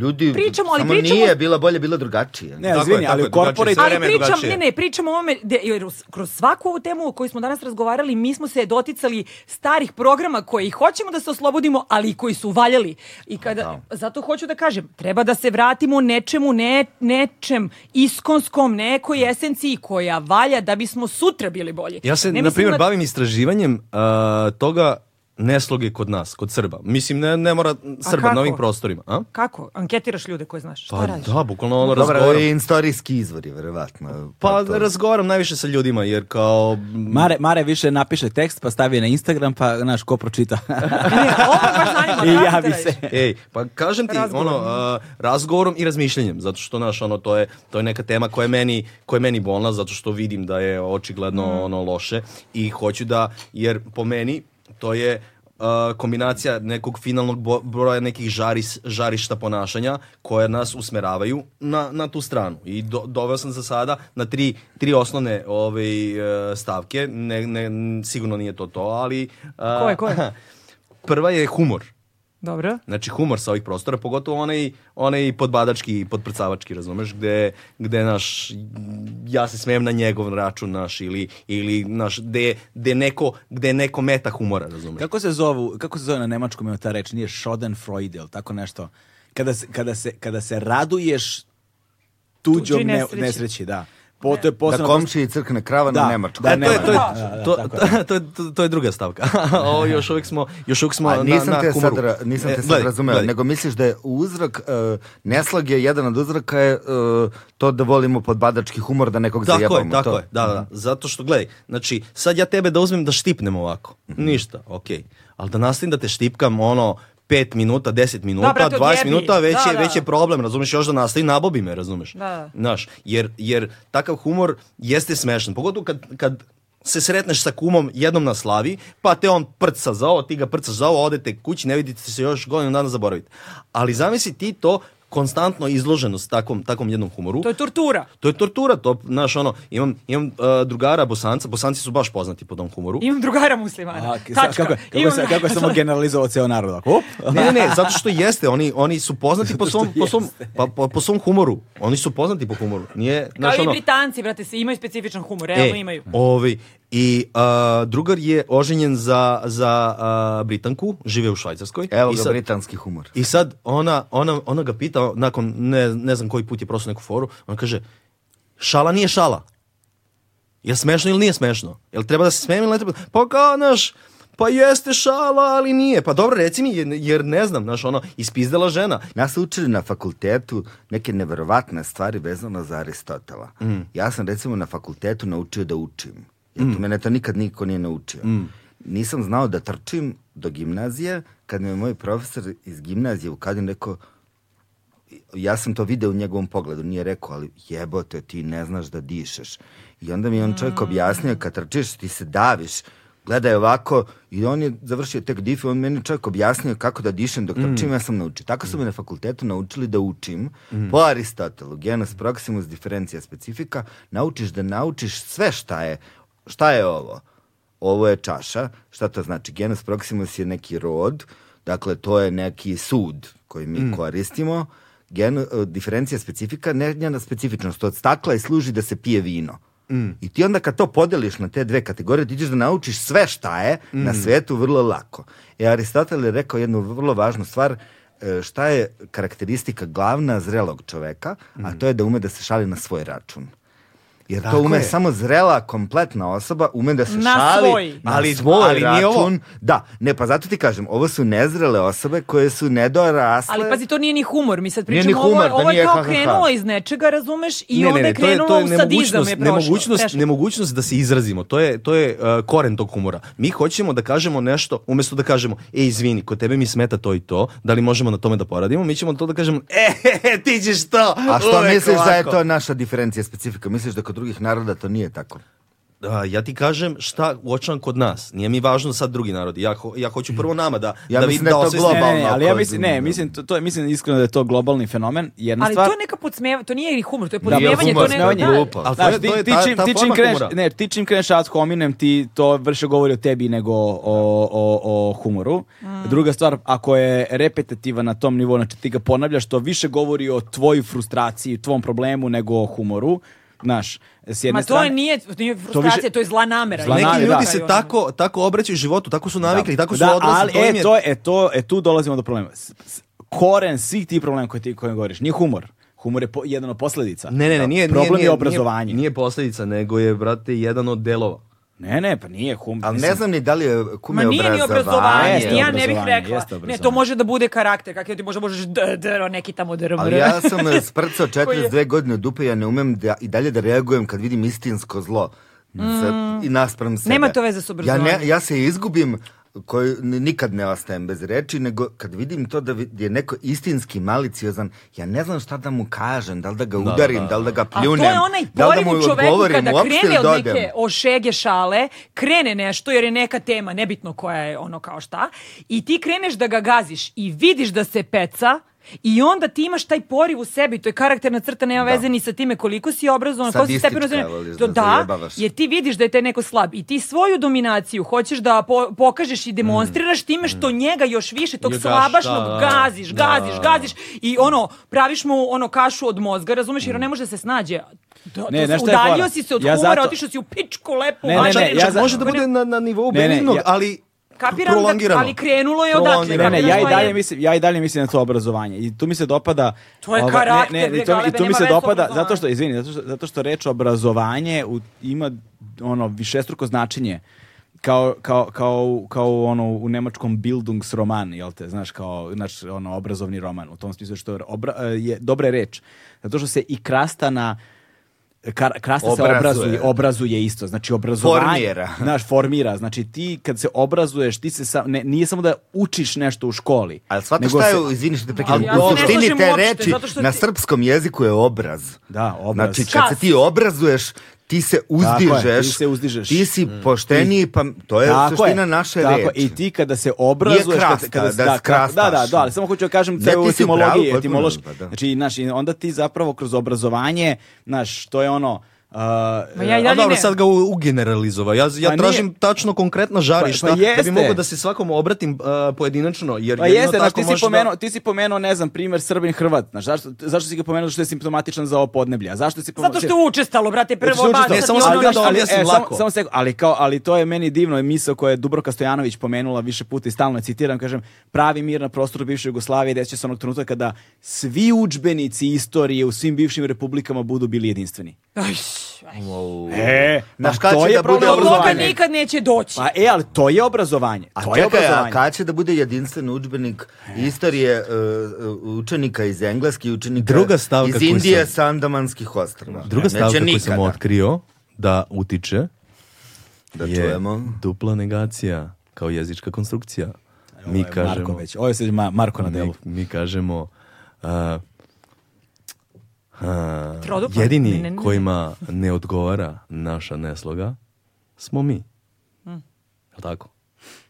Speaker 4: ljudi,
Speaker 3: Pričamo, ali
Speaker 4: samo
Speaker 3: pričamo-
Speaker 4: nije bilo bolje, bilo drugačije.
Speaker 1: Ne,
Speaker 2: Tako je,
Speaker 1: izvini,
Speaker 2: tako
Speaker 1: ali
Speaker 2: je,
Speaker 1: u corporate...
Speaker 2: drugačije sve.
Speaker 3: Ali
Speaker 2: vreme je
Speaker 3: pričam, ne,
Speaker 2: drugačije.
Speaker 3: ne, pričam o ovome, de- jer us- kroz svaku ovu temu o kojoj smo danas razgovarali, mi smo se doticali starih programa koji hoćemo da se oslobodimo, ali i koji su valjali. I kada, zato hoću da kažem, treba da se vratimo nečemu, ne, nečem iskonskom, nekoj esenciji koja valja da bismo sutra bili bolji.
Speaker 2: Ja se,
Speaker 3: Ne
Speaker 2: na
Speaker 3: mislim
Speaker 2: primjer,
Speaker 3: da-
Speaker 2: bavim istraživanjem a, toga nesloge kod nas, kod Srba. Mislim, ne, ne mora Srba
Speaker 3: kako?
Speaker 2: na ovim prostorima. A?
Speaker 3: Kako? Anketiraš ljude koje znaš. Šta
Speaker 2: Pa
Speaker 3: radiš?
Speaker 2: da, bukvalno ono
Speaker 4: Dobro,
Speaker 2: razgovaram.
Speaker 4: i istorijski izvori, verovatno.
Speaker 2: Pa
Speaker 4: to-
Speaker 2: razgovaram najviše sa ljudima, jer kao...
Speaker 1: Mare, Mare više napiše tekst, pa stavi na Instagram, pa, znaš, ko *laughs* pročita.
Speaker 3: Ne, ovo baš zanima,
Speaker 1: *laughs* I
Speaker 3: da,
Speaker 1: javi
Speaker 3: da,
Speaker 1: se.
Speaker 2: *laughs* Ej, pa kažem ti
Speaker 3: Razgovorom.
Speaker 2: ono a, razgovorom i razmišljanjem, zato što naš ono to je to je neka tema koja je meni koja je meni bolna zato što vidim da je očigledno
Speaker 3: Mm.
Speaker 2: ono loše i hoću da jer po meni to je a, kombinacija nekog finalnog bo- broja nekih žaris, žarišta ponašanja koja nas usmeravaju na, na tu stranu. I do, doveo sam za sada na tri, tri osnovne ovaj, e, stavke. Ne, ne, n- sigurno nije to to, ali... a,
Speaker 3: Koje, koje?
Speaker 2: *laughs* Prva je humor.
Speaker 3: Dobro.
Speaker 2: Znači humor sa ovih prostora, pogotovo onaj, onaj podbadački, podprcavački, razumeš, gde, gde naš, ja se smijem na njegov račun naš, ili, ili naš, gde, gde, neko, gde je neko meta humora, razumeš.
Speaker 1: Kako se zovu, kako se zove na nemačkom ima ta reč, nije Schadenfreude ili tako nešto. Kada se, kada se, kada se raduješ tuđom
Speaker 3: Tuđoj
Speaker 1: ne,
Speaker 3: nesreći.
Speaker 1: nesreći, da. Po, to je
Speaker 4: Da
Speaker 1: posebno...
Speaker 4: komšiji crkne krava
Speaker 1: Da,
Speaker 4: na E, Nemačku.
Speaker 1: da,
Speaker 4: Da,
Speaker 1: to
Speaker 2: To je, to, je,
Speaker 1: Da, da, tako
Speaker 2: to, to, je- to- to je druga stavka. *laughs* Ovo još uvijek smo, još uvijek smo
Speaker 4: A nisam
Speaker 2: na, na
Speaker 4: te sad,
Speaker 2: humoru.
Speaker 4: ra- nisam
Speaker 2: E,
Speaker 4: te sad
Speaker 2: gledaj,
Speaker 4: razumeo,
Speaker 2: gledaj.
Speaker 4: nego misliš da je uzrok, uh, neslag je jedan od uzroka je e, to da volimo podbadački humor, da nekog
Speaker 2: Tako
Speaker 4: zajebamo.
Speaker 2: je, tako
Speaker 4: to. Mhm.
Speaker 2: je, da, da, da. Zato što, gledaj, znači, sad ja tebe da uzmem da štipnem ovako.
Speaker 4: Mhm.
Speaker 2: Ništa, okej. Ali da nastavim da te štipkam, ono, 5 minuta, 10 minuta,
Speaker 3: brate,
Speaker 2: 20
Speaker 3: odjebi.
Speaker 2: minuta, već,
Speaker 3: Da,
Speaker 2: je,
Speaker 3: da.
Speaker 2: već je problem, razumeš, još da nastavim, nabobi me, razumeš.
Speaker 3: Da, da.
Speaker 2: Znaš, jer, jer takav humor jeste smešan, pogotovo kad, kad se sretneš sa kumom jednom na slavi, pa te on prca za ovo, ti ga prcaš za ovo, odete kući, ne vidite se još godinu dana zaboravite. Ali zamisli ti to konstantno izloženost takvom, takvom jednom humoru.
Speaker 3: To je tortura.
Speaker 2: To je tortura, to, znaš, ono, imam, imam uh, drugara bosanca, bosanci su baš poznati po tom humoru.
Speaker 3: Imam drugara muslimana.
Speaker 1: A, k- sa-
Speaker 3: Tačka.
Speaker 1: kako, je- kako,
Speaker 3: Imam-
Speaker 1: se,
Speaker 3: *laughs*
Speaker 1: kako je samo generalizovao ceo narod. Ako, op,
Speaker 2: Ne, ne, ne, zato što jeste, oni, oni su poznati po svom, po, svom, pa, po, po svom humoru. Oni su poznati po humoru. Nije,
Speaker 3: Kao
Speaker 2: znaš,
Speaker 3: i
Speaker 2: ono,
Speaker 3: Britanci, brate, se imaju specifičan humor, realno
Speaker 2: e,
Speaker 3: imaju.
Speaker 2: Ovi, I a, drugar je oženjen za, za a, Britanku, žive u Švajcarskoj.
Speaker 4: Evo
Speaker 2: I
Speaker 4: ga,
Speaker 2: sad-
Speaker 4: britanski humor.
Speaker 2: I sad ona, ona, ona ga pita, nakon ne, ne znam koji put je prosto neku foru, ona kaže, šala nije šala. Je smešno ili nije smešno? Jel treba da se smijem ili ne treba? Pa kao, znaš, pa jeste šala, ali nije. Pa dobro, reci mi, jer- jer ne znam, znaš, ono, ispizdala žena.
Speaker 4: Nas su učili na fakultetu neke neverovatne stvari vezano za Aristotela. Ja sam recimo na fakultetu naučio da učim. Jer to mene to nikad niko nije naučio. Nisam znao da trčim do gimnazije kad mi je moj profesor iz gimnazije u Kadin rekao ja sam to video u njegovom pogledu, nije rekao, ali jebote, ti ne znaš da dišeš. I onda mi je on čovjek objasnio, kad trčiš, ti se daviš, gledaj ovako, i on je završio tek dife, on meni čovjek objasnio kako da dišem dok trčim, ja sam naučio. Tako su me na fakultetu naučili da učim, po Aristotelu, genus proximus, diferencija specifika, naučiš da naučiš sve šta je, šta je ovo. Ovo je čaša, šta to znači? Genus proximus je neki rod, dakle to je neki sud koji mi koristimo, Genu, e, diferencija specifika, ne njena specifičnost od stakla i služi da se pije vino. I ti onda kad to podeliš na te dve kategorije, ti ćeš da naučiš sve šta je na svetu vrlo lako. E Aristotel je rekao jednu vrlo važnu stvar, e, šta je karakteristika glavna zrelog čoveka, a to je da ume da se šali na svoj račun. Jer to ume samo zrela, kompletna osoba, ume da se
Speaker 3: Na
Speaker 4: šali
Speaker 3: svoj.
Speaker 4: na
Speaker 2: Ali-
Speaker 4: svoj
Speaker 2: ali
Speaker 4: račun.
Speaker 2: nije ovo-
Speaker 4: Da, ne, pa zato ti kažem, ovo su nezrele osobe koje su nedorasle.
Speaker 3: Ali pazi, to nije ni humor, mi sad
Speaker 4: Nije ni
Speaker 3: pričamo, ovo,
Speaker 4: humor,
Speaker 3: je-
Speaker 4: da
Speaker 3: ovo je
Speaker 4: nije
Speaker 3: kao
Speaker 4: ha-ha-ha.
Speaker 3: krenulo iz nečega, razumeš, i
Speaker 2: Ne,
Speaker 3: onda
Speaker 2: ne, ne,
Speaker 3: je krenulo u sadizam je prošlo.
Speaker 2: nemogućnost,
Speaker 3: Teško.
Speaker 2: nemogućnost da se izrazimo. To je, to je uh, koren tog humora. Mi hoćemo da kažemo nešto, umjesto da kažemo, e, izvini, kod tebe mi smeta to i to, da li možemo na tome da poradimo, mi ćemo to da kažemo, e, *laughs* he, he, ti ćeš to!
Speaker 4: A što
Speaker 2: uvek
Speaker 4: misliš da je
Speaker 2: ovako."
Speaker 4: to naša diferencija specifika? Misliš da kod drugih naroda to nije tako?
Speaker 2: Da, ja ti kažem šta uočavam kod nas. Nije mi važno sad drugi narodi. Ja, ho- ja hoću prvo nama da,
Speaker 4: Ja
Speaker 2: da
Speaker 4: mislim
Speaker 2: vidim
Speaker 4: da je to
Speaker 2: osvestim-
Speaker 4: globalno.
Speaker 1: Ne, ne, ne, ali ja
Speaker 4: Globalno,
Speaker 1: mislim,
Speaker 4: koji-
Speaker 1: ne, mislim, to, to je, mislim iskreno da je to globalni fenomen. Jedna
Speaker 3: Ali
Speaker 1: stvar,
Speaker 3: to je neka podsmeva, to nije ni humor, to je
Speaker 4: Nije
Speaker 3: podsmevanje,
Speaker 4: humor,
Speaker 3: to ne...
Speaker 4: podsmevanje je
Speaker 3: da.
Speaker 4: glupo.
Speaker 2: Ali to
Speaker 1: Znaš,
Speaker 2: je-
Speaker 1: ti,
Speaker 2: to je
Speaker 1: ti,
Speaker 2: ta-
Speaker 1: čim,
Speaker 2: ta
Speaker 1: ti čim
Speaker 2: forma
Speaker 1: kreneš,
Speaker 2: humora.
Speaker 1: ne, ti čim kreneš ad hominem, ti to vrše govori o tebi nego o, o, o humoru.
Speaker 3: Mm.
Speaker 1: Druga stvar, ako je repetitivan na tom nivou, znači ti ga ponavljaš, to više govori o tvojoj frustraciji, tvom problemu nego o humoru. Znaš, s jedne
Speaker 3: Ma to
Speaker 1: strane...
Speaker 3: je nije, nije frustracija, to,
Speaker 1: više-
Speaker 3: je zla namera.
Speaker 1: Zla
Speaker 2: Neki
Speaker 1: namera,
Speaker 2: ljudi
Speaker 1: da.
Speaker 2: se tako, tako obraćaju životu, tako su navikli, tako su
Speaker 1: Da,
Speaker 2: odlazili.
Speaker 1: ali,
Speaker 2: to im
Speaker 1: e,
Speaker 2: je-
Speaker 1: to, je- e, to, e, tu dolazimo do problema. S- s- koren svih ti problema koje ti koje govoriš, nije humor. Humor je po, jedan od posledica.
Speaker 2: Ne, ne, ne, nije,
Speaker 1: Problem
Speaker 2: nije,
Speaker 1: je
Speaker 2: nije-
Speaker 1: obrazovanje.
Speaker 2: Nije, nije posljedica, nego je, brate, jedan od delova.
Speaker 1: Ne, ne, pa nije humor.
Speaker 4: Ali
Speaker 1: mislim.
Speaker 4: ne znam ni da li je
Speaker 3: Ma
Speaker 4: kume
Speaker 3: nije ni obrazovanje,
Speaker 1: Jeste
Speaker 3: ja ne bih
Speaker 1: obrazovanje,
Speaker 3: rekla.
Speaker 1: jeste
Speaker 3: Ne, to
Speaker 1: obrazovanje.
Speaker 3: može da bude karakter, kakve ti možda možeš d, d, neki tamo dr,
Speaker 4: Ali
Speaker 3: mr.
Speaker 4: ja sam eh, sprcao 42
Speaker 3: *laughs* Koji
Speaker 4: godine od dupe, ja ne umem da, i dalje da reagujem kad vidim istinsko zlo. Sa- I naspram sebe.
Speaker 3: Mm. Nema to veze s obrazovanjem.
Speaker 4: Ja, ne- ja se izgubim, koji ni- nikad ne ostajem bez reči, nego kad vidim to da vi- je neko istinski maliciozan, ja ne znam šta da mu kažem, da li da ga udarim, da, li da ga
Speaker 3: A to
Speaker 4: pljunem,
Speaker 3: je onaj
Speaker 4: da li da
Speaker 3: poriv
Speaker 4: mu
Speaker 3: u čoveku
Speaker 4: odgovorim
Speaker 3: kada
Speaker 4: uopšte
Speaker 3: krene
Speaker 4: ili da
Speaker 3: od
Speaker 4: odem.
Speaker 3: neke ošege šale, krene nešto jer je neka tema, nebitno koja je ono kao šta, i ti kreneš da ga gaziš i vidiš da se peca i onda ti imaš taj poriv u sebi, to je karakterna crta, nema veze ni sa time koliko si obrazovan, koliko si
Speaker 4: Sadistička,
Speaker 3: stepeno
Speaker 4: voliš
Speaker 3: To
Speaker 4: da
Speaker 3: da,
Speaker 4: zajebavaš.
Speaker 3: jer ti vidiš da je taj neko slab i ti svoju dominaciju hoćeš da po- pokažeš
Speaker 4: Mhm.
Speaker 3: i demonstriraš time što njega još više, tog
Speaker 2: Još gaš,
Speaker 3: slabašnog
Speaker 2: da, da,
Speaker 3: gaziš,
Speaker 2: da.
Speaker 3: gaziš, gaziš i ono, praviš mu ono kašu od mozga, razumeš, jer on ne može da se snađe. Da,
Speaker 1: Mm. Ne,
Speaker 3: to,
Speaker 1: znaš
Speaker 3: se-
Speaker 1: šta je
Speaker 3: udaljio
Speaker 1: fora?
Speaker 3: si se od
Speaker 1: Ja
Speaker 3: humora,
Speaker 1: zato-
Speaker 3: otišao si u pičku lepu.
Speaker 1: Ne, ne,
Speaker 3: mater,
Speaker 1: ne,
Speaker 2: Čak-
Speaker 1: ja
Speaker 2: čak
Speaker 1: za-
Speaker 2: može da bude na, na nivou
Speaker 1: Ne, ne,
Speaker 2: benignog,
Speaker 1: ja-
Speaker 2: ali
Speaker 3: Kapiram da-
Speaker 2: prolongirano.
Speaker 3: ali krenulo je odatle,
Speaker 1: Ne,
Speaker 2: Prolongirano.
Speaker 1: ne, ja i
Speaker 3: Obrazovanje.
Speaker 1: dalje mislim, ja i dalje mislim na to obrazovanje. I tu mi se dopada
Speaker 3: To je
Speaker 1: ova-
Speaker 3: karakter, bre,
Speaker 1: i to, i
Speaker 3: galebe,
Speaker 1: tu mi
Speaker 3: nema
Speaker 1: se
Speaker 3: veze
Speaker 1: dopada
Speaker 3: obrazovanje.
Speaker 1: zato što izvini, zato što zato što reč obrazovanje u- ima ono višestruko značenje. Kao, kao, kao, kao ono u nemačkom Bildungsroman, jel te, znaš, kao naš ono, obrazovni roman, u tom smislu što je, obra, e, je dobra je reč, zato što se i krasta na, kar, krasta se
Speaker 4: Obrazuje.
Speaker 1: obrazuje, obrazuje isto, znači obrazovanje.
Speaker 4: Formira.
Speaker 1: Znaš, formira. Znači ti kad se obrazuješ, ti se sa, ne, nije samo da učiš nešto u školi.
Speaker 4: Ali shvataš
Speaker 1: nego
Speaker 4: šta je,
Speaker 1: se-
Speaker 4: izvini što te prekidam,
Speaker 3: ja se
Speaker 4: u
Speaker 3: ne
Speaker 4: suštini
Speaker 3: slažem
Speaker 4: te
Speaker 3: uopšte,
Speaker 4: reči
Speaker 3: zato što
Speaker 4: na
Speaker 3: ti-
Speaker 4: srpskom jeziku je obraz.
Speaker 1: Da, obraz.
Speaker 4: Znači, kad se
Speaker 3: Čast.
Speaker 4: ti obrazuješ, ti se
Speaker 1: Tako je,
Speaker 4: uzdižeš.
Speaker 1: ti se uzdižeš. Mm.
Speaker 4: Ti si pošteniji, pa to je suština naše
Speaker 1: tako,
Speaker 4: reči.
Speaker 1: I ti kada se obrazuješ...
Speaker 4: Nije krasta,
Speaker 1: kada, kada, da,
Speaker 4: da
Speaker 1: kra- da, da,
Speaker 4: skrastaš.
Speaker 1: da, ali samo hoću da kažem
Speaker 4: Ne,
Speaker 1: ceo
Speaker 4: ti si u pravu,
Speaker 1: etimologiji,
Speaker 4: potpuno,
Speaker 1: etimološki.
Speaker 4: pa da.
Speaker 1: Znači, znaš, i onda ti zapravo kroz obrazovanje, znaš, to je ono... Uh,
Speaker 3: Ma ja i
Speaker 2: A
Speaker 3: dalje
Speaker 2: dobro,
Speaker 3: ne.
Speaker 2: sad ga u- ugeneralizovao. Ja, ja
Speaker 1: Pa
Speaker 2: tražim
Speaker 1: nije-
Speaker 2: tačno konkretna žarišta
Speaker 1: Pa- pa
Speaker 2: da bi
Speaker 1: jeste.
Speaker 2: mogao da se svakom obratim uh, pojedinačno. Jer
Speaker 1: Pa
Speaker 2: jedino
Speaker 1: jeste, znaš,
Speaker 2: tako
Speaker 1: ti si,
Speaker 2: možeš da-
Speaker 1: pomenuo, ti si pomenuo, ne znam, primjer Srbin Hrvat. Znaš, zašto, zašto si ga pomenuo što je simptomatičan za ovo podneblje? A zašto si pomenuo...
Speaker 3: Zato što je učestalo, brate, prvo
Speaker 1: Znači,
Speaker 3: baca
Speaker 1: učestalo.
Speaker 2: Ne,
Speaker 3: ti
Speaker 2: samo
Speaker 3: ono
Speaker 2: sam
Speaker 1: ali,
Speaker 2: htio
Speaker 3: nešto.
Speaker 1: znaš,
Speaker 2: da
Speaker 1: ali,
Speaker 2: objasnim
Speaker 1: e, samo-
Speaker 2: lako.
Speaker 1: samo sekund, ali, kao, ali to je meni divno misao koje je Dubrovka Stojanović pomenula više puta i stalno je citiram, kažem, pravi mir na prostoru bivše Jugoslavije desit će se onog trenutka kada svi udžbenici istorije u svim bivšim republikama budu bili jedinstveni. E,
Speaker 4: Na
Speaker 1: pa
Speaker 4: šta
Speaker 1: to
Speaker 4: će
Speaker 1: je
Speaker 4: da bude
Speaker 1: problem
Speaker 3: Ono, Do toga
Speaker 1: obrazovanja.
Speaker 3: nikad neće doći.
Speaker 1: Pa e, ali to je obrazovanje.
Speaker 4: A
Speaker 1: to je
Speaker 4: čekaj, a
Speaker 1: obrazovanje. E.
Speaker 4: kada će da bude jedinstven udžbenik istorije uh, učenika iz Engleske i učenika
Speaker 2: Druga stavka
Speaker 4: iz
Speaker 2: koju
Speaker 4: Indije
Speaker 2: sam-
Speaker 4: sa Andamanskih ostrava?
Speaker 2: Druga
Speaker 4: Neće
Speaker 2: stavka koju sam
Speaker 4: nikada.
Speaker 2: otkrio da utiče
Speaker 4: Da
Speaker 2: je
Speaker 4: čujemo.
Speaker 2: dupla negacija kao jezička konstrukcija. Mi
Speaker 1: Marko
Speaker 2: kažemo,
Speaker 1: već. Ovo je sad Ma- Marko Pa na delu.
Speaker 2: mi, mi kažemo a, a,
Speaker 3: Trodupla?
Speaker 2: jedini
Speaker 3: Ne, ne, ne.
Speaker 2: kojima ne odgovara naša nesloga smo mi.
Speaker 3: Mm.
Speaker 2: Jel tako?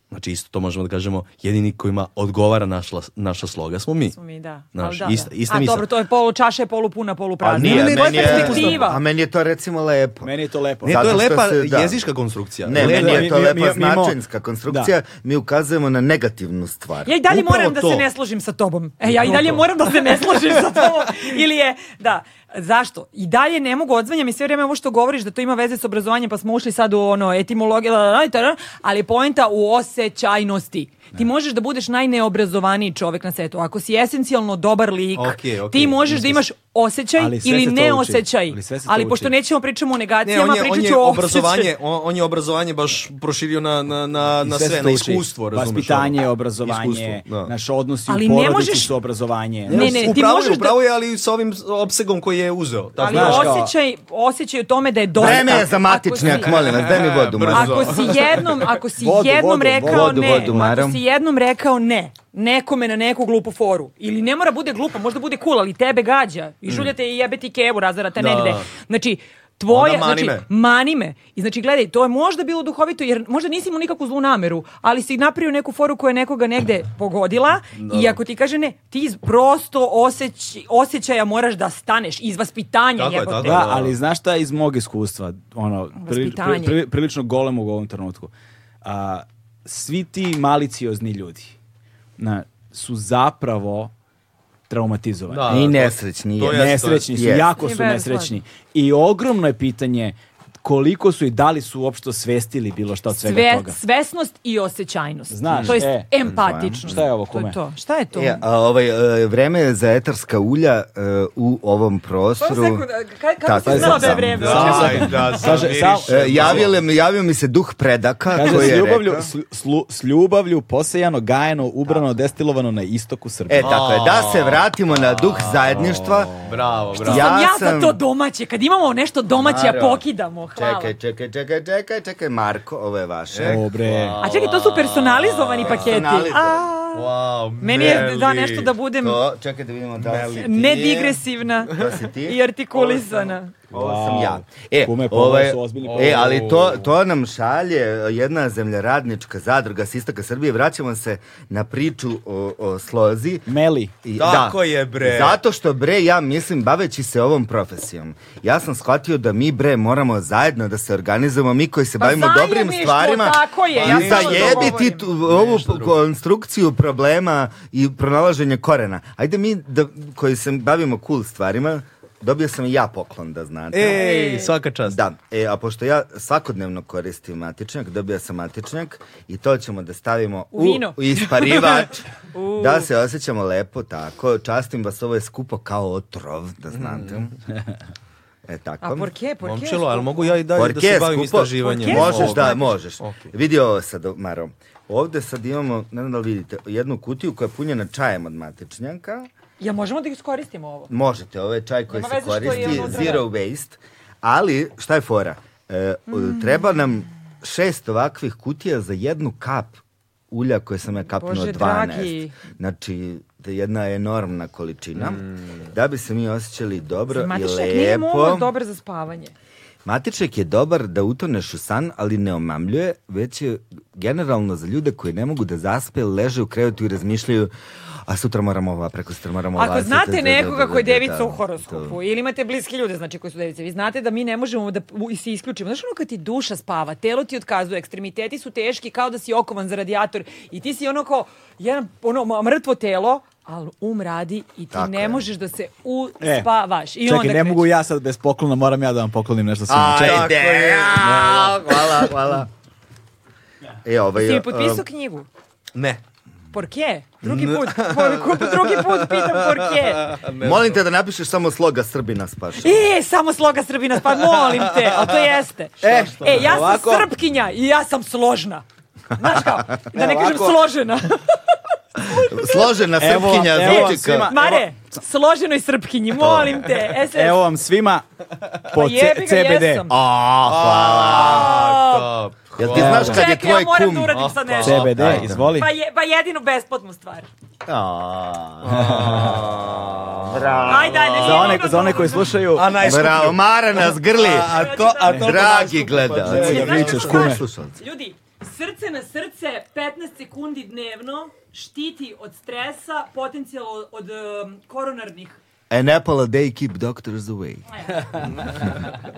Speaker 2: Znači isto to možemo da kažemo jedini kojima odgovara našla, naša sloga smo mi.
Speaker 3: Smo mi, da.
Speaker 2: Znaš,
Speaker 3: Ali da,
Speaker 2: ista-
Speaker 3: da.
Speaker 2: ista
Speaker 3: A
Speaker 2: misao.
Speaker 3: dobro, to je polu čaša je polu puna, polu
Speaker 4: A
Speaker 3: prazna.
Speaker 4: Pa nije,
Speaker 3: to je
Speaker 4: meni je,
Speaker 3: Pa perspektiva.
Speaker 4: a meni je to recimo lepo.
Speaker 1: Meni je to lepo.
Speaker 2: Ne,
Speaker 4: Zato
Speaker 2: to je
Speaker 4: što
Speaker 2: lepa
Speaker 4: se- da.
Speaker 2: jezička konstrukcija.
Speaker 4: Ne,
Speaker 1: Ne,
Speaker 4: meni
Speaker 1: da,
Speaker 4: je
Speaker 1: mi-
Speaker 4: to
Speaker 1: mi-
Speaker 4: lepa
Speaker 1: mi- mi imamo-
Speaker 4: značajska konstrukcija, mi ukazujemo na negativnu stvar.
Speaker 3: Ja i dalje
Speaker 2: Upravo
Speaker 3: moram da
Speaker 2: to.
Speaker 3: se ne složim sa tobom. E, ja i dalje moram da se ne složim
Speaker 1: *laughs*
Speaker 3: sa tobom. Ili je, da, zašto? I dalje ne mogu odzvanjam i sve vrijeme ovo što govoriš da to ima veze s obrazovanjem, pa smo ušli sad u ono etimologiju, la, la, la, i ta, la, ali je poenta u osjećajnosti. Ti možeš da budeš najneobrazovaniji čovjek na svetu. Ako si esencijalno dobar lik,
Speaker 2: Okej, okej,
Speaker 3: ti možeš da
Speaker 2: mislim
Speaker 3: imaš osjećaj
Speaker 1: Ali sve
Speaker 3: ili
Speaker 1: se to
Speaker 3: ne
Speaker 1: uči.
Speaker 3: osjećaj.
Speaker 1: Ali sve se to
Speaker 3: Ali pošto
Speaker 1: uči.
Speaker 3: nećemo pričamo
Speaker 2: Ne,
Speaker 3: o negacijama,
Speaker 2: on je, on
Speaker 3: pričat
Speaker 2: je
Speaker 3: ću o osjećaju.
Speaker 2: obrazovanje, on, on je obrazovanje baš proširio na, na, na,
Speaker 1: I
Speaker 2: na
Speaker 1: sve
Speaker 2: sve,
Speaker 1: se
Speaker 2: na
Speaker 1: to uči.
Speaker 2: iskustvo, razumeš?
Speaker 1: Vaspitanje,
Speaker 2: ono.
Speaker 1: obrazovanje,
Speaker 2: Iskustvo, da.
Speaker 1: naš odnos
Speaker 3: Ali
Speaker 1: u
Speaker 3: ne
Speaker 1: porodici
Speaker 3: možeš-
Speaker 1: su obrazovanje.
Speaker 3: Ne, ne,
Speaker 2: upravo
Speaker 3: ti možeš
Speaker 2: je,
Speaker 3: da-
Speaker 2: upravo je, ali sa ovim opsegom koji je uzeo. Tako
Speaker 3: Ali
Speaker 1: znaš kao-
Speaker 3: osjećaj, osjećaj u tome da je dosta.
Speaker 4: Vreme je za
Speaker 3: Ako
Speaker 4: matičnjak,
Speaker 3: si-
Speaker 4: molim vas, daj mi vodu.
Speaker 2: brzo.
Speaker 4: Marko.
Speaker 3: Ako si jednom, ako si
Speaker 1: Vodu,
Speaker 3: jednom
Speaker 1: vodu,
Speaker 3: rekao
Speaker 4: vodu,
Speaker 3: ne,
Speaker 4: vodu,
Speaker 3: ako
Speaker 4: Maro.
Speaker 3: si jednom rekao ne, nekome na neku glupu foru, ili ne mora bude glupa, možda bude cool, ali tebe gađa, i žuljate i jebe ti kevu, razara te
Speaker 2: Mm. Da.
Speaker 3: negde. Znači, tvoja,
Speaker 2: Onda mani
Speaker 3: znači,
Speaker 2: me.
Speaker 3: mani me. I znači, gledaj, to je možda bilo duhovito, jer možda nisi imao nikakvu zlu nameru, ali si napravio neku foru koja je nekoga negde pogodila i ako ti kaže ne, ti iz prosto osjeć- osjećaja moraš da staneš, iz vaspitanja
Speaker 2: Tako je,
Speaker 3: jebote.
Speaker 2: tako je.
Speaker 1: Da, E, ali znaš šta je iz mog iskustva, ono, prili,
Speaker 3: Vaspitanje.
Speaker 1: pri- pri- prilično golem u ovom trenutku, a, svi ti maliciozni ljudi na, su zapravo traumatizovani.
Speaker 2: Da,
Speaker 4: I
Speaker 2: to-
Speaker 4: nesrećni
Speaker 2: to
Speaker 4: je.
Speaker 2: je-
Speaker 1: Nesrećni su,
Speaker 4: Jest.
Speaker 1: jako
Speaker 3: I
Speaker 1: su
Speaker 3: veoma
Speaker 1: nesrećni. I ogromno je pitanje koliko su i da li su uopšte svestili bilo šta od svega
Speaker 3: Sve,
Speaker 1: toga.
Speaker 3: svesnost i osjećajnost.
Speaker 1: Znaš,
Speaker 3: to jest
Speaker 1: e,
Speaker 3: empatičnost.
Speaker 1: šta je ovo,
Speaker 3: To
Speaker 1: kume?
Speaker 3: to. Šta je to?
Speaker 4: E, a ovaj, e, vreme je za etarska ulja e, u ovom prostoru.
Speaker 3: kako si
Speaker 4: Tako je,
Speaker 3: znao
Speaker 4: sad
Speaker 3: da je
Speaker 4: sam.
Speaker 3: vreme?
Speaker 1: Samo- Kaže, samo-
Speaker 4: E, javio, mi- javio mi se duh predaka
Speaker 1: Kaže,
Speaker 4: koji
Speaker 1: s
Speaker 4: E, je
Speaker 1: ljubavlju,
Speaker 4: rekao-
Speaker 1: s, slu- s ljubavlju posejano, gajeno, ubrano, destilovano na istoku Srbije.
Speaker 4: E, tako je, da se vratimo na duh zajedništva.
Speaker 2: Bravo, bravo.
Speaker 3: Ja, sam ja za to domaće. Kad imamo nešto domaće, a
Speaker 4: Naravno.
Speaker 3: pokidamo. Hvala.
Speaker 4: Čekaj, čekaj, čekaj, čekaj, čekaj, Marko, ovo je vaše.
Speaker 1: Dobre.
Speaker 3: A čekaj, to su personalizovani paketi.
Speaker 4: Personalizovani.
Speaker 3: A,
Speaker 2: Wow,
Speaker 3: meni je da nešto da budem
Speaker 4: To, čekaj da vidimo da li si ti.
Speaker 3: nedigresivna
Speaker 4: To si ti.
Speaker 3: i artikulisana.
Speaker 4: Ovo sam ja. E,
Speaker 1: Kume, pa ovo
Speaker 4: ovaj,
Speaker 1: su ozbiljni
Speaker 4: e,
Speaker 1: problemi.
Speaker 4: ali to, to nam šalje e, jedna zemljoradnička zadruga s istoka Srbije. Vraćamo se na priču o, o slozi.
Speaker 1: Meli.
Speaker 4: I-
Speaker 2: Tako je, bre.
Speaker 4: Zato što bre ja mislim baveći se ovom profesijom. Ja sam shvatio da mi bre moramo zajedno da se organizujemo mi koji se
Speaker 3: Pa
Speaker 4: bavimo dobrim
Speaker 3: zajedništvo,
Speaker 4: stvarima.
Speaker 3: tako je, ja
Speaker 4: I
Speaker 3: stalno to
Speaker 4: zajebi ti
Speaker 3: govorim.
Speaker 4: tu, ovu konstrukciju problema i pronalaženje korena. Ajde mi da, koji se bavimo cool stvarima, dobio sam i ja poklon da znate.
Speaker 2: Ej, svaka čast.
Speaker 4: Da, e, a pošto ja svakodnevno koristim matičnjak, dobio sam matičnjak i to ćemo da stavimo
Speaker 3: U vino. *laughs*
Speaker 4: isparivač. da se osjećamo lepo tako. Častim vas, ovo je skupo kao otrov, da znate.
Speaker 2: Mm.
Speaker 4: E tako.
Speaker 3: A porke, porke.
Speaker 2: Momčilo, ali mogu ja i dalje
Speaker 4: Porke
Speaker 2: da se
Speaker 4: je
Speaker 2: bavim
Speaker 4: skupo.
Speaker 2: istraživanjem?
Speaker 4: Možeš
Speaker 2: ovog?
Speaker 4: da, možeš.
Speaker 2: Ok.
Speaker 4: Vidi ovo sad, Maro. Ovde sad imamo, ne znam da li vidite, jednu kutiju koja je punjena čajem od matičnjaka.
Speaker 3: Ja možemo da iskoristimo ovo?
Speaker 4: Možete, ovo je čaj koji
Speaker 3: Nema
Speaker 4: se
Speaker 3: veze što je
Speaker 4: koristi,
Speaker 3: ono
Speaker 4: zero waste. Ali, šta je fora? E, u-
Speaker 3: Mm.
Speaker 4: Treba nam šest ovakvih kutija za jednu kap ulja koje sam ja kapnuo
Speaker 3: Bože
Speaker 4: 12.
Speaker 3: dragi.
Speaker 4: Znači, to je jedna enormna količina. Da bi se mi osjećali dobro i
Speaker 3: Matišak, Mm. nije mu ovo
Speaker 4: lepo.
Speaker 3: dobro za spavanje.
Speaker 4: Matiček je dobar da utoneš u san, ali ne omamljuje, već je generalno za ljude koji ne mogu da zaspe, leže u krevetu i razmišljaju a sutra moramo ova, preko sutra moramo ova.
Speaker 3: Ako
Speaker 4: sutra
Speaker 3: znate
Speaker 4: za-
Speaker 3: nekoga koji je
Speaker 4: da, da, da,
Speaker 3: devica u horoskopu ili imate bliske ljude znači koji su device, vi znate da mi ne možemo da u- i se isključimo. Znaš ono kad ti duša spava, telo ti otkazuje, ekstremiteti su teški kao da si okovan za radijator i ti si ono kao jedan ono ma- mrtvo telo, ali um radi i ti
Speaker 4: Tako
Speaker 3: ne
Speaker 4: je.
Speaker 3: možeš da se
Speaker 1: E,
Speaker 3: uspavaš. I
Speaker 1: Čekaj,
Speaker 3: onda
Speaker 1: ne
Speaker 3: kreće.
Speaker 1: mogu ja sad bez poklona, moram ja da vam poklonim nešto svima. Čekaj.
Speaker 4: Ajde, hvala, hvala. E, ovaj,
Speaker 3: Si mi
Speaker 4: um,
Speaker 3: potpisao knjigu?
Speaker 2: Ne.
Speaker 3: porke? Drugi put, por- *laughs* drugi put pitam porke.
Speaker 4: Molim te da napišeš samo sloga Srbina spaša.
Speaker 3: *laughs* E, samo sloga Srbina, pa molim te, a to jeste. E, e ja
Speaker 1: Ovako.
Speaker 3: sam Srpkinja i ja sam složna. Znaš kao, da ne
Speaker 1: Evo,
Speaker 3: kažem
Speaker 1: ovako. *laughs*
Speaker 3: složena.
Speaker 4: Složena
Speaker 1: Evo,
Speaker 4: Srpkinja
Speaker 1: evo
Speaker 4: zvuči
Speaker 1: vam svima.
Speaker 4: kao-
Speaker 3: Mare, složenoj Srpkinji, molim te. SS,
Speaker 1: Evo vam svima
Speaker 3: pa
Speaker 1: po C-
Speaker 3: jebi ga,
Speaker 1: CBD.
Speaker 3: jesam.
Speaker 4: A, hvala.
Speaker 2: A, top.
Speaker 4: Jel ti znaš kad je
Speaker 3: Čekaj, ja
Speaker 4: tvoj
Speaker 3: moram
Speaker 4: kum...
Speaker 3: da uradim sad nešto.
Speaker 1: CBD,
Speaker 4: Da, da.
Speaker 1: izvoli.
Speaker 3: Pa, je, pa jedinu besplatnu stvar.
Speaker 4: pa. A. Bravo.
Speaker 3: Ajde, ajde.
Speaker 1: Za one, za one koji slušaju,
Speaker 2: A najskuplji.
Speaker 4: Bravo, Mara nas grli.
Speaker 2: A to, a to pa
Speaker 4: Dragi gledalci.
Speaker 3: Znači,
Speaker 1: pričaš,
Speaker 3: znaš
Speaker 1: kume.
Speaker 3: šta? Ljudi, srce na srce 15 sekundi dnevno štiti od stresa, potencijalno od um, koronarnih.
Speaker 4: An apple a day keep doctors away.
Speaker 3: Da,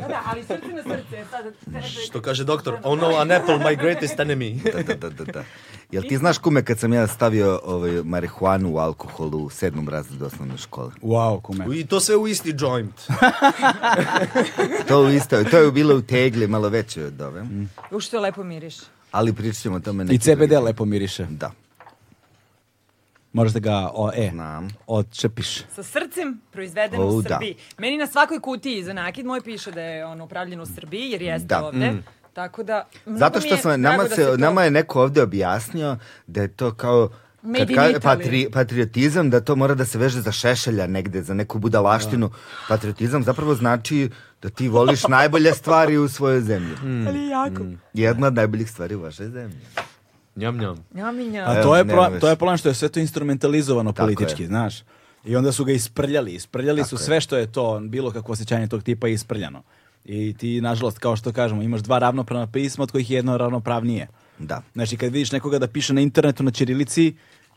Speaker 3: da, ali srce na srce. e, Sad,
Speaker 2: Što kaže doktor, oh no, an apple, my greatest enemy.
Speaker 4: Da, da, da, da, da. Jel ti znaš kume kad sam ja stavio ovaj, marihuanu u alkoholu u sedmom razredu osnovne škole?
Speaker 1: wow, kume.
Speaker 2: I to sve u isti joint.
Speaker 4: To, u isto, to je bilo u tegli, malo veće od ove.
Speaker 3: Uš što lepo miriš.
Speaker 4: Ali pričat ćemo o tome neki
Speaker 1: Mm. I CBD
Speaker 4: drugi put.
Speaker 1: lepo miriše.
Speaker 4: Da,
Speaker 1: Možeš da ga, o, e,
Speaker 4: znam.
Speaker 1: odčepiš.
Speaker 3: Sa srcem proizvedeno
Speaker 4: O,
Speaker 3: u
Speaker 4: da.
Speaker 3: Srbiji. Meni na svakoj kutiji za nakid moj piše da je on upravljen u Srbiji, jer jeste
Speaker 4: Da. mm.
Speaker 3: ovde. Tako da, mnogo
Speaker 4: Zato
Speaker 3: mi
Speaker 4: što
Speaker 3: je drago
Speaker 4: sam, nama,
Speaker 3: da
Speaker 4: se,
Speaker 3: to-
Speaker 4: nama je neko ovdje objasnio da je to kao
Speaker 3: Made
Speaker 4: kad
Speaker 3: in
Speaker 4: kaže
Speaker 3: Italy.
Speaker 4: patri- patriotizam, da to mora da se veže za šešelja negde, za neku budalaštinu. Patriotizam zapravo znači da ti voliš najbolje stvari u svojoj zemlji.
Speaker 3: Ali jako.
Speaker 4: Jedna od najboljih stvari u vašoj zemlji.
Speaker 2: Njam, njam.
Speaker 3: Njam, njam.
Speaker 1: A
Speaker 4: Evo,
Speaker 1: to je,
Speaker 4: nema
Speaker 1: pro,
Speaker 4: veze.
Speaker 1: to je problem što je sve to instrumentalizovano
Speaker 4: Tako
Speaker 1: politički,
Speaker 4: je.
Speaker 1: znaš. I onda su ga isprljali. Isprljali su sve što je to, bilo kako osjećanje tog tipa je isprljano. I ti, nažalost, kao što kažemo, imaš dva ravnopravna pisma od kojih je jedno ravnopravnije.
Speaker 4: Da.
Speaker 1: Znači, kad vidiš nekoga da piše na internetu na ćirilici,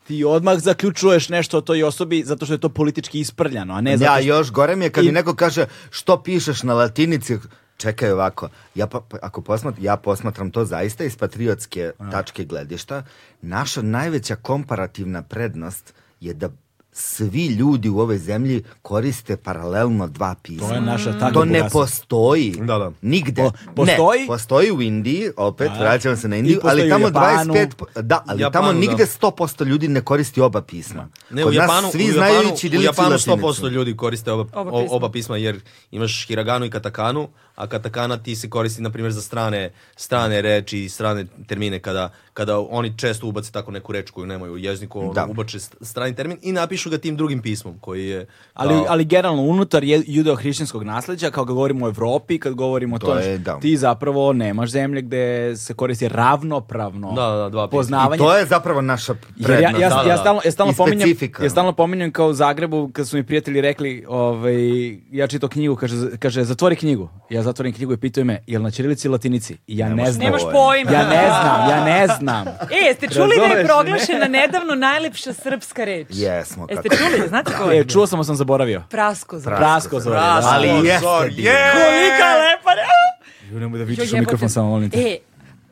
Speaker 1: ti odmah zaključuješ nešto o toj osobi zato što je to politički isprljano, a ne zato
Speaker 4: Ja,
Speaker 1: što...
Speaker 4: još gore mi je kad
Speaker 1: I-
Speaker 4: mi neko kaže što pišeš na latinici, čekaj ovako, ja pa, pa- ako posmat, ja posmatram to zaista iz patriotske tačke gledišta, naša najveća komparativna prednost je da svi ljudi u ovoj zemlji koriste paralelno dva pisma.
Speaker 1: To je naša tako
Speaker 4: To ne
Speaker 1: bogatstvo.
Speaker 4: postoji.
Speaker 2: Da, da.
Speaker 4: Nigde.
Speaker 1: Po-
Speaker 4: Ne,
Speaker 1: postoji-
Speaker 4: postoji u Indiji, opet,
Speaker 1: Da.
Speaker 4: vraćamo se na
Speaker 1: I
Speaker 4: Indiju,
Speaker 1: postoji
Speaker 4: ali
Speaker 1: u
Speaker 4: tamo
Speaker 1: Japanu.
Speaker 4: 25... Da, ali
Speaker 2: Japanu,
Speaker 4: tamo
Speaker 2: da.
Speaker 4: nigde 100% ljudi ne koristi oba pisma.
Speaker 2: Ne, u
Speaker 4: Kod
Speaker 2: Japanu,
Speaker 4: nas svi
Speaker 2: u
Speaker 4: znaju
Speaker 2: Japanu,
Speaker 4: i
Speaker 2: u
Speaker 4: ćirilicu i
Speaker 2: Japanu
Speaker 4: latinicu.
Speaker 2: 100% ljudi koriste oba,
Speaker 3: Oba
Speaker 2: o-
Speaker 3: pisma.
Speaker 2: oba pisma jer imaš hiraganu i katakanu, a katakana ti se koristi na primjer za strane, strane reči i strane termine kada, kada oni često ubace tako neku reč koju nemaju u jeziku, ono,
Speaker 4: Da.
Speaker 2: ubače st- strani termin i napišu ga tim drugim pismom koji je...
Speaker 1: Ali,
Speaker 2: kao-
Speaker 1: ali generalno, unutar je- judeo-hrišćanskog nasleđa, kao kad govorimo o Evropi, kad govorimo o
Speaker 4: To
Speaker 1: tome,
Speaker 4: je, da.
Speaker 1: ti zapravo nemaš zemlje gde se koristi ravnopravno
Speaker 2: Da, da, dva pisma.
Speaker 1: poznavanje.
Speaker 4: To je zapravo naša
Speaker 1: Jer ja,
Speaker 4: prednost.
Speaker 1: ja,
Speaker 2: da,
Speaker 1: ja,
Speaker 2: da, da.
Speaker 1: stalno, ja stalno
Speaker 4: I
Speaker 1: pominjem,
Speaker 4: specifika.
Speaker 1: ja stalno pominjem kao u Zagrebu kad su mi prijatelji rekli, ovaj, ja čitao knjigu, kaže, kaže, zatvori knjigu. Ja zatvorim knjigu i pitaju me, jel na ćirilici i latinici? I ja ne znam.
Speaker 3: Nemaš pojma.
Speaker 1: Ja ne znam, ja ne znam.
Speaker 3: E, jeste čuli da je
Speaker 1: Razumeš,
Speaker 3: proglašena nedavno najlepša srpska reč?
Speaker 4: Jesmo,
Speaker 3: Jeste
Speaker 4: kako
Speaker 3: čuli, znate ko je?
Speaker 1: E, čuo sam, ali sam zaboravio.
Speaker 3: Prasko zove.
Speaker 1: Prasko zove. da.
Speaker 4: Ali jeste bilo.
Speaker 3: Kolika je lepa reč!
Speaker 1: Ju, nemoj da
Speaker 3: Joj,
Speaker 1: vičeš u
Speaker 3: jebote.
Speaker 1: mikrofon samo, molim te.
Speaker 3: E,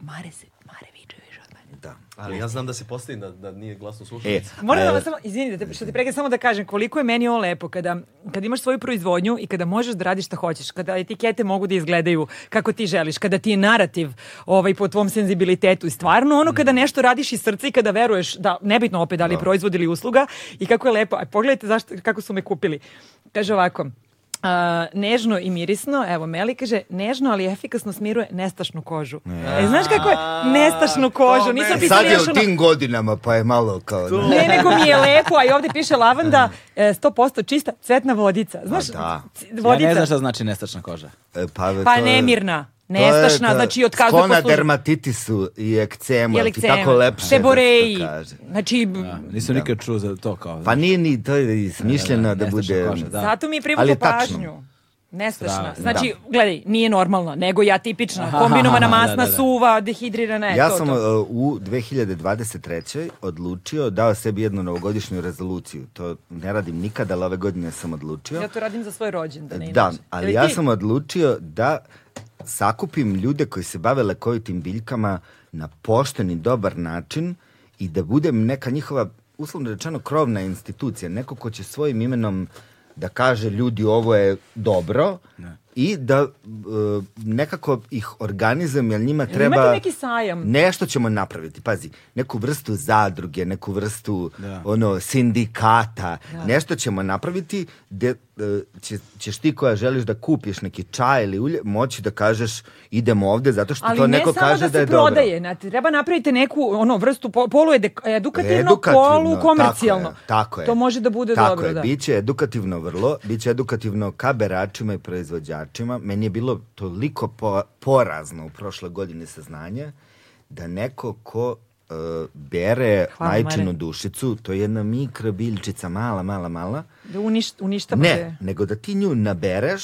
Speaker 3: Mare se, Mare viđuješ od mene.
Speaker 2: Ali ja znam da se postavim da, da nije glasno slušati.
Speaker 4: E,
Speaker 3: Moram da
Speaker 4: a,
Speaker 3: vas samo, izvini da te, što ti prekaj, samo da kažem koliko je meni ovo lepo kada, kad imaš svoju proizvodnju i kada možeš da radiš šta hoćeš, kada etikete mogu da izgledaju kako ti želiš, kada ti je narativ ovaj, po tvom senzibilitetu i stvarno ono
Speaker 4: Mm.
Speaker 3: kada nešto radiš iz srca i kada veruješ da, nebitno opet da li je proizvod ili usluga i kako je lepo, a pogledajte zašto, kako su me kupili. Kaže ovako, a, nežno i mirisno, evo Meli kaže, nežno ali efikasno smiruje nestašnu kožu. E, znaš kako je? Nestašnu kožu. Nisam
Speaker 4: sad
Speaker 3: pisali
Speaker 4: je
Speaker 3: još
Speaker 4: u
Speaker 3: ono-
Speaker 4: tim godinama, pa je malo kao... ne. *laughs*
Speaker 3: ne, nego mi je lepo, a i ovdje piše lavanda, e, 100% čista cvetna vodica. Znaš,
Speaker 4: A da.
Speaker 3: c-
Speaker 1: Ja
Speaker 3: vodica,
Speaker 1: ne znam šta znači nestačna koža.
Speaker 4: E, Pa,
Speaker 3: pa
Speaker 4: to je-
Speaker 3: nemirna,
Speaker 4: to je
Speaker 3: nestašna,
Speaker 4: to-
Speaker 3: znači od kaznog
Speaker 4: Sklona dermatitisu i ekcemu,
Speaker 3: je
Speaker 4: jel ti tako lepše.
Speaker 3: seboreji,
Speaker 4: da se to kaže.
Speaker 3: znači...
Speaker 1: Nisam nikad čuo za to kao.
Speaker 4: Pa nije ni, to je i smišljeno da,
Speaker 1: nestašna
Speaker 4: bude...
Speaker 1: koža, da.
Speaker 3: Zato mi je
Speaker 4: Ali
Speaker 3: privuklo
Speaker 4: je tačno.
Speaker 3: pažnju. Nestašna. Znači, gledaj, nije normalna, nego ja tipična. Kombinovana
Speaker 1: aha,
Speaker 3: masna,
Speaker 1: da, da, da.
Speaker 3: suva, dehidrirana, e,
Speaker 4: Ja
Speaker 3: to,
Speaker 4: sam
Speaker 3: to.
Speaker 4: uh, u 2023. odlučio, dao sebi jednu novogodišnju rezoluciju. To ne radim nikada, ali ove godine sam odlučio.
Speaker 3: Ja to radim za svoj rođendan.
Speaker 4: Da,
Speaker 3: inače.
Speaker 4: ali
Speaker 3: Ili
Speaker 4: ja
Speaker 3: ti?
Speaker 4: sam odlučio da sakupim ljude koji se bave lekovitim biljkama na pošten i dobar način i da budem neka njihova, uslovno rečeno, krovna institucija. Neko ko će svojim imenom da kaže ljudi ovo je dobro i da e, nekako ih organizujem, jer njima
Speaker 3: Jel
Speaker 4: treba...
Speaker 3: Imate neki sajam?
Speaker 4: Nešto ćemo napraviti, pazi, neku vrstu zadruge, neku vrstu ono sindikata, nešto ćemo napraviti gde e, će, ćeš ti koja želiš da kupiš neki čaj ili ulje, moći da kažeš idemo ovde zato što
Speaker 3: Ali
Speaker 4: to
Speaker 3: ne
Speaker 4: neko
Speaker 3: samo
Speaker 4: kaže
Speaker 3: da
Speaker 4: da,
Speaker 3: se
Speaker 4: je
Speaker 3: prodaje, znate, treba napraviti neku ono vrstu po- polu edek- edukativno,
Speaker 4: dobro. Edukativno,
Speaker 3: polu komercijalno.
Speaker 4: Tako je, tako je.
Speaker 3: To može da bude
Speaker 4: tako
Speaker 3: dobro,
Speaker 4: je.
Speaker 3: da.
Speaker 4: Biće edukativno vrlo, biće edukativno ka beračima i proizvođačima. Meni je bilo toliko po- porazno u prošle godine saznanje da neko ko e, bere
Speaker 3: Hvala,
Speaker 4: majčinu
Speaker 3: Mare.
Speaker 4: dušicu, to je jedna mikra biljčica, mala, mala, mala,
Speaker 3: Da uniš- uništava te.
Speaker 4: ne, nego da ti nju nabereš,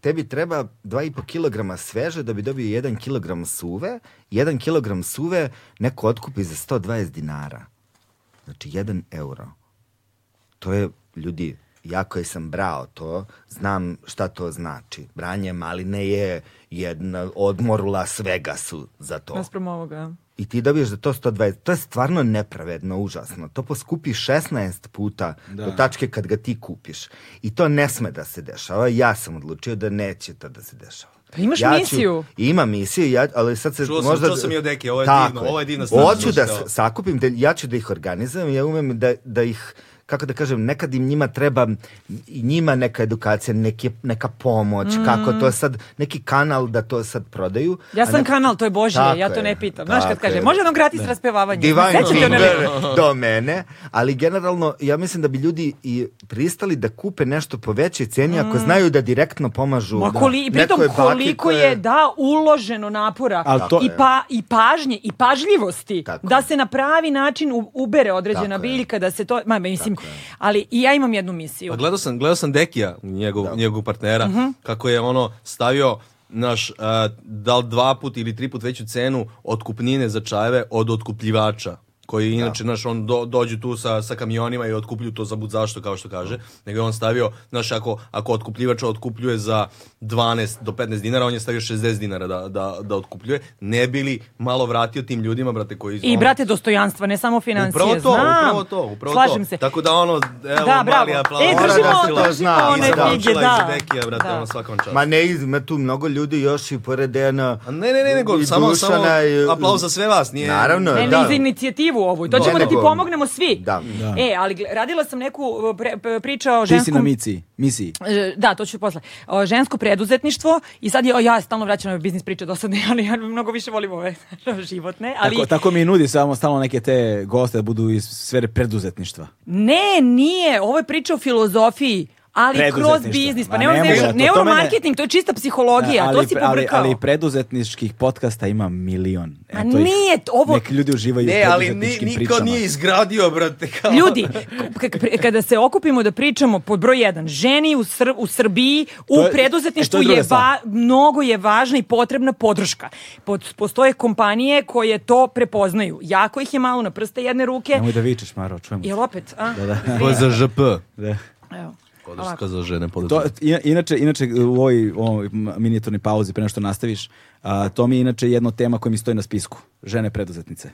Speaker 4: tebi treba 2,5 kilograma sveže da bi dobio 1 kilogram suve. 1 kilogram suve neko otkupi za 120 dinara. Znači 1 euro. To je, ljudi, ja koji sam brao to, znam šta to znači. Branje maline je jedna odmorula svega su za to.
Speaker 3: Naspram ovoga.
Speaker 4: I ti dobiješ za to 120. To je stvarno nepravedno, užasno. To poskupi 16 puta do tačke kad ga ti kupiš. I to ne sme da se dešava. Ja sam odlučio da neće to da se dešava.
Speaker 3: Pa imaš
Speaker 4: ja ću-
Speaker 3: misiju.
Speaker 4: imam misiju, ja, ali sad se
Speaker 2: Čuo sam-
Speaker 4: možda...
Speaker 2: čuo sam i od Eke, ovo je
Speaker 4: Tako
Speaker 2: divno, ovo je divna stvar,
Speaker 4: Hoću da
Speaker 2: znaš,
Speaker 4: s-
Speaker 2: kao.
Speaker 4: sakupim, da, ja ću da ih organizujem, ja umem da, da ih kako da kažem, nekad im njima treba i njima neka edukacija, neki, neka pomoć, kako to sad, neki kanal da to sad prodaju.
Speaker 3: Mm. Ja
Speaker 4: a
Speaker 3: sam
Speaker 4: ne-
Speaker 3: kanal, to je Božje,
Speaker 4: Tako
Speaker 3: ja to
Speaker 4: je,
Speaker 3: ne pitam. Znaš kad
Speaker 4: tako
Speaker 3: kaže,
Speaker 4: je.
Speaker 3: može nam gratis raspevavanje.
Speaker 4: Divine
Speaker 3: Sećate one
Speaker 4: finger do mene, ali generalno ja mislim da bi ljudi i pristali da kupe nešto po većoj ceni ako znaju da direktno pomažu.
Speaker 3: Mm. Ma
Speaker 4: da,
Speaker 3: koli, i pritom
Speaker 4: nekoj baki
Speaker 3: koliko
Speaker 4: koja-
Speaker 3: je da uloženo napora
Speaker 1: Ali to-
Speaker 3: i, pa, i pažnje i pažljivosti
Speaker 4: Tako
Speaker 3: da
Speaker 4: je.
Speaker 3: se na pravi način u- ubere određena
Speaker 4: Tako je.
Speaker 3: biljka da se to ma mislim ali i ja imam jednu misiju
Speaker 2: Pa gledao sam, gledao sam Dekija, njegov, njegovog partnera,
Speaker 3: Mhm.
Speaker 2: kako je ono stavio naš, da li dva put ili tri put veću cenu otkupnine za čajeve od otkupljivača koji inače, znaš, on do, dođu tu sa, sa kamionima i otkuplju to za bud zašto, kao što kaže, nego je on stavio, znaš, ako, ako otkupljivač otkupljuje za 12 do 15 dinara, on je stavio 60 dinara da, da, da otkupljuje, ne bi li malo vratio tim ljudima, brate, koji...
Speaker 3: i
Speaker 2: ono,
Speaker 3: brate dostojanstva ne samo financije
Speaker 2: Upravo to,
Speaker 3: znam
Speaker 2: upravo to, upravo
Speaker 3: slažem
Speaker 2: to.
Speaker 3: se
Speaker 2: Tako da ono, evo,
Speaker 3: Da, bravo.
Speaker 2: mali aplauz.
Speaker 3: E,
Speaker 4: Mora
Speaker 3: držimo,
Speaker 4: da se to
Speaker 3: držimo
Speaker 4: zna.
Speaker 3: one
Speaker 4: Iza
Speaker 2: Izabrala
Speaker 3: knjige,
Speaker 2: iz
Speaker 3: da.
Speaker 2: Dekija, brate,
Speaker 3: Da.
Speaker 2: ono svakom čast.
Speaker 4: Ma ne, ima tu mnogo ljudi još i pored Dejana
Speaker 2: A ne, ne, ne, nego
Speaker 4: i
Speaker 2: samo, samo
Speaker 4: Dušana i-
Speaker 2: aplauz za sve vas, nije...
Speaker 4: Naravno,
Speaker 3: Ne,
Speaker 4: da.
Speaker 3: ne, za inicijativu ovu. To
Speaker 4: Da.
Speaker 3: ćemo da ti
Speaker 4: Nego-
Speaker 3: pomognemo svi.
Speaker 4: Da.
Speaker 3: E, ali gle- radila sam neku e, pre- pre- priča o
Speaker 1: Ti si na
Speaker 3: ženskom
Speaker 1: miciji, misiji.
Speaker 3: E, Da, to ću posle. O, žensko preduzetništvo i sad je, o, ja stalno vraćam ove biznis priče dosadne, *laughs* ali ja mnogo više volim ove *laughs* životne. Ali
Speaker 1: Tako, tako mi i nudi samo stalno neke te goste da budu iz sfere preduzetništva.
Speaker 3: ne, nije, ovo je priča o filozofiji, ali kroz
Speaker 1: Preduzetništvo.
Speaker 3: biznis. Pa
Speaker 1: Ma
Speaker 3: neuro,
Speaker 1: ne može, to- to
Speaker 3: neuromarketing, to je čista psihologija,
Speaker 1: ali,
Speaker 3: Pa to si
Speaker 1: ali,
Speaker 3: pobrkao.
Speaker 1: ali preduzetničkih podcasta ima milion.
Speaker 3: A
Speaker 1: Eto ih.
Speaker 3: nije to- ovo-
Speaker 1: Nek ljudi uživaju
Speaker 2: Ne,
Speaker 1: u
Speaker 2: ali ni,
Speaker 1: preduzetničkim
Speaker 2: niko
Speaker 1: pričama.
Speaker 2: nije izgradio, brate, kao...
Speaker 3: Ljudi, k- k- pri- kada se okupimo da pričamo pod broj 1, ženi u, Sr- u Srbiji u
Speaker 1: To je-
Speaker 3: preduzetništvu
Speaker 1: e, to je druga
Speaker 3: je va,
Speaker 1: stvar.
Speaker 3: mnogo je važna i potrebna podrška. Pod- postoje kompanije koje to prepoznaju. Jako ih je malo na prste jedne ruke.
Speaker 1: Nemoj da vičeš, Maro, čujemo.
Speaker 3: Jel opet? A?
Speaker 2: za ŽP.
Speaker 1: Da.
Speaker 3: Evo.
Speaker 2: Podrška za žene,
Speaker 1: To,
Speaker 2: podrška.
Speaker 1: ina- inače, inače u ovoj, ovoj minijaturni pauzi, pre nego što nastaviš, a, to mi je inače jedna tema koja mi stoji na spisku. Žene preduzetnice.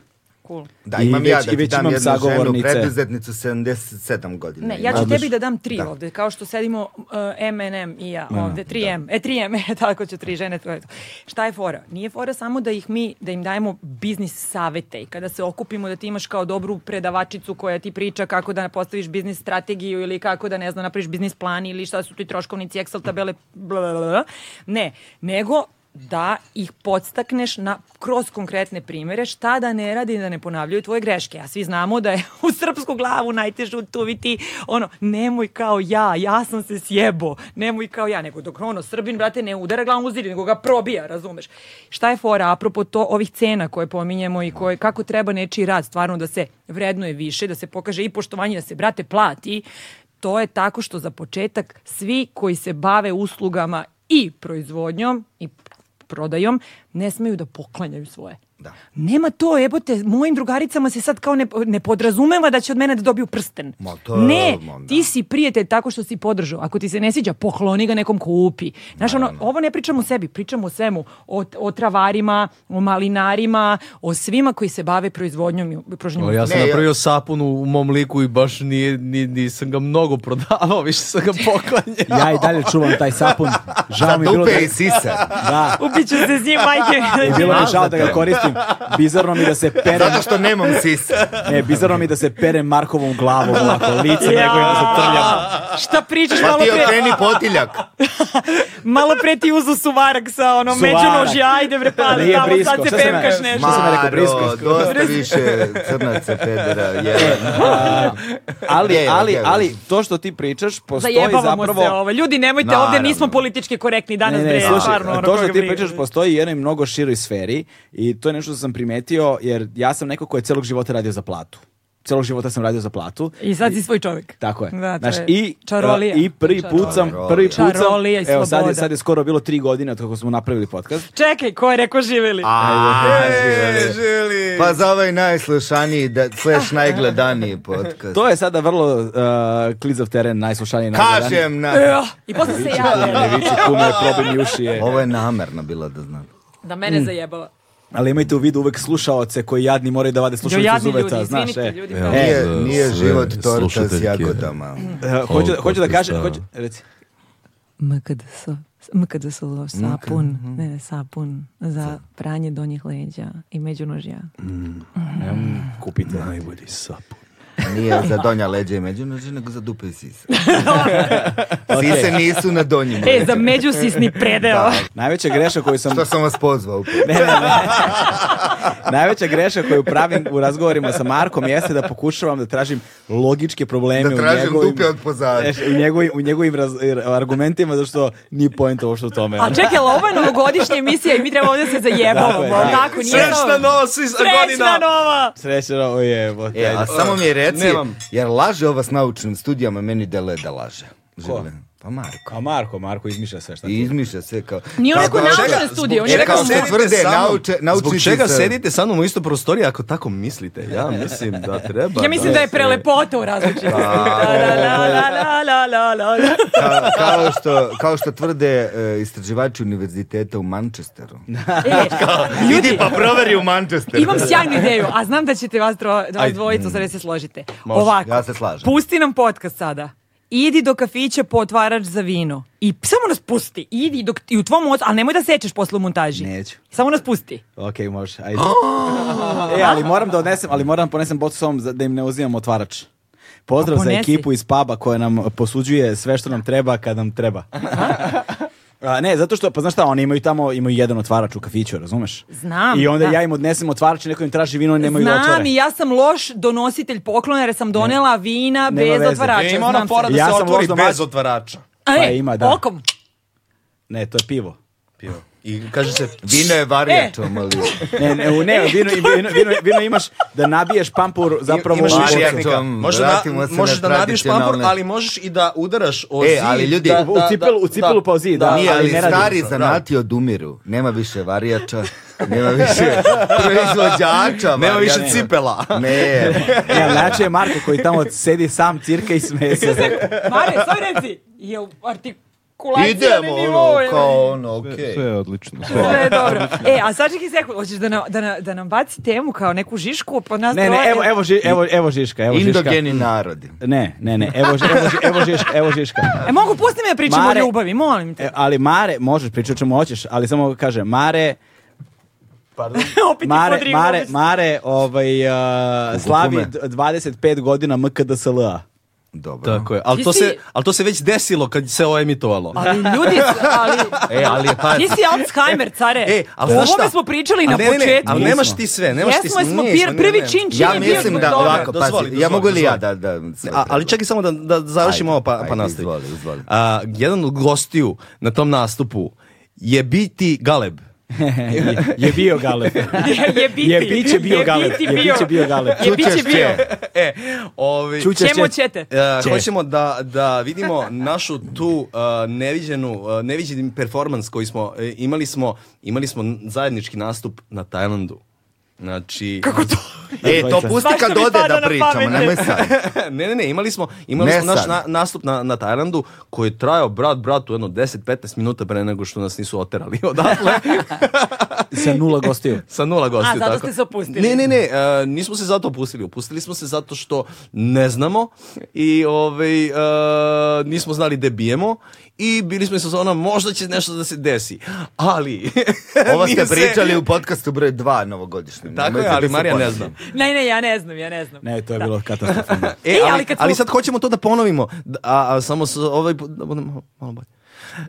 Speaker 3: Cool.
Speaker 4: Da,
Speaker 1: I
Speaker 4: imam ja
Speaker 1: već-
Speaker 4: da
Speaker 1: i
Speaker 4: ti
Speaker 1: već
Speaker 4: dam
Speaker 1: imam
Speaker 4: jednu ženu
Speaker 1: sagovornice.
Speaker 4: preduzetnicu 77 godina.
Speaker 3: Ne,
Speaker 4: ima.
Speaker 3: ja ću
Speaker 1: Odlično.
Speaker 3: tebi da dam tri
Speaker 4: Da.
Speaker 3: ovde, kao što sedimo uh, MNM i ja ovde, 3M, *laughs* e 3M, tako ću tri žene, to je to. Šta je fora? Nije fora samo da ih mi, da im dajemo biznis savete i kada se okupimo da ti imaš kao dobru predavačicu koja ti priča kako da postaviš biznis strategiju ili kako da ne znam, napraviš biznis plan ili šta su ti troškovnici, Excel tabele, bla, bla, bla. Ne, nego da ih podstakneš na, kroz konkretne primere šta da ne radi da ne ponavljaju tvoje greške. A svi znamo da je *laughs* u srpsku glavu najteže utuviti ono, nemoj kao ja, ja sam se sjebo, nemoj kao ja, nego dok ono, srbin, brate, ne udara glavom u zid, nego ga probija, razumeš. Šta je fora apropo to, ovih cena koje pominjemo i koje, kako treba nečiji rad stvarno da se vrednuje više, da se pokaže i poštovanje, da se, brate, plati, to je tako što za početak svi koji se bave uslugama i proizvodnjom i prodajom ne smeju da poklanjaju svoje.
Speaker 4: Da.
Speaker 3: Nema to, jebote, mojim drugaricama se sad kao ne, ne podrazumeva da će od mene da dobiju prsten.
Speaker 4: Ma to je
Speaker 3: ne,
Speaker 4: onda.
Speaker 3: ti si prijatelj tako što si podržao. Ako ti se ne sviđa, pokloni ga nekom ko upi. Znaš, ono, ovo ne pričamo o sebi, pričamo o svemu. O, o travarima, o malinarima, o svima koji se bave proizvodnjom i pružnjom.
Speaker 2: O, ja sam
Speaker 4: Ne, ja-
Speaker 2: napravio sapun u mom liku i baš nije, ni, nisam ga mnogo prodavao, *laughs* više sam ga poklanjao.
Speaker 1: Ja i dalje čuvam taj sapun. Žao mi je bilo
Speaker 4: Dupe i
Speaker 1: da...
Speaker 4: sisa.
Speaker 3: *laughs*
Speaker 1: Da,
Speaker 3: Upiću se s njim,
Speaker 1: *laughs*
Speaker 3: majke.
Speaker 1: i bilo mi je žao da ga koristim. Bizarno mi da se perem,
Speaker 4: Zato što nemam
Speaker 3: *laughs*
Speaker 4: sisa.
Speaker 1: ne, bizarno mi da se perem Markovom glavom ovako, lice njegovim da se trljam.
Speaker 3: Šta pričaš
Speaker 4: Pa
Speaker 3: malo
Speaker 4: ti
Speaker 3: pre?
Speaker 4: okreni potiljak.
Speaker 3: Malo pre ti uzu suvarak sa ono
Speaker 1: Suvarak.
Speaker 3: međunožje, ajde bre, pali
Speaker 1: Nije
Speaker 3: tamo,
Speaker 1: brisko.
Speaker 3: sad se
Speaker 1: Šta sam ja-
Speaker 3: pemkaš nešto.
Speaker 1: Što sam ja rekao, brisko,
Speaker 4: Maro, dosta više crnaca,
Speaker 3: *laughs*
Speaker 4: pedera, jedan.
Speaker 1: A, ali,
Speaker 4: Je,
Speaker 1: ali,
Speaker 4: je, je.
Speaker 1: ali, to što ti pričaš postoji
Speaker 3: Zajebavamo
Speaker 1: zapravo...
Speaker 3: se ovo. Ljudi, nemojte,
Speaker 4: Naravno.
Speaker 3: ovdje nismo politički korektni danas, bre,
Speaker 1: slušaj,
Speaker 3: stvarno. ono,
Speaker 1: to
Speaker 3: koga
Speaker 1: što ti
Speaker 3: briga.
Speaker 1: pričaš postoji u jednoj mnogo široj sferi i to je nešto što sam primetio jer ja sam neko ko je celog života radio za platu. Celog života sam radio za platu.
Speaker 3: I sad si svoj čovjek.
Speaker 1: Tako je.
Speaker 3: Da, to
Speaker 1: Znaš,
Speaker 3: je
Speaker 1: i,
Speaker 3: čarolija.
Speaker 1: i prvi put sam,
Speaker 4: Čarolija.
Speaker 1: prvi put sam,
Speaker 3: Čarolija i
Speaker 1: evo sad je,
Speaker 3: sloboda.
Speaker 1: sad je skoro bilo tri godine od kako smo napravili podcast.
Speaker 3: Čekaj, ko je rekao živjeli?
Speaker 4: A,
Speaker 2: Ne
Speaker 4: živeli.
Speaker 2: želi.
Speaker 4: Pa za ovaj najslušaniji, da, slash najgledaniji podcast.
Speaker 1: To je sada vrlo uh, klizav teren, najslušaniji najgledaniji.
Speaker 4: Kažem na...
Speaker 3: E, I posle se
Speaker 1: Kume,
Speaker 3: jave
Speaker 1: ne viči, kume, probaj mi uši je.
Speaker 4: Ovo je namerno bilo da znam.
Speaker 3: da
Speaker 1: Mm.
Speaker 3: mene zajebava.
Speaker 1: Ali imajte u vidu uvek slušaoce koji jadni moraju da vade slušalice iz
Speaker 3: jadni
Speaker 1: uveta,
Speaker 3: ljudi,
Speaker 1: znaš.
Speaker 3: izvinite,
Speaker 1: e.
Speaker 3: ljudi,
Speaker 1: E,
Speaker 3: pa-
Speaker 4: Nije,
Speaker 12: Za
Speaker 4: nije
Speaker 12: sve
Speaker 4: život torta s
Speaker 12: slušateljke.
Speaker 4: jagodama.
Speaker 1: hoću,
Speaker 12: Ovog
Speaker 1: hoću Uh, da kažem,
Speaker 12: podcasta.
Speaker 1: hoću, reci.
Speaker 13: MKD so- MKD so- sapun,
Speaker 1: mhm.
Speaker 13: ne, ne, sapun za pranje donjih leđa i međunožja.
Speaker 1: Kupite.
Speaker 12: Najbolji sapun.
Speaker 4: Nije za donja leđa i međunođe, nego za dupe i sise. Sise nisu na donjim
Speaker 3: E, za
Speaker 4: leđima.
Speaker 3: međusisni predeo.
Speaker 1: Najveća greša koju sam...
Speaker 4: Što sam vas pozvao?
Speaker 1: Ne, ne, ne. Najveća greša koju pravim u razgovorima sa Markom jeste da pokušavam da tražim logičke probleme
Speaker 4: Da tražim
Speaker 1: u njegovim...
Speaker 4: dupe od pozadi.
Speaker 1: Znaš, u njegovim, u njegovim raz- argumentima, zato što nije pojenta uopšte u tome.
Speaker 3: A čekaj, ali ovo je novogodišnja emisija i mi trebamo ovdje da se
Speaker 1: Tako
Speaker 3: zajebavamo.
Speaker 1: je, tako je.
Speaker 3: Tako, nije
Speaker 2: Srećna nova svi
Speaker 3: Srećna
Speaker 2: godina.
Speaker 3: nova!
Speaker 1: Srećno, o jebote.
Speaker 4: E, a samo mi reci,
Speaker 2: nemam.
Speaker 4: jer laže ova s naučnim studijama, meni deluje da laže. Žele. Pa Marko.
Speaker 1: A Marko, Marko izmišlja sve šta
Speaker 4: I
Speaker 1: ti...
Speaker 4: izmišlja sve kao...
Speaker 3: Nije on
Speaker 4: Kako-
Speaker 3: rekao naučne
Speaker 2: Zbog
Speaker 3: studije, on je
Speaker 4: čega
Speaker 3: rekao...
Speaker 4: se-
Speaker 2: sedite
Speaker 4: tvrde,
Speaker 2: sa mnom?
Speaker 4: nauče- naučnici
Speaker 2: Zbog čega
Speaker 4: se-
Speaker 2: sedite sa mnom u istoj prostoriji ako tako mislite? Ja mislim da treba.
Speaker 3: Ja mislim da je
Speaker 2: se-
Speaker 3: prelepota u različitosti. La, la, la, la, la, la, la, la.
Speaker 4: Ka- kao, što, kao što tvrde e, istraživači univerziteta u Manchesteru.
Speaker 3: E, ljudi,
Speaker 4: proveri u Manchesteru.
Speaker 3: imam sjajnu ideju, a znam da ćete vas, dro, da vas dvojicu sada se složite. Ovako,
Speaker 4: Ja se slažem.
Speaker 3: pusti nam podcast sada. Idi do kafića po otvarač za vino. I samo nas pusti. Idi dok, i u tvom ocu, ali nemoj da sečeš posle u montaži.
Speaker 1: Neću.
Speaker 3: Samo nas pusti.
Speaker 1: Ok, može, ajde.
Speaker 3: Oh!
Speaker 1: e, ali moram da odnesem, ali moram da ponesem bocu s ovom za- da im ne uzimam otvarač. Pozdrav
Speaker 3: A
Speaker 1: za
Speaker 3: ponesi.
Speaker 1: ekipu iz puba koja nam posuđuje sve što nam treba kad nam
Speaker 3: *laughs*
Speaker 1: treba. A, ne, zato što, pa znaš šta, oni imaju tamo, imaju jedan otvarač u kafiću, razumeš?
Speaker 3: Znam,
Speaker 1: I onda
Speaker 3: da.
Speaker 1: ja im odnesem otvarač i neko im traži vino i nemaju
Speaker 3: znam
Speaker 1: otvore.
Speaker 3: i ja sam loš donositelj poklona jer sam donela vina
Speaker 1: Nema
Speaker 3: bez
Speaker 1: veze.
Speaker 3: otvarača.
Speaker 2: E, ima ona
Speaker 3: znam se.
Speaker 2: fora da
Speaker 1: Ja
Speaker 2: se
Speaker 1: sam
Speaker 2: otvori
Speaker 1: možda
Speaker 2: bez
Speaker 1: mać-
Speaker 2: otvarača.
Speaker 3: A,
Speaker 1: Pa
Speaker 3: e,
Speaker 1: ima, da.
Speaker 3: okom.
Speaker 1: Ne, to je pivo.
Speaker 2: Pivo. I kaže se,
Speaker 4: Vino je varijatom, ali...
Speaker 1: Ne, ne, u- ne, vino,
Speaker 3: *laughs*
Speaker 1: vino, vino, vino imaš da nabiješ pampur zapravo
Speaker 2: imaš
Speaker 1: u
Speaker 2: više
Speaker 1: bocu.
Speaker 4: varijatom.
Speaker 2: tehnika. Možeš da,
Speaker 4: Vratimo se na
Speaker 2: možeš da nabiješ pampor,
Speaker 4: tradicionalne.
Speaker 2: ali možeš i da udaraš o
Speaker 4: E,
Speaker 2: zid.
Speaker 4: ali ljudi,
Speaker 2: da,
Speaker 4: u
Speaker 2: da,
Speaker 1: cipelu- u
Speaker 2: da,
Speaker 1: cipelu pa o zid, da.
Speaker 4: Nije,
Speaker 1: ali
Speaker 4: ali
Speaker 1: ne radi
Speaker 4: stari
Speaker 1: to,
Speaker 4: zanati odumiru. Nema više varijača, nema više proizvođača.
Speaker 2: Nema više
Speaker 4: varijata.
Speaker 2: cipela.
Speaker 4: Ne,
Speaker 1: *laughs* Ja, znači je Marko koji tamo sedi sam, cirka i smeje se.
Speaker 3: Mare, sve reci. Je artikulacija
Speaker 4: idemo,
Speaker 3: na nivou.
Speaker 4: ono,
Speaker 3: je.
Speaker 4: kao ono, okej.
Speaker 7: Sve je odlično. Sve.
Speaker 3: Sve je dobro. E, a sad čekaj sekund, hoćeš da, na, da, na- da nam baci temu kao neku žišku, pa nas
Speaker 1: Ne, ne,
Speaker 3: troje-
Speaker 1: evo, evo, ži- evo, evo Žiška, evo Žiška.
Speaker 4: Indogeni narodi.
Speaker 1: Ne, ne, ne, evo, ži- evo, ži- evo Žiška, evo Žiška.
Speaker 3: E, mogu pusti me da pričamo
Speaker 1: Mare-
Speaker 3: o ljubavi,
Speaker 1: *laughs*
Speaker 3: molim te.
Speaker 1: E, ali Mare, možeš pričati o čemu hoćeš, ali samo kaže, Mare,
Speaker 3: Opet
Speaker 1: Mare,
Speaker 3: Mare,
Speaker 1: Mare, Mare, ovaj, uh, slavi d- 25 godina
Speaker 3: *laughs*
Speaker 1: MKDSLA.
Speaker 4: Dobro.
Speaker 2: Tako je, ali
Speaker 3: Ti
Speaker 2: to,
Speaker 3: si-
Speaker 2: se, ali to se već desilo kad se ovo emitovalo.
Speaker 3: Ali ljudi, ali...
Speaker 2: E, ali je pa...
Speaker 3: Ti si Alzheimer, care.
Speaker 2: E, ali
Speaker 3: o
Speaker 2: znaš
Speaker 3: ovome
Speaker 2: šta?
Speaker 3: smo pričali i
Speaker 2: A
Speaker 3: na
Speaker 2: ne, ne, ne,
Speaker 3: početku.
Speaker 2: ali nemaš ti sve, nemaš ti
Speaker 3: Jesmo,
Speaker 2: sve.
Speaker 3: jesmo,
Speaker 2: Nismo,
Speaker 3: pir- prvi
Speaker 2: ne, ne.
Speaker 3: čin čin
Speaker 4: Ja
Speaker 3: je bio
Speaker 4: mislim
Speaker 3: zbog
Speaker 4: da,
Speaker 3: toga.
Speaker 4: ovako,
Speaker 2: Dozvoli,
Speaker 4: pazi, ja
Speaker 2: dozvoli,
Speaker 4: mogu li ja da...
Speaker 2: dozvoli.
Speaker 4: da
Speaker 2: A, ali čekaj samo da, da završimo
Speaker 4: Ajde,
Speaker 2: ovo pa, pa
Speaker 4: ajde,
Speaker 2: nastavi.
Speaker 4: izvoli, izvoli.
Speaker 2: A, jedan od gostiju na tom nastupu je biti Galeb.
Speaker 1: Je, je bio Galeb.
Speaker 3: *laughs* Je, je biti.
Speaker 1: Je biće bio Galeb. Je biće bio Galeb.
Speaker 3: Je biće
Speaker 4: Čućeš
Speaker 3: bio. *laughs*
Speaker 4: će.
Speaker 2: E, ovi,
Speaker 1: Čuće
Speaker 3: Čemu ćete?
Speaker 2: E,
Speaker 1: Če.
Speaker 2: hoćemo da, da vidimo našu tu e, neviđenu, e, neviđeni performans koji smo, e, imali smo, imali smo zajednički nastup na Tajlandu. Znači...
Speaker 4: E, to pusti
Speaker 3: Svašta
Speaker 4: kad
Speaker 3: mi
Speaker 4: ode
Speaker 3: pada
Speaker 4: da
Speaker 3: na
Speaker 4: pričamo,
Speaker 3: pamet.
Speaker 4: nemoj sad.
Speaker 2: *laughs* ne, ne, ne, imali smo, imali
Speaker 4: Ne
Speaker 2: smo naš
Speaker 4: sad.
Speaker 2: na- nastup na, na Tajlandu koji je trajao brat bratu jedno 10-15 minuta pre nego što nas nisu oterali *laughs* odatle
Speaker 1: Sa nula gostiju.
Speaker 2: sa nula gostiju.
Speaker 3: A, zato
Speaker 2: tako.
Speaker 3: ste se opustili.
Speaker 2: Ne, ne, ne, e, nismo se zato opustili. Opustili smo se zato što ne znamo i ovaj, e, nismo znali gde bijemo i bili smo sa ona možda će nešto da se desi. Ali...
Speaker 4: *laughs*
Speaker 2: *laughs*
Speaker 4: Ovo ste
Speaker 2: nije se-
Speaker 4: pričali u podcastu broj 2 novogodišnjem.
Speaker 2: Tako je,
Speaker 4: nemojte
Speaker 2: ali
Speaker 4: da se
Speaker 2: Marija ne
Speaker 4: plašite.
Speaker 2: znam.
Speaker 3: Ne, ne, ja ne znam, ja ne znam.
Speaker 1: Ne, to je bilo katastrofalno.
Speaker 2: E,
Speaker 3: E,
Speaker 2: ali,
Speaker 3: ali kad smo-
Speaker 2: ali sad hoćemo to da ponovimo. Da- A, a samo s, ovaj, put da budemo malo- malo bolje. *laughs*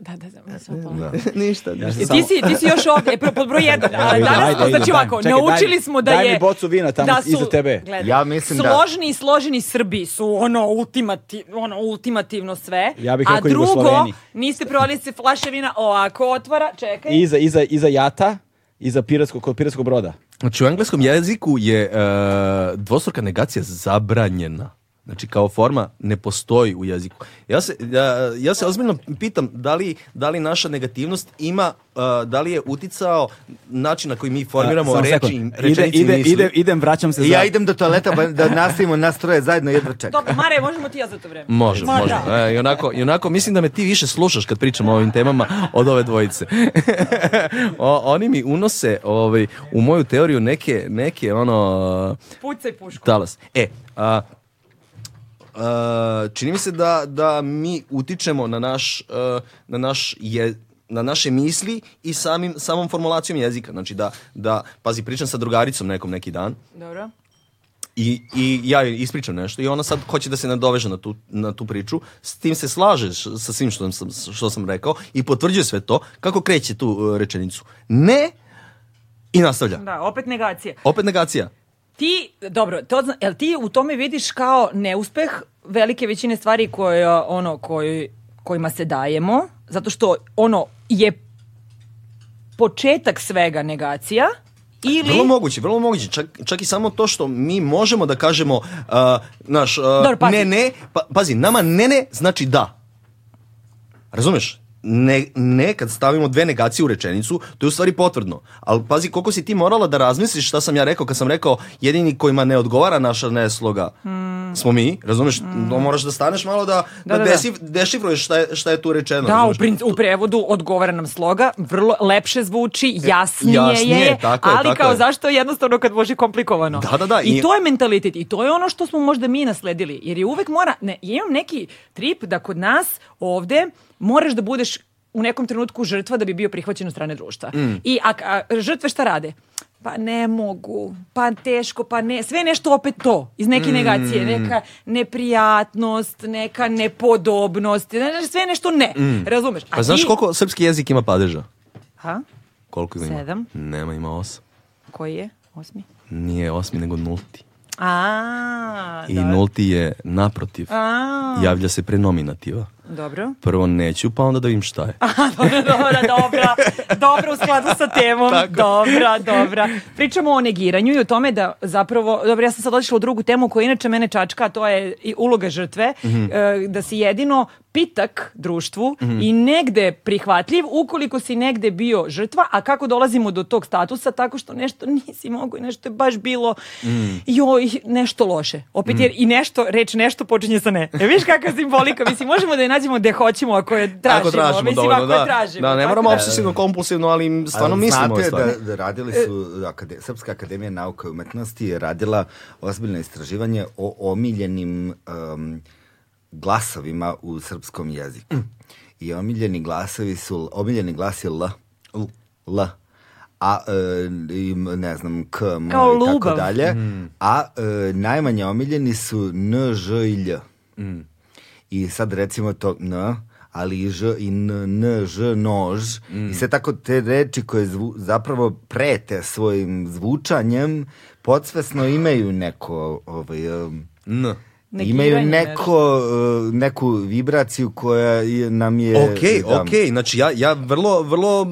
Speaker 3: Da, da, da, da, samo polako.
Speaker 2: Ništa. ništa.
Speaker 3: E, Ti si, ti si još ovdje, e, pro- pod broj jedan, ali
Speaker 1: ajde,
Speaker 3: danas
Speaker 1: ajde,
Speaker 3: smo, znači
Speaker 1: ajde.
Speaker 3: ovako,
Speaker 1: Čekaj, daj mi-
Speaker 3: naučili smo da je...
Speaker 1: daj mi bocu vina tamo iza tebe.
Speaker 3: gledaj,
Speaker 4: Ja mislim da-
Speaker 3: Složni i složeni Srbi su ono, ultimati, ono ultimativno sve,
Speaker 1: Ja bih
Speaker 3: a
Speaker 1: rekao
Speaker 3: drugo,
Speaker 1: Jugosloveni.
Speaker 3: niste provali se flaše vina, ovako otvara, čekaj.
Speaker 1: Iza, iza, iza jata, iza piratskog, kod piratskog broda.
Speaker 2: Znači u engleskom jeziku je e, dvostruka negacija zabranjena. Znači kao forma ne postoji u jeziku. Ja se, ja, ja se ozbiljno pitam da li, da li naša negativnost ima, e, da li je uticao način na koji mi formiramo
Speaker 1: Samo
Speaker 2: reči,
Speaker 1: sekund.
Speaker 2: rečenice i
Speaker 1: ide,
Speaker 2: misli.
Speaker 1: ide, ide, idem, vraćam se
Speaker 4: I
Speaker 1: za...
Speaker 4: ja idem do toaleta ba- da nastavimo nas troje zajedno jedva čekam.
Speaker 3: Dobro, Mare, možemo ti ja za to vreme?
Speaker 2: Može,
Speaker 3: Ma,
Speaker 2: može.
Speaker 3: da.
Speaker 2: E, i, onako, I onako, mislim da me ti više slušaš kad pričam o ovim temama od ove dvojice. *laughs* O, oni mi unose ovaj, u moju teoriju neke, neke ono...
Speaker 3: Pucaj pušku.
Speaker 2: Talas. E, a, a, čini mi se da, da mi utičemo na naš, e, na naš je, na naše misli i samim, samom formulacijom jezika. Znači da, da, pazi, pričam sa drugaricom nekom neki dan
Speaker 3: Dobro.
Speaker 2: i, i ja joj ispričam nešto i ona sad hoće da se nadoveže na tu, na tu priču, s tim se slaže š- sa svim što sam, što sam rekao i potvrđuje sve to, kako kreće tu e, rečenicu. Ne i nastavlja.
Speaker 3: Da, opet negacija.
Speaker 2: Opet negacija.
Speaker 3: Ti, dobro, to zna, jel ti u tome vidiš kao neuspeh velike većine stvari koje, ono, koji, kojima se dajemo, zato što ono je početak svega negacija ili...
Speaker 2: Vrlo moguće, vrlo moguće. Čak, čak i samo to što mi možemo da kažemo a, naš a,
Speaker 3: Dobro, pazi.
Speaker 2: ne, ne, pa, pazi, nama ne, ne znači da. Razumeš? Ne, ne, kad stavimo dve negacije u rečenicu, to je u stvari potvrdno. Ali pazi koliko si ti morala da razmisliš šta sam ja rekao kad sam rekao jedini kojima ne odgovara naša nesloga smo mi, razumeš? No, moraš da staneš malo da, da,
Speaker 3: Hmm. da, da.
Speaker 2: desi- dešifruješ šta je, šta je tu rečeno.
Speaker 3: Da, u,
Speaker 2: razumeš?
Speaker 3: prin- u prevodu odgovara nam sloga, vrlo lepše zvuči, jasnije,
Speaker 2: E, jasnije,
Speaker 3: je,
Speaker 2: tako je,
Speaker 3: ali
Speaker 2: tako
Speaker 3: kao
Speaker 2: je.
Speaker 3: zašto jednostavno kad može komplikovano.
Speaker 2: Da, da, da,
Speaker 3: I,
Speaker 2: i-
Speaker 3: to je mentalitet i to je ono što smo možda mi nasledili, jer je uvek mora, ne, ja imam neki trip da kod nas ovde moraš da budeš u nekom trenutku žrtva da bi bio prihvaćen od strane društva.
Speaker 2: Mm.
Speaker 3: I a, a žrtve šta rade? Pa ne mogu, pa teško, pa ne, sve je nešto opet to, iz
Speaker 2: Mm.
Speaker 3: neke negacije, neka neprijatnost, neka nepodobnost, ne, ne, sve je nešto ne, razumeš? A
Speaker 2: Pa znaš
Speaker 3: ti-
Speaker 2: koliko srpski jezik ima padeža?
Speaker 3: Ha?
Speaker 2: Koliko ima?
Speaker 3: Sedam.
Speaker 2: Nema, ima osam.
Speaker 3: Koji je? Osmi?
Speaker 2: Nije osmi, nego nulti.
Speaker 3: A,
Speaker 2: I
Speaker 3: dobro.
Speaker 2: nulti je naprotiv.
Speaker 3: A,
Speaker 2: Javlja se prenominativa.
Speaker 3: dobro.
Speaker 2: Prvo neću, pa onda da vidim šta je.
Speaker 3: *laughs* Dobro, dobra, dobra, dobra u skladu sa temom. Dobra, dobra. Pričamo o negiranju i o tome da zapravo, dobro, ja sam sad otišla u drugu temu koja inače mene čačka, a to je i uloga žrtve, e, da si jedino pitak društvu i negde prihvatljiv ukoliko si negde bio žrtva, a kako dolazimo do tog statusa tako što nešto nisi mogao i nešto je baš bilo joj, nešto loše. Opet jer i nešto, reč nešto počinje sa ne. E, viš kakva simbolika, mislim, možemo da je nađemo gde hoćemo ako je tražimo,
Speaker 2: Ako tražimo
Speaker 3: mislim,
Speaker 2: dovoljno,
Speaker 3: ako je
Speaker 2: da.
Speaker 3: tražimo.
Speaker 2: da, ne
Speaker 3: tako
Speaker 2: moramo obsesivno kompulsivno, ali stvarno
Speaker 4: Ali
Speaker 2: mislimo ove
Speaker 4: Znate
Speaker 2: stvari.
Speaker 4: da, da radili su, akade, Srpska akademija nauka i umetnosti je radila ozbiljno istraživanje o omiljenim em, glasovima u srpskom jeziku. I omiljeni glasovi su, omiljeni glas je L, L, a e, i m- ne znam, K, M i
Speaker 3: Kao
Speaker 4: tako
Speaker 3: ljubav.
Speaker 4: dalje, a e, najmanje omiljeni su N, Ž i Lj. I sad recimo to n, ali i ž i n, n, ž, nož. I sve tako te reči koje zvu- zapravo prete svojim zvučanjem, podsvesno imaju neko... Ovaj, um,
Speaker 2: N.
Speaker 4: imaju
Speaker 3: Negiranje
Speaker 4: neko, uh, neku vibraciju koja je- nam je...
Speaker 2: Ok, ok, znači ja, ja vrlo, vrlo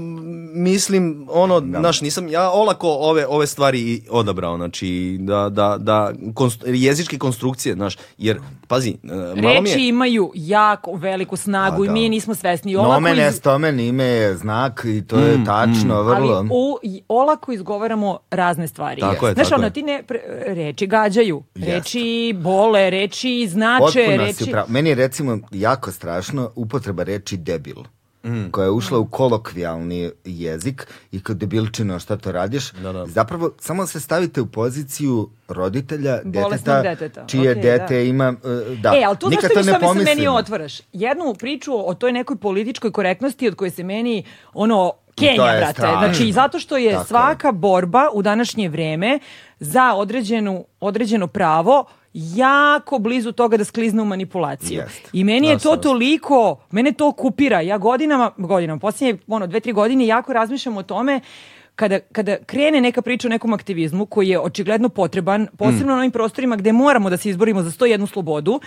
Speaker 2: mislim, ono, znaš, nisam ja olako ove, ove stvari i odabrao, znači, da, da, da, konst- jezičke konstrukcije, znaš, jer, pazi, e, malo mi
Speaker 3: Reči
Speaker 2: je...
Speaker 3: imaju jako veliku snagu
Speaker 4: A,
Speaker 3: i
Speaker 4: da.
Speaker 3: mi je nismo svesni. I Olako,
Speaker 4: Nomen
Speaker 3: iz-
Speaker 4: est omen ime je znak i to je tačno,
Speaker 3: mm.
Speaker 4: vrlo.
Speaker 3: ali u, i- olako izgovaramo razne stvari.
Speaker 2: Tako je,
Speaker 3: Znaš,
Speaker 2: tako
Speaker 3: ono,
Speaker 2: je.
Speaker 3: ti ne, pre- reči gađaju,
Speaker 4: Jeste.
Speaker 3: reči bole, reči znače,
Speaker 4: Potpuno si
Speaker 3: reči...
Speaker 4: upravo. Meni je recimo jako strašno upotreba reči debil.
Speaker 2: Mm.
Speaker 4: koja je ušla u kolokvijalni jezik i kao debilčino šta to radiš. Zapravo, samo se stavite u poziciju roditelja,
Speaker 3: Bolesnog
Speaker 4: deteta,
Speaker 3: deteta.
Speaker 4: čije
Speaker 3: Okej,
Speaker 4: dete
Speaker 3: da.
Speaker 4: ima... e, Da.
Speaker 3: E, ali to
Speaker 4: Nikad
Speaker 3: znaš šta mi
Speaker 4: to ne
Speaker 3: šta mi se meni
Speaker 4: pomislim.
Speaker 3: otvaraš? Jednu priču o toj nekoj političkoj korektnosti od koje se meni, ono, Kenja,
Speaker 4: To je
Speaker 3: brate.
Speaker 4: strašno.
Speaker 3: Znači, zato što je
Speaker 4: Tako je.
Speaker 3: svaka borba u današnje vreme za određenu, određeno pravo jako blizu toga da sklizne u manipulaciju.
Speaker 4: Jeste.
Speaker 3: I meni je to toliko, mene to kupira. Ja godinama, godinama, posljednje, ono, dve, tri godine jako razmišljam o tome kada, kada krene neka priča o nekom aktivizmu koji je očigledno potreban,
Speaker 4: Mm.
Speaker 3: posebno na ovim prostorima gde moramo da se izborimo za 101 slobodu,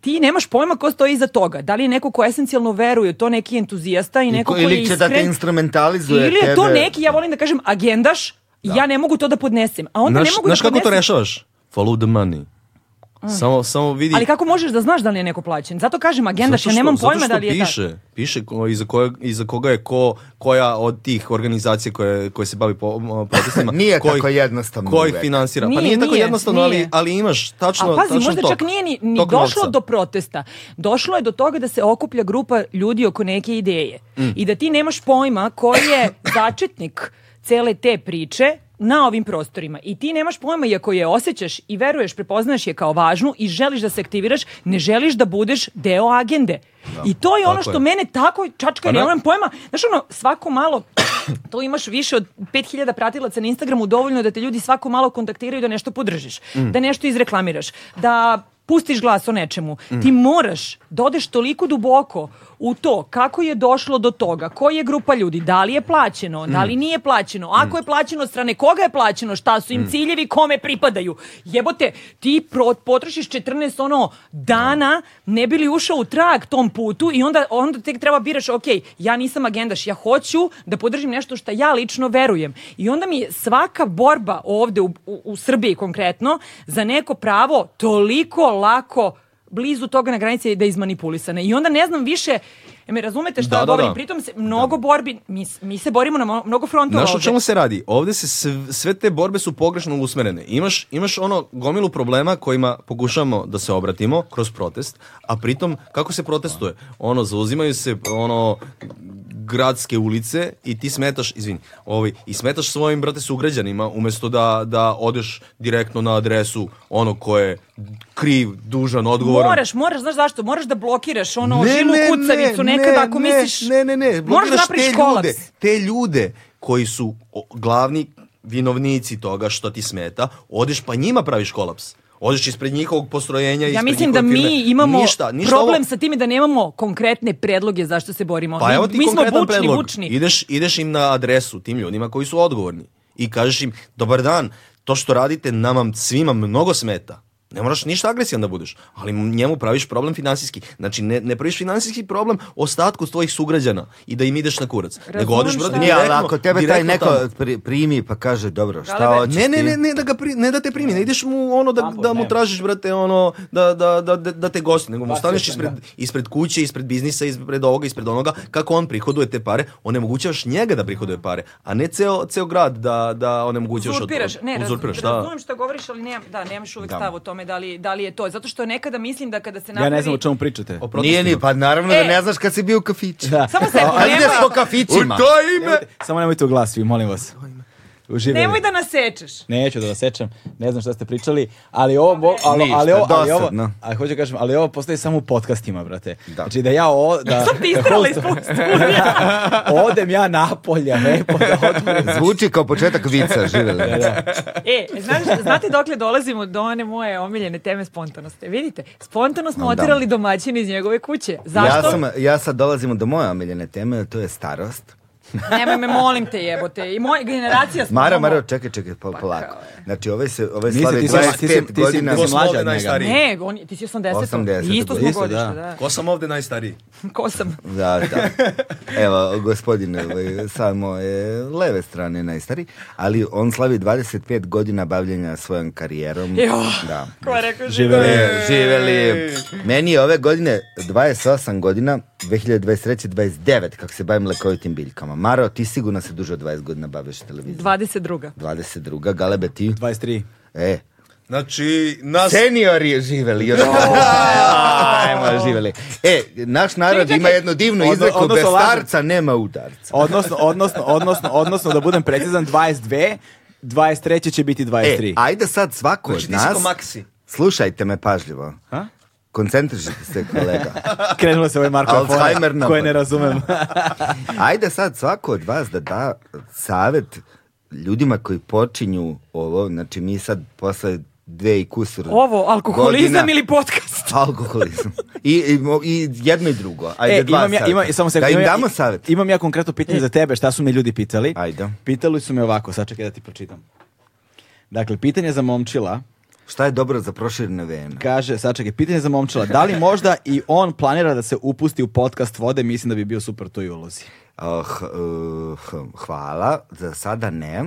Speaker 3: ti nemaš pojma ko stoji iza toga. Da li je neko ko esencijalno veruje, u to neki entuzijasta i,
Speaker 4: I
Speaker 3: neko
Speaker 4: ko-
Speaker 3: ko je
Speaker 4: ili će da te
Speaker 3: iskren,
Speaker 4: instrumentalizuje
Speaker 3: Ili je to
Speaker 4: tebe.
Speaker 3: neki, ja volim da kažem, agendaš, ja ne mogu to da podnesem. A onda
Speaker 2: Znaš,
Speaker 3: ne mogu
Speaker 2: znaš
Speaker 3: da
Speaker 2: kako to
Speaker 3: podnesem-
Speaker 2: rešavaš? Follow the money. Samo, samo vidi...
Speaker 3: Ali kako možeš da znaš da li je neko plaćen? Zato kažem agendaš,
Speaker 2: Zato
Speaker 3: ja
Speaker 2: što-
Speaker 3: nemam
Speaker 2: zato
Speaker 3: pojma
Speaker 2: što
Speaker 3: da li je tako.
Speaker 2: piše, piše ko, iza, kojeg, iza koga je ko, koja od tih organizacija koje, koje se bavi po,
Speaker 3: *laughs*
Speaker 2: protestima.
Speaker 4: Nije
Speaker 2: ko ih-
Speaker 4: tako jednostavno
Speaker 2: Ko ih
Speaker 4: uvek.
Speaker 2: finansira.
Speaker 3: Nije,
Speaker 2: pa nije, tako
Speaker 3: nije,
Speaker 2: jednostavno,
Speaker 3: nije.
Speaker 2: ali, ali imaš tačno,
Speaker 3: A pazi,
Speaker 2: tačno
Speaker 3: možda
Speaker 2: tok,
Speaker 3: čak nije ni, ni
Speaker 2: tok
Speaker 3: došlo
Speaker 2: novca.
Speaker 3: do protesta. Došlo je do toga da se okuplja grupa ljudi oko neke ideje.
Speaker 2: Mm.
Speaker 3: I da ti nemaš pojma koji
Speaker 2: *laughs*
Speaker 3: je začetnik cele te priče na ovim prostorima. I ti nemaš pojma, iako je osjećaš i veruješ, prepoznaješ je kao važnu i želiš da se aktiviraš, ne želiš da budeš deo agende. I to je ono
Speaker 2: tako
Speaker 3: što
Speaker 2: je.
Speaker 3: mene tako čačka,
Speaker 2: Pa
Speaker 3: ne
Speaker 2: da.
Speaker 3: nemam pojma. Znaš ono, svako malo, *coughs* to imaš više od 5000 pratilaca na Instagramu, dovoljno je da te ljudi svako malo kontaktiraju da nešto podržiš, da nešto izreklamiraš, da pustiš glas o nečemu. Ti moraš da odeš toliko duboko u to kako je došlo do toga, koja je grupa ljudi, da li je plaćeno, da li nije plaćeno, ako je plaćeno od strane koga je plaćeno, šta su im ciljevi, kome pripadaju. Jebote, ti pro- potrošiš 14 ono dana, ne bi li ušao u trag tom putu i onda, onda tek treba biraš, ok, ja nisam agendaš, ja hoću da podržim nešto što ja lično verujem. I onda mi je svaka borba ovde u, u, u Srbiji konkretno za neko pravo toliko lako blizu toga na granici da je izmanipulisana. I onda ne znam više, e, me razumete što
Speaker 2: Da,
Speaker 3: ja
Speaker 2: da,
Speaker 3: govorim,
Speaker 2: da.
Speaker 3: pritom se mnogo borbi, mi, s- mi se borimo na mo- mnogo frontova
Speaker 2: Znaš o
Speaker 3: ovde.
Speaker 2: čemu se radi? Ovde se sv- sve te borbe su pogrešno usmerene. Imaš, imaš ono gomilu problema kojima pokušavamo da se obratimo kroz protest, a pritom kako se protestuje? Ono, zauzimaju se ono gradske ulice i ti smetaš, izvini, ovaj, i smetaš svojim, brate, sugrađanima umjesto da, da odeš direktno na adresu ono ko je kriv, dužan, odgovoran.
Speaker 3: Moraš, moraš, znaš zašto? Moraš da blokiraš ono
Speaker 2: Ne,
Speaker 3: žilu
Speaker 2: ne,
Speaker 3: kucavicu
Speaker 2: ne,
Speaker 3: nekad
Speaker 2: ne,
Speaker 3: ako
Speaker 2: ne,
Speaker 3: misliš...
Speaker 2: Ne, ne, ne,
Speaker 3: moraš da
Speaker 2: blokiraš
Speaker 3: napraviš
Speaker 2: te
Speaker 3: kolaps.
Speaker 2: ljude, te ljude koji su o, glavni vinovnici toga što ti smeta, odeš pa njima praviš kolaps. Odeš ispred njihovog postrojenja,
Speaker 3: Ja
Speaker 2: ispred
Speaker 3: mislim da
Speaker 2: njihove firme.
Speaker 3: mi imamo
Speaker 2: ništa, ništa
Speaker 3: problem
Speaker 2: ovo-
Speaker 3: sa time da nemamo konkretne predloge zašto se borimo.
Speaker 2: Pa
Speaker 3: mi,
Speaker 2: evo ti
Speaker 3: mi smo
Speaker 2: konkretan
Speaker 3: bučni,
Speaker 2: predlog.
Speaker 3: bučni.
Speaker 2: Ideš, ideš im na adresu, tim ljudima koji su odgovorni. I kažeš im, dobar dan, to što radite nama svima mnogo smeta. Ne moraš ništa agresivan da budeš, ali njemu praviš problem finansijski. Znači, ne, ne praviš finansijski problem ostatku tvojih sugrađana i da im ideš na kurac. Nego odeš, brate,
Speaker 4: Nije, ali
Speaker 2: direktno-
Speaker 4: ako tebe taj
Speaker 2: direktno
Speaker 4: neko
Speaker 2: tamo.
Speaker 4: pri- primi pa kaže, dobro, šta
Speaker 3: Galebe.
Speaker 4: hoćeš
Speaker 2: Ne, ne,
Speaker 4: ti?
Speaker 2: ne, ne da ga pri- ne da te primi, ne ideš mu ono da,
Speaker 1: Samo
Speaker 2: da mu
Speaker 1: nema.
Speaker 2: tražiš brate ono da, da, da, da- da te gosti, nego mu
Speaker 1: Pa,
Speaker 2: staneš
Speaker 1: sjećam,
Speaker 2: ispred, ispred kuće, ispred biznisa, ispred ovoga, ispred onoga, kako on prihoduje te pare, onemogućavaš njega da prihoduje pare, a ne ceo, ceo grad da, da onemogućavaš od-
Speaker 3: uzurpiraš. Ne, raz-
Speaker 2: uzurpiraš, da.
Speaker 3: razumijem što govoriš, ali nemam, da, nemaš uvek stav o tome da li, da li je to. Zato što nekada mislim da kada se
Speaker 1: Ja
Speaker 3: napravi...
Speaker 1: ne znam o čemu pričate.
Speaker 2: O protestima.
Speaker 4: Nije ni, pa naravno da
Speaker 3: E.
Speaker 4: ne znaš kad si bio u kafiću.
Speaker 1: Da.
Speaker 3: Samo
Speaker 2: *laughs*
Speaker 3: se
Speaker 4: Ajde
Speaker 3: nemoj,
Speaker 4: po kafićima.
Speaker 1: Nemojte- Samo nemojte u glas vi, molim vas. Uživajte.
Speaker 3: nemoj da nasečeš.
Speaker 1: Neću da vas sečem, ne znam šta ste pričali, ali ovo, mo- ali, ali ovo, ali ovo,
Speaker 4: dosadno.
Speaker 1: a hoću da kažem, ali ovo postoji samo u podcastima, brate.
Speaker 4: Da.
Speaker 1: Znači da ja o, da,
Speaker 3: Ti
Speaker 1: da *laughs*
Speaker 3: istrala
Speaker 1: host-
Speaker 2: *laughs*
Speaker 3: iz tvog studija.
Speaker 1: odem ja napolje, lepo da odem.
Speaker 4: *laughs* Zvuči kao početak vica,
Speaker 1: *laughs*
Speaker 4: živele.
Speaker 3: E, znaš, znate dokle dolazimo do one moje omiljene teme spontanosti. Vidite, spontano smo
Speaker 4: Da.
Speaker 3: otirali domaćin iz njegove kuće. Zašto?
Speaker 4: Ja, sam, ja sad dolazimo do moje omiljene teme, a to je starost.
Speaker 3: Nemoj me, molim te jebote. I moja generacija smo...
Speaker 4: Mara,
Speaker 3: ono-
Speaker 4: Mara, čekaj, čekaj, pol, polako.
Speaker 3: kao je.
Speaker 4: Znači, ovaj se, ovaj
Speaker 1: pa Nisi,
Speaker 4: slavi
Speaker 1: ti si- ti si- ti
Speaker 4: 25
Speaker 1: si-
Speaker 4: godina.
Speaker 1: ti si mlađa od njega.
Speaker 2: najstariji?
Speaker 3: Ne, on, je- ti si 80.
Speaker 4: 80-te,
Speaker 3: Isto smo
Speaker 4: isto,
Speaker 3: godište,
Speaker 1: da.
Speaker 3: da.
Speaker 2: Ko sam ovde najstariji?
Speaker 3: Ko sam?
Speaker 4: Da, da. Evo, gospodin ovaj, sa moje leve strane najstari, ali on slavi 25 godina bavljenja svojom karijerom.
Speaker 3: Jo.
Speaker 4: Da.
Speaker 3: Ko je rekao
Speaker 4: E, živeli. Meni je ove godine 28 godina, 2023. 29, kako se bavim lekovitim biljkama. Maro, ti sigurno se duže od 20 godina baviš televizijom.
Speaker 3: 22.
Speaker 4: 22. Galebe, ti?
Speaker 1: 23.
Speaker 4: E,
Speaker 2: Znači, nas...
Speaker 4: Seniori živeli još. Ajmo, živeli. E, naš narod ima jednu divnu
Speaker 1: Odno-
Speaker 4: izreku, bez
Speaker 1: odnosno lažem.
Speaker 4: starca nema udarca.
Speaker 1: Odnosno, odnosno, odnosno, odnosno, da budem precizan, 22, 23 će biti
Speaker 4: E,
Speaker 1: 23.
Speaker 4: ajde sad svako
Speaker 2: Znači,
Speaker 4: od
Speaker 2: ti si
Speaker 4: nas...
Speaker 2: ko Maxi.
Speaker 4: Slušajte me pažljivo.
Speaker 1: Ha?
Speaker 4: Koncentrišite se, kolega.
Speaker 1: Krenulo se ovaj
Speaker 4: *laughs*
Speaker 1: Marko
Speaker 4: Alzheimer
Speaker 1: Alfona,
Speaker 4: napad.
Speaker 1: koje ne razumem.
Speaker 4: Ajde sad svako od vas da da savet ljudima koji počinju ovo, znači mi sad posle dve i kusur
Speaker 3: Ovo, alkoholizam
Speaker 4: godina-
Speaker 3: ili podcast?
Speaker 4: Alkoholizam. I, i, i jedno i drugo. *laughs* Ajde,
Speaker 1: e,
Speaker 4: dva
Speaker 1: imam ja,
Speaker 4: saveta.
Speaker 1: ima, samo se
Speaker 4: da im damo savjet. E.
Speaker 1: Imam ja konkretno pitanje za tebe, šta su me ljudi pitali.
Speaker 4: Ajde.
Speaker 1: Pitali su me ovako, sad čekaj da ti pročitam. Dakle, pitanje za momčila,
Speaker 4: Šta je dobro za proširene vene?
Speaker 1: kaže, sad čekaj, pitanje za momčila, da li možda i on planira da se upusti u podcast vode, mislim da bi bio super u toj ulozi.
Speaker 4: Uh, h- uh, h- hvala, za sada ne,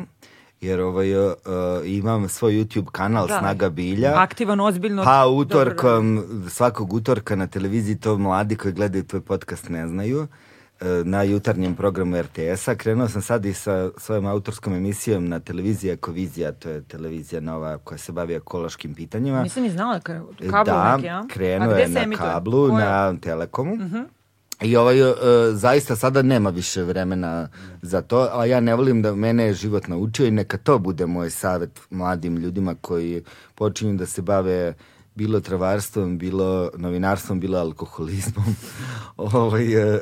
Speaker 4: jer ovaj, uh, uh, imam svoj YouTube kanal
Speaker 3: Da.
Speaker 4: Snaga Bilja.
Speaker 3: Aktivan, ozbiljno.
Speaker 4: Pa
Speaker 3: dobro radi.
Speaker 4: utorkom, svakog utorka na televiziji to mladi koji gledaju tvoj podcast ne znaju e, na jutarnjem programu RTS-a. Krenuo sam sad i sa svojom autorskom emisijom na televiziji Ekovizija, to je televizija nova koja se bavi ekološkim pitanjima.
Speaker 3: Nisam ni znala ka-
Speaker 4: E,
Speaker 3: kablu
Speaker 4: da,
Speaker 3: neki, a?
Speaker 4: krenuo
Speaker 3: A gde
Speaker 4: je
Speaker 3: se
Speaker 4: na
Speaker 3: emituje?
Speaker 4: kablu,
Speaker 3: Koja? Mhm.
Speaker 4: na Telekomu. I ovaj, e, zaista sada nema više vremena za to, a ja ne volim da mene je život naučio i neka to bude moj savjet mladim ljudima koji počinju da se bave bilo travarstvom, bilo novinarstvom, bilo alkoholizmom. *laughs* ovaj, e, e,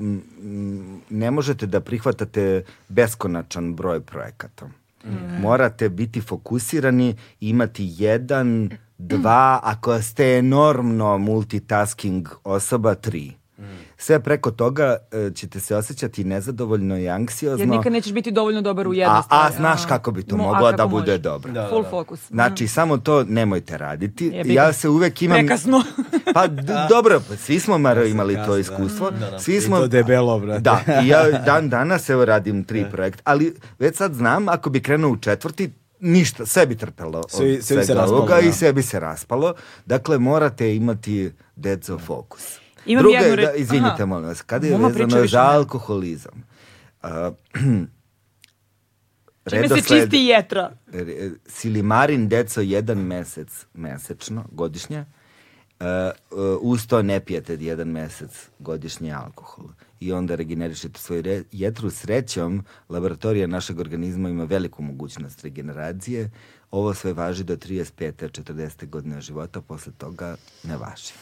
Speaker 4: m, m, ne možete da prihvatate beskonačan broj projekata.
Speaker 1: Mm.
Speaker 4: Morate biti fokusirani, imati jedan, dva, ako ste enormno multitasking osoba, tri.
Speaker 1: Mm.
Speaker 4: Sve preko toga e, ćete se osjećati nezadovoljno i anksiozno.
Speaker 3: Jer nikad nećeš biti dovoljno dobar u jednoj
Speaker 4: a,
Speaker 3: stvari.
Speaker 4: a znaš kako bi to
Speaker 3: Mo- a
Speaker 4: moglo da
Speaker 3: kako
Speaker 4: bude
Speaker 3: možeš?
Speaker 4: dobro.
Speaker 3: Full focus.
Speaker 4: Znači, samo to nemojte raditi.
Speaker 3: Jebi ga.
Speaker 4: Ja se uvek imam...
Speaker 3: Prekasno.
Speaker 4: Pa d- dobro, pa svi smo Maro imali to iskustvo. Svi smo
Speaker 1: I to debelo, brate.
Speaker 4: Da, i
Speaker 1: *laughs*
Speaker 4: ja dan danas evo radim tri projekta, ali već sad znam ako bi krenuo u četvrti ništa, sve bi trpelo od
Speaker 1: Sve- sve bi se
Speaker 4: svega
Speaker 1: raspalo,
Speaker 4: ovoga
Speaker 1: da.
Speaker 4: i sve bi se raspalo. Dakle, morate imati deco fokus.
Speaker 3: Imam
Speaker 4: Druga
Speaker 3: jednu
Speaker 4: je,
Speaker 3: re-
Speaker 4: da, izvinite,
Speaker 3: Aha.
Speaker 4: molim vas, kada je
Speaker 3: Moma priča
Speaker 4: vezano
Speaker 3: više
Speaker 4: za
Speaker 3: ne.
Speaker 4: alkoholizam? A, *clears throat*
Speaker 3: Čime se
Speaker 4: redosled-
Speaker 3: čisti jetra.
Speaker 4: re- e, Silimarin deco jedan mesec mesečno, godišnje. E, e, uz to ne pijete jedan mesec godišnje alkohol i onda regenerišete svoju re- jetru srećom laboratorija našeg organizma ima veliku mogućnost regeneracije ovo sve važi do 35. 40. godine života posle toga ne važi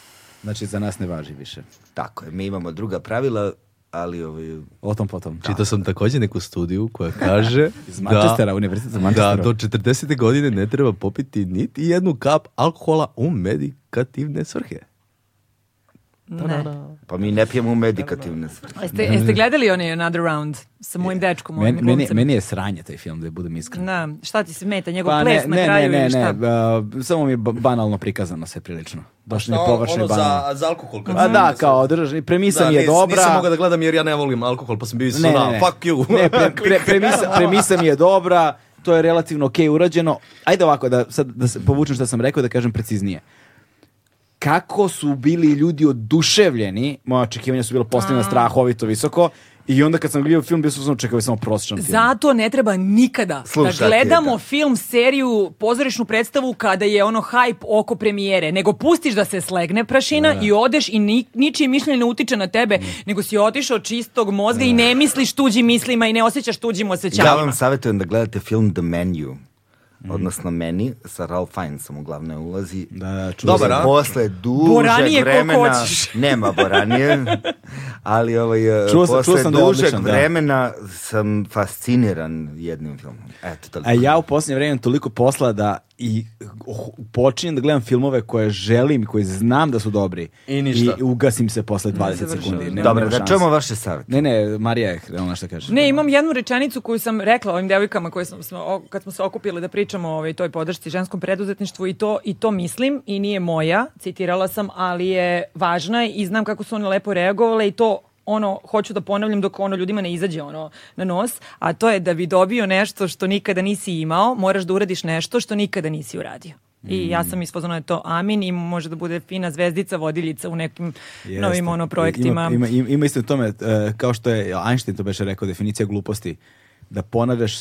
Speaker 1: Znači, za nas ne važi više.
Speaker 4: tako je, mi imamo druga pravila ali ovaj,
Speaker 1: O tom potom.
Speaker 14: Čitao sam također neku studiju koja kaže
Speaker 1: *laughs* Iz Manchestera, univerziteta Manchestera.
Speaker 14: da do 40. godine ne treba popiti niti jednu kap alkohola u medikativne svrhe.
Speaker 3: Ne.
Speaker 4: pa mi ne pijemo u medikativne svrhe.
Speaker 3: Jeste,
Speaker 4: Mm.
Speaker 3: jeste gledali onaj Another Round sa mojim dečkom?
Speaker 1: Meni,
Speaker 3: onim
Speaker 1: meni,
Speaker 3: glumcem?
Speaker 1: meni je sranje taj film, da budem iskren.
Speaker 3: Da, šta ti se meta?
Speaker 4: Pa
Speaker 3: Njegov ples na kraju
Speaker 1: Pa ne,
Speaker 3: ili šta?
Speaker 1: ne, ba- samo mi je ba- banalno prikazano sve prilično. Baš mi je površno i
Speaker 2: ono
Speaker 1: banalno.
Speaker 2: za, za alkohol. Kad
Speaker 1: A da, kao održani, premisa mi je
Speaker 2: nis-
Speaker 1: dobra.
Speaker 2: Nisam mogao da gledam jer ja ne volim alkohol, pa sam bio
Speaker 1: Ne,
Speaker 2: isto
Speaker 1: ne, ne.
Speaker 2: na, fuck you.
Speaker 1: Ne,
Speaker 2: *laughs*
Speaker 1: pre- pre- premisa, premisa mi je dobra, to je relativno okej urađeno. Ajde ovako, da, sad, da se povučem što sam rekao i da kažem preciznije. Kako su bili ljudi oduševljeni, moja očekivanja su bila postavljena strahovito visoko, i onda kad sam gledao film, bio sam samo čekao ovo je samo prosječan film.
Speaker 3: Zato ne treba nikada da
Speaker 4: Slušati,
Speaker 3: gledamo
Speaker 4: da.
Speaker 3: film, seriju, pozorišnu predstavu kada je ono hype oko premijere, nego pustiš da se slegne prašina i odeš i ni, ničije mišljenje ne utiče na
Speaker 4: Mm.
Speaker 3: tebe, nego si otišao čistog mozga i ne misliš tuđim mislima i ne osjećaš tuđim
Speaker 4: Ja
Speaker 3: osjećajima.
Speaker 4: vam savjetujem da gledate film The Menu, odnosno Meni, sa Ralph Fiennesom u glavnoj ulazi.
Speaker 1: Da, da, čuo
Speaker 2: Dobar,
Speaker 1: sam.
Speaker 2: a?
Speaker 4: Posle duže
Speaker 3: Boranije koliko
Speaker 4: *laughs* vremena...
Speaker 3: hoćeš.
Speaker 4: Nema boranije. ali ovaj, e,
Speaker 1: *laughs* Čuo sam-
Speaker 4: posle
Speaker 1: čuo sam da je
Speaker 4: dužeg
Speaker 1: odličan, da.
Speaker 4: vremena sam fasciniran jednim filmom. Eto, toliko.
Speaker 1: A E, ja u posljednje vrijeme imam toliko posla da i oh, počinjem da gledam filmove koje želim, koji znam da su dobri.
Speaker 2: I ništa.
Speaker 1: I ugasim se posle 20
Speaker 3: završava.
Speaker 1: sekundi. Nema,
Speaker 4: Dobro,
Speaker 1: nema
Speaker 4: da
Speaker 1: šanse.
Speaker 4: čujemo vaše savjete.
Speaker 1: Ne, ne, Marija je ona šta kaže.
Speaker 3: Ne, imam jednu rečenicu koju sam rekla ovim devojkama koje smo, smo- o- kad smo se okupili da pričamo o ovaj, toj podršci ženskom preduzetništvu i to, i to mislim i nije moja, citirala sam, ali je važna i znam kako su one lepo reagovale i to ono, hoću da ponavljam dok ono ljudima ne izađe ono na nos, a to je da bi dobio nešto što nikada nisi imao, moraš da uradiš nešto što nikada nisi uradio. I
Speaker 1: Mm.
Speaker 3: ja sam ispoznala da je to amin i može da bude fina zvezdica, vodiljica u nekim
Speaker 1: Jeste.
Speaker 3: novim ono projektima.
Speaker 1: Ima, ima, ima isto u tome, e, kao što je Einstein to beše rekao, definicija gluposti, da ponavljaš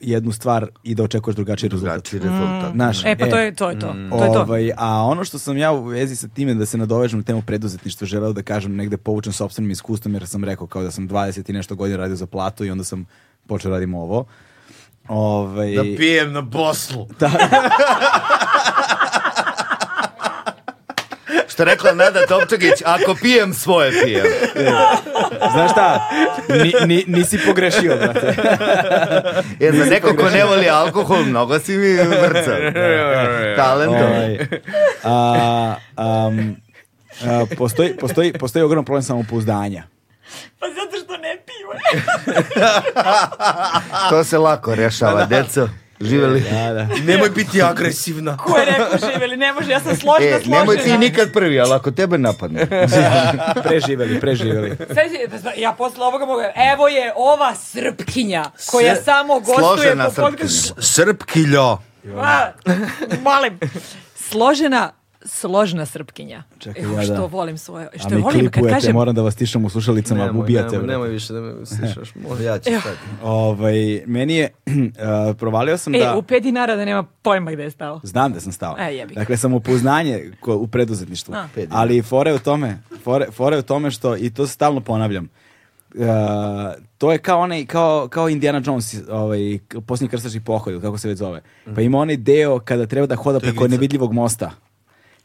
Speaker 1: jednu stvar i da očekuješ drugačiji rezultat.
Speaker 4: Drugačiji rezultat. Mm.
Speaker 1: Znaš,
Speaker 3: E pa to je to. Je to. to, je to.
Speaker 1: Ovaj, a ono što sam ja u vezi sa time da se nadovežem na temu preduzetništva želeo da kažem negde poučen sopstvenim iskustvom jer sam rekao kao da sam 20 i nešto godina radio za platu i onda sam počeo radim ovo. Ovaj,
Speaker 15: Da pijem na poslu.
Speaker 4: Što je rekla Nada Topčagić, ako pijem, svoje pijem.
Speaker 1: znaš šta? Ni, ni- nisi pogrešio, brate.
Speaker 4: Jer za neko ko ne voli alkohol, mnogo si mi
Speaker 1: *laughs*
Speaker 4: vrca.
Speaker 15: E,
Speaker 4: Talentom.
Speaker 1: Ovaj, a, am, a, postoji, postoji, postoji ogrom problem samopouzdanja.
Speaker 3: Pa zato što ne piju.
Speaker 1: *laughs*
Speaker 4: To se lako rješava,
Speaker 1: Pa
Speaker 4: deco. Živeli.
Speaker 1: Da, da.
Speaker 15: Nemoj biti agresivna.
Speaker 3: Ko je rekao živeli, ne može, ja sam složna,
Speaker 4: E,
Speaker 3: Pa složena.
Speaker 4: nemoj ti nikad prvi, ali ako tebe napadne.
Speaker 1: Preživeli, preživeli.
Speaker 3: Sad će- pa zna- ja posle ovoga mogu, evo je ova srpkinja koja
Speaker 4: Sve-
Speaker 3: samo gostuje
Speaker 4: složena
Speaker 3: po podcastu.
Speaker 4: srpkinja.
Speaker 15: Srpkiljo.
Speaker 3: A, Molim. Složena Složna srpkinja.
Speaker 1: Čekaj,
Speaker 3: Evo,
Speaker 1: ja da.
Speaker 3: što volim svoje.
Speaker 1: A
Speaker 3: Što
Speaker 1: mi
Speaker 3: volim kad
Speaker 1: klipujete,
Speaker 3: kažem...
Speaker 1: moram da vas tišam u slušalicama, ubijate.
Speaker 2: nemoj,
Speaker 1: brate.
Speaker 2: nemoj više da me *laughs* slišaš. molim.
Speaker 4: Ja ću sad.
Speaker 1: Ovaj, meni je, *clears throat* a, provalio sam
Speaker 3: E,
Speaker 1: da...
Speaker 3: u pet dinara da nema pojma gde je stao.
Speaker 1: Znam da sam stao.
Speaker 3: E, jebi ga.
Speaker 1: dakle, samopouznanje ko- u preduzetništvu.
Speaker 3: A.
Speaker 4: Pet dinara.
Speaker 1: Ali fora je u tome, fore, fora je u tome što, i to stalno ponavljam, e, to je kao onaj, kao, kao Indiana Jones, ovaj, k- posljednji krstački pohod, ili kako se već zove. Pa ima onaj deo kada treba da hoda preko nevidljivog mosta.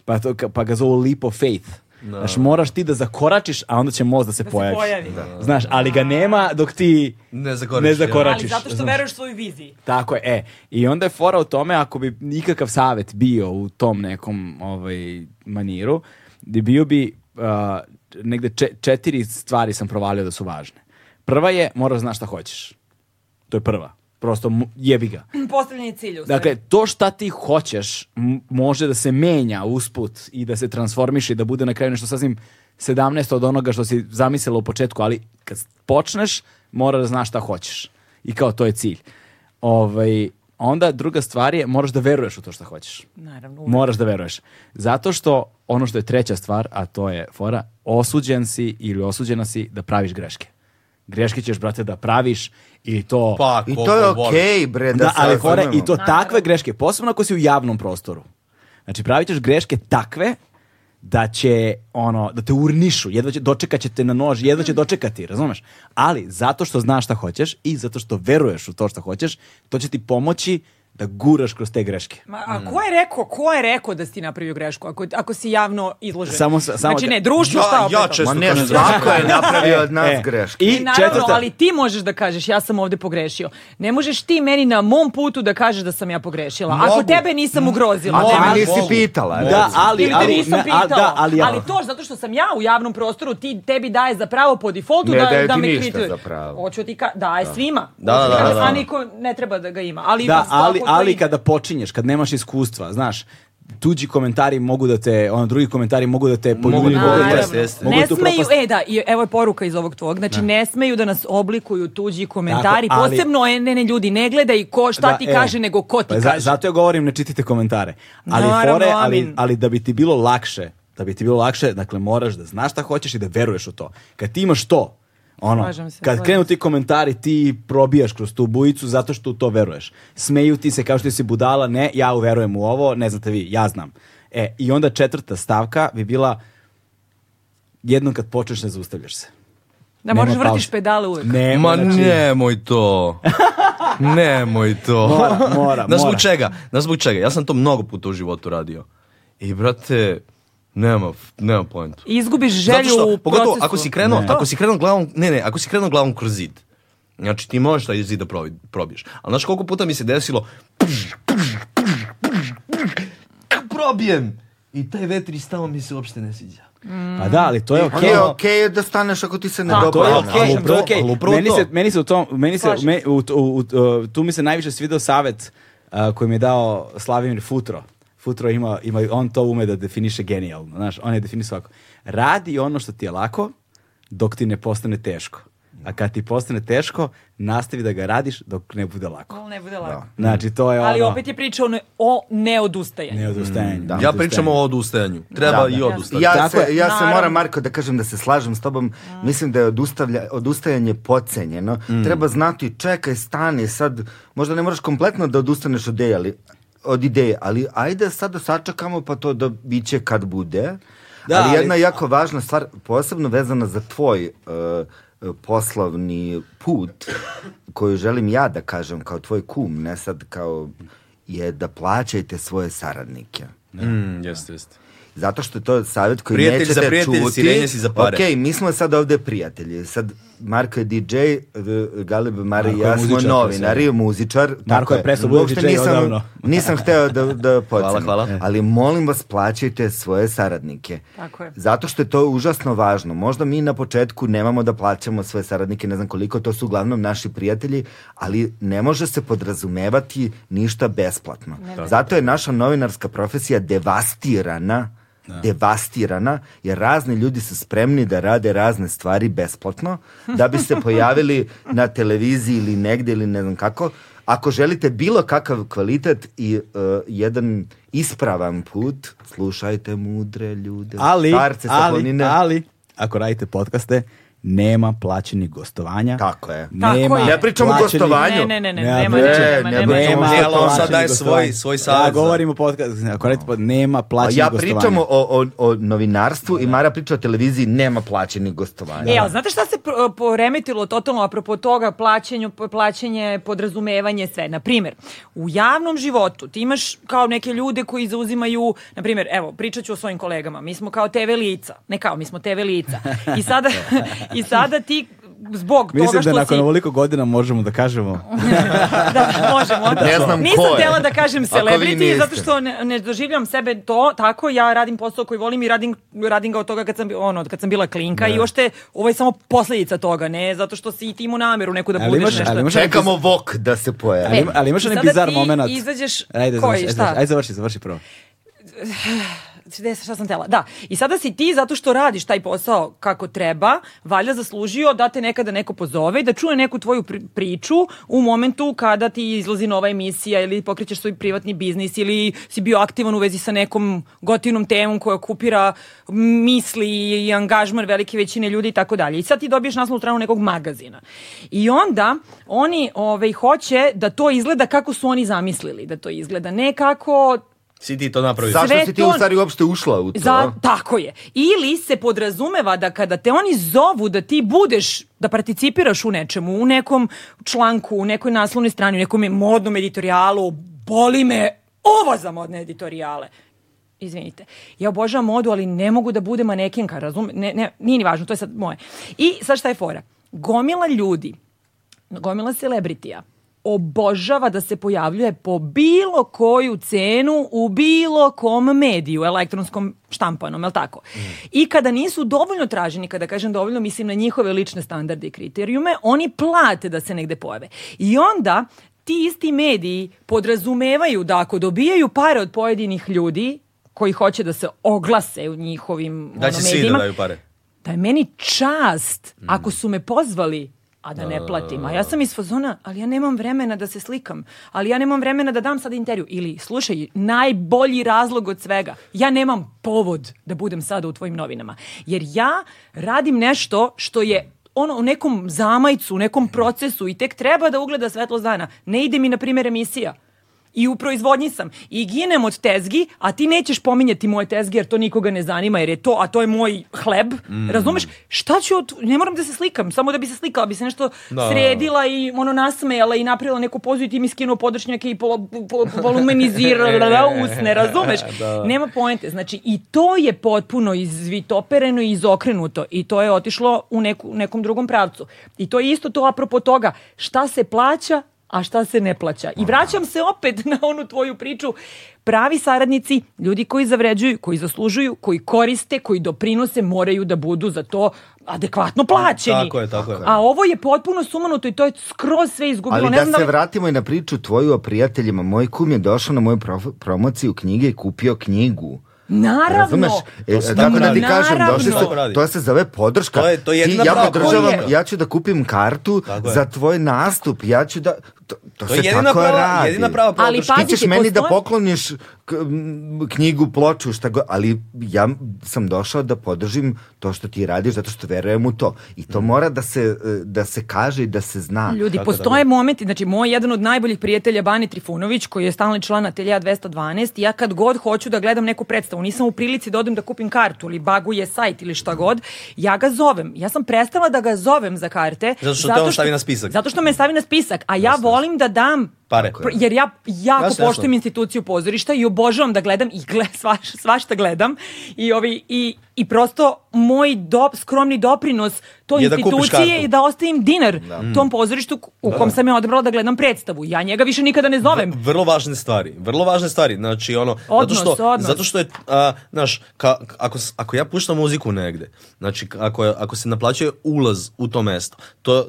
Speaker 1: Pa, to, ka- pa ga zovu leap of faith. Znaš, moraš ti da zakoračiš, a onda će most da se pojavi.
Speaker 3: pojavi.
Speaker 1: Znaš, ali ga nema dok ti
Speaker 2: Ne zakoračiš,
Speaker 1: ne
Speaker 2: ja.
Speaker 1: zakoračiš.
Speaker 3: Ali zato što
Speaker 1: znaš.
Speaker 3: veruješ svojoj viziji. *clears throat*
Speaker 1: Tako je, e. I onda je fora u tome, ako bi nikakav savjet bio u tom nekom ovaj, maniru, di bio bi a, negde čet- četiri stvari sam provalio da su važne. Prva je, moraš znaš šta hoćeš. To je prva. Prosto mu- jebi ga.
Speaker 3: Postavljen je cilj u stvari.
Speaker 1: Dakle, to šta ti hoćeš m- može da se menja usput i da se transformiše i da bude na kraju nešto sasvim 17 od onoga što si zamislila u početku, ali kad počneš, moraš da znaš šta hoćeš. I kao to je cilj. Ovaj, onda druga stvar je, moraš da veruješ u to šta hoćeš.
Speaker 3: Naravno. uvek.
Speaker 1: Moraš da veruješ. Zato što ono što je treća stvar, a to je fora, osuđen si ili osuđena si da praviš greške. Greške ćeš, brate, da praviš i to...
Speaker 2: Pa,
Speaker 4: I
Speaker 2: koliko
Speaker 4: to je
Speaker 2: voliš.
Speaker 4: okej, bre, E, da, Pa
Speaker 1: Da,
Speaker 4: se
Speaker 1: ali fora
Speaker 4: razumemo.
Speaker 1: i to takve greške, posebno ako si u javnom prostoru. Znači, pravit ćeš greške takve da će, ono, da te urnišu, jedva će, dočekat će te na nož, jedva
Speaker 3: Mhm.
Speaker 1: će dočekati, razumeš? Ali, zato što znaš šta hoćeš i zato što veruješ u to šta hoćeš, to će ti pomoći da guraš kroz te greške.
Speaker 3: Ma, a ko je rekao, ko je rekao da si ti napravio grešku ako, ako si javno izložen?
Speaker 1: Samo sa- samo
Speaker 3: znači
Speaker 1: ka-
Speaker 3: ne, društvo
Speaker 15: Ja-
Speaker 3: šta opet
Speaker 15: ja
Speaker 3: ovo?
Speaker 15: često
Speaker 4: Ma ne,
Speaker 15: kažem
Speaker 4: svako je napravio od
Speaker 1: *laughs* E,
Speaker 4: nas greške.
Speaker 1: I
Speaker 3: I naravno,
Speaker 1: četvrta,
Speaker 3: ali ti možeš da kažeš ja sam ovdje pogrešio. Ne možeš ti meni na mom putu da kažeš da sam ja pogrešila. Ako
Speaker 15: Mogu.
Speaker 3: tebe
Speaker 1: Mm.
Speaker 3: nisam ugrozila.
Speaker 4: A ti
Speaker 3: nemaš-
Speaker 4: mi nisi pitala.
Speaker 1: da, ali,
Speaker 3: Ili te
Speaker 1: ali,
Speaker 3: nisam
Speaker 1: ne,
Speaker 3: pitao.
Speaker 1: a- da, ali,
Speaker 3: ali to zato što sam ja u javnom prostoru, ti tebi daje za pravo po defaultu
Speaker 4: Ne
Speaker 3: da,
Speaker 4: daje
Speaker 3: da
Speaker 4: ti
Speaker 3: me
Speaker 4: ništa
Speaker 3: krituje.
Speaker 4: za pravo.
Speaker 3: Hoću ti ka, daje svima.
Speaker 2: Da,
Speaker 3: Hoću ti
Speaker 2: da,
Speaker 3: kažem,
Speaker 2: da, da.
Speaker 3: A niko ne treba da ga ima. Ali,
Speaker 1: Da,
Speaker 3: svako
Speaker 1: ali,
Speaker 3: to
Speaker 1: ali
Speaker 3: ima.
Speaker 1: kada počinješ, kad nemaš iskustva, znaš, tuđi komentari mogu da te, ono, drugi komentari mogu da te poljubi,
Speaker 2: da,
Speaker 1: mogu da te-
Speaker 2: jeste, jeste.
Speaker 1: mogu
Speaker 3: Ne
Speaker 1: te
Speaker 3: smeju,
Speaker 1: upropasti.
Speaker 3: e da, i evo je poruka iz ovog tvog, znači ne smeju da nas oblikuju tuđi komentari,
Speaker 1: Tako, ali-
Speaker 3: posebno je, ne, ne, ljudi, ne gledaj ko šta
Speaker 1: Da,
Speaker 3: ti
Speaker 1: e.
Speaker 3: kaže, nego ko ti
Speaker 1: Pa za-
Speaker 3: kaže.
Speaker 1: zato ja govorim, ne čitajte komentare. Ali,
Speaker 3: Naravno,
Speaker 1: fore, ali,
Speaker 3: amin.
Speaker 1: ali da bi ti bilo lakše, da bi ti bilo lakše, dakle, moraš da znaš šta hoćeš i da veruješ u to. Kad ti imaš to, ono,
Speaker 3: Slažem se,
Speaker 1: kad
Speaker 3: slažem
Speaker 1: krenu
Speaker 3: se.
Speaker 1: ti komentari, ti probijaš kroz tu bujicu zato što u to veruješ. Smeju ti se kao što si budala, ne, ja verujem u ovo, ne znate vi, ja znam. E, i onda četvrta stavka bi bila jednom kad počneš ne zaustavljaš se.
Speaker 3: Da moraš
Speaker 1: Nema
Speaker 3: vrtiš
Speaker 1: pauze.
Speaker 3: pedale uvek.
Speaker 1: Ne,
Speaker 2: Ma
Speaker 1: znači,
Speaker 2: nemoj to. *laughs* nemoj to.
Speaker 1: Mora, mora,
Speaker 2: *laughs* Znaš zbog
Speaker 1: mora.
Speaker 2: čega? Znaš zbog čega? Ja sam to mnogo puta u životu radio. I brate, Nema, nema pojentu.
Speaker 3: Izgubiš
Speaker 2: Zato
Speaker 3: želju
Speaker 2: što,
Speaker 3: u
Speaker 2: pogotovo
Speaker 3: procesu.
Speaker 2: ako si krenuo,
Speaker 1: Ne.
Speaker 2: ako si krenuo glavom, ne, ne, ako si krenuo glavom kroz zid. Znači ti možeš taj zid da probi- probiješ. Ali znaš koliko puta mi se desilo pš, pš, pš, pš, pš, probijem i taj vetri stalo mi se uopšte ne sviđa.
Speaker 1: Pa da, ali to je okej.
Speaker 4: Okay. Je okej da staneš ako ti se ne
Speaker 1: To je
Speaker 4: dopada.
Speaker 1: okej,
Speaker 2: ali
Speaker 1: to je
Speaker 2: upravo-
Speaker 1: okej.
Speaker 2: ali upravo
Speaker 1: Meni
Speaker 2: to.
Speaker 1: se, meni se u tom, meni se,
Speaker 3: Slažem
Speaker 1: me- u, u, u, uh, tu mi se najviše svidao savet uh, koji mi je dao Slavimir Futro. Futro ima, ima, on to ume da definiše genijalno, znaš, on je definisao ovako. Radi ono što ti je lako dok ti ne postane teško. A kad ti postane teško, nastavi da ga radiš dok ne bude lako.
Speaker 3: Ali Ne bude lako.
Speaker 1: Znači, to je ono...
Speaker 3: Ali opet je priča o, ne, o neodustajanju.
Speaker 1: neodustajanju.
Speaker 4: da.
Speaker 2: Mm, Ja pričam o odustajanju. Treba i odustati.
Speaker 4: Ja,
Speaker 1: Tako
Speaker 4: se,
Speaker 1: je.
Speaker 4: ja se
Speaker 3: Naravno.
Speaker 4: moram, Marko, da kažem da se slažem s tobom.
Speaker 1: Mm.
Speaker 4: Mislim da je odustavlja, odustajanje pocenjeno. Treba znati, čekaj, stani sad. Možda ne moraš kompletno da odustaneš od ideje, ali, od ideje, ali ajde sad da sačekamo pa to da biće kad bude.
Speaker 1: Da,
Speaker 4: ali
Speaker 1: ali-
Speaker 4: jedna jako važna stvar, posebno vezana za tvoj uh, uh, poslovni put, koju želim ja da kažem kao tvoj kum, ne sad kao je da plaćajte svoje saradnike.
Speaker 2: Mm, jeste, jeste.
Speaker 4: Zato što je to savjet koji
Speaker 2: Prijatelj
Speaker 4: nećete
Speaker 2: za prijatelj,
Speaker 4: čuti.
Speaker 2: sirenje si za pare.
Speaker 4: Ok, mi smo sad ovde prijatelji. Sad Marko je DJ, e, Galeb, Mari i
Speaker 1: Marko je
Speaker 4: ja smo
Speaker 1: muzičar,
Speaker 4: novinari, muzičar. tako
Speaker 1: je prestao bude
Speaker 4: Uopšte
Speaker 1: DJ odavno.
Speaker 4: nisam, nisam hteo da, da
Speaker 2: *laughs*
Speaker 4: pocenim.
Speaker 2: Hvala, hvala.
Speaker 4: Ali molim vas, plaćajte svoje saradnike.
Speaker 3: Tako je.
Speaker 4: Zato što je to užasno važno. Možda mi na početku nemamo da plaćamo svoje saradnike, ne znam koliko, to su uglavnom naši prijatelji, ali ne može se podrazumevati ništa besplatno. Zato je naša novinarska profesija devastirana devastirana, jer razni ljudi su spremni da rade razne stvari besplatno, da bi se
Speaker 3: *laughs*
Speaker 4: pojavili na televiziji ili negde ili ne znam kako. Ako želite bilo kakav kvalitet i e, jedan ispravan put, slušajte mudre ljude.
Speaker 1: ali,
Speaker 4: starce sa
Speaker 1: ali,
Speaker 4: planine.
Speaker 1: ali, ako radite podcaste, nema plaćenih gostovanja.
Speaker 4: Tako je.
Speaker 3: Tako
Speaker 1: Nema
Speaker 3: je.
Speaker 4: Ne pričamo o
Speaker 1: plaćenih-
Speaker 4: gostovanju.
Speaker 3: Ne, ne, ne, ne,
Speaker 1: Ne,
Speaker 3: nema,
Speaker 1: ne,
Speaker 3: ničega, nema,
Speaker 4: ne,
Speaker 3: nema,
Speaker 4: ne,
Speaker 3: ničega.
Speaker 2: ne, ali on sad
Speaker 1: plaćenih
Speaker 2: daje
Speaker 1: gostovanja.
Speaker 2: svoj- svoj savjet
Speaker 1: Da,
Speaker 2: za-
Speaker 1: govorimo podcast, ako radite pod, nema
Speaker 4: A
Speaker 1: plaćenih
Speaker 4: ja
Speaker 1: gostovanja.
Speaker 4: pričam o, o, o novinarstvu i Mara priča o televiziji, nema plaćenih gostovanja.
Speaker 3: E, ali znate šta se pr- poremetilo totalno apropo toga plaćenju, plaćanje, podrazumevanje, sve? Na primjer, u javnom životu ti imaš kao neke ljude koji zauzimaju, na primjer, evo, pričat ću o svojim kolegama, mi smo kao TV lica, ne kao, mi smo TV lica.
Speaker 1: *laughs*
Speaker 3: I sada, i sada ti zbog toga
Speaker 1: Mislim
Speaker 3: što
Speaker 1: da nakon
Speaker 3: si...
Speaker 1: ovoliko godina možemo da
Speaker 3: *laughs*
Speaker 1: kažemo
Speaker 3: da, možemo. onda.
Speaker 4: Ne znam
Speaker 3: Nisam
Speaker 4: ko je.
Speaker 3: htjela da kažem
Speaker 4: Ako vi
Speaker 3: celebrity,
Speaker 4: niste.
Speaker 3: zato što ne, ne doživljam sebe to tako, ja radim posao koji volim i radim, radim ga od toga kad sam, bi- ono, kad sam bila klinka i ošte, ovo je samo posljedica toga, ne, zato što si i ti imao nameru neku da
Speaker 1: Ali
Speaker 3: budeš
Speaker 1: imaš-
Speaker 3: nešto.
Speaker 1: ali imaš-
Speaker 4: Čekamo vok da se pojavi.
Speaker 1: Ali, ima- ali imaš
Speaker 3: i
Speaker 1: onaj
Speaker 3: sada
Speaker 1: bizar
Speaker 3: ti
Speaker 1: moment.
Speaker 3: izađeš-
Speaker 1: Ajde,
Speaker 3: koji,
Speaker 1: završi,
Speaker 3: šta?
Speaker 1: Ajde, završi, završi prvo.
Speaker 3: Gde sam- šta sam tela? Da. I sada si ti, zato što radiš taj posao kako treba, valjda zaslužio da te nekada neko pozove i da čuje neku tvoju pri- priču u momentu kada ti izlazi nova emisija ili pokrećeš svoj privatni biznis ili si bio aktivan u vezi sa nekom gotivnom temom koja okupira misli i angažman velike većine ljudi i tako dalje. I sad ti dobiješ naslovnu stranu nekog magazina. I onda oni ovaj, hoće da to izgleda kako su oni zamislili da to izgleda. Ne kako
Speaker 2: Si ti to napravio.
Speaker 4: Zašto
Speaker 3: Sve
Speaker 4: si ti
Speaker 3: to-
Speaker 4: u stvari uopšte ušla u to?
Speaker 3: za, tako je. Ili se podrazumeva da kada te oni zovu da ti budeš, da participiraš u nečemu, u nekom članku, u nekoj naslovnoj strani, u nekom modnom editorijalu, boli me ovo za modne editorijale. Izvinite. Ja obožavam modu, ali ne mogu da budem manekenka, razumem? Ne, ne, nije ni važno, to je sad moje. I sad šta je fora? Gomila ljudi gomila celebritija obožava da se pojavljuje po bilo koju cenu u bilo kom mediju, elektronskom štampanom, jel tako?
Speaker 2: Mm.
Speaker 3: I kada nisu dovoljno traženi, kada kažem dovoljno, mislim na njihove lične standarde i kriterijume, oni plate da se negde pojave. I onda ti isti mediji podrazumevaju da ako dobijaju pare od pojedinih ljudi koji hoće da se oglase u njihovim
Speaker 2: Da
Speaker 3: ono,
Speaker 2: će svi da
Speaker 3: medijima,
Speaker 2: daju pare.
Speaker 3: da je meni čast ako su me pozvali a Mm. da ne platim. A ja sam iz fazona, ali ja nemam vremena da se slikam. Ali ja nemam vremena da dam sad intervju. Ili, slušaj, najbolji razlog od svega. Ja nemam povod da budem sada u tvojim novinama. Jer ja radim nešto što je ono u nekom zamajcu, u nekom procesu i tek treba da ugleda svetlost dana. Ne ide mi, na primjer, emisija. I u proizvodnji sam. I ginem od tezgi, a ti nećeš pominjati moje tezge jer to nikoga ne zanima jer je to, a to je moj hleb.
Speaker 2: Mm.
Speaker 3: Razumeš? Šta ću od... Ne moram da se slikam, samo da bi se slikala, bi se nešto
Speaker 2: Da.
Speaker 3: sredila i ono nasmejala i napravila neku pozu i ti mi skinuo podršnjake i polo, polo, volumenizirala usne, razumeš?
Speaker 2: *laughs* Da.
Speaker 3: Nema poente. Znači, i to je potpuno izvitopereno i izokrenuto i to je otišlo u neku, nekom drugom pravcu. I to je isto to apropo toga šta se plaća, a šta se ne plaća. I vraćam se opet na onu tvoju priču. Pravi saradnici, ljudi koji zavređuju, koji zaslužuju, koji koriste, koji doprinose, moraju da budu za to adekvatno plaćeni.
Speaker 2: Tako je, tako je.
Speaker 3: A ovo je potpuno sumanuto i to je skroz sve izgubilo.
Speaker 4: Ali
Speaker 3: ne
Speaker 4: da
Speaker 3: znam da
Speaker 4: se
Speaker 3: li-
Speaker 4: vratimo i na priču tvoju o prijateljima. Moj kum je došao na moju prof- promociju knjige i kupio knjigu.
Speaker 3: Naravno.
Speaker 4: Razumeš? E,
Speaker 2: To se
Speaker 4: tako da ti
Speaker 2: radi.
Speaker 4: kažem, došli
Speaker 3: Naravno.
Speaker 4: su, to se zove podrška.
Speaker 2: To je- to je
Speaker 4: Ti-
Speaker 2: jedina
Speaker 4: ja
Speaker 2: prava
Speaker 4: podržavam,
Speaker 2: podrška.
Speaker 4: ja ću da kupim kartu
Speaker 2: Tako je.
Speaker 4: za tvoj nastup, ja ću da... To, to
Speaker 2: To
Speaker 4: se
Speaker 2: je jedina
Speaker 4: tako
Speaker 2: prava,
Speaker 4: radi.
Speaker 2: jedina prava
Speaker 3: Ali
Speaker 2: podrška.
Speaker 3: pa-
Speaker 4: Ti ćeš
Speaker 3: Pazite,
Speaker 4: meni da
Speaker 3: postoje-
Speaker 4: pokloniš k- m, knjigu, ploču, šta god, ali ja m- sam došao da podržim to što ti radiš zato što verujem u to. I to mora da se, e, da se kaže i da se zna.
Speaker 3: Ljudi, postoje momenti, znači moj jedan od najboljih prijatelja Bani Trifunović, koji je stalni član Atelja 212, ja kad god hoću da gledam neku predstavu, nisam u prilici da odem da kupim kartu ili baguje sajt ili šta god, ja ga zovem. Ja sam prestala da ga zovem za karte.
Speaker 2: Zato što te on stavi na spisak.
Speaker 3: Zato što me stavi na spisak, a ja volim da dam
Speaker 2: Pare.
Speaker 3: pr- jer ja jako
Speaker 2: Jasno, jasno.
Speaker 3: poštujem instituciju pozorišta i obožavam da gledam i *laughs* gle, svaš, svašta gledam i, ovi, i, i prosto moj do, skromni doprinos toj
Speaker 2: Je da kupiš
Speaker 3: instituciji
Speaker 2: kartu.
Speaker 3: je da ostavim dinar tom pozorištu k- u kom sam ja odabrala da gledam predstavu. Ja njega više nikada ne zovem.
Speaker 2: Vrlo važne stvari, vrlo važne stvari. Znači ono
Speaker 3: Odnos,
Speaker 2: zato što
Speaker 3: odnos.
Speaker 2: zato što je a, znaš, ka, ako s- ako ja puštam muziku negde, znači ako je- ako se naplaćuje ulaz u to mesto, to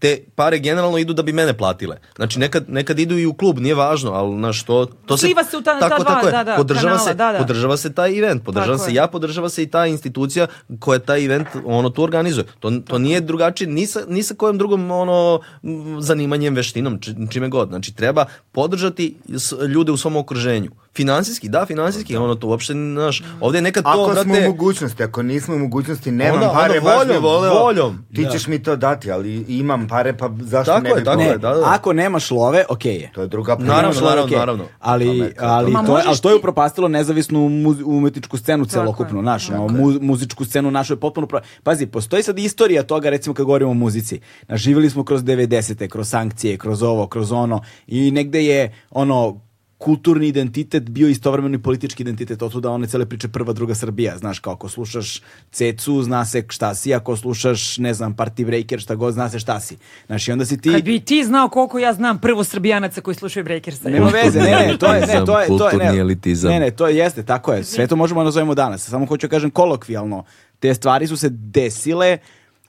Speaker 2: te pare generalno idu da bi mene platile. Znači nekad, nekad idu i u klub, nije važno, ali na što to se
Speaker 3: Sliva se u ta- ta dva,
Speaker 2: tako je.
Speaker 3: da, da,
Speaker 2: podržava
Speaker 3: kanala,
Speaker 2: se
Speaker 3: da, da.
Speaker 2: podržava se taj event, podržava
Speaker 3: Tako
Speaker 2: se
Speaker 3: je.
Speaker 2: ja, podržava se i ta institucija koja taj event ono tu organizuje. To, to nije drugačije ni sa, ni sa kojom drugom ono m, zanimanjem, veštinom, či- čime god. Znači treba podržati s- ljude u svom okruženju. Finansijski, da, finansijski, ono to uopšte naš. Ovdje je nekad to
Speaker 4: Ako smo u
Speaker 2: brate,
Speaker 4: mogućnosti, ako nismo u mogućnosti, nemam
Speaker 2: Onda-
Speaker 4: pare,
Speaker 2: onda
Speaker 4: baš bi
Speaker 2: voljom,
Speaker 4: voleo,
Speaker 2: voljom.
Speaker 4: Ti ćeš mi to dati, ali imam pare, pa zašto
Speaker 2: Tako
Speaker 4: ne
Speaker 2: je,
Speaker 4: bi
Speaker 2: tako
Speaker 1: Ne,
Speaker 4: voleo?
Speaker 2: je, da, da.
Speaker 1: ako nemaš love, okej je.
Speaker 4: To je druga priča.
Speaker 2: Naravno,
Speaker 1: Nemaš love,
Speaker 2: naravno,
Speaker 1: okej.
Speaker 2: naravno.
Speaker 1: Ali,
Speaker 4: Amerika,
Speaker 1: ali,
Speaker 3: Ma
Speaker 1: to, je,
Speaker 3: možeš
Speaker 1: ali to je
Speaker 3: ti-
Speaker 1: upropastilo nezavisnu muz- umetničku scenu celokupno, naš, ono, mu- muzičku scenu našu je potpuno... pro- Pazi, postoji sad istorija toga, recimo kad govorimo o muzici. Naš, živjeli smo kroz 90-te, kroz sankcije, kroz ovo, kroz ono i negde je ono kulturni identitet bio istovremeno i politički identitet, otuda one cele priče prva, druga Srbija, znaš, kao ako slušaš Cecu, zna se šta si, ako slušaš, ne znam, Party Breaker, šta god, zna se šta si. Znaš, i onda si ti...
Speaker 3: Kad bi ti znao koliko ja znam prvo srbijanaca koji slušaju Breakersa.
Speaker 1: Nema veze, ne, ne, to je, ne, to je, to je,
Speaker 14: Kulturni
Speaker 1: ne,
Speaker 14: elitizam.
Speaker 1: ne, ne, to jeste, tako je, sve to možemo da nazovemo danas, samo hoću da kažem kolokvijalno, te stvari su se desile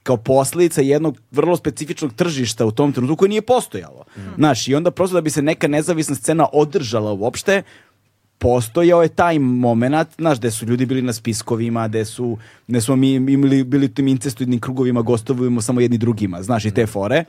Speaker 1: kao posljedica jednog vrlo specifičnog tržišta u tom trenutku koje nije postojalo. Znaš, i onda prosto da bi se neka nezavisna scena održala uopšte, postojao je taj moment, znaš, gde su ljudi bili na spiskovima, gde su, ne smo mi imali, bili u tim incestuidnim krugovima, gostovujemo samo jedni drugima, znaš, i te fore.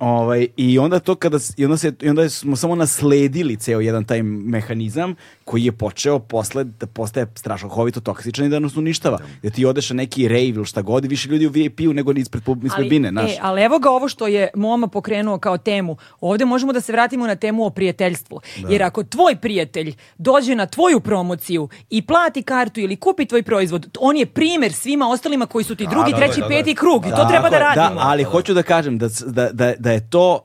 Speaker 1: Ovaj, I onda to kada, s- i onda, se, i onda smo samo nasledili ceo jedan taj mehanizam koji je počeo posle da postaje strašohovito toksičan i da nas uništava. Da ti odeš na neki rave ili šta god, više ljudi u VIP-u nego ni ispred, pub- ispred bine, znaš.
Speaker 3: e, ali evo ga ovo što je Moma pokrenuo kao temu. Ovdje možemo da se vratimo na temu o prijateljstvu. Jer ako tvoj prijatelj dođe na tvoju promociju i plati kartu ili kupi tvoj proizvod, on je primjer svima ostalima koji su ti
Speaker 2: tako
Speaker 3: drugi,
Speaker 2: je,
Speaker 3: treći,
Speaker 2: tako je.
Speaker 3: peti krug. I to treba da
Speaker 1: Tako je,
Speaker 3: radimo.
Speaker 1: Da, ali hoću da kažem da, s- da, da, da je to,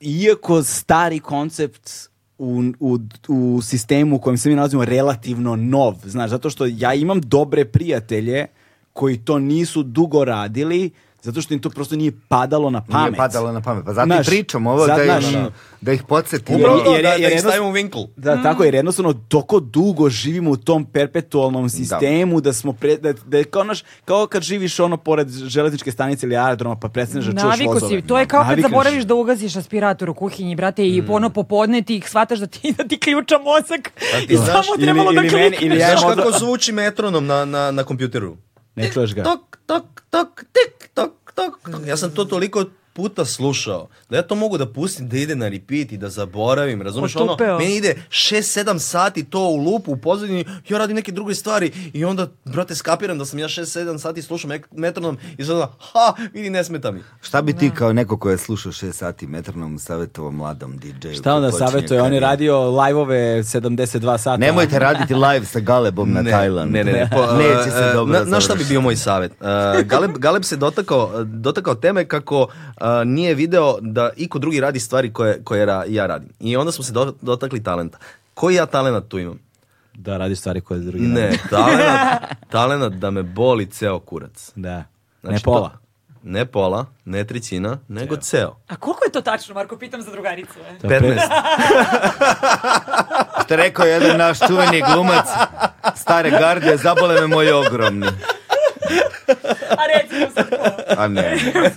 Speaker 1: iako stari koncept u, u, u sistemu u kojem se mi nalazimo relativno nov, znaš, zato što ja imam dobre prijatelje koji to nisu dugo radili, zato što im to prosto nije padalo na pamet.
Speaker 4: Nije padalo na pamet. Pa zato
Speaker 1: Znaš,
Speaker 4: i pričam ovo
Speaker 1: zato,
Speaker 4: da,
Speaker 1: znaš,
Speaker 4: im, da ih podsjetim.
Speaker 1: Upravo to,
Speaker 2: Jer-
Speaker 1: da-
Speaker 2: da-
Speaker 1: jer
Speaker 2: da ih
Speaker 1: jednost-
Speaker 2: stavimo u vinkl.
Speaker 3: Mm.
Speaker 1: Da, tako, jer jednostavno toko dugo živimo u tom perpetualnom sistemu da, smo pre, da, da je kao, naš, kao kad živiš ono pored železničke stanice ili aerodroma pa prestaneš da čuješ vozove.
Speaker 3: Naviku si, to je kao kad
Speaker 1: Navikneš.
Speaker 3: zaboraviš da ugasiš aspirator u kuhinji, brate, i ono popodne ti ih shvataš da ti, da ti ključa mozak i
Speaker 2: znaš,
Speaker 3: samo
Speaker 1: ili-
Speaker 3: trebalo da
Speaker 1: ili meni-
Speaker 3: klikneš.
Speaker 1: ili ja
Speaker 2: Znaš
Speaker 1: imam odra-
Speaker 2: kako zvuči metronom na, na, na kompjuteru?
Speaker 1: Ne čuješ ga.
Speaker 2: Tok, tok, tok, tik, tok, tok, tok. Ja sam to toliko puta slušao da ja to mogu da pustim da ide na repeat i da zaboravim, razumeš ono?
Speaker 5: Otupeo.
Speaker 2: Meni ide 6-7 sati to u lupu u pozadini, ja radim neke druge stvari i onda, brate, skapiram da sam ja 6-7 sati slušao mek- metronom i sada, ha, vidi, ne smeta mi.
Speaker 4: Šta bi ti kao neko ko je slušao 6 sati metronom savjetovao mladom DJ-u?
Speaker 1: Šta onda
Speaker 4: koji počinje
Speaker 1: savjetuje? On je
Speaker 4: karijeru?
Speaker 1: radio live-ove 72 sata.
Speaker 4: Nemojte raditi live sa Galebom na Tajlandu.
Speaker 2: Ne, ne,
Speaker 4: *laughs*
Speaker 2: ne. Po,
Speaker 4: Neće
Speaker 2: e,
Speaker 4: se dobro
Speaker 2: na, na šta bi
Speaker 4: završiti.
Speaker 2: bio moj savjet? E, Galeb, Galeb se dotakao, dotakao teme kako e, nije video da iko drugi radi stvari koje, koje ra- ja radim. I onda smo se do- dotakli talenta. Koji ja talenat tu imam?
Speaker 1: Da radiš stvari koje drugi
Speaker 2: Ne,
Speaker 1: rade.
Speaker 2: talenat, *laughs* talenat da me boli ceo kurac.
Speaker 1: Da. ne
Speaker 2: Znači, to-
Speaker 1: pola.
Speaker 2: ne pola, ne trećina, nego ceo.
Speaker 3: A koliko je to tačno, Marko? Pitam za drugaricu. e.
Speaker 1: To je pre-
Speaker 2: 15.
Speaker 4: Što je rekao jedan naš čuveni glumac stare garde, zabole me moji ogromni.
Speaker 3: A reci mu sad ko.
Speaker 4: A ne, ne.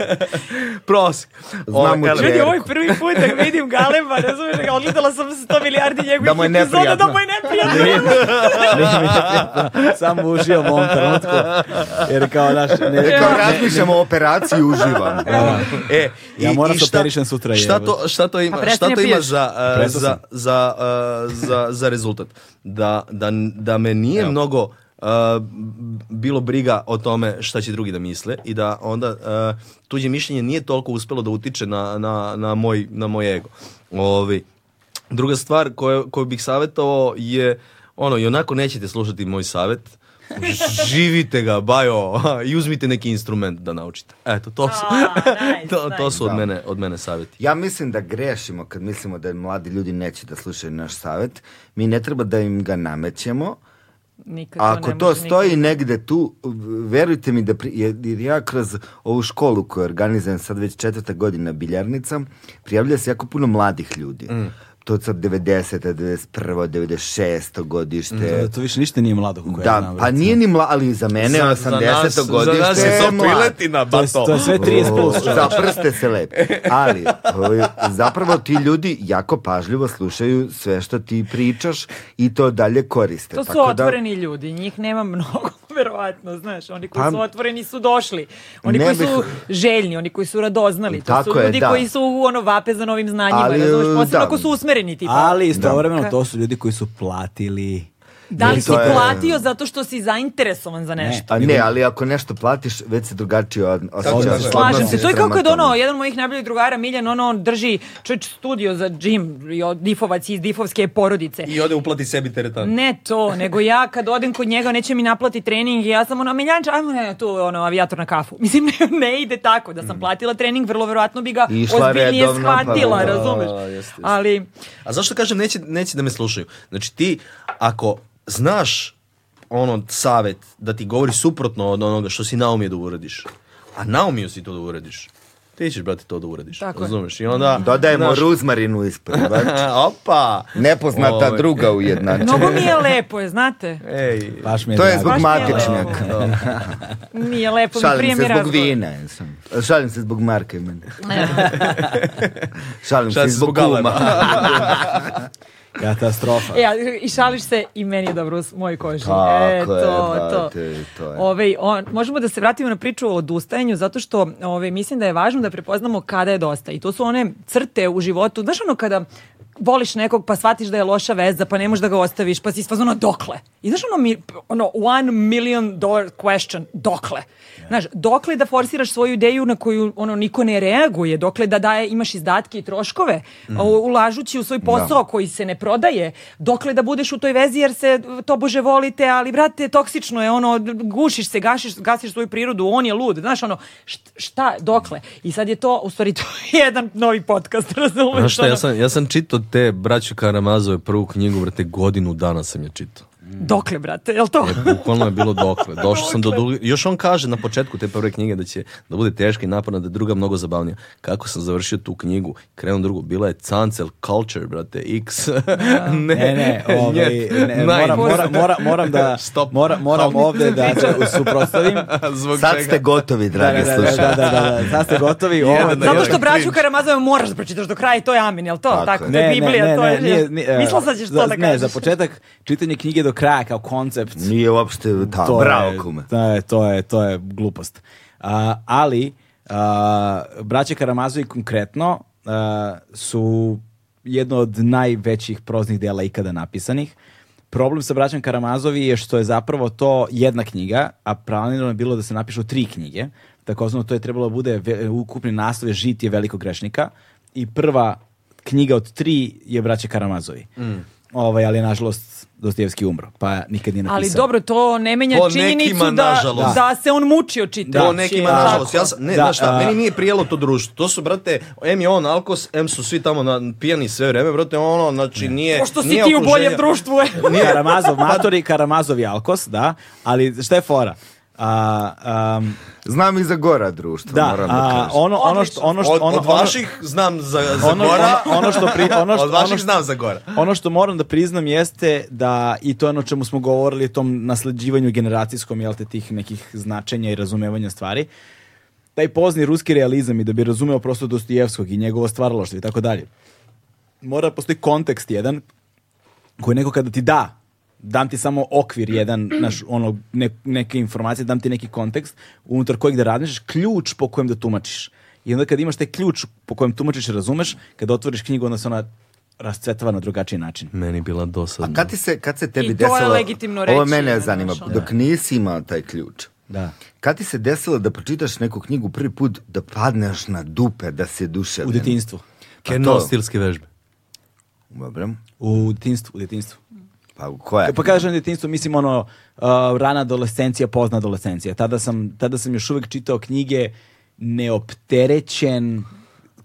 Speaker 2: Prosek. Ovaj,
Speaker 4: mu
Speaker 2: ele-
Speaker 4: čerku.
Speaker 3: Ljudi, ovo je prvi put da vidim Galeba, razumiješ, da ga odgledala sam 100 milijardi njegovih
Speaker 4: Da mu je
Speaker 3: epizoda,
Speaker 4: neprijatno.
Speaker 3: da mu je
Speaker 1: *laughs*
Speaker 3: neprijatno.
Speaker 1: Nije mi neprijatno. Samo uživam u ovom trenutku. Jer kao, znaš,
Speaker 4: *laughs*
Speaker 1: ne,
Speaker 4: Kao razmišljam o operaciji, uživam.
Speaker 2: E,
Speaker 1: Ja moram se operišem sutra,
Speaker 2: Šta
Speaker 1: jebote.
Speaker 2: to, šta to ima,
Speaker 3: Pa prestani
Speaker 2: šta to
Speaker 3: da
Speaker 2: ima
Speaker 3: piješ.
Speaker 2: za, e,
Speaker 1: Prestao
Speaker 2: za,
Speaker 1: sam.
Speaker 2: za, e, za, za rezultat? Da, da, da me nije mnogo e, bilo briga o tome šta će drugi da misle i da onda e, tuđe mišljenje nije toliko uspelo da utiče na, na, na, moj, na moj ego. Ovi. Druga stvar koju, koju bih savjetovao je ono, i onako nećete slušati moj savjet, živite ga, bajo, i uzmite neki instrument da naučite. Eto, to su, *laughs*
Speaker 3: A, nice,
Speaker 2: to, to
Speaker 3: nice.
Speaker 2: su od mene, od mene savjeti.
Speaker 4: Ja mislim da grešimo kad mislimo da mladi ljudi neće da slušaju naš savjet. Mi ne treba da im ga namećemo.
Speaker 3: Nikad
Speaker 4: A ako
Speaker 3: ne
Speaker 4: to
Speaker 3: može
Speaker 4: stoji
Speaker 3: nikad.
Speaker 4: negde tu, verujte mi da pri, jer jer ja kroz ovu školu koju organizujem sad već četvrta godina biljarnica, prijavlja se jako puno mladih ljudi.
Speaker 2: Mm.
Speaker 4: To je sad 90. 91. 96. godište.
Speaker 2: Mm.
Speaker 1: Da, to više ništa nije mlado kako ja
Speaker 4: Da,
Speaker 1: znam.
Speaker 4: pa
Speaker 1: brate.
Speaker 4: nije ni mla, ali za mene
Speaker 2: Za-
Speaker 4: je
Speaker 2: za nas-
Speaker 4: 80.
Speaker 2: za nas
Speaker 4: godište
Speaker 2: ono je to
Speaker 4: je mlad.
Speaker 12: Piletina,
Speaker 1: To je,
Speaker 12: bato.
Speaker 1: to je sve 30 plus.
Speaker 4: O, Za prste se lepi. Ali, to je- zapravo ti ljudi jako pažljivo slušaju sve što ti pričaš i to dalje koriste.
Speaker 3: To su
Speaker 4: Tako da-
Speaker 3: otvoreni ljudi, njih nema *laughs* mnogo, verovatno, znaš, oni koji
Speaker 4: Pa-
Speaker 3: su otvoreni su došli, oni
Speaker 4: Ne
Speaker 3: koji
Speaker 4: bih-
Speaker 3: su željni, oni koji su radoznali, to
Speaker 4: Tako
Speaker 3: su
Speaker 4: je,
Speaker 3: ljudi
Speaker 4: da.
Speaker 3: koji su ono vape za novim znanjima,
Speaker 4: Ali,
Speaker 3: razumeš,
Speaker 4: e,
Speaker 3: posebno
Speaker 4: da.
Speaker 3: ako su usmereni tipa.
Speaker 1: Ali istovremeno to su ljudi koji su platili.
Speaker 3: da li si
Speaker 4: to je-
Speaker 3: platio zato što si zainteresovan za nešto?
Speaker 4: A ne, ali ako nešto platiš, već se drugačije od- osjećaš.
Speaker 2: tako je.
Speaker 3: Slažem
Speaker 4: odnosi
Speaker 3: se, to je kao
Speaker 4: prema
Speaker 3: kad ono,
Speaker 4: tome.
Speaker 3: jedan od mojih najboljih drugara, Miljan, ono, on drži čovječ studio za džim, i od difovac iz difovske porodice.
Speaker 2: I ode uplati sebi teretan.
Speaker 3: Ne to, nego ja kad odem kod njega, neće mi naplati trening i ja sam ono, Miljanče, ajmo ne, tu ono, avijator na kafu. *laughs* Mislim, ne, ne ide tako. Da sam platila trening, vrlo verovatno bi ga
Speaker 4: Mm. Išla
Speaker 3: ozbiljnije
Speaker 4: redovno, pa
Speaker 3: shvatila,
Speaker 4: da.
Speaker 3: razumeš?
Speaker 2: A, jeste, jeste.
Speaker 3: Ali,
Speaker 2: A zašto kažem neće, neće da me slušaju? Znači ti, ako znaš ono savjet da ti govori suprotno od onoga što si naumio da uradiš, a naumio si to da uradiš, ti ćeš, brate, to da uradiš.
Speaker 3: Tako je.
Speaker 2: razumeš? I onda...
Speaker 4: Dodajemo
Speaker 2: znaš-
Speaker 4: ruzmarinu ispred. znači,
Speaker 2: *laughs* Opa!
Speaker 4: Nepoznata
Speaker 2: Ovaj,
Speaker 4: druga ujednačena.
Speaker 3: mnogo mi je lepo, je, znate?
Speaker 2: Ej,
Speaker 1: Baš mi je
Speaker 4: To je
Speaker 1: drago.
Speaker 4: zbog
Speaker 3: Baš mi je
Speaker 4: matičnjaka. *laughs*
Speaker 3: lepo. Nije lepo, mi prije
Speaker 4: Šalim
Speaker 3: mi
Speaker 4: se zbog
Speaker 3: razgovor.
Speaker 4: vina. jesam. Šalim se zbog Marka i mene.
Speaker 3: *laughs*
Speaker 4: Šalim
Speaker 2: šta
Speaker 4: se
Speaker 2: si
Speaker 4: zbog
Speaker 2: zbog
Speaker 4: kuma.
Speaker 2: galeba?
Speaker 1: Katastrofa.
Speaker 3: E, a, i šališ se i meni je dobro u s- mojoj koži.
Speaker 4: Tako
Speaker 3: e,
Speaker 4: je,
Speaker 3: to, to.
Speaker 4: brate, to je.
Speaker 3: Ovaj, on, možemo da se vratimo na priču o odustajanju, zato što ovaj, mislim da je važno da prepoznamo kada je dosta. I to su one crte u životu. Znaš ono kada voliš nekog pa shvatiš da je loša veza, pa ne možeš da ga ostaviš, pa si isfazona dokle? I znaš ono, mi, ono one million dollar question, dokle? Znaš, dokle da forsiraš svoju ideju na koju ono niko ne reaguje, dokle da daje, imaš izdatke i troškove, a, u- ulažući u svoj posao koji se ne prodaje, dokle da budeš u toj vezi jer se tobože volite, ali brate, toksično je ono, gušiš se, gašiš, gasiš svoju prirodu, on je lud, znaš ono, št- šta, dokle? I sad je to, u stvari, *laughs* to je jedan novi podcast, razumeš?
Speaker 2: Znaš šta,
Speaker 3: ono,
Speaker 2: ja sam, ja sam čitao te braću Karamazove prvu knjigu, brate, godinu dana sam je čitao.
Speaker 3: Dokle, brate, jel to?
Speaker 2: E, bukvalno je bilo
Speaker 3: *laughs*
Speaker 2: dokle. Došao sam do druge- Još on kaže na početku te prve knjige da će da bude teška i naporna, da je druga mnogo zabavnija. Kako sam završio tu knjigu, krenuo drugu, bila je cancel culture, brate, x. *laughs*
Speaker 3: E,
Speaker 2: ne,
Speaker 1: Ne,
Speaker 3: *laughs*
Speaker 1: ne, ovaj,
Speaker 2: njet,
Speaker 1: ne,
Speaker 2: naj.
Speaker 1: moram, moram, moram, moram da,
Speaker 2: Stop.
Speaker 1: mora- moram
Speaker 2: Halt.
Speaker 1: ovde da se suprostavim.
Speaker 2: Zbog
Speaker 4: Sad
Speaker 2: čega?
Speaker 4: ste gotovi,
Speaker 1: Da,
Speaker 4: dragi
Speaker 1: da, da, da,
Speaker 4: slušatelji.
Speaker 1: da, da, da, sad ste gotovi. Ovo,
Speaker 2: Jedan na
Speaker 1: to-
Speaker 3: Zato što
Speaker 2: jedan.
Speaker 3: braću Karamazove moraš da pročitaš do kraja i to je amin, jel to?
Speaker 4: Tako je.
Speaker 3: Tako, to je Biblija, to je...
Speaker 1: nije, nije,
Speaker 3: Mislila sam da ćeš to
Speaker 1: za-
Speaker 3: da
Speaker 1: Ne,
Speaker 3: kažeš.
Speaker 1: za početak čitanje knjige do kraja kao koncept.
Speaker 4: Nije uopšte ta, bravo
Speaker 1: je,
Speaker 4: kume.
Speaker 1: To je, to je, to je glupost. A, ali, a, braća Karamazovi konkretno a, su jedno od najvećih proznih dela ikada napisanih. Problem sa braćom Karamazovi je što je zapravo to jedna knjiga, a planirano je bilo da se napišu tri knjige. Takozvano to je trebalo da bude ve- ukupni naslov je Žitje velikog grešnika i prva knjiga od tri je braća Karamazovi.
Speaker 4: Mm.
Speaker 1: Ovaj, ali je nažalost Dostojevski umro, pa nikad nije napisao.
Speaker 3: Ali dobro, to ne menja
Speaker 2: Po
Speaker 3: činjenicu
Speaker 2: nekima,
Speaker 3: da,
Speaker 2: nažalost.
Speaker 3: da se on mučio čitajući.
Speaker 2: to nekima,
Speaker 3: jel tako?
Speaker 2: nažalost, ja sam, ne,
Speaker 1: Da,
Speaker 2: znaš šta,
Speaker 1: a-
Speaker 2: meni nije prijelo to društvo. To su, brate, em je on alkos, em su svi tamo na, pijani sve vreme, brate, ono, znači nije...
Speaker 1: e,
Speaker 3: Pošto si
Speaker 2: nije
Speaker 3: ti u
Speaker 2: okruženje-
Speaker 3: boljem društvu, e.
Speaker 2: *laughs*
Speaker 1: Nije. Karamazov
Speaker 2: Pa-
Speaker 1: matori, Karamazov i Alkos, da. Ali šta je fora? A, am,
Speaker 4: Znam i za gora društvo,
Speaker 1: da,
Speaker 4: moram da
Speaker 1: a,
Speaker 4: kažem.
Speaker 1: ono, ono što... Ono što
Speaker 2: Od,
Speaker 1: ono,
Speaker 2: od vaših znam za, za
Speaker 1: ono,
Speaker 2: Gora,
Speaker 1: ono, ono što
Speaker 2: *laughs*
Speaker 1: pri, ono što,
Speaker 2: od vaših
Speaker 1: ono što,
Speaker 2: znam za Gora.
Speaker 1: ono što moram da priznam jeste da i to je ono o čemu smo govorili tom nasleđivanju generacijskom jel te tih nekih značenja i razumevanja stvari taj pozni ruski realizam i da bi razumeo prosto Dostojevskog i njegovo stvaralaštvo i tako dalje mora da postoji kontekst jedan koji neko kada ti da dam ti samo okvir jedan naš ono ne- neke informacije dam ti neki kontekst unutar kojeg da radiš ključ po kojem da tumačiš i onda kad imaš taj ključ po kojem tumačiš i razumeš kada otvoriš knjigu onda se ona rascvetava na drugačiji način
Speaker 14: Meni je bila dosadna.
Speaker 4: A kad, ti se, kad se tebi
Speaker 3: I to je
Speaker 4: desilo...
Speaker 3: legitimno
Speaker 4: Ovo
Speaker 3: reći,
Speaker 4: mene
Speaker 3: ne,
Speaker 4: zanima,
Speaker 3: znaš, ono.
Speaker 4: dok nisi imao taj ključ.
Speaker 1: da
Speaker 4: Kad ti se desilo da pročitaš neku knjigu prvi put, da padneš na dupe, da se duše...
Speaker 1: u detinjstvu
Speaker 14: Keno stilske vežbe.
Speaker 4: Dobro.
Speaker 1: u detinjstvu u detinjstvu
Speaker 4: Pa koja?
Speaker 1: pa kažem detinjstvo mislim ono uh, rana adolescencija pozna adolescencija tada sam tada sam još uvek čitao knjige neopterećen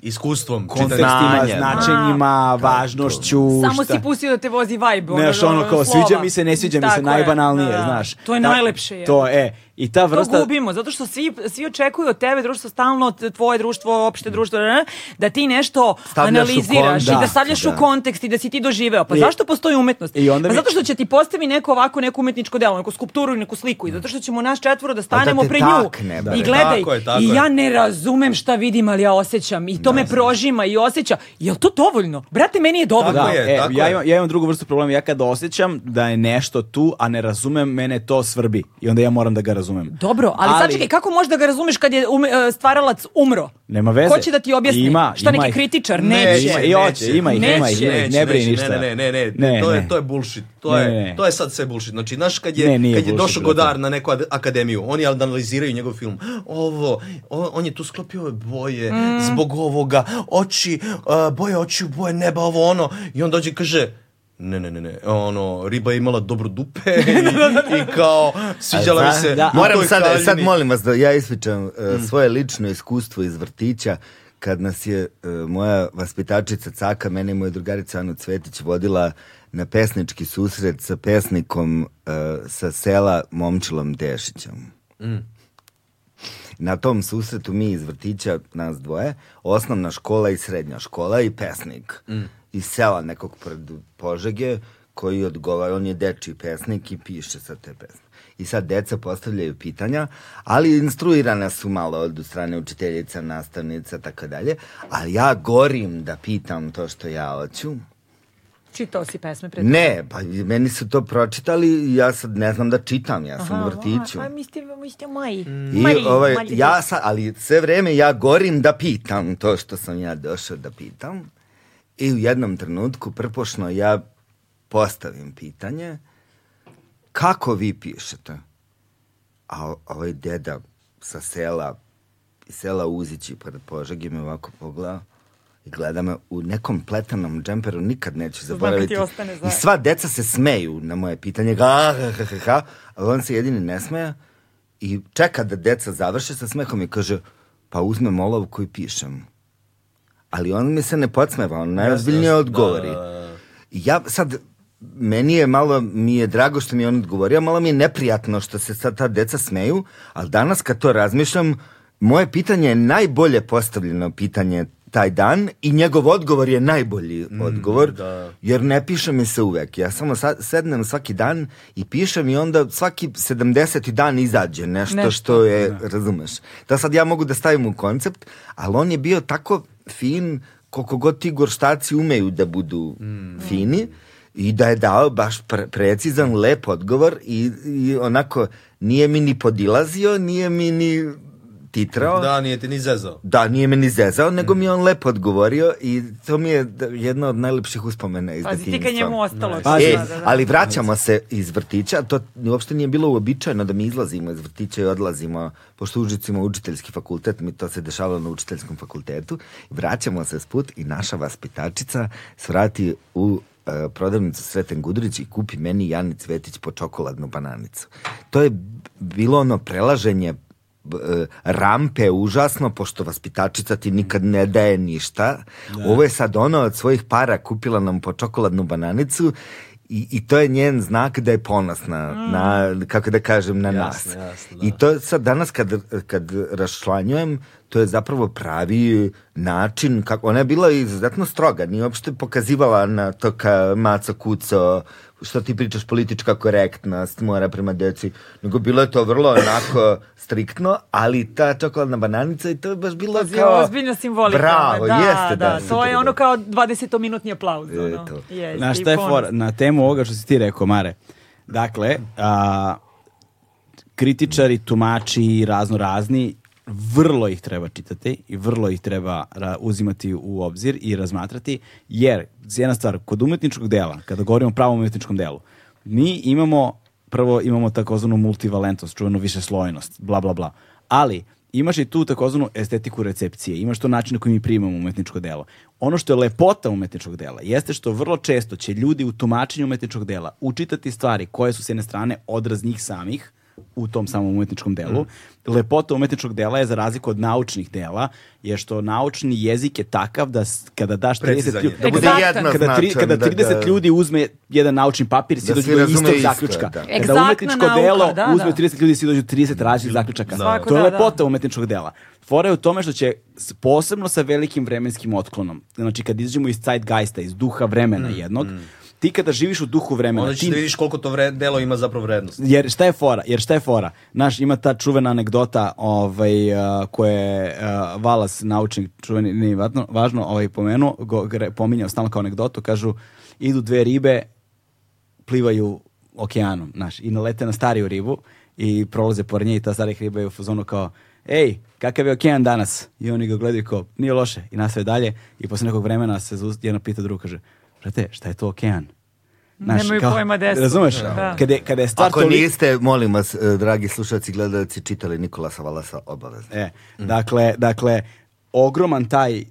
Speaker 2: Iskustvom,
Speaker 1: kontekstima,
Speaker 2: čitanjem.
Speaker 3: Znači,
Speaker 1: značenjima, važnošću.
Speaker 3: Samo
Speaker 1: šta-
Speaker 3: si pustio da te vozi vibe. ono,
Speaker 1: Znaš, ono kao
Speaker 3: slova.
Speaker 1: sviđa mi se, ne sviđa mi
Speaker 3: Tako
Speaker 1: se,
Speaker 3: je,
Speaker 1: najbanalnije,
Speaker 3: da.
Speaker 1: znaš.
Speaker 3: To je
Speaker 1: Ta-
Speaker 3: najlepše. je.
Speaker 1: To je. I ta vrsta...
Speaker 3: To gubimo, zato što svi, svi očekuju od tebe, društvo stalno, t- tvoje društvo, opšte društvo, ne, da ti nešto
Speaker 4: Stavljaš u
Speaker 3: analiziraš i da
Speaker 4: kontekst,
Speaker 3: stavljaš u
Speaker 4: da.
Speaker 3: kontekst i da si ti doživeo. Pa
Speaker 1: I-
Speaker 3: zašto postoji umetnost?
Speaker 1: i onda
Speaker 3: pa
Speaker 1: mi-
Speaker 3: zato što će ti postavi neko ovako, neko umetničko delo, neku skulpturu i neku sliku i zato što ćemo nas četvoro da stanemo
Speaker 4: te
Speaker 3: pred nju
Speaker 4: takne, bre.
Speaker 3: i gledaj.
Speaker 2: Tako je, tako
Speaker 3: I
Speaker 2: je.
Speaker 3: ja ne razumem šta vidim, ali ja osjećam i to me prožima i osjeća. Jel to dovoljno? Brate, meni je dovoljno.
Speaker 1: Da,
Speaker 2: Tako je,
Speaker 1: e,
Speaker 2: tako
Speaker 1: ja,
Speaker 2: je.
Speaker 1: imam, ja imam drugu vrstu problema. Ja kada osjećam da je nešto tu, a ne razumem, mene to svrbi. I onda ja moram da ga razumem.
Speaker 3: Dobro, ali, sad čekaj, kako možeš da ga razumeš kad je ume- e, stvaralac umro?
Speaker 1: Nema veze.
Speaker 3: Ko će da ti objasni?
Speaker 1: Ima,
Speaker 3: Šta
Speaker 1: ima
Speaker 3: neki
Speaker 1: ih.
Speaker 3: kritičar?
Speaker 1: Ne,
Speaker 3: Neće.
Speaker 1: ima- i hoće, ima ih, ima ih, ima ih, ne brini ništa.
Speaker 2: Ne, ne, ne,
Speaker 1: Ne,
Speaker 2: ne, to
Speaker 1: ne.
Speaker 2: je, to je bullshit. To,
Speaker 1: Ne,
Speaker 2: je,
Speaker 1: ne, ne.
Speaker 2: to je sad sve bullshit. Znači, znaš, kad je,
Speaker 1: Ne, nije
Speaker 2: kad je
Speaker 1: bullshit,
Speaker 2: došao
Speaker 1: brate.
Speaker 2: Godar na neku ad- akademiju, oni analiziraju njegov film. Ovo, o- on je tu sklopio ove boje zbog ovoga, oči, a, boje očiju, boje neba, ovo ono. I on dođe i kaže, ne, ne, ne, ne, ono, riba je imala dobro
Speaker 1: *laughs*
Speaker 2: dupe i, i kao, sviđala mi se.
Speaker 1: da,
Speaker 2: na
Speaker 4: Moram
Speaker 2: toj
Speaker 4: sad, sad
Speaker 2: haljini. Mm.
Speaker 4: molim vas da ja ispričam e, svoje lično iskustvo iz vrtića kad nas je e, moja vaspitačica Caka, mene i moja drugarica Anu Cvetić vodila na pesnički susret sa pesnikom e, sa sela Momčilom Tešićem. Na tom susretu mi iz vrtića, nas dvoje, osnovna škola i srednja škola i pesnik. Iz sela nekog pred Požege koji odgovara, on je dečiji pesnik i piše sad te pesme. I sad deca postavljaju pitanja, ali instruirana su malo od strane učiteljica, nastavnica, tako dalje. Ali ja gorim da pitam to što ja hoću.
Speaker 3: Čitao si pesme pred...
Speaker 4: Ne, pa meni su to pročitali i ja sad ne znam da čitam, ja sam u vrtiću.
Speaker 3: A, mi ste, mi ste moji.
Speaker 4: I, ovaj, ja sa, ali sve vreme ja gorim da pitam to što sam ja došao da pitam. I u jednom trenutku prpošno ja postavim pitanje kako vi pišete? A o- ovaj deda sa sela, iz sela Uzići pored Požegi me ovako pogleda i gleda me u nekom pletanom džemperu, nikad neću zaboraviti.
Speaker 3: ti ostane za-
Speaker 4: I sva deca se smeju na moje pitanje, ga, ha, ha, ha, ha, ali on se jedini ne smeja i čeka da deca završe sa smehom i kaže, pa uzmem olovku i pišem. Ali on mi se ne podsmeva, on najozbiljnije odgovori. I ja sad, meni je malo, mi je drago što mi je on odgovorio, malo mi je neprijatno što se sad ta deca smeju, ali danas kad to razmišljam, moje pitanje je najbolje postavljeno pitanje taj dan i njegov odgovor je najbolji odgovor, jer ne piše mi se uvek. Ja samo sa- sednem svaki dan i pišem i onda svaki 70. dan izađe nešto,
Speaker 3: Nešto.
Speaker 4: što je, razumeš. Da sad ja mogu da stavim u koncept, ali on je bio tako fin koliko god ti gorštaci umeju da budu
Speaker 5: Mm.
Speaker 4: fini i da je dao baš pre- precizan, lep odgovor i, i onako nije mi ni podilazio, nije mi ni titrao.
Speaker 12: Da, nije ti ni zezao.
Speaker 4: Da, nije me ni zezao,
Speaker 5: Mm.
Speaker 4: nego mi je on lepo odgovorio i to mi je d- jedna od najlepših uspomena iz
Speaker 5: Pazi, ti
Speaker 4: detinjstva.
Speaker 5: kad njemu ostalo.
Speaker 4: E,
Speaker 5: da, da, da.
Speaker 4: ali vraćamo se iz vrtića, to uopšte nije bilo uobičajeno da mi izlazimo iz vrtića i odlazimo, pošto u Užicu ima učiteljski fakultet, mi to se dešavalo na učiteljskom fakultetu, vraćamo se s put i naša vaspitačica svrati u e, prodavnicu Sreten Gudrić i kupi meni i Jani Cvetić po čokoladnu bananicu. To je b- bilo ono prelaženje b- e, rampe užasno, pošto vaspitačica ti nikad ne daje ništa. Ovo je sad ono od svojih para kupila nam po čokoladnu bananicu i, i to je njen znak da je ponosna na, kako da kažem, na nas. I to sad danas kad, kad rašlanjujem, to je zapravo pravi e, način, kako, ona je bila izuzetno stroga, nije uopšte pokazivala na to ka maco kuco, što ti pričaš politička korektnost mora prema deci, nego bilo je to vrlo onako striktno, ali ta čokoladna bananica i to je baš bilo
Speaker 5: Pazi,
Speaker 4: kao...
Speaker 5: ozbiljno simbolika.
Speaker 4: Bravo,
Speaker 5: da,
Speaker 4: jeste, da,
Speaker 5: da. to
Speaker 4: super,
Speaker 5: je
Speaker 4: da.
Speaker 5: ono kao 20-minutni aplauz.
Speaker 4: E,
Speaker 5: Ono.
Speaker 4: to.
Speaker 5: Jeste,
Speaker 1: Znaš
Speaker 5: i
Speaker 1: šta je
Speaker 5: ponos.
Speaker 1: fora? Na temu ovoga što si ti rekao, Mare. Dakle, a, kritičari, tumači i razno razni, vrlo ih treba čitati i vrlo ih treba ra- uzimati u obzir i razmatrati, jer, jedna stvar, kod umetničkog dela, kada govorimo o pravom umetničkom delu, mi imamo, prvo imamo takozvanu multivalentnost, čuvenu višeslojnost, bla, bla, bla, ali imaš i tu takozvanu estetiku recepcije, imaš to način na koji mi primamo umetničko delo. Ono što je lepota umetničkog dela jeste što vrlo često će ljudi u tumačenju umetničkog dela učitati stvari koje su s jedne strane odraz njih samih u tom samom umetničkom delu.
Speaker 4: Mm.
Speaker 1: Lepota umetničkog dela je za razliku od naučnih dela, je što naučni jezik je takav da s- kada daš 30
Speaker 12: Precizan je.
Speaker 1: ljudi,
Speaker 4: Da bude
Speaker 3: Egzaktan.
Speaker 4: jednoznačan.
Speaker 1: kada, tri, kada
Speaker 4: da-
Speaker 1: 30
Speaker 4: da-
Speaker 1: ljudi uzme jedan naučni papir, svi
Speaker 4: Da
Speaker 1: dođu
Speaker 4: svi
Speaker 1: do istog
Speaker 4: razumeju isto,
Speaker 1: zaključka.
Speaker 4: da.
Speaker 1: Kada
Speaker 3: Egzaktna
Speaker 1: umetničko
Speaker 3: nauka,
Speaker 1: delo
Speaker 3: da,
Speaker 1: uzme
Speaker 3: da.
Speaker 1: 30 ljudi, svi dođu do 30 različitih zaključaka.
Speaker 5: Svako,
Speaker 1: To je
Speaker 5: da, da.
Speaker 1: lepota umetničkog dela. Fora je u tome što će s- posebno sa velikim vremenskim otklonom, znači kad izađemo iz zeitgeista, iz duha vremena jednog, ti kada živiš u duhu vremena,
Speaker 2: Mm, Onda ćeš
Speaker 1: ti
Speaker 2: da vidiš koliko to vre, delo ima zapravo vrednost.
Speaker 1: jer šta je fora? Jer šta je fora? Naš ima ta čuvena anegdota, ovaj uh, koje je uh, Valas naučnik čuveni nije važno, važno ovaj pomenuo, go, gre- pominjao stalno kao anegdotu, kažu idu dve ribe plivaju okeanom, znaš, i nalete na stariju ribu i prolaze pored nje i ta starih riba je u fazonu kao ej, kakav je okean danas? I oni ga gledaju kao, nije loše, i nastave dalje i posle nekog vremena se zaust- jedna pita drugu, kaže, brate, šta je to okean? Znaš,
Speaker 5: Nemaju
Speaker 1: kao-
Speaker 5: pojma gde su.
Speaker 1: Razumeš?
Speaker 5: Da.
Speaker 1: Kada je, kada je stvar
Speaker 4: Ako
Speaker 1: toliko-
Speaker 4: niste, molim vas, eh, dragi slušalci, gledalci, čitali Nikolasa Valasa obavezno.
Speaker 1: E,
Speaker 4: Mm.
Speaker 1: dakle, dakle, ogroman taj uh,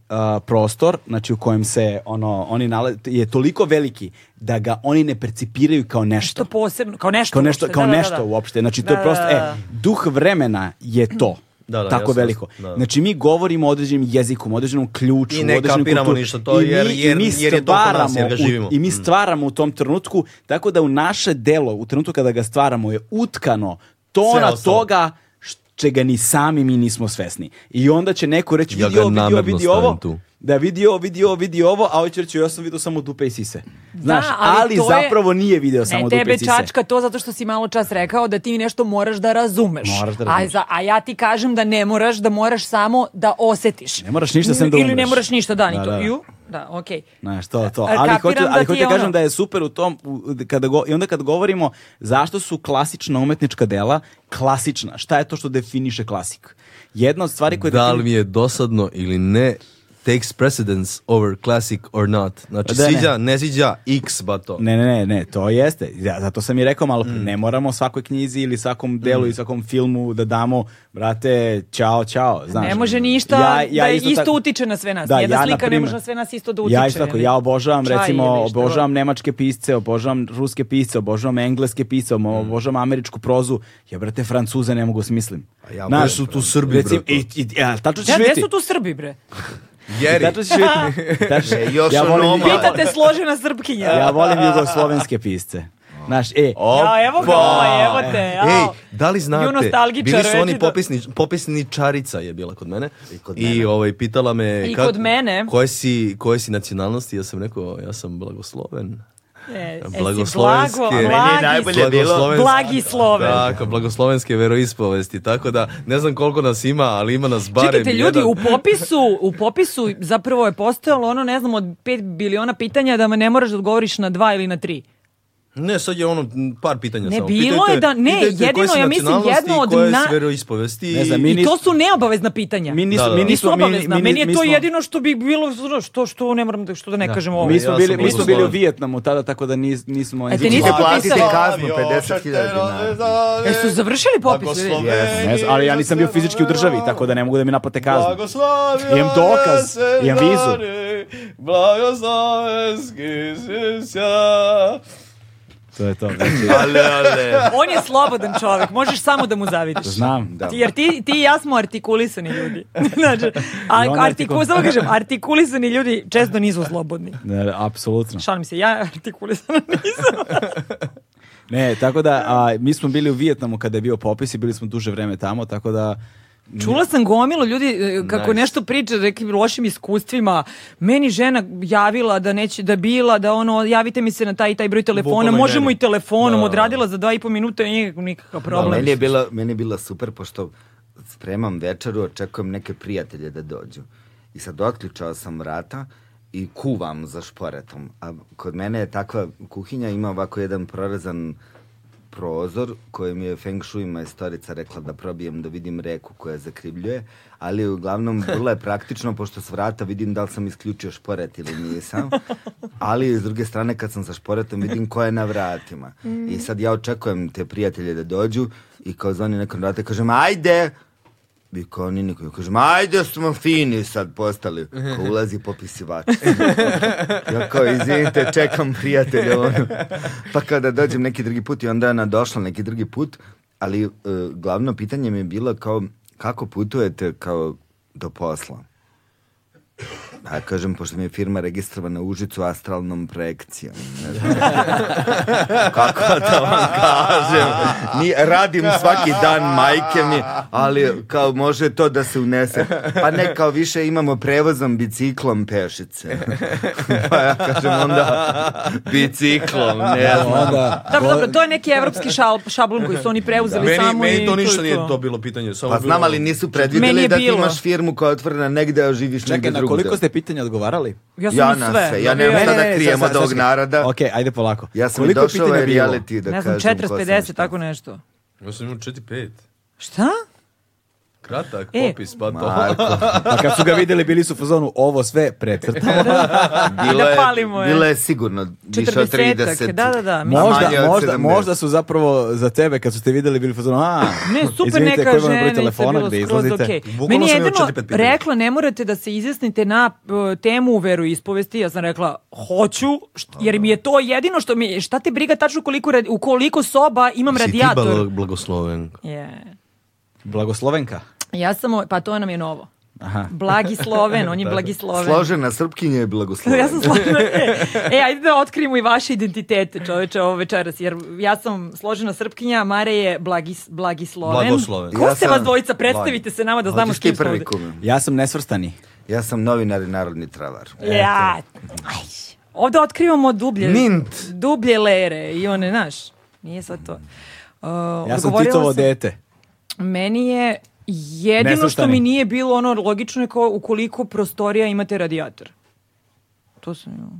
Speaker 1: prostor, znači u kojem se ono, oni nalaze, je toliko veliki da ga oni ne percipiraju kao nešto.
Speaker 5: Što posebno, kao nešto
Speaker 1: Kao nešto,
Speaker 5: uopšte,
Speaker 1: kao
Speaker 5: da, da,
Speaker 1: nešto
Speaker 5: da.
Speaker 1: uopšte. Znači to
Speaker 5: Da,
Speaker 1: je prosto,
Speaker 5: da,
Speaker 1: e,
Speaker 5: da.
Speaker 1: duh vremena je to.
Speaker 2: *clears throat* Da, da,
Speaker 1: tako
Speaker 2: jasno,
Speaker 1: veliko.
Speaker 2: jasno, da.
Speaker 1: Znači mi govorimo određenim jezikom, određenom ključu,
Speaker 2: I ne
Speaker 1: određenom
Speaker 2: kapiramo
Speaker 1: kulturu.
Speaker 2: ništa to,
Speaker 1: I mi-
Speaker 2: jer-
Speaker 1: i
Speaker 2: jer-
Speaker 1: mi
Speaker 2: jer je to oko nas,
Speaker 1: stvaramo
Speaker 2: jer ga
Speaker 1: u-
Speaker 2: živimo. Mm.
Speaker 1: I mi stvaramo u tom trenutku, tako da u naše delo, u trenutku kada ga stvaramo je utkano tona
Speaker 2: Sve ostalo.
Speaker 1: toga š- čega ni sami mi nismo svesni. I onda će neko reći,
Speaker 14: Ja
Speaker 1: vidi
Speaker 14: ga
Speaker 1: ovo, vidi ovo,
Speaker 14: namerno
Speaker 1: vidi ovo,
Speaker 14: stavim tu.
Speaker 1: da vidi ovo, vidi ovo, vidi ovo, a ovaj će reći, ja sam vidio samo dupe i sise. Znaš, ali,
Speaker 3: ali to je-
Speaker 1: zapravo nije video samo
Speaker 3: Ne,
Speaker 1: dupe
Speaker 3: tebe
Speaker 1: i sise.
Speaker 3: čačka to zato što si malo čas rekao da ti nešto moraš da razumeš.
Speaker 1: Moraš da razumeš.
Speaker 3: A, za- a ja ti kažem da ne moraš, da moraš samo da osetiš.
Speaker 1: Ne moraš ništa, sem da
Speaker 3: Ili ne
Speaker 1: umreš.
Speaker 3: moraš ništa, da, ni
Speaker 1: Da,
Speaker 3: to.
Speaker 1: da, da.
Speaker 3: Ju, da, okej.
Speaker 1: Znaš, to, to.
Speaker 3: E,
Speaker 1: Ali
Speaker 3: kapiram
Speaker 1: hoću,
Speaker 3: da
Speaker 1: ali
Speaker 3: ti
Speaker 1: hoću
Speaker 3: je
Speaker 1: da kažem
Speaker 3: ono-
Speaker 1: da je super u tom, u- kada go, i onda kad govorimo zašto su klasična umetnička dela klasična, šta je to što definiše klasik? Jedna od stvari koje...
Speaker 14: Da
Speaker 1: defini-
Speaker 14: li mi je dosadno ili ne, takes precedence over classic or not. Znači,
Speaker 1: Da, ne.
Speaker 14: sviđa, ne sviđa, x bato.
Speaker 1: Ne, ne, ne, ne, to jeste. Ja, zato sam i rekao malo, pre,
Speaker 3: Mm.
Speaker 1: ne moramo svakoj knjizi ili svakom delu i svakom filmu da damo, brate, čao, čao. Znaš.
Speaker 3: Ne može ništa da je isto
Speaker 1: tako-
Speaker 3: utiče na sve nas. Jedna slika ne
Speaker 1: naprimer,
Speaker 3: može na sve nas isto da utiče,
Speaker 1: Ja, isto tako,
Speaker 3: ili
Speaker 1: ja obožavam,
Speaker 3: čaj
Speaker 1: recimo,
Speaker 3: ili šta god.
Speaker 1: obožavam nemačke pisce, obožavam ruske pisce, obožavam engleske pisce,
Speaker 3: Mm.
Speaker 1: obožavam američku prozu. Ja, brate, francuze ne mogu smislim.
Speaker 14: A ja
Speaker 1: Znaš,
Speaker 14: volim su tu Srbi,
Speaker 1: recimo,
Speaker 14: brate.
Speaker 1: i- i- ja, tačno ćeš
Speaker 3: Da, gde
Speaker 1: vidjeti.
Speaker 3: su tu Srbi, bre?
Speaker 14: Jeri.
Speaker 1: Tačno ćeš
Speaker 14: *laughs*
Speaker 1: vidjeti. Tačno-
Speaker 4: E, još
Speaker 1: ja volim,
Speaker 4: onoma.
Speaker 1: ja,
Speaker 3: Pitate složena Srpkinja.
Speaker 1: ja volim jugoslovenske pisce. Znaš, e,
Speaker 3: Ja, evo ga, ovaj, evo te. jao.
Speaker 14: Ej, da li
Speaker 3: Ju
Speaker 14: znate,
Speaker 3: nostalgičar,
Speaker 14: bili su
Speaker 3: reći
Speaker 14: oni
Speaker 3: da-
Speaker 14: popisni, popisničarica je bila kod mene i, ovaj, pitala me
Speaker 3: I kod mene.
Speaker 14: koje si, koje si nacionalnosti, ja sam rekao, ja sam blagosloven.
Speaker 3: E, e, si
Speaker 14: Blagoslovenske.
Speaker 3: blago-
Speaker 14: Meni je
Speaker 3: blagi
Speaker 12: najbolje
Speaker 3: si-
Speaker 12: bilo-
Speaker 14: Blagoslovenske-
Speaker 3: Blagi Sloven.
Speaker 14: Tako, blagoslovenske veroispovesti, tako da ne znam koliko nas ima, ali ima nas barem
Speaker 3: Čekajte, ljudi,
Speaker 14: jedan.
Speaker 3: u popisu, u popisu zapravo je postojalo ono, ne znam, od 5 biliona pitanja da me ne moraš da odgovoriš na dva ili na tri.
Speaker 2: Ne, sad je ono m, par pitanja
Speaker 3: Ne,
Speaker 2: samo.
Speaker 3: bilo
Speaker 2: Pitajte-
Speaker 3: je da- ne,
Speaker 2: pitajte koje
Speaker 3: jedino,
Speaker 2: si
Speaker 3: ja mislim,
Speaker 2: nacionalnosti
Speaker 3: jedno od
Speaker 2: i koje
Speaker 3: na-
Speaker 2: si veroispovesti
Speaker 1: Ne znam,
Speaker 2: i-
Speaker 1: mi
Speaker 3: I
Speaker 1: nis-
Speaker 3: to su neobavezna pitanja.
Speaker 1: Mi nismo,
Speaker 2: Da, da.
Speaker 1: mi
Speaker 3: Nisu
Speaker 1: nismo, mi,
Speaker 3: obavezna.
Speaker 1: mi,
Speaker 3: Meni je
Speaker 1: mi
Speaker 3: to
Speaker 1: smo-
Speaker 3: jedino što bi bilo, znaš, što, što ne moram da, što da ne kažem ovo.
Speaker 1: Mi smo
Speaker 2: Ovaj, Ja
Speaker 1: bili,
Speaker 2: sam
Speaker 1: mi smo
Speaker 2: uzeo
Speaker 1: bili u
Speaker 2: slovo.
Speaker 1: Vijetnamu tada, tako da nis, nismo...
Speaker 3: E, te nisi
Speaker 4: Platite
Speaker 3: potpisao?
Speaker 4: kaznu 50.000 dinara.
Speaker 3: E, su završili popis? ljudi?
Speaker 4: Jesmo.
Speaker 1: Ne znam, ali ja nisam bio fizički u državi, tako da ne mogu da mi naplate kaznu.
Speaker 14: Blagoslavio
Speaker 1: Imam dokaz,
Speaker 14: se
Speaker 1: imam vizu.
Speaker 14: dani, Blagoslavenski sisja.
Speaker 1: To je to. znači,
Speaker 2: Ale, ale.
Speaker 3: On je slobodan čovjek, možeš samo da mu zavidiš.
Speaker 1: Znam.
Speaker 4: Da.
Speaker 3: Jer ti, ti i ja smo artikulisani
Speaker 1: *laughs*
Speaker 3: ljudi. znači, a,
Speaker 1: I on
Speaker 3: artiku,
Speaker 1: artikul-
Speaker 3: samo kažem, artikulisani ljudi često nisu slobodni.
Speaker 1: Ne, ne, apsolutno.
Speaker 3: Šalim se, ja artikulisana nisam.
Speaker 1: Ne, tako da, a, mi smo bili u Vijetnamu kada je bio popis i bili smo duže vreme tamo, tako da...
Speaker 3: Čula sam gomilu ljudi e, kako nešto priča o nekim lošim iskustvima. Meni žena javila da neće da je bila, da ono javite mi se na taj i taj broj telefona,
Speaker 2: Bukvalno i
Speaker 3: možemo
Speaker 2: meni.
Speaker 3: i telefonom,
Speaker 2: Da, da, da.
Speaker 3: odradila za dva i po minuta, nije nikakav problem.
Speaker 4: Meni je, bila, meni je bila super, pošto spremam večeru, očekujem neke prijatelje da dođu. I sad otključao sam vrata i kuvam za šporetom. A kod mene je takva kuhinja, ima ovako jedan prorezan prozor koji mi je Feng Shui majstorica rekla da probijem da vidim reku koja zakrivljuje, ali uglavnom vrlo je praktično pošto s vrata vidim da li sam isključio šporet ili nisam, ali s druge strane kad sam sa šporetom vidim ko je na vratima. I sad ja očekujem te prijatelje da dođu i kao zvoni nekom vrata i kažem ajde, i kao oni niko, kažem, ajde smo fini sad postali. Kao ulazi popisivač. ja kao, izvinite, čekam prijatelja. Ono. Pa kada dođem neki drugi put i onda je ona došla neki drugi put, ali e, glavno pitanje mi je bilo kao, kako putujete kao do posla? A ja kažem, pošto mi je firma registrovana u Užicu astralnom projekcijom.
Speaker 1: *laughs*
Speaker 4: Ne znam. Kako da vam kažem? Ni, radim svaki dan, majke mi, ali kao može to da se unese. Pa ne, kao više imamo prevozom biciklom
Speaker 1: *laughs*
Speaker 4: pešice. pa ja kažem onda biciklom, ne znam.
Speaker 1: Onda,
Speaker 3: Dobro, dobro, to je neki evropski šal, šablon koji su oni preuzeli
Speaker 2: Meni,
Speaker 3: samo
Speaker 2: meni
Speaker 3: i
Speaker 2: to ništa
Speaker 3: je
Speaker 2: nije to bilo pitanje. Samo
Speaker 4: Pa
Speaker 2: bilo-
Speaker 4: znam, ali nisu
Speaker 3: Meni
Speaker 4: predvidjeli
Speaker 3: je
Speaker 4: da ti
Speaker 3: bilo.
Speaker 4: imaš firmu koja je otvorena negde, a živiš
Speaker 1: čekaj,
Speaker 4: negde
Speaker 1: na
Speaker 4: drugde.
Speaker 1: koliko ste pitanja odgovarali?
Speaker 3: Ja sam
Speaker 4: Ja
Speaker 3: na
Speaker 4: na
Speaker 3: sve.
Speaker 4: sve, ja nemam
Speaker 1: Ne,
Speaker 4: šta
Speaker 1: ne,
Speaker 4: da
Speaker 1: ne, ne,
Speaker 4: krijem
Speaker 1: sad,
Speaker 4: od
Speaker 1: sad,
Speaker 4: ovog
Speaker 1: sad.
Speaker 4: naroda.
Speaker 1: Ok, ajde polako.
Speaker 4: Ja sam i
Speaker 1: Koliko
Speaker 4: došao
Speaker 1: pitanja
Speaker 4: ovaj
Speaker 1: je bilo?
Speaker 4: reality da
Speaker 3: ne znam,
Speaker 4: kažem.
Speaker 3: 40,
Speaker 4: ko sam
Speaker 3: 50,
Speaker 4: šta.
Speaker 3: tako nešto.
Speaker 2: Ja sam imao 4-5.
Speaker 3: Šta?
Speaker 2: Kratak
Speaker 3: E.
Speaker 2: popis, pa to.
Speaker 4: Marko,
Speaker 1: Pa kad su ga vidjeli, bili su u fazonu, ovo sve precrtamo. *laughs*
Speaker 4: bilo je,
Speaker 3: palimo je.
Speaker 4: bilo je sigurno više od
Speaker 3: 40-ak,
Speaker 4: 30.
Speaker 3: da, da, da.
Speaker 4: Ma,
Speaker 1: Možda,
Speaker 4: manje od
Speaker 1: možda,
Speaker 4: 70.
Speaker 1: možda su zapravo za tebe, kad su te vidjeli, bili u fazonu, a, *laughs*
Speaker 3: Ne, super
Speaker 1: izvinite,
Speaker 3: neka
Speaker 1: koji vam je broj
Speaker 3: ženica,
Speaker 1: telefona
Speaker 3: bilo
Speaker 1: gde
Speaker 3: skroz
Speaker 1: izlazite?
Speaker 3: okej.
Speaker 2: Bukvalno
Speaker 3: Meni je
Speaker 2: sam imao
Speaker 3: jedino
Speaker 2: četiri, pet pitanja.
Speaker 3: rekla, ne morate da se izjasnite na e, temu veru ispovesti, ja sam rekla, hoću, št- jer mi je to jedino što mi, šta te briga tačno koliko, radi- u koliko soba imam
Speaker 14: Si ti
Speaker 3: radijator.
Speaker 14: blag- blagosloven.
Speaker 3: Je.
Speaker 1: Blagoslovenka.
Speaker 3: Ja sam, o- pa to nam je novo.
Speaker 1: Aha.
Speaker 3: Blagi
Speaker 1: *laughs*
Speaker 3: Sloven, on je blagi Sloven.
Speaker 4: Složena Srpkinja je blagoslovena.
Speaker 3: ja sam složena. E, e, ajde da otkrijemo i vaše identitete, čoveče, ovo večeras. Jer ja sam složena srpkinja, a Mare je blagi, blagi sloven.
Speaker 2: Blagosloven.
Speaker 3: Ko
Speaker 4: Ja
Speaker 3: ste
Speaker 4: sam-
Speaker 3: vas dvojica? Predstavite se nama da znamo s
Speaker 4: Hoćeš
Speaker 3: kim
Speaker 4: ti
Speaker 3: smo
Speaker 4: prvi
Speaker 3: ovde.
Speaker 4: kume.
Speaker 1: Ja sam nesvrstani.
Speaker 4: Ja sam novinar i narodni travar.
Speaker 3: Ja. Aj. Ovde otkrivamo dublje.
Speaker 12: Mint.
Speaker 3: Dublje lere i one, znaš. Nije sad to. Uh,
Speaker 1: Ja sam
Speaker 3: odgovorila
Speaker 1: Titovo
Speaker 3: sam-
Speaker 1: dete.
Speaker 3: Meni je jedino što
Speaker 1: Nesvrstani.
Speaker 3: mi nije bilo ono logično je kao ukoliko prostorija imate radijator. To sam imala.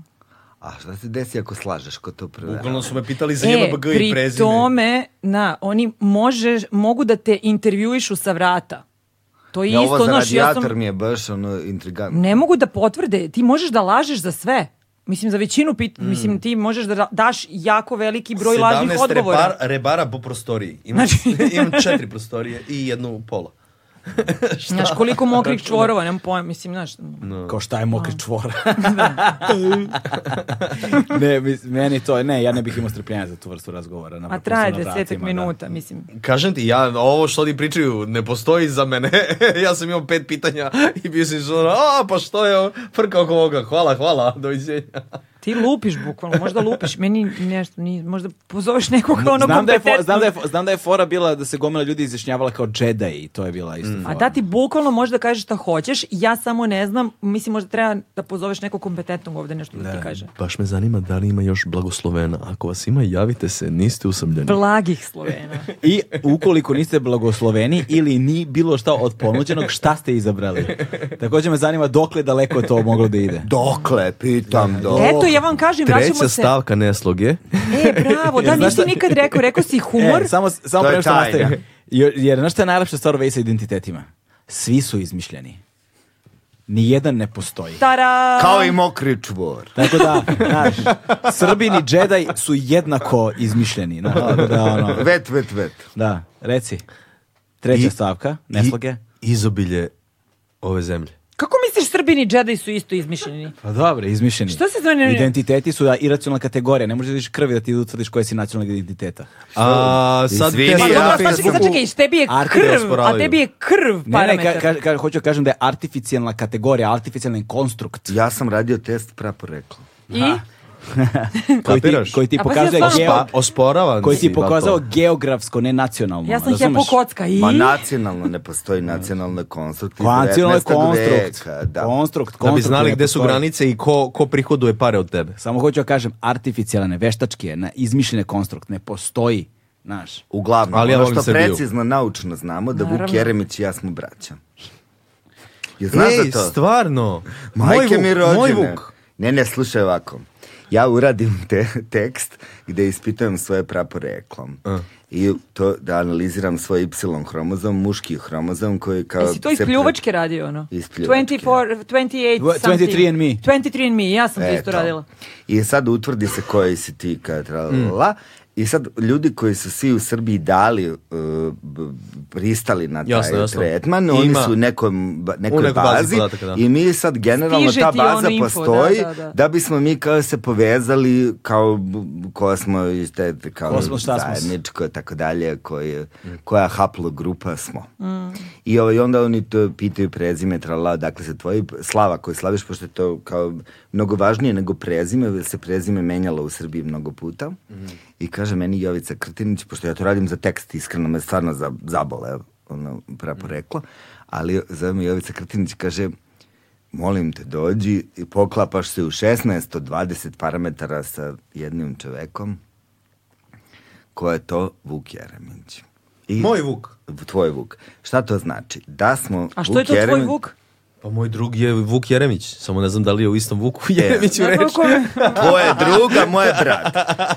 Speaker 4: A šta se desi ako slažeš ko to prevera?
Speaker 2: Bukvalno su me pitali za JMBG i
Speaker 3: E, pri
Speaker 2: prezime.
Speaker 3: tome, na, oni može, mogu da te intervjuišu sa vrata. To je
Speaker 4: Ja,
Speaker 3: isto,
Speaker 4: ovo za
Speaker 3: znaš, ja sam-
Speaker 4: radijator mi je baš ono intrigantno.
Speaker 3: ne mogu da potvrde, ti možeš da lažeš za sve. Mislim, za većinu pit,
Speaker 1: Hmm.
Speaker 3: mislim, ti možeš da ra- daš jako veliki broj lažnih
Speaker 2: 17
Speaker 3: odgovora. Znači-
Speaker 2: rebar- rebara po prostoriji. Imam, imam četiri prostorije i jednu pola.
Speaker 3: Znaš, koliko mokrih čvorova, nemam pojma, mislim, znaš.
Speaker 1: Kao šta je mokri
Speaker 3: *laughs*
Speaker 1: čvor. *laughs* ne, mis- meni to, je- ne, ja ne bih imao strpljenja za tu vrstu razgovora.
Speaker 3: A
Speaker 1: naprosto
Speaker 3: traje
Speaker 1: na
Speaker 3: desetak
Speaker 1: vratima, da.
Speaker 3: minuta, mislim.
Speaker 2: Kažem ti, ja, ovo što oni pričaju ne postoji za mene. *laughs* ja sam imao pet pitanja i bio sam što, a pa što je ovo? frka oko ovoga. Hvala, hvala, doviđenja.
Speaker 3: Ti lupiš bukvalno, možda lupiš. Meni nešto, ni, možda pozoveš nekoga ono
Speaker 1: Znam da, je fo-
Speaker 3: kompetentno.
Speaker 1: znam, da je, fo- znam da je fora bila da se gomila ljudi izjašnjavala kao Jedi i to je bila
Speaker 2: Mm.
Speaker 1: isto fora.
Speaker 3: A da ti bukvalno možeš da kažeš šta hoćeš, ja samo ne znam, mislim možda treba da pozoveš nekog kompetentnog ovde nešto da ti kaže.
Speaker 14: Baš me zanima da li ima još blagoslovena. Ako vas ima, javite se, niste usamljeni.
Speaker 3: Blagih
Speaker 1: *laughs*
Speaker 3: Slovena.
Speaker 1: I ukoliko niste blagosloveni ili ni bilo šta od ponuđenog, šta ste izabrali? Također me zanima dokle daleko je to moglo da ide. Oh,
Speaker 4: Dokle, pitam, dokle.
Speaker 3: Eto,
Speaker 5: ja vam kažem, vraćamo
Speaker 14: Treća
Speaker 5: se...
Speaker 14: stavka neslog je.
Speaker 5: E,
Speaker 1: *laughs*
Speaker 5: bravo, da,
Speaker 1: Jer znaš
Speaker 5: nisi
Speaker 1: šta-
Speaker 5: nikad rekao, rekao si humor.
Speaker 1: *laughs* E, samo samo
Speaker 4: To
Speaker 1: pre
Speaker 4: je
Speaker 1: nego što
Speaker 4: tajna.
Speaker 1: nastavim. Jer, jer znaš šta je najlepša stvar u vezi sa identitetima? Svi su izmišljeni. Nijedan ne postoji.
Speaker 5: Tara!
Speaker 4: Kao i mokri čvor.
Speaker 1: Tako da, znaš, Srbin i Jedi su jednako izmišljeni. Znaš, tako da, ono,
Speaker 4: Vet, vet, vet.
Speaker 1: da, reci. Treća
Speaker 14: I-
Speaker 1: stavka, nesloge.
Speaker 14: I, izobilje ove zemlje.
Speaker 3: Kako misliš Srbini i Jedi su isto izmišljeni?
Speaker 1: Pa dobro, izmišljeni.
Speaker 3: Što se zove-
Speaker 1: Identiteti su da, iracionalna kategorija. Ne možeš da vidiš krvi da ti utvrdiš koja si nacionalna identiteta.
Speaker 14: A, sad
Speaker 4: Izvini,
Speaker 14: te
Speaker 4: Pa
Speaker 3: Pa
Speaker 14: stvari
Speaker 4: ja
Speaker 3: dobro,
Speaker 14: na
Speaker 4: dobro,
Speaker 3: sad
Speaker 4: sad
Speaker 3: čekaj,
Speaker 14: Facebooku-
Speaker 3: sad čekaj, tebi je
Speaker 1: Arti
Speaker 14: te
Speaker 3: krv, a
Speaker 14: osporavaju.
Speaker 3: tebi je krv
Speaker 1: Ne, ne,
Speaker 3: parametar.
Speaker 1: ka, ka, ka- hoću da kažem da je artificijalna kategorija, artificijalni
Speaker 4: *laughs*
Speaker 1: konstrukt
Speaker 4: Ja sam radio test praporekla.
Speaker 3: I?
Speaker 1: koji ti,
Speaker 14: Kapiraš?
Speaker 1: koji ti
Speaker 3: A pa
Speaker 1: pokazuje
Speaker 3: ja sam-
Speaker 1: geo-
Speaker 14: Pa, osporavan
Speaker 1: koji
Speaker 14: si,
Speaker 1: ti je pokazao
Speaker 14: vato.
Speaker 1: geografsko, ne nacionalno.
Speaker 3: Ja sam
Speaker 1: razumeš?
Speaker 3: hepokocka i...
Speaker 4: Ma nacionalno ne postoji nacionalna konstrukt. iz
Speaker 1: Nacionalno je
Speaker 4: 19.
Speaker 1: konstrukt.
Speaker 4: veka, da.
Speaker 1: Konstrukt,
Speaker 14: Da bi
Speaker 1: konstrukt
Speaker 14: znali
Speaker 1: ne
Speaker 14: gde su
Speaker 1: postoji.
Speaker 14: granice i ko, ko prihoduje pare od tebe.
Speaker 1: Samo hoću da kažem, artificijalne, veštačke, na izmišljene konstrukt, ne postoji, znaš.
Speaker 4: Uglavnom,
Speaker 14: Ali ja
Speaker 4: ono
Speaker 14: volim
Speaker 4: što
Speaker 14: Srbiju.
Speaker 4: precizno naučno znamo da Vuk
Speaker 3: Naravno.
Speaker 4: Jeremić i ja smo braća. Jel znaš
Speaker 14: Ej,
Speaker 4: za to?
Speaker 14: stvarno. moj
Speaker 4: Majke
Speaker 14: Vuk, moj
Speaker 4: mi rođene.
Speaker 14: Vuk.
Speaker 4: Ne, ne, slušaj ovako. Ja uradim te, tekst gde ispitujem svoje praporeklom. I to da analiziram svoj Y hromozom, muški hromozom koji kao...
Speaker 3: Jesi to iz
Speaker 4: se pre-
Speaker 3: pljuvačke radio, ono?
Speaker 4: Iz pljuvačke.
Speaker 3: 24, 28,
Speaker 1: Dvo-
Speaker 3: something.
Speaker 1: 23 and me.
Speaker 3: 23 and me, ja sam to isto
Speaker 4: Eto.
Speaker 3: radila.
Speaker 4: E, I sad utvrdi se koji si ti kad la. I sad ljudi koji su svi u Srbiji dali, uh, b- pristali na taj
Speaker 14: Jasno, jasno.
Speaker 4: tretman,
Speaker 14: Ima-
Speaker 4: oni su u nekom, ba- nekoj
Speaker 14: nekoj bazi
Speaker 4: bazi
Speaker 14: podataka, da.
Speaker 4: i mi sad generalno
Speaker 3: Stiže
Speaker 4: ta
Speaker 3: ti ono
Speaker 4: baza
Speaker 3: info,
Speaker 4: postoji
Speaker 3: da,
Speaker 4: da,
Speaker 3: da, da.
Speaker 4: bismo mi kao se povezali kao b- ko smo iz te kao
Speaker 1: Ko smo, šta smo.
Speaker 4: zajedničko tako dalje, koji, koja haplogrupa smo. I ovaj, onda oni to pitaju prezime, trala, dakle se tvoji slava koju slaviš, pošto je to kao mnogo važnije nego prezime, jer se prezime menjalo u Srbiji mnogo puta. I kaže meni Jovica Krtinić, pošto ja to radim za tekst, iskreno me stvarno za, zabole, ono, praporeklo, ali zove me Jovica Krtinić, kaže, molim te dođi i poklapaš se u 16 od 20 parametara sa jednim čovekom, ko je to Vuk Jeremić. I
Speaker 14: Moj Vuk.
Speaker 4: Tvoj Vuk. Šta to znači? Da smo
Speaker 3: A što je to tvoj
Speaker 4: Jeremić-
Speaker 3: Vuk?
Speaker 14: Pa moj drug je Vuk Jeremić, samo ne znam da li je u istom Vuku Jeremiću
Speaker 3: Ne znam
Speaker 14: reč.
Speaker 3: ko je.
Speaker 4: Tvoje druga, moje brat.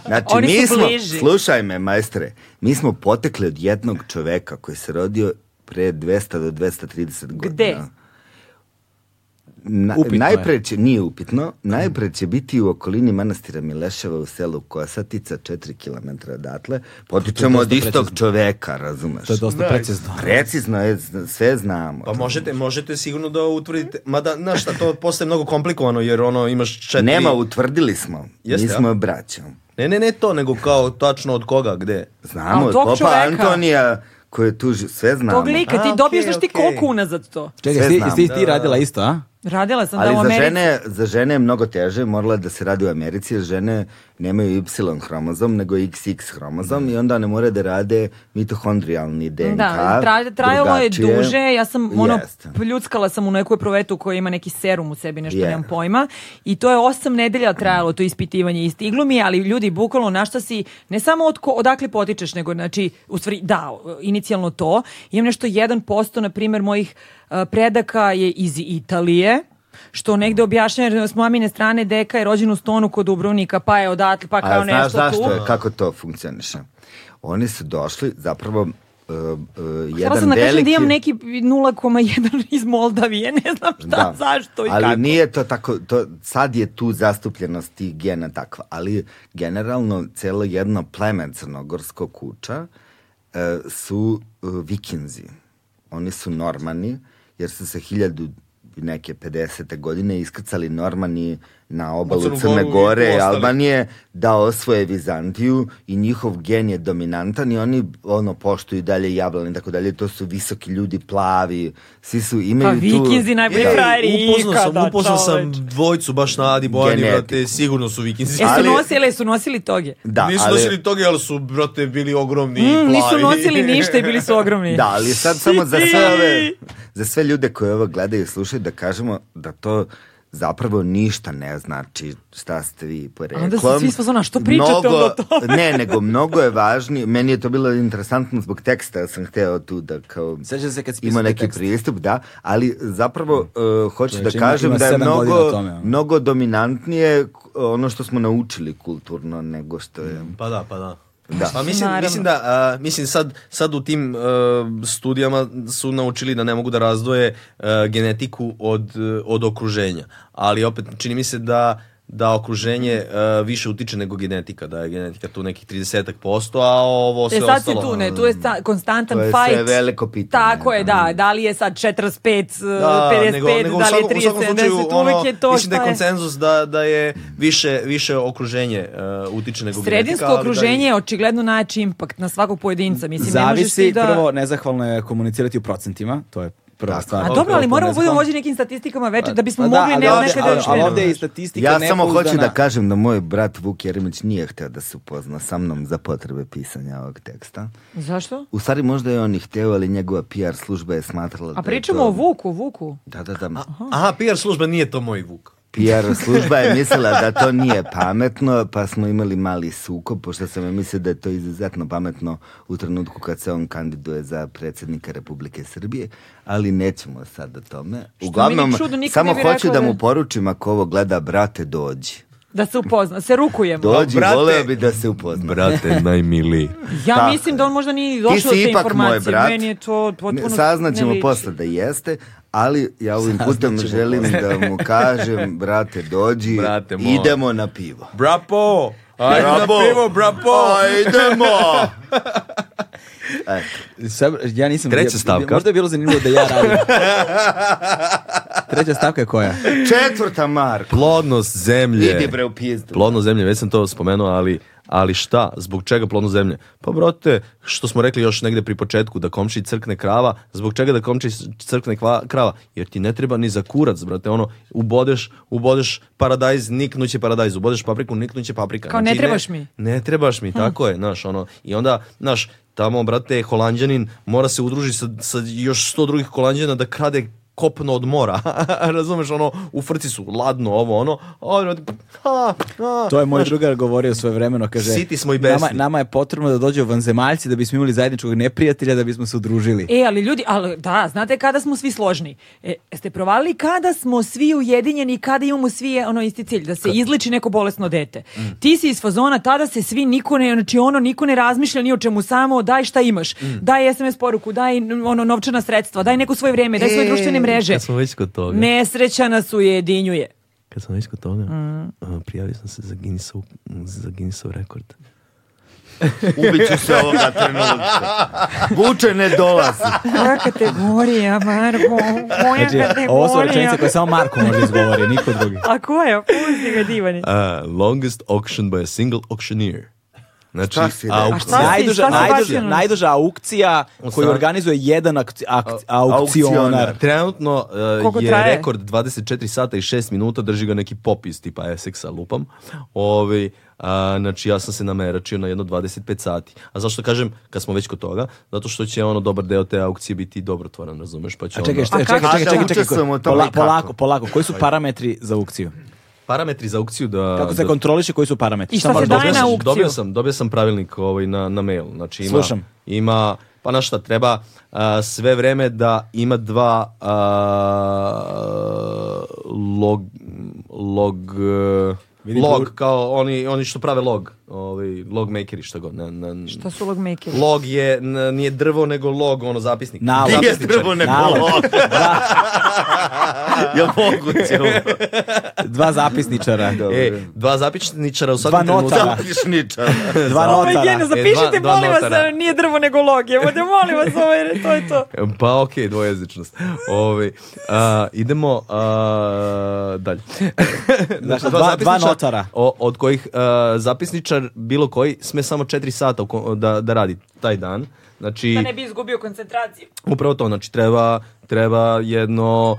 Speaker 4: Znači,
Speaker 3: Oni su
Speaker 4: mi smo,
Speaker 3: bliži.
Speaker 4: slušaj me, majstre, mi smo potekli od jednog čoveka koji se rodio pre 200 do 230 godina.
Speaker 3: Gde?
Speaker 4: Na,
Speaker 1: Upitno je.
Speaker 4: najpre će, nije upitno, najpre će biti u okolini manastira Mileševa u selu Kosatica, 4 km odatle. Potičemo od istog čoveka, razumeš?
Speaker 1: To je dosta precizno.
Speaker 4: Precizno je, zna- sve znamo.
Speaker 2: Pa možete, možete sigurno da utvrdite, mada, znaš šta, to postaje mnogo komplikovano, jer ono, imaš četiri...
Speaker 4: Nema, utvrdili smo.
Speaker 2: Jeste,
Speaker 4: mi
Speaker 2: a?
Speaker 4: smo braća.
Speaker 2: Ne, ne, ne to, nego kao tačno od koga, gde.
Speaker 4: Znamo,
Speaker 3: A od
Speaker 4: od
Speaker 3: tog
Speaker 4: Popa
Speaker 3: čoveka?
Speaker 4: Antonija, koji je tu, ži- sve znamo.
Speaker 3: Tog lika,
Speaker 2: A,
Speaker 3: ti
Speaker 2: okej,
Speaker 3: dobiješ znaš ti
Speaker 2: okej.
Speaker 3: koliko unazad to.
Speaker 1: Čekaj,
Speaker 4: Sve
Speaker 1: jesi-
Speaker 4: znam,
Speaker 1: jesi i ti
Speaker 2: da.
Speaker 1: radila isto, a?
Speaker 3: Radila sam da u
Speaker 4: Ali za
Speaker 3: Americi.
Speaker 4: žene, za žene je mnogo teže, morala je da se radi u Americi, jer žene nemaju Y hromozom, nego XX hromozom i onda ne more da rade mitohondrijalni DNK.
Speaker 3: Da, tra- trajalo je
Speaker 4: drugačije.
Speaker 3: duže, ja sam ono,
Speaker 4: Jeste.
Speaker 3: pljuckala sam u nekoj provetu koja ima neki serum u sebi, nešto
Speaker 4: Je.
Speaker 3: nemam pojma, i to je osam nedelja trajalo to ispitivanje i stiglo mi je, ali ljudi, bukvalno na šta si, ne samo od ko- odakle potičeš, nego znači, u stvari, da, inicijalno to, imam nešto 1%, na primjer, mojih uh, predaka je iz Italije, što negde objašnjava, jer s mamine strane deka je rođen u Stonu kod Dubrovnika, pa je odatle, pa kao
Speaker 4: A
Speaker 3: nešto
Speaker 4: znaš zašto
Speaker 3: tu.
Speaker 4: je, kako to funkcioniše? Oni su došli, zapravo, uh, uh,
Speaker 3: Htjela
Speaker 4: jedan
Speaker 3: sam da
Speaker 4: veliki...
Speaker 3: kažem da imam neki 0,1 iz Moldavije, ne znam šta,
Speaker 4: Da.
Speaker 3: zašto i
Speaker 4: ali
Speaker 3: kako.
Speaker 4: nije to tako, to, sad je tu zastupljenost tih gena takva, ali generalno celo jedno pleme crnogorsko kuća e, su e, vikinzi. Oni su normani, jer su se hiljadu i neke 50. godine iskrcali normani na obalu
Speaker 2: Crnu
Speaker 4: Crne
Speaker 2: Goru i
Speaker 4: Gore i
Speaker 2: ostali.
Speaker 4: Albanije da osvoje Vizantiju i njihov gen je dominantan i oni ono poštuju dalje jablane i tako dalje. To su visoki ljudi, plavi, svi su imaju
Speaker 3: Pa
Speaker 4: tu...
Speaker 3: vikinzi najbolji
Speaker 4: Da.
Speaker 3: frajeri
Speaker 14: upoznao
Speaker 3: ikada,
Speaker 14: sam, upoznao sam
Speaker 3: čoveč.
Speaker 14: dvojicu baš na Adi Bojani,
Speaker 4: Genetiku.
Speaker 14: brate, sigurno su vikinzi.
Speaker 3: E, su
Speaker 4: ali-
Speaker 3: nosili, su nosili toge.
Speaker 4: Da,
Speaker 14: nisu
Speaker 4: ali,
Speaker 14: nosili toga, ali su, brate, bili ogromni i
Speaker 3: Mm,
Speaker 14: plavi.
Speaker 3: nisu
Speaker 14: *laughs*
Speaker 3: nosili ništa i bili su ogromni.
Speaker 4: Da, ali sad samo za sve ove, za sve ljude koji ovo gledaju i slušaju da kažemo da to zapravo ništa ne znači šta ste vi poreklom.
Speaker 3: onda su svi iz fazona, "Što pričate onda o tome?"
Speaker 4: ne, nego mnogo je važnije. Meni je to bilo interesantno zbog teksta, jer sam hteo tu da kao...
Speaker 1: Sećam se kad si
Speaker 4: ima
Speaker 1: pisao taj
Speaker 4: neki
Speaker 1: tekst. Mm.
Speaker 4: pristup, da, ali zapravo uh, hoću da
Speaker 1: Čovječe, ima-
Speaker 4: kažem
Speaker 1: ima
Speaker 4: da je
Speaker 1: sedam godina
Speaker 4: mnogo,
Speaker 1: o tome, ono.
Speaker 4: mnogo dominantnije k- ono što smo naučili kulturno nego što je...
Speaker 16: Pa da, pa da.
Speaker 4: Da.
Speaker 16: Pa mislim,
Speaker 3: Naravno.
Speaker 16: mislim da, a, mislim sad, sad u tim e, studijama su naučili da ne mogu da razdvoje e, genetiku od, e, od okruženja. Ali opet, čini mi se da da okruženje e, više utiče nego genetika, da je genetika tu nekih 30%, a ovo sve
Speaker 3: E sad si
Speaker 16: ostalo... ono,
Speaker 3: tu, ne, tu je sta- konstantan
Speaker 4: To je sve
Speaker 3: fight.
Speaker 4: veliko pitanje.
Speaker 3: Tako je, da. Da li je sad 45,
Speaker 16: Da,
Speaker 3: 55,
Speaker 16: nego, nego u
Speaker 3: da li
Speaker 16: svakom, u
Speaker 3: je
Speaker 16: svakom
Speaker 3: 30,
Speaker 16: slučaju,
Speaker 3: 70,
Speaker 16: ono,
Speaker 3: uvek je to
Speaker 16: mislim da
Speaker 3: šta
Speaker 16: je
Speaker 3: je.
Speaker 16: konsenzus da, da je više, više okruženje e, utiče nego genetika.
Speaker 3: Sredinsko
Speaker 16: ali da i-
Speaker 3: okruženje je očigledno najjači impakt na svakog pojedinca. Mislim, ne možeš ti
Speaker 1: Zavisi,
Speaker 3: da...
Speaker 1: prvo, nezahvalno je komunicirati u procentima, to je prva
Speaker 4: Tako.
Speaker 1: stvar.
Speaker 3: A dobro, ali
Speaker 1: Potpuno
Speaker 3: moramo budemo
Speaker 1: nezahvalno.
Speaker 3: vođeni nekim statistikama veće da bismo
Speaker 1: Pa
Speaker 3: mogli
Speaker 1: ali
Speaker 3: ne,
Speaker 1: ovdje-
Speaker 3: nekada
Speaker 1: ali-
Speaker 3: još
Speaker 1: ali
Speaker 3: ne.
Speaker 1: ovdje je statistika
Speaker 4: Ja samo hoću da
Speaker 1: nepouzdana.
Speaker 4: kažem da moj brat Vuk Jeremić nije hteo da se upozna sa mnom za potrebe pisanja ovog teksta.
Speaker 3: Zašto?
Speaker 4: U stvari možda je on i hteo, ali njegova PR služba je smatrala da
Speaker 3: A
Speaker 4: je
Speaker 3: pričamo
Speaker 4: to-
Speaker 3: o Vuku, Vuku.
Speaker 4: Da, da, da.
Speaker 16: Aha, PR služba nije to moj vuk.
Speaker 4: PR služba je mislila da
Speaker 3: *laughs*
Speaker 4: to nije pametno, pa smo imali mali sukob, pošto sam ja mislio da je to izuzetno pametno u trenutku kad se on kandiduje za predsjednika Republike Srbije, ali nećemo sad o tome. Uglavnom,
Speaker 3: ni čudno, niko
Speaker 4: samo
Speaker 3: ne bi
Speaker 4: hoću
Speaker 3: rekao
Speaker 4: da
Speaker 3: da-
Speaker 4: mu poručim ako ovo gleda, brate, dođi.
Speaker 3: Da se upozna, se rukujemo.
Speaker 4: Dođi,
Speaker 16: brate-
Speaker 4: voleo bi da se upozna.
Speaker 2: Brate, najmiliji.
Speaker 3: ja
Speaker 4: tako
Speaker 3: mislim
Speaker 4: je.
Speaker 3: da on možda nije ni došao do
Speaker 4: Ti si
Speaker 3: te
Speaker 4: ipak moj
Speaker 3: informacije.
Speaker 4: brat.
Speaker 3: Meni je to potpuno ne
Speaker 4: Saznaćemo
Speaker 3: liči.
Speaker 4: posle da jeste, ali ja ovim putem želim da mu kažem, brate, dođi,
Speaker 16: Brate moj.
Speaker 4: idemo na pivo.
Speaker 16: Brapo! Ajde na
Speaker 4: Bravo.
Speaker 16: pivo, brapo!
Speaker 4: Idemo!
Speaker 1: Sad, ja nisam...
Speaker 2: Treća
Speaker 1: ja-
Speaker 2: stavka.
Speaker 1: Možda je bilo zanimljivo da ja
Speaker 2: *laughs*
Speaker 1: radim. Treća stavka je koja?
Speaker 4: *laughs* Četvrta Marko.
Speaker 2: Plodnost zemlje.
Speaker 4: Idi bre u pizdu.
Speaker 2: Plodno zemlje, već sam to spomenuo, ali, ali šta? Zbog čega plodno zemlje? Pa, brate, što smo rekli još negde pri početku, da komši crkne krava, zbog čega da komši crkne kva- krava? Jer ti ne treba ni za kurac, brate, ono, ubodeš, ubodeš paradajz, niknuće paradajz, ubodeš papriku, niknuće paprika. Znači,
Speaker 3: Kao, ne trebaš mi.
Speaker 2: Ne trebaš mi, tako je, znaš, ono, i onda, znaš, tamo, brate, holandjanin mora se udružiti sa, sa još sto drugih holandjana da krade kopno od mora, *laughs* razumeš, ono, u frci su, ladno, ovo, ono, a, ono, a, a,
Speaker 1: To je moj drugar govorio svoje vremeno, kaže...
Speaker 2: Siti smo i besni.
Speaker 1: Nama, nama je potrebno da dođe vanzemaljci da bismo imali zajedničkog neprijatelja, da bismo se
Speaker 3: *laughs*
Speaker 1: udružili.
Speaker 3: E, ali ljudi, ali da, znate kada smo svi složni. E, ste provalili kada smo svi ujedinjeni i kada imamo svi ono isti cilj, da se izliči neko bolesno dete.
Speaker 4: Mm.
Speaker 3: Ti si iz fazona, tada se svi niko ne, znači ono, niko ne razmišlja ni o čemu, samo daj šta imaš,
Speaker 4: Mm.
Speaker 3: daj SMS poruku, daj ono novčana sredstva, daj neko svoje vrijeme, daj
Speaker 4: E,
Speaker 3: svoje društvene mreže.
Speaker 2: Kad smo već kod toga,
Speaker 3: Nesreća nas ujedinjuje.
Speaker 2: kad smo već kod toga,
Speaker 3: Mm.
Speaker 2: a, prijavio sam se za Guinnessov, za Guinnessov rekord.
Speaker 4: Ubiću se ovoga trenutka. Vuče ne dolazi.
Speaker 3: Koja kategorija, Marko? Moja
Speaker 1: Znači, ovo su
Speaker 3: kategorija.
Speaker 1: rečenice koje samo Marko može izgovori, niko drugi.
Speaker 3: A koja? Pusti ga divani.
Speaker 2: A, longest auction by a single auctioneer. Znači,
Speaker 4: Šta si rekao?
Speaker 2: au-
Speaker 3: A šta si-
Speaker 1: Najduža,
Speaker 3: šta si
Speaker 1: najduža,
Speaker 3: bacio na-
Speaker 1: najduža aukcija koju
Speaker 2: strane-
Speaker 1: organizuje jedan akci- akci- aukcionar.
Speaker 4: aukcionar.
Speaker 2: Trenutno e,
Speaker 3: Koliko
Speaker 2: je
Speaker 3: traje?
Speaker 2: rekord 24 sata i 6 minuta, drži ga neki popis tipa Essexa lupam. Ovi, a, znači ja sam se nameračio na jedno 25 sati. A zašto kažem, kad smo već kod toga, zato što će ono dobar deo te aukcije biti dobrotvoran, razumeš? Pa će
Speaker 1: A čekaj,
Speaker 2: ono-
Speaker 1: šta, čekaj,
Speaker 4: kako-
Speaker 1: čekaj,
Speaker 4: A
Speaker 1: čekaj,
Speaker 4: da
Speaker 1: čekaj,
Speaker 4: učestvujemo u
Speaker 1: ko-
Speaker 4: tome
Speaker 1: pola-
Speaker 4: i kako?
Speaker 1: polako, polako. Koji su parametri za aukciju?
Speaker 2: Parametri za aukciju da...
Speaker 1: Kako se
Speaker 2: da-
Speaker 1: kontroliše koji su parametri?
Speaker 3: I šta
Speaker 1: Samo
Speaker 3: se
Speaker 1: da-
Speaker 3: daje
Speaker 2: dobio
Speaker 3: na
Speaker 2: sam,
Speaker 3: aukciju.
Speaker 2: Dobio sam, dobio sam pravilnik ovaj na, na mail. Znači ima,
Speaker 1: Slušam.
Speaker 2: Ima, pa na šta, treba a, sve vreme da ima dva a, log, log, e,
Speaker 1: Vidi
Speaker 2: log,
Speaker 1: tu-
Speaker 2: kao oni, oni što prave log, ovaj, log makeri, šta god. Ne, ne,
Speaker 3: Šta su logmakeri?
Speaker 2: Log je, n- nije drvo, nego log, ono zapisnik.
Speaker 1: Nalog.
Speaker 2: Zapisničar.
Speaker 4: Nije drvo nego
Speaker 1: Nalog.
Speaker 4: log. Ja moguće ovo.
Speaker 1: *laughs* Dva
Speaker 4: *laughs*
Speaker 1: zapisničara.
Speaker 2: *laughs* E, dva zapisničara u
Speaker 1: Dva
Speaker 2: svakom trenutku.
Speaker 1: notara.
Speaker 4: Pišničar.
Speaker 1: Dva
Speaker 3: Ovo je
Speaker 1: notara.
Speaker 3: jedno,
Speaker 2: E, dva-
Speaker 3: Pa zapišite,
Speaker 2: dva
Speaker 3: molim vas,
Speaker 2: notara.
Speaker 3: nije drvo nego log. Evo da molim vas, ovo je, to je to.
Speaker 2: Pa okej, dvojezičnost. Ovaj, a, idemo a, dalje.
Speaker 1: Znači, dva-
Speaker 2: Dva
Speaker 1: dva
Speaker 2: zapisničara,
Speaker 1: notara.
Speaker 2: o- od kojih a, zapisničar bilo koji sme samo 4 sata u ko- da, da radi taj dan. Znači,
Speaker 3: Da Pa ne bi izgubio koncentraciju.
Speaker 2: upravo to, znači treba, treba jedno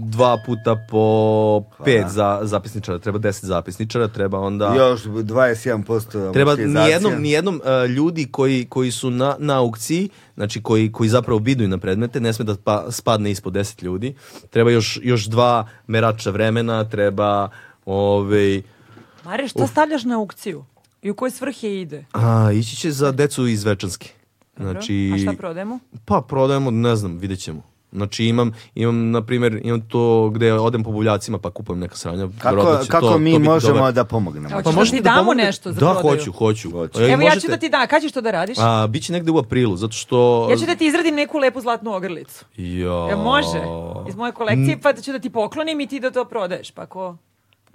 Speaker 2: dva puta po
Speaker 1: Pa
Speaker 2: pet za, zapisničara, treba deset zapisničara, treba onda...
Speaker 4: Još 21%
Speaker 2: Treba
Speaker 4: amortizacija.
Speaker 2: nijednom, nijednom e, ljudi koji, koji su na, na aukciji, znači koji, koji zapravo biduju na predmete, ne sme da pa, spadne ispod 10 ljudi. Treba još, još dva merača vremena, treba ovaj,
Speaker 3: Mare, šta stavljaš na aukciju? I u koje svrhe ide?
Speaker 2: a, ići će za decu iz Večanske. Znači,
Speaker 3: A šta prodajemo?
Speaker 2: Pa prodajemo, ne znam, vidjet ćemo. Znači imam, imam na primjer, imam to gde odem po buvljacima pa kupujem neka sranja.
Speaker 4: Kako,
Speaker 2: Verovatno će
Speaker 4: kako
Speaker 2: to-
Speaker 4: mi
Speaker 2: to biti
Speaker 4: možemo
Speaker 2: dobar.
Speaker 4: Pa da pomognemo?
Speaker 3: Hoćeš da
Speaker 2: možete
Speaker 3: ti damo
Speaker 2: pomognete?
Speaker 3: nešto za
Speaker 2: Da,
Speaker 3: prodaju?
Speaker 2: hoću, hoću.
Speaker 4: Hoću.
Speaker 2: E,
Speaker 3: Evo ja ću
Speaker 2: možete-
Speaker 3: da ti da, kad ćeš to da radiš?
Speaker 2: A, bit će negde u aprilu, zato što...
Speaker 3: Ja ću da ti izradim neku lepu zlatnu ogrlicu.
Speaker 2: Jo.
Speaker 3: Ja može? Iz moje kolekcije, pa ću da ti poklonim i ti da to prodaješ. Pa ko?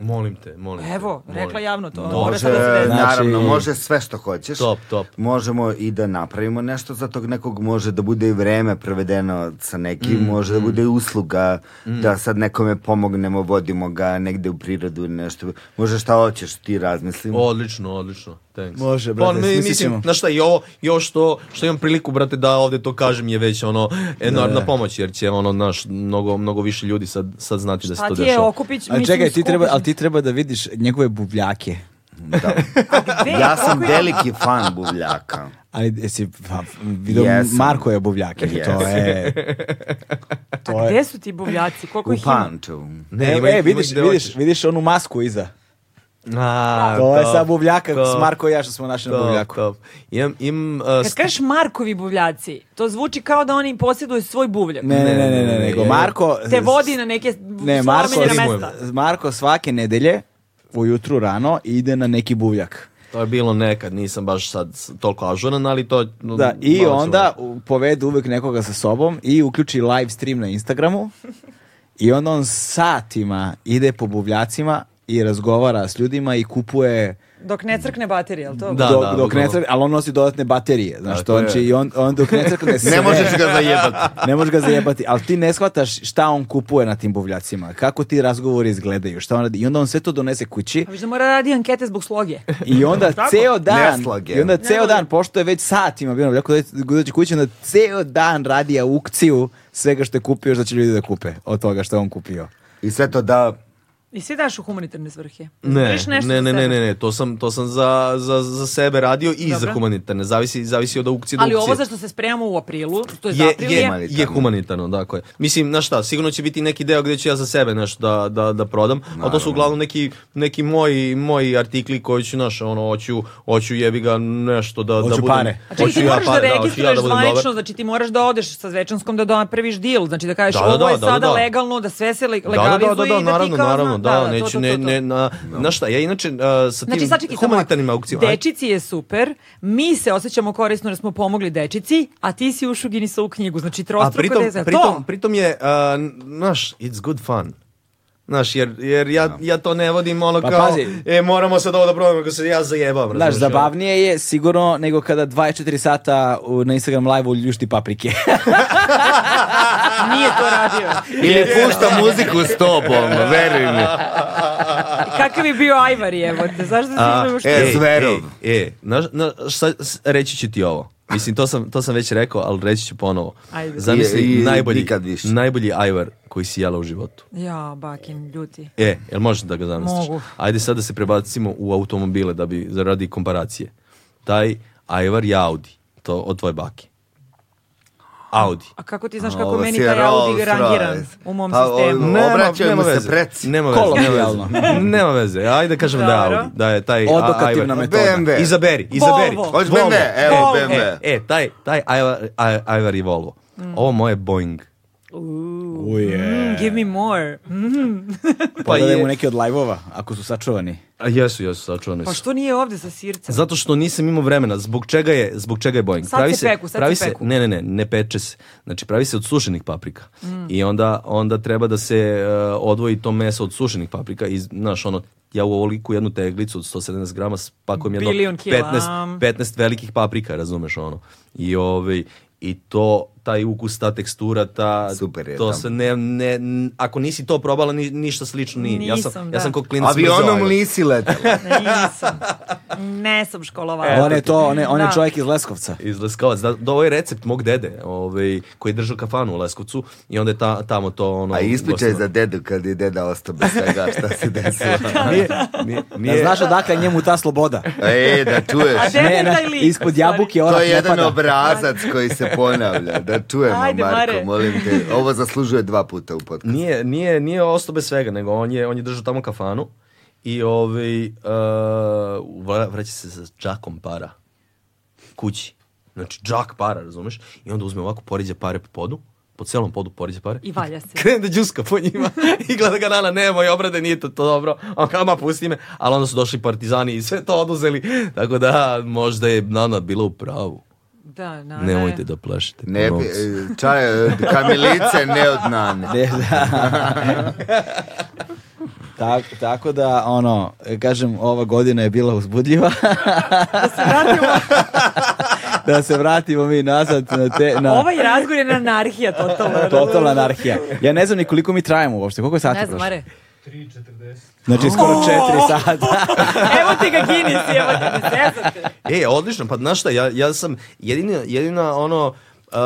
Speaker 2: Molim te, molim te.
Speaker 3: Evo,
Speaker 2: molim.
Speaker 3: rekla javno to. Mora
Speaker 4: Može,
Speaker 3: sad da se desi.
Speaker 4: naravno, može sve što hoćeš.
Speaker 2: Top, top.
Speaker 4: Možemo i da napravimo nešto za tog nekog, može da bude i vreme prevedeno sa nekim, može da bude i usluga, da sad nekome pomognemo, vodimo ga negde u prirodu ili nešto. Može šta hoćeš, ti razmislim.
Speaker 2: Odlično, odlično. Thanks. Pa,
Speaker 1: Može, brate,
Speaker 2: mi-
Speaker 1: smislit ćemo.
Speaker 2: mislim, znaš šta, i ovo, i ovo što, što imam priliku, brate, da ovde to kažem je već ono enormna pomoć, jer će ono, naš, mnogo, mnogo više ljudi sad, sad znati da se
Speaker 3: Pa
Speaker 2: to
Speaker 3: ti je
Speaker 2: dešava.
Speaker 3: okupić,
Speaker 1: Ali
Speaker 3: mislim,
Speaker 1: čekaj, ti treba,
Speaker 3: skupiš-
Speaker 1: ali ti treba da vidiš njegove buvljake.
Speaker 4: Da.
Speaker 3: Gde?
Speaker 4: Ja sam
Speaker 3: Koliko je-
Speaker 4: veliki fan buvljaka.
Speaker 1: Ali jesi pa, vidio
Speaker 4: Jesam.
Speaker 1: Marko je buvljake. To
Speaker 4: Jesam.
Speaker 1: je... To
Speaker 3: Gde su ti buvljaci? Koliko
Speaker 4: U
Speaker 3: ih ima?
Speaker 4: Pančevu.
Speaker 2: Ne,
Speaker 1: E,
Speaker 2: ima ih-
Speaker 1: e,
Speaker 2: ima
Speaker 1: vidiš,
Speaker 2: ih gde
Speaker 1: vidiš,
Speaker 2: hoćeš.
Speaker 1: vidiš onu masku iza.
Speaker 2: A,
Speaker 1: To je
Speaker 2: top,
Speaker 1: sa buvljaka,
Speaker 2: top,
Speaker 1: s Marko i ja što smo našli na
Speaker 2: top,
Speaker 1: buvljaku.
Speaker 2: top. Imam, imam, uh,
Speaker 3: Kad
Speaker 2: st-
Speaker 3: kažeš Markovi buvljaci, to zvuči kao da oni posjeduju svoj buvljak.
Speaker 1: Ne, ne, ne, ne, ne, nego Marko...
Speaker 3: Te vodi na neke
Speaker 1: Ne, Marko,
Speaker 3: slomenjena mesta.
Speaker 1: Marko svake nedelje ujutru rano ide na neki buvljak.
Speaker 2: to je bilo nekad, nisam baš sad s- toliko ažuran, ali to... no,
Speaker 1: Da, i
Speaker 2: malo ću-
Speaker 1: onda u- povede uvek nekoga sa sobom i uključi live stream na Instagramu i onda on satima ide po buvljacima i razgovara s ljudima i kupuje
Speaker 3: Dok ne crkne baterija, jel to?
Speaker 2: Da,
Speaker 1: dok,
Speaker 2: da,
Speaker 1: dok ne
Speaker 2: bukvalno.
Speaker 1: crkne, ali on nosi dodatne baterije, znaš, to
Speaker 2: Tako
Speaker 1: on će
Speaker 2: je.
Speaker 1: i on, on dok ne
Speaker 2: *laughs*
Speaker 1: crkne sve.
Speaker 4: Ne možeš ga zajebati.
Speaker 1: Ne možeš ga zajebati, ali ti ne shvataš šta on kupuje na tim buvljacima, kako ti razgovori izgledaju, šta on radi. I onda on sve to donese kući
Speaker 3: A Pa viš da mora radi ankete zbog sloge.
Speaker 1: i onda ceo dan,
Speaker 4: Neslage.
Speaker 1: i onda ceo dan, pošto je već satima bio na buvljaku, dođe kući, onda ceo dan radi aukciju svega što je kupio, što će ljudi da kupe od toga što je on kupio.
Speaker 4: I sve to da...
Speaker 3: I sve daš u humanitarne svrhe.
Speaker 2: Ne,
Speaker 3: Držiš
Speaker 2: ne,
Speaker 3: nešto
Speaker 2: ne,
Speaker 3: za
Speaker 2: ne, ne,
Speaker 3: sebe.
Speaker 2: ne, to sam, to sam za, za, za sebe radio i
Speaker 3: Dobro.
Speaker 2: za humanitarne, zavisi, zavisi od aukcije do
Speaker 3: Ali ovo
Speaker 2: aukcije.
Speaker 3: za što se spremamo u aprilu, to je, za
Speaker 2: je,
Speaker 3: april,
Speaker 2: je,
Speaker 3: je,
Speaker 2: humanitarno. je humanitarno, dakle. Mislim, znaš šta, sigurno će biti neki deo gdje ću ja za sebe nešto da, da, da prodam, a to su uglavnom neki, neki moji, moji artikli koji ću, znaš, ono, hoću, hoću jebi ga nešto da, da
Speaker 1: Hoću
Speaker 2: budem...
Speaker 1: pare.
Speaker 3: A čekaj, ti
Speaker 2: ja
Speaker 3: moraš da
Speaker 2: pare, hoću
Speaker 3: registruješ
Speaker 2: budem dobar.
Speaker 3: zvanično, znači ti moraš da odeš sa Zvečanskom da napraviš deal, znači da kažeš
Speaker 2: Da, da,
Speaker 3: ovo je
Speaker 2: da, da,
Speaker 3: sada
Speaker 2: da.
Speaker 3: legalno, da sve se le-
Speaker 2: Da, da,
Speaker 3: legalizuje
Speaker 2: da, da,
Speaker 3: i da
Speaker 2: da,
Speaker 3: ti
Speaker 2: naravno,
Speaker 3: kao zna-
Speaker 2: naravno, da,
Speaker 3: da, da, to,
Speaker 2: neću,
Speaker 3: to,
Speaker 2: ne,
Speaker 3: to, to.
Speaker 2: ne, na, znaš šta, ja inače uh, sa tim
Speaker 3: Znači, sad čekaj, samo
Speaker 2: humanitarnim
Speaker 3: ovako.
Speaker 2: aukcijama... ajde.
Speaker 3: Dečici je super, mi se osjećamo korisno jer smo pomogli dečici, a ti si ušao Guinnessovu knjigu, znači
Speaker 2: A
Speaker 3: trostruko
Speaker 2: pritom,
Speaker 3: da je za
Speaker 2: pritom,
Speaker 3: to.
Speaker 2: pritom je, a, znaš, it's good fun. Znaš, jer, jer ja, ja to ne vodim ono
Speaker 1: Pa
Speaker 2: kao,
Speaker 1: pazi.
Speaker 2: e, moramo sad ovo da probamo, ako se ja zajebam. ono.
Speaker 1: Znaš,
Speaker 2: razumeš,
Speaker 1: zabavnije je sigurno nego kada 24 sata u- na Instagram live-u ljušti
Speaker 2: *laughs*
Speaker 1: paprike.
Speaker 3: Nije to radio.
Speaker 4: Ili pušta muziku stopom, veruj mi.
Speaker 3: pa Kakav je bio Ajvar, evo te, zašto si
Speaker 2: A,
Speaker 3: izmenuo što-
Speaker 4: E, zverov.
Speaker 2: E, e, znaš, na, šta, s- reći ću ti ovo. Mislim, to sam, to sam već rekao, ali reći ću ponovo.
Speaker 3: Ajde.
Speaker 2: Zamisli,
Speaker 4: I- i
Speaker 2: najbolji,
Speaker 4: nikad više.
Speaker 2: najbolji ajvar koji si jela u životu.
Speaker 3: Ja, bakin, ljuti.
Speaker 2: E, jel možeš da ga zamisliš?
Speaker 3: Mogu.
Speaker 2: Ajde sad da se prebacimo u automobile da bi zaradi komparacije. Taj ajvar je Audi, to od tvoje bake. Audi.
Speaker 3: A kako ti znaš kako
Speaker 4: Ovo
Speaker 3: meni
Speaker 4: si
Speaker 3: taj Audi
Speaker 4: Rolls
Speaker 3: rangiran
Speaker 4: Royce.
Speaker 3: u mom
Speaker 4: Pa,
Speaker 3: sistemu?
Speaker 4: ovo- Obraćaju mu se preci.
Speaker 2: Nema veze, nema
Speaker 1: Kolokvijalno.
Speaker 2: veze. *laughs* nema veze. Ajde kažem da je
Speaker 3: Dobro.
Speaker 2: Audi, da je taj a-
Speaker 1: Odokativna
Speaker 2: ajvar.
Speaker 1: metoda.
Speaker 4: BMW.
Speaker 2: Izaberi, izaberi.
Speaker 3: Volvo.
Speaker 4: Hoćeš BMW? Evo,
Speaker 2: Volvo.
Speaker 4: BMW.
Speaker 2: E, e, taj, taj ajvar, aj- ajvar i Volvo. Ovo moje je Boeing.
Speaker 3: Mm, give me more. Mm.
Speaker 2: Pa
Speaker 1: Pogledajmo
Speaker 2: je-
Speaker 1: neki od live-ova, ako su sačuvani.
Speaker 2: A jesu, jesu, sačuvane
Speaker 3: Pa
Speaker 2: su.
Speaker 3: što nije ovdje sa sircem?
Speaker 2: Zato što nisam imao vremena. Zbog čega je, zbog čega je Boeing?
Speaker 3: Sad se peku, sad se
Speaker 2: pravi
Speaker 3: peku.
Speaker 2: Ne, ne, ne, ne peče se. Znači, pravi se od sušenih paprika.
Speaker 3: Mm.
Speaker 2: I onda, onda treba da se e, odvoji to meso od sušenih paprika. I, znaš, ono, ja u ovoliku jednu teglicu od 170 grama spakujem jedno
Speaker 3: Bilion kila.
Speaker 2: 15, 15 velikih paprika, razumeš, ono. I, ovaj, i to taj ukus, ta tekstura, ta,
Speaker 4: Super je
Speaker 2: to
Speaker 4: tamo.
Speaker 2: se ne, ne, n- ako nisi to probala, ni, ništa slično nije. ja sam,
Speaker 3: Nisam,
Speaker 2: ja
Speaker 3: da.
Speaker 2: sam kao klinac
Speaker 4: Avionom
Speaker 2: mrzeo, evo.
Speaker 4: nisi letela.
Speaker 3: Nisam. Ne sam školovala.
Speaker 2: E,
Speaker 1: On je to, on je, on je
Speaker 3: Da.
Speaker 1: čovjek iz Leskovca.
Speaker 2: iz Leskovac. Da, da, ovo je recept mog dede, ovaj, koji je držao kafanu u Leskovcu i onda je ta, tamo to ono...
Speaker 4: A ispričaj
Speaker 2: gostovao.
Speaker 4: za dedu kad je deda ostao bez svega šta se desilo.
Speaker 2: Nije,
Speaker 1: Da
Speaker 2: nije,
Speaker 1: znaš odakle njemu ta
Speaker 2: *laughs*
Speaker 1: sloboda.
Speaker 4: E, da čuješ.
Speaker 3: A dede taj lik, u
Speaker 1: ispod
Speaker 3: stvari.
Speaker 1: jabuke
Speaker 4: To
Speaker 1: orah
Speaker 4: je
Speaker 1: ne
Speaker 4: jedan
Speaker 1: pada.
Speaker 4: obrazac koji se ponavlja. Da čujemo,
Speaker 3: Ajde,
Speaker 4: Marko,
Speaker 3: Mare.
Speaker 4: molim te. Ovo zaslužuje dva puta u podcastu.
Speaker 2: nije, nije, nije ostao bez svega, nego on je, on je držao tamo kafanu i ovaj, uh, vra- vraća se sa džakom para kući. Znači, džak para, razumeš? I onda uzme ovako, poređa pare po podu, po celom podu poređa pare.
Speaker 3: I valja se.
Speaker 2: krene da đuska po njima i gleda ga Nana, nemoj obrade, nije to, to dobro, a on kao, ma pusti me, ali onda su došli partizani i sve to oduzeli, tako da možda je Nana bila u pravu.
Speaker 3: Da, na,
Speaker 2: Nemojte da plašite.
Speaker 4: Ne, bi-
Speaker 2: ponovce.
Speaker 4: e, čaj, e, kamilice ne od nane.
Speaker 1: Ne, da. Tak, tako da, ono, kažem, ova godina je bila uzbudljiva. *laughs* da se vratimo mi nazad na te... Na...
Speaker 3: Ovaj razgovor je anarhija
Speaker 2: *laughs*
Speaker 3: totalna.
Speaker 1: Totalna anarhija. Ja ne znam ni koliko mi trajamo uopšte. Koliko je sati
Speaker 3: Ne znam, Oh!
Speaker 1: prošlo?
Speaker 3: Mare.
Speaker 1: Znači skoro četiri sata.
Speaker 3: *laughs* Evo ti ga Guinness, evo ti ga zezate.
Speaker 2: E, odlično, pa znaš šta, ja, ja sam jedina, jedina ono, um,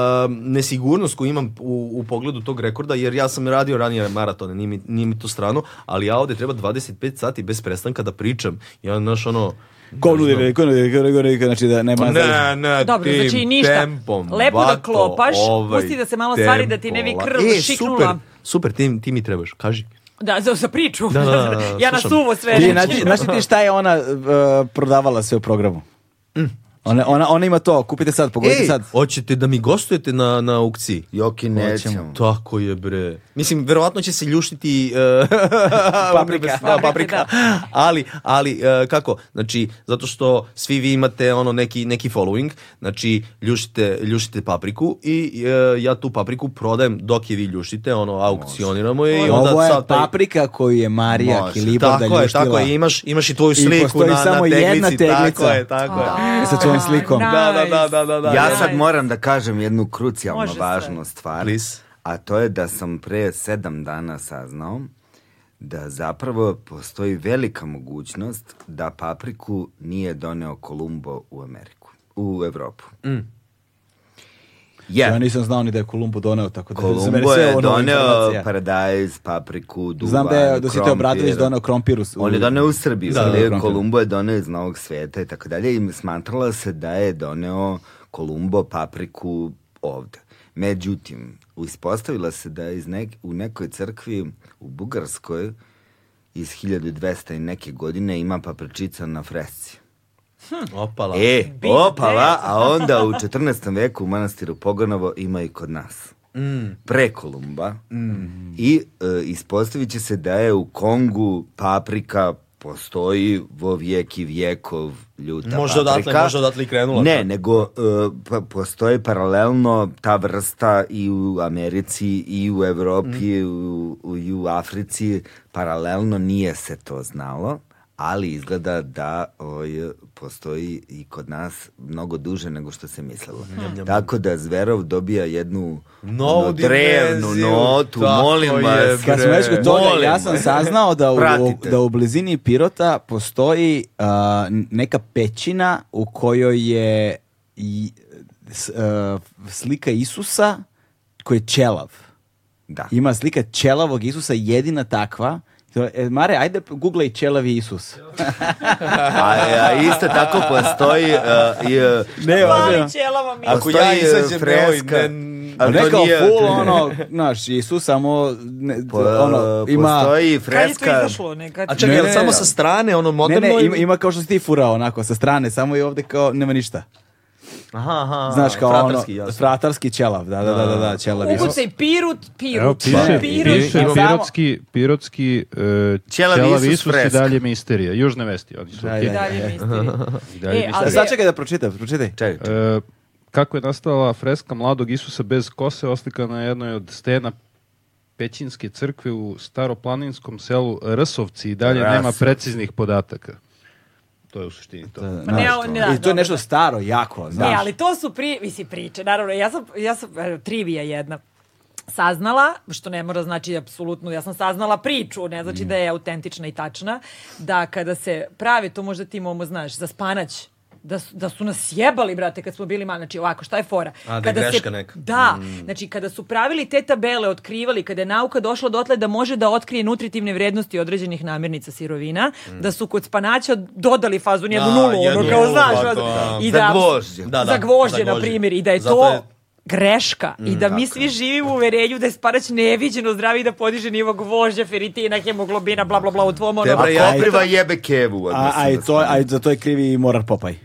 Speaker 2: nesigurnost koju imam u, u pogledu tog rekorda, jer ja sam radio ranije maratone, nije mi, nije mi to strano, ali ja ovde treba 25 sati bez prestanka da pričam. Ja, znaš, ono...
Speaker 1: Ko
Speaker 2: ne znam.
Speaker 1: nudi, ko nudi, ko nudi, znači da nema...
Speaker 2: Pa Ne, ne,
Speaker 3: Pa Dobro,
Speaker 2: tim
Speaker 3: znači ništa.
Speaker 2: tempom,
Speaker 3: Lepo da
Speaker 2: vato,
Speaker 3: klopaš,
Speaker 2: ovaj,
Speaker 3: pusti da se malo stvari da ti ne bi
Speaker 2: tempo,
Speaker 3: krv
Speaker 2: la- e,
Speaker 3: šiknula.
Speaker 2: Super, super ti, ti mi trebaš, kaži.
Speaker 3: Da, za, za priču.
Speaker 2: Da, da, da,
Speaker 3: ja na
Speaker 2: slušam.
Speaker 3: suvo sve
Speaker 1: Ti,
Speaker 3: reći.
Speaker 1: znači, znaš li ti šta je ona uh, prodavala sve u programu?
Speaker 3: Mm.
Speaker 1: Ona, ona, ona ima to, kupite sad, pogodite
Speaker 2: Ej,
Speaker 1: sad.
Speaker 2: E, hoćete da mi gostujete na, na aukciji?
Speaker 4: Joki, nećemo.
Speaker 2: Tako je bre. Mislim, verovatno će se ljuštiti *laughs* e, paprika, da, paprika. Ali, ali e, kako? Znači, zato što svi vi imate ono neki neki following, znači ljuštite, ljuštite papriku i e, ja tu papriku prodajem dok je vi ljuštite, ono aukcioniramo je i onda
Speaker 1: Ovo je
Speaker 2: sad taj-
Speaker 1: paprika koju je Marija
Speaker 4: Može.
Speaker 1: Kilibov da
Speaker 2: Tako je,
Speaker 1: ljuštila.
Speaker 2: tako je, imaš, imaš i tvoju
Speaker 1: I
Speaker 2: sliku
Speaker 1: postoji
Speaker 2: na,
Speaker 1: samo
Speaker 2: na teglici,
Speaker 1: jedna
Speaker 2: tako
Speaker 1: teglica.
Speaker 2: je, tako je.
Speaker 1: Sa tvojom slikom.
Speaker 2: Da, da, da, da, da, da.
Speaker 4: Ja sad moram da kažem jednu krucijalno
Speaker 3: Može se.
Speaker 4: važnu stvar.
Speaker 2: Please.
Speaker 4: A to je da sam pre sedam dana saznao da zapravo postoji velika mogućnost da papriku nije doneo Kolumbo u Ameriku, u Evropu. Jer
Speaker 1: Ja nisam znao ni da je Kolumbo doneo, tako da za mene
Speaker 4: Kolumbo
Speaker 1: sve
Speaker 4: je
Speaker 1: ono
Speaker 4: doneo
Speaker 1: informacija.
Speaker 4: paradajz, papriku, duvan,
Speaker 1: Znam da je Dositeo
Speaker 4: krompir.
Speaker 1: Obradović doneo krompirus.
Speaker 4: On je doneo u Srbiju,
Speaker 1: Da,
Speaker 4: ali
Speaker 1: da, krompir.
Speaker 4: Kolumbo je doneo iz Novog sveta i tako dalje i smatrala se da je doneo Kolumbo papriku ovde. Međutim, ispostavila se da je iz nek- u nekoj crkvi u Bugarskoj iz 1200 i neke godine ima papričica na fresci.
Speaker 2: Opala.
Speaker 4: E, opala, a onda u 14. veku u manastiru Pogonovo ima i kod nas.
Speaker 2: Mm.
Speaker 4: Pre Kolumba. I e, ispostavit će se da je u Kongu paprika postoji vo vijek i vijekov ljuta
Speaker 2: Možda
Speaker 4: paprika.
Speaker 2: odatle- možda odatle i krenula.
Speaker 4: Ne, nego e, pa- postoji paralelno ta vrsta i u Americi i u Evropi u, u, i u Africi paralelno nije se to znalo ali izgleda da oj, postoji i kod nas mnogo duže nego što se mislilo. Tako da Zverov dobija jednu
Speaker 2: Novu
Speaker 4: ono, drevnu
Speaker 2: dimenziju.
Speaker 4: notu,
Speaker 2: Tako
Speaker 4: molim
Speaker 2: je,
Speaker 4: vas.
Speaker 2: bre.
Speaker 1: Kad smo već kod toga,
Speaker 4: Molim
Speaker 1: ja sam
Speaker 4: vas.
Speaker 1: saznao da u,
Speaker 4: Pratite.
Speaker 1: da u blizini Pirota postoji a, neka pećina u kojoj je i- s- a, slika Isusa koji je ćelav. *laughs*
Speaker 4: Da.
Speaker 1: Ima slika ćelavog Isusa, jedina takva. To- e, Mare, ajde googlej ćelavi Isus.
Speaker 4: A, a isto tako postoji uh, i, uh,
Speaker 1: Ne, ozbiljno.
Speaker 3: Ali ćelava mi.
Speaker 2: Ako
Speaker 4: postoji,
Speaker 2: ja
Speaker 4: uh,
Speaker 2: izađem,
Speaker 4: freska.
Speaker 2: evo i ne-
Speaker 4: Ali to
Speaker 1: Rekao
Speaker 4: nije- *laughs*
Speaker 1: full ono, znaš, Isus samo ne,
Speaker 4: Po-
Speaker 1: ono, ima...
Speaker 4: Postoji
Speaker 3: Kad je to
Speaker 4: freska...
Speaker 3: izašlo? Nekad?
Speaker 2: A čekaj,
Speaker 1: Ne,
Speaker 2: jel
Speaker 1: ne,
Speaker 2: samo
Speaker 1: ne.
Speaker 2: sa strane, ono
Speaker 1: Ne,
Speaker 2: moderno?
Speaker 1: ne, ima,
Speaker 2: ili-
Speaker 1: ima kao što si ti furao, onako, sa strane, samo i ovde kao, nema ništa.
Speaker 2: Aha, aha,
Speaker 1: Znaš, kao
Speaker 2: fratarski,
Speaker 1: ono,
Speaker 2: jasno.
Speaker 1: fratarski ćelav, da, da, da, da, da ćelav Isus.
Speaker 3: Ukucaj pirut, pirut.
Speaker 7: Evo, piše,
Speaker 3: pirut.
Speaker 7: piše
Speaker 1: Samo-
Speaker 7: pirotski, pirotski uh,
Speaker 4: Ćelav Isus
Speaker 7: i
Speaker 4: freska.
Speaker 7: dalje misterija. Južne vesti, oni su
Speaker 1: Da,
Speaker 7: okej.
Speaker 1: da, da.
Speaker 3: Dalje misterij.
Speaker 7: I dalje
Speaker 3: E,
Speaker 1: Da,
Speaker 3: ali-
Speaker 1: sad čekaj da pročitam, pročitaj.
Speaker 4: Čekaj,
Speaker 7: E, kako je nastala freska mladog Isusa bez kose oslikana na jednoj od stena Pećinske crkve u staroplaninskom selu Rsovci i dalje nema
Speaker 4: Rasovci.
Speaker 7: preciznih podataka. To je u suštini
Speaker 4: *laughs*
Speaker 7: to. *laughs*
Speaker 1: Znaš,
Speaker 3: ne, o- ne, da,
Speaker 1: I to je
Speaker 3: dobro,
Speaker 1: nešto
Speaker 3: da.
Speaker 1: staro, jako. Znaš.
Speaker 3: Ne, ali to su pri, mislim, priče. Naravno, ja sam, ja sam evo, trivija jedna saznala, što ne mora znači apsolutno, ja sam saznala priču, ne
Speaker 12: Mm.
Speaker 3: znači da je autentična i tačna, da kada se pravi, to možda ti momo znaš, za spanać, da su, da su nas jebali, brate, kad smo bili mali. Znači, ovako, šta je fora?
Speaker 12: A, da je
Speaker 3: kada
Speaker 12: greška neka. Mm.
Speaker 3: Da, znači, kada su pravili te tabele, otkrivali, kada je nauka došla dotle da može da otkrije nutritivne vrednosti određenih namirnica sirovina,
Speaker 12: Mm.
Speaker 3: da su kod spanaća dodali fazu jednu
Speaker 12: Da,
Speaker 3: nulu,
Speaker 12: jednu
Speaker 3: ono kao,
Speaker 12: nulu,
Speaker 3: znaš,
Speaker 12: pa
Speaker 3: ono,
Speaker 12: to-
Speaker 3: i
Speaker 4: Za
Speaker 3: da,
Speaker 4: gvožđe.
Speaker 12: Da, da,
Speaker 3: za gvožđe,
Speaker 12: za
Speaker 3: na
Speaker 12: gvožđe.
Speaker 3: primjer, i da je
Speaker 12: Zato
Speaker 3: to
Speaker 12: je-
Speaker 3: greška i da mi svi živimo u uverenju da je sparać neviđeno zdravi i da podiže nivo gvožđa, feritina, hemoglobina, bla, bla, bla, u tvom ono.
Speaker 4: A
Speaker 12: Dobre, ja-
Speaker 4: kopriva jebe kevu.
Speaker 1: A, a, i to, a i za to je krivi i Morar Popaj.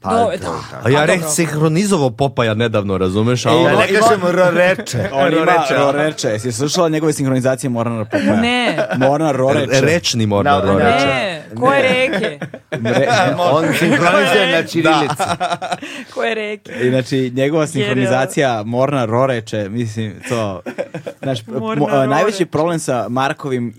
Speaker 4: Pa,
Speaker 3: Do-
Speaker 4: to je
Speaker 3: da.
Speaker 4: tako.
Speaker 12: A ja
Speaker 3: dobro.
Speaker 12: reh sinhronizovao Popaja nedavno, razumeš?
Speaker 2: E,
Speaker 12: A
Speaker 4: Da
Speaker 12: ono,
Speaker 4: ne kažemo
Speaker 3: *laughs*
Speaker 4: roreče.
Speaker 1: On ima
Speaker 12: Roreče, a?
Speaker 1: Roreče. ono. Jesi slušala njegove sinhronizacije Morana Popaja?
Speaker 3: Ne.
Speaker 1: Mornar Roreče.
Speaker 12: rečni mornar.
Speaker 4: Da,
Speaker 12: ono.
Speaker 3: Ne, koje reke?
Speaker 1: *laughs* Re-
Speaker 4: On sinhronizuje na čirilici.
Speaker 3: Koje reke?
Speaker 1: I znači, njegova sinhronizacija Morna Roreče, mislim, to... Znaš,
Speaker 3: Mornar
Speaker 1: mo- a, najveći
Speaker 3: Roreče.
Speaker 1: problem sa Markovim e,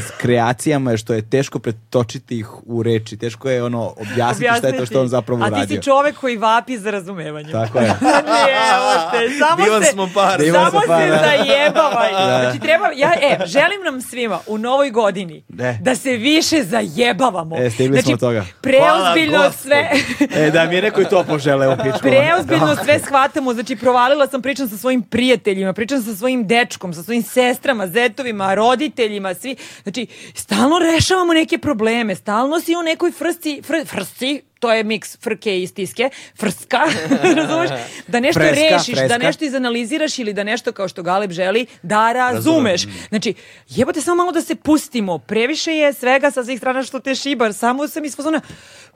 Speaker 1: s kreacijama je što je teško pretočiti ih u reči. Teško je ono objasniti, šta je to što on zapravo
Speaker 3: A ti
Speaker 1: uradio.
Speaker 3: si čovek koji vapi za razumevanje.
Speaker 1: Tako
Speaker 3: *laughs*
Speaker 1: je.
Speaker 3: Evo te, samo
Speaker 12: Divan
Speaker 3: se,
Speaker 12: smo par.
Speaker 1: Divan
Speaker 3: samo
Speaker 1: smo
Speaker 3: se
Speaker 1: par, da.
Speaker 3: zajebavaj. Znači, treba, ja, e, želim nam svima u novoj godini
Speaker 1: Ne.
Speaker 3: da se više zajebavamo.
Speaker 1: E, stigli smo
Speaker 3: znači,
Speaker 1: od toga.
Speaker 3: Preozbiljno
Speaker 12: Hvala
Speaker 3: sve... *laughs*
Speaker 1: E, da mi je neko i to poželeo u pičku.
Speaker 3: Preozbiljno sve shvatamo, znači provalila sam, pričam sa svojim prijateljima, pričam sa svojim dečkom, sa svojim sestrama, zetovima, roditeljima, svi. Znači, stalno rešavamo neke probleme, stalno si u nekoj frsci, fr, frsci, to je miks frke i stiske, frska, *laughs* razumeš? Da nešto
Speaker 1: Freska,
Speaker 3: rešiš,
Speaker 1: freska.
Speaker 3: da nešto izanaliziraš ili da nešto kao što Galeb želi, da razumeš. Znači, jebote samo malo da se pustimo, previše je svega sa svih strana što te šibar, samo sam iz fazona,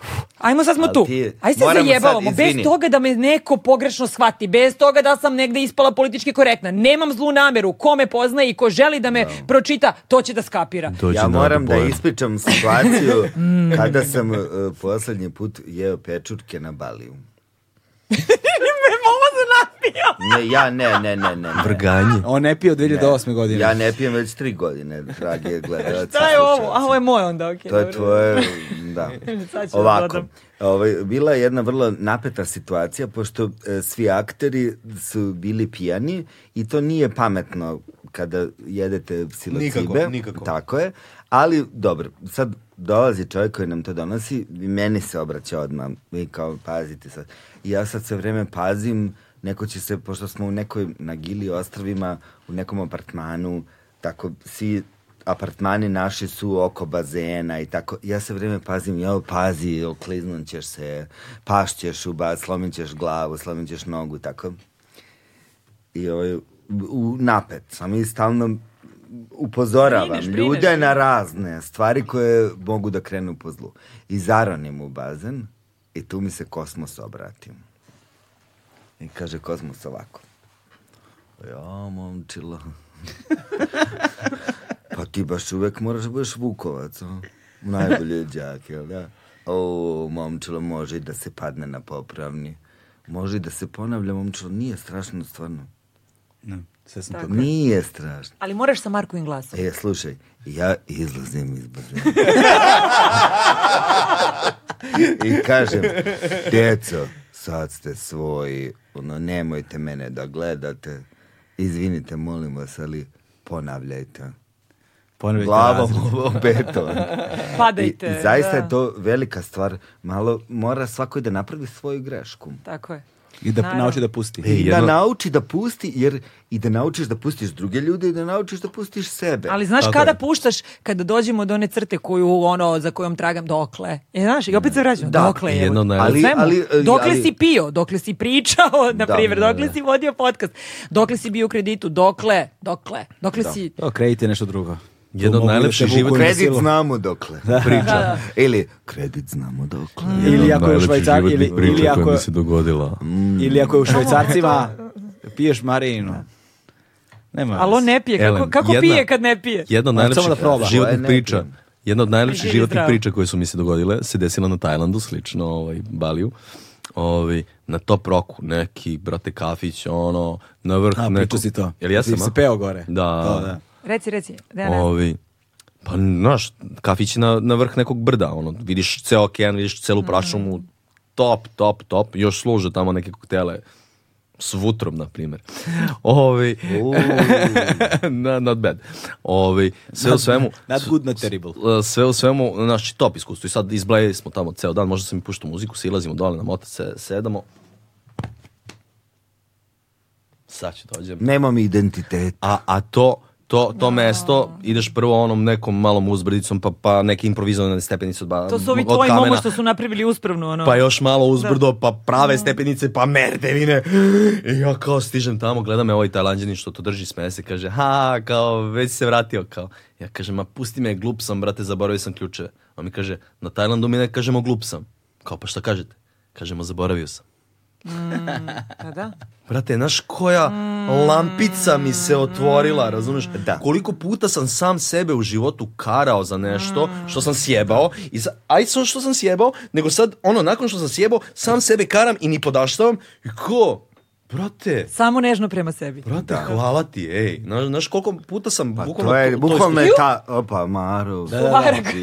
Speaker 3: "Uf, ajmo sad smo
Speaker 4: Ali
Speaker 3: tu,
Speaker 4: ti-
Speaker 3: aj se
Speaker 4: moramo sad,
Speaker 3: zajebavamo, bez
Speaker 4: izvini.
Speaker 3: toga toga da me neko pogrešno shvati, bez toga da sam negde ispala politički korektna. Nemam zlu nameru, ko me poznaje i ko želi da me pročita, to će da skapira. *laughs*
Speaker 12: Dođi
Speaker 4: Ja
Speaker 12: na
Speaker 4: moram da
Speaker 12: odbor.
Speaker 4: ispričam situaciju
Speaker 3: Mm.
Speaker 4: kada sam uh, poslednji put jeo pečurke na Baliju.
Speaker 3: Me momo zanapio.
Speaker 4: *laughs* Ne, ja ne, ne, ne, ne. ne.
Speaker 12: Vrganje.
Speaker 1: On ne pije od 2008. godine.
Speaker 4: Ja ne pijem već tri godine, dragi gledalci.
Speaker 3: Šta je ovo? A
Speaker 4: slušalci.
Speaker 3: ovo je moje onda, okej.
Speaker 4: To je
Speaker 3: dobro.
Speaker 4: tvoje, da.
Speaker 3: *laughs* Sad ću da
Speaker 4: Ovako,
Speaker 3: dodam.
Speaker 4: ovaj, bila je jedna vrlo napeta situacija, pošto e, svi akteri su bili pijani i to nije pametno kada jedete psilocibe.
Speaker 12: Nikako, nikako.
Speaker 4: Tako je, ali dobro, sad dolazi čovjek koji nam to donosi i meni se obraća odmah i kao pazite sad. I ja sad sve vreme pazim, neko će se, pošto smo u nekoj na Gili ostravima, u nekom apartmanu, tako svi apartmani naši su oko bazena i tako. Ja se vreme pazim, ja pazi, okliznut ćeš se, pašćeš u baz, slomit ćeš glavu, slomit ćeš nogu, i tako i ovaj, u napet sam i stalno upozoravam
Speaker 3: Brineš, brineš,
Speaker 4: ljude
Speaker 3: brineš.
Speaker 4: na razne stvari koje mogu da krenu po zlu. I zaronim u bazen i tu mi se kosmos obrati. I kaže kosmos ovako. Ja, momčila. pa ti baš uvek moraš da budeš vukovac, a? Najbolje đak, jel da? O, momčilo, može i da se padne na popravni. Može i da se ponavlja, momčilo, nije strašno, stvarno. Dakle,
Speaker 1: Sve sam
Speaker 3: Tako.
Speaker 4: Nije strašno.
Speaker 3: Ali moraš sa Markovim glasom.
Speaker 4: E, slušaj, ja izlazim iz bazena. I kažem, djeco, sad ste svoji, ono, nemojte mene da gledate. Izvinite, molim vas, ali ponavljajte.
Speaker 1: Ponovite
Speaker 4: Glavom
Speaker 1: razred.
Speaker 4: u beton.
Speaker 3: *laughs* Padajte.
Speaker 4: I, I zaista
Speaker 3: da.
Speaker 4: je to velika stvar. Malo mora svako da napravi svoju grešku.
Speaker 3: Tako je.
Speaker 1: I da
Speaker 3: Naravno.
Speaker 1: nauči da pusti.
Speaker 4: I da
Speaker 12: jedno-
Speaker 4: nauči da pusti, jer i da naučiš da pustiš druge ljude i da naučiš da pustiš sebe.
Speaker 3: Ali znaš kada puštaš, kada dođemo do one crte koju, ono, za kojom tragam, dokle? E, znaš, i opet se vraćamo,
Speaker 4: Da,
Speaker 3: dokle je.
Speaker 12: jedno od naj-
Speaker 4: ali,
Speaker 3: Svemu.
Speaker 4: ali, ali-
Speaker 3: dokle
Speaker 4: ali-
Speaker 3: si pio, dokle si pričao, *laughs* na
Speaker 4: Da,
Speaker 3: primjer,
Speaker 4: da,
Speaker 3: dokle
Speaker 4: da.
Speaker 3: si vodio podcast, dokle si bio u kreditu, dokle, dokle, dokle si...
Speaker 1: To kredit je nešto drugo. Tu
Speaker 12: Jedan od
Speaker 1: mogu da
Speaker 12: najlepših
Speaker 1: te vuku na
Speaker 12: životnih-
Speaker 4: Kredit
Speaker 1: silu.
Speaker 4: znamo dokle. Priča. Ili kredit znamo dokle.
Speaker 1: Ili ako je u Švajcar, ili, ili, ako,
Speaker 14: mi se dogodila.
Speaker 4: Mm.
Speaker 1: ili ako je u
Speaker 3: *laughs*
Speaker 1: Švajcarcima, piješ marinu. Nema.
Speaker 3: Ali on ne pije, kako,
Speaker 12: Elem,
Speaker 3: kako
Speaker 12: jedna-
Speaker 3: pije kad ne pije?
Speaker 12: Jedna od
Speaker 1: Samo
Speaker 12: najlepših
Speaker 1: da proba.
Speaker 4: Ovo je
Speaker 12: životnih
Speaker 4: ne
Speaker 12: priča.
Speaker 4: pijem.
Speaker 12: Jedna od najlepših
Speaker 3: Živi
Speaker 12: životnih
Speaker 3: zdravo.
Speaker 12: priča koje su mi se dogodile se desila na Tajlandu, slično ovaj, Baliju. Ovaj, na top roku, neki, brate, kafić, ono, na vrh.
Speaker 1: A,
Speaker 12: neko-
Speaker 1: pričao si to.
Speaker 12: Jel ja
Speaker 1: Ti
Speaker 12: sam,
Speaker 1: si peo gore.
Speaker 12: Da.
Speaker 1: To, da.
Speaker 3: Reci, reci. Da, ne.
Speaker 12: Ovi, Pa, znaš, kafić je na, na vrh nekog brda, ono, vidiš ceo okean, vidiš celu prašumu, top, top, top, još služe tamo neke koktele s vutrom, na primjer. *laughs* Ovi, *laughs* na, not bad. Ovi, sve u svemu,
Speaker 1: Not good, not terrible.
Speaker 12: e, sve u svemu, naš top iskustvo. I sad izblejili smo tamo ceo dan, možda sam i puštao muziku, silazimo dole na motac, se, sedamo. Sad ću dođem.
Speaker 4: Nemam identitet.
Speaker 12: A, a to, to, to mesto, ideš prvo onom nekom malom uzbrdicom, pa, pa neke improvizovane stepenice od, ba,
Speaker 3: To su ovi
Speaker 12: od
Speaker 3: tvoji
Speaker 12: kamena,
Speaker 3: momo što su napravili uspravno, ono.
Speaker 12: pa još malo uzbrdo, pa prave stepenice, pa merdevine. I ja kao stižem tamo, gleda me ovaj tajlanđanin što to drži smese se, kaže, ha, kao, već si se vratio, kao. Ja kažem, ma pusti me, glup sam, brate, zaboravio sam ključeve. On mi kaže, na Tajlandu mi ne kažemo glup sam. Kao, pa šta kažete? Kažemo, zaboravio sam.
Speaker 3: Pa da.
Speaker 12: Brate, znaš koja lampica mi se otvorila, razumeš?
Speaker 4: Da.
Speaker 12: Koliko puta sam sam sebe u životu karao za nešto što sam sjebao. I sa, aj sad što sam sjebao, nego sad, ono, nakon što sam sjebao, sam sebe karam i ni podaštavam. I ko? Brate,
Speaker 3: Samo nežno prema sebi.
Speaker 12: brate, hvala ti, ej. Znaš, znaš koliko puta sam
Speaker 4: Pa
Speaker 12: bukvalno...
Speaker 4: to je,
Speaker 12: to- to
Speaker 4: bukvalno je ta, opa, Marov. Da,
Speaker 3: Suvarak.
Speaker 4: *laughs*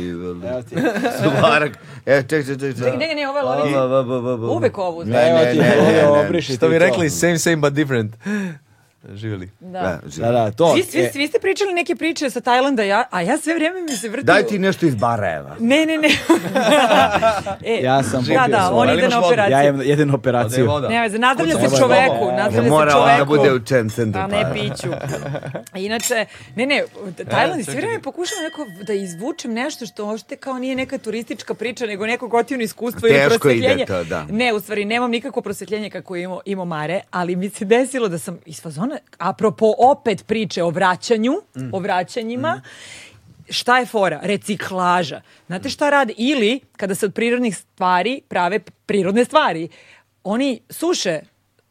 Speaker 4: Suvarak. Evo, ček, ček, ček. ček.
Speaker 17: Ne, ne, ne, ovo je Lorenzo.
Speaker 4: Ba, ba, ba, ba, ba.
Speaker 17: Uvek ovu.
Speaker 4: Ne,
Speaker 1: Evo
Speaker 4: ne,
Speaker 1: ti,
Speaker 4: ne,
Speaker 1: ovo,
Speaker 4: ne, ne.
Speaker 1: obriši ti
Speaker 12: Što bi
Speaker 1: to.
Speaker 12: rekli, same, same, but different. Živjeli.
Speaker 4: Da,
Speaker 17: Da.
Speaker 1: Da,
Speaker 4: živi.
Speaker 1: da, to.
Speaker 3: Svi, svi,
Speaker 1: e,
Speaker 3: svi ste pričali neke priče sa Tajlanda, ja, a ja sve vrijeme mi se vrti...
Speaker 4: Daj ti nešto iz Barajeva.
Speaker 3: Ne, ne, ne. e,
Speaker 1: Ja sam
Speaker 3: Da,
Speaker 1: popio
Speaker 3: da,
Speaker 1: svoje.
Speaker 3: on
Speaker 12: Ali
Speaker 3: ide
Speaker 12: imaš
Speaker 3: na
Speaker 12: vodu?
Speaker 1: Ja
Speaker 3: operaciju.
Speaker 1: imam jednu operaciju.
Speaker 3: Ne, veze, nadavlja
Speaker 1: Kucam,
Speaker 3: se
Speaker 1: ovaj,
Speaker 3: čoveku,
Speaker 1: ovaj,
Speaker 4: Ne
Speaker 3: nadavlja se
Speaker 4: mora on da
Speaker 3: čoveku.
Speaker 4: bude u čem centru
Speaker 3: Pa ne
Speaker 4: para.
Speaker 3: piću. Inače, ne, ne, Tajland, sve vreme pokušam neko da izvučem nešto što uopšte kao nije neka turistička priča, nego neko gotivno iskustvo ili
Speaker 4: Teško ide
Speaker 3: prosvetljenje.
Speaker 4: to, da.
Speaker 3: Ne, u stvari, nemam nikakvo prosvetljenje kako je imao, imao Mare, ali mi se desilo da sam iz fazona, apropo opet priče o vraćanju, o vraćanjima,
Speaker 4: Mhm.
Speaker 3: šta je fora? Reciklaža. Znate šta rade? Ili, kada se od prirodnih stvari prave prirodne stvari, oni suše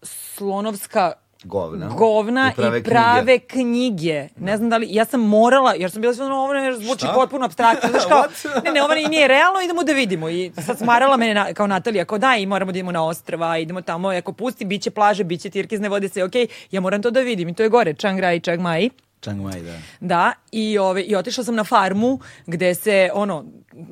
Speaker 3: slonovska
Speaker 4: Govna.
Speaker 3: govna i prave,
Speaker 4: prave
Speaker 3: knjige. Ne znam da li, ja sam morala, jer sam bila sve ono, ovo ne zvuči potpuno abstraktno. *laughs* Znaš kao, ne, ne, ovo nije realno, idemo da vidimo. I sad smarala mene na- kao Natalija, kao daj, moramo da idemo na ostrava, idemo tamo, ako pusti, bit će plaže, bit će tirkizne vode, sve okej, ja moram to da vidim. I to je gore, Chiang Rai, Chiang Mai.
Speaker 1: Chiang Mai, da.
Speaker 3: Da, i, ove, i otišla sam na farmu gde se, ono,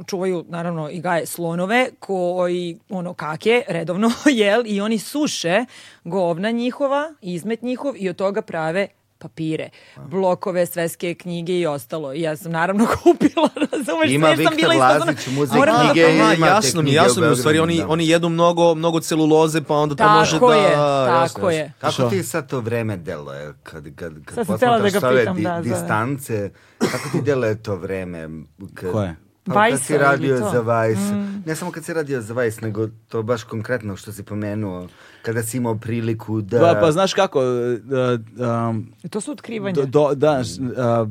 Speaker 3: čuvaju, naravno, i gaje slonove koji, ono, kake, redovno, *laughs* jel, i oni suše govna njihova, izmet njihov i od toga prave papire, blokove, sveske knjige i ostalo. I ja sam naravno *laughs* kupila, razumeš,
Speaker 4: Ima
Speaker 3: sve što sam
Speaker 4: Viktor
Speaker 3: bila ispazana-
Speaker 4: Lazić, muze
Speaker 3: Moram da-
Speaker 4: knjige,
Speaker 12: Aha,
Speaker 4: ima te
Speaker 12: jasno mi,
Speaker 4: knjige
Speaker 12: jasno
Speaker 4: u
Speaker 12: mi, u stvari oni,
Speaker 4: Beogradu, da.
Speaker 12: oni jedu mnogo, mnogo celuloze, pa onda to može
Speaker 3: Tako
Speaker 12: da...
Speaker 3: je,
Speaker 12: jasno,
Speaker 3: tako
Speaker 12: jasno.
Speaker 3: je.
Speaker 4: Kako ti sad to vreme deluje? Kad, kad, kad
Speaker 17: Sad sam htjela da ga
Speaker 4: posmatraš ove
Speaker 17: pitam, da, za-
Speaker 4: distance, kako ti deluje to vreme? Kad,
Speaker 1: Koje?
Speaker 4: Pa kad
Speaker 17: Vajsa
Speaker 4: si radio
Speaker 17: ili to? Mm.
Speaker 4: za Vajs. Ne samo kad si radio za Vajs, nego to baš konkretno što si pomenuo. Kada si imao priliku da...
Speaker 1: Pa, pa znaš kako, e, e, um,
Speaker 17: To su otkrivanja.
Speaker 1: do, do, da, s- a,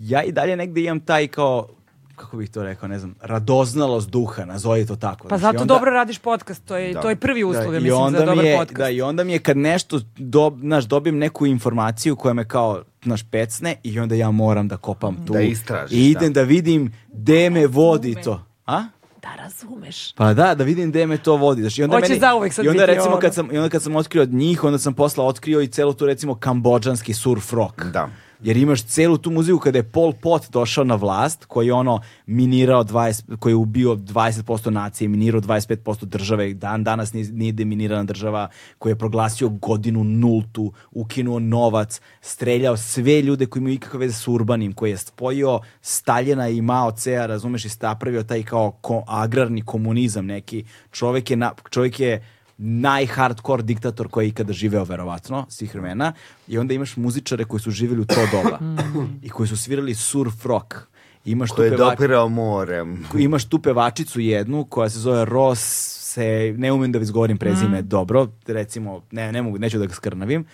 Speaker 1: ja i dalje negdje imam taj kao, kako bih to rekao, ne znam, radoznalost duha, nazovi to tako.
Speaker 3: Pa
Speaker 1: znaš, i
Speaker 3: zato
Speaker 1: onda-
Speaker 3: dobro radiš podcast, to je, to je prvi uslov, ja
Speaker 1: i
Speaker 3: mislim,
Speaker 1: onda
Speaker 3: za dobar
Speaker 1: mi je,
Speaker 3: podcast.
Speaker 1: Da, i onda mi je kad nešto, dob, znaš, dobijem neku informaciju koja me kao, znaš, pecne i onda ja moram da kopam tu.
Speaker 4: Da istražiš,
Speaker 1: I idem da, vidim gde me vodi to. A?
Speaker 17: Da razumeš.
Speaker 1: Pa da, da vidim gde me to vodi. Znaš, i onda
Speaker 3: Hoće
Speaker 1: meni,
Speaker 3: zauvek sad
Speaker 1: I onda
Speaker 3: biti
Speaker 1: recimo
Speaker 3: ono.
Speaker 1: kad sam, i onda kad sam otkrio od njih, onda sam posla otkrio i celu tu recimo kambodžanski surf rock.
Speaker 4: Da.
Speaker 1: Jer imaš celu tu muziku kada je Pol Pot došao na vlast, koji je ono minirao 20, koji je ubio 20% nacije, minirao 25% države, dan danas nije, nije deminirana država, koji je proglasio godinu nultu, ukinuo novac, streljao sve ljude koji imaju ikakve veze s urbanim, koji je spojio Staljena i Mao Cea, razumeš, i napravio taj kao ko- agrarni komunizam neki. Čovjek je, na, čovjek je najhardcore diktator koji je ikada živeo, verovatno, svih vremena. I onda imaš muzičare koji su živjeli u to doba i koji su svirali surf rock. Imaš tu,
Speaker 4: Koje je
Speaker 1: peva-
Speaker 4: dopirao morem.
Speaker 1: imaš tu pevačicu jednu koja se zove Ros se ne umem da izgovorim prezime
Speaker 3: Mm.
Speaker 1: dobro, recimo, ne, ne mogu, neću da ga skrnavim,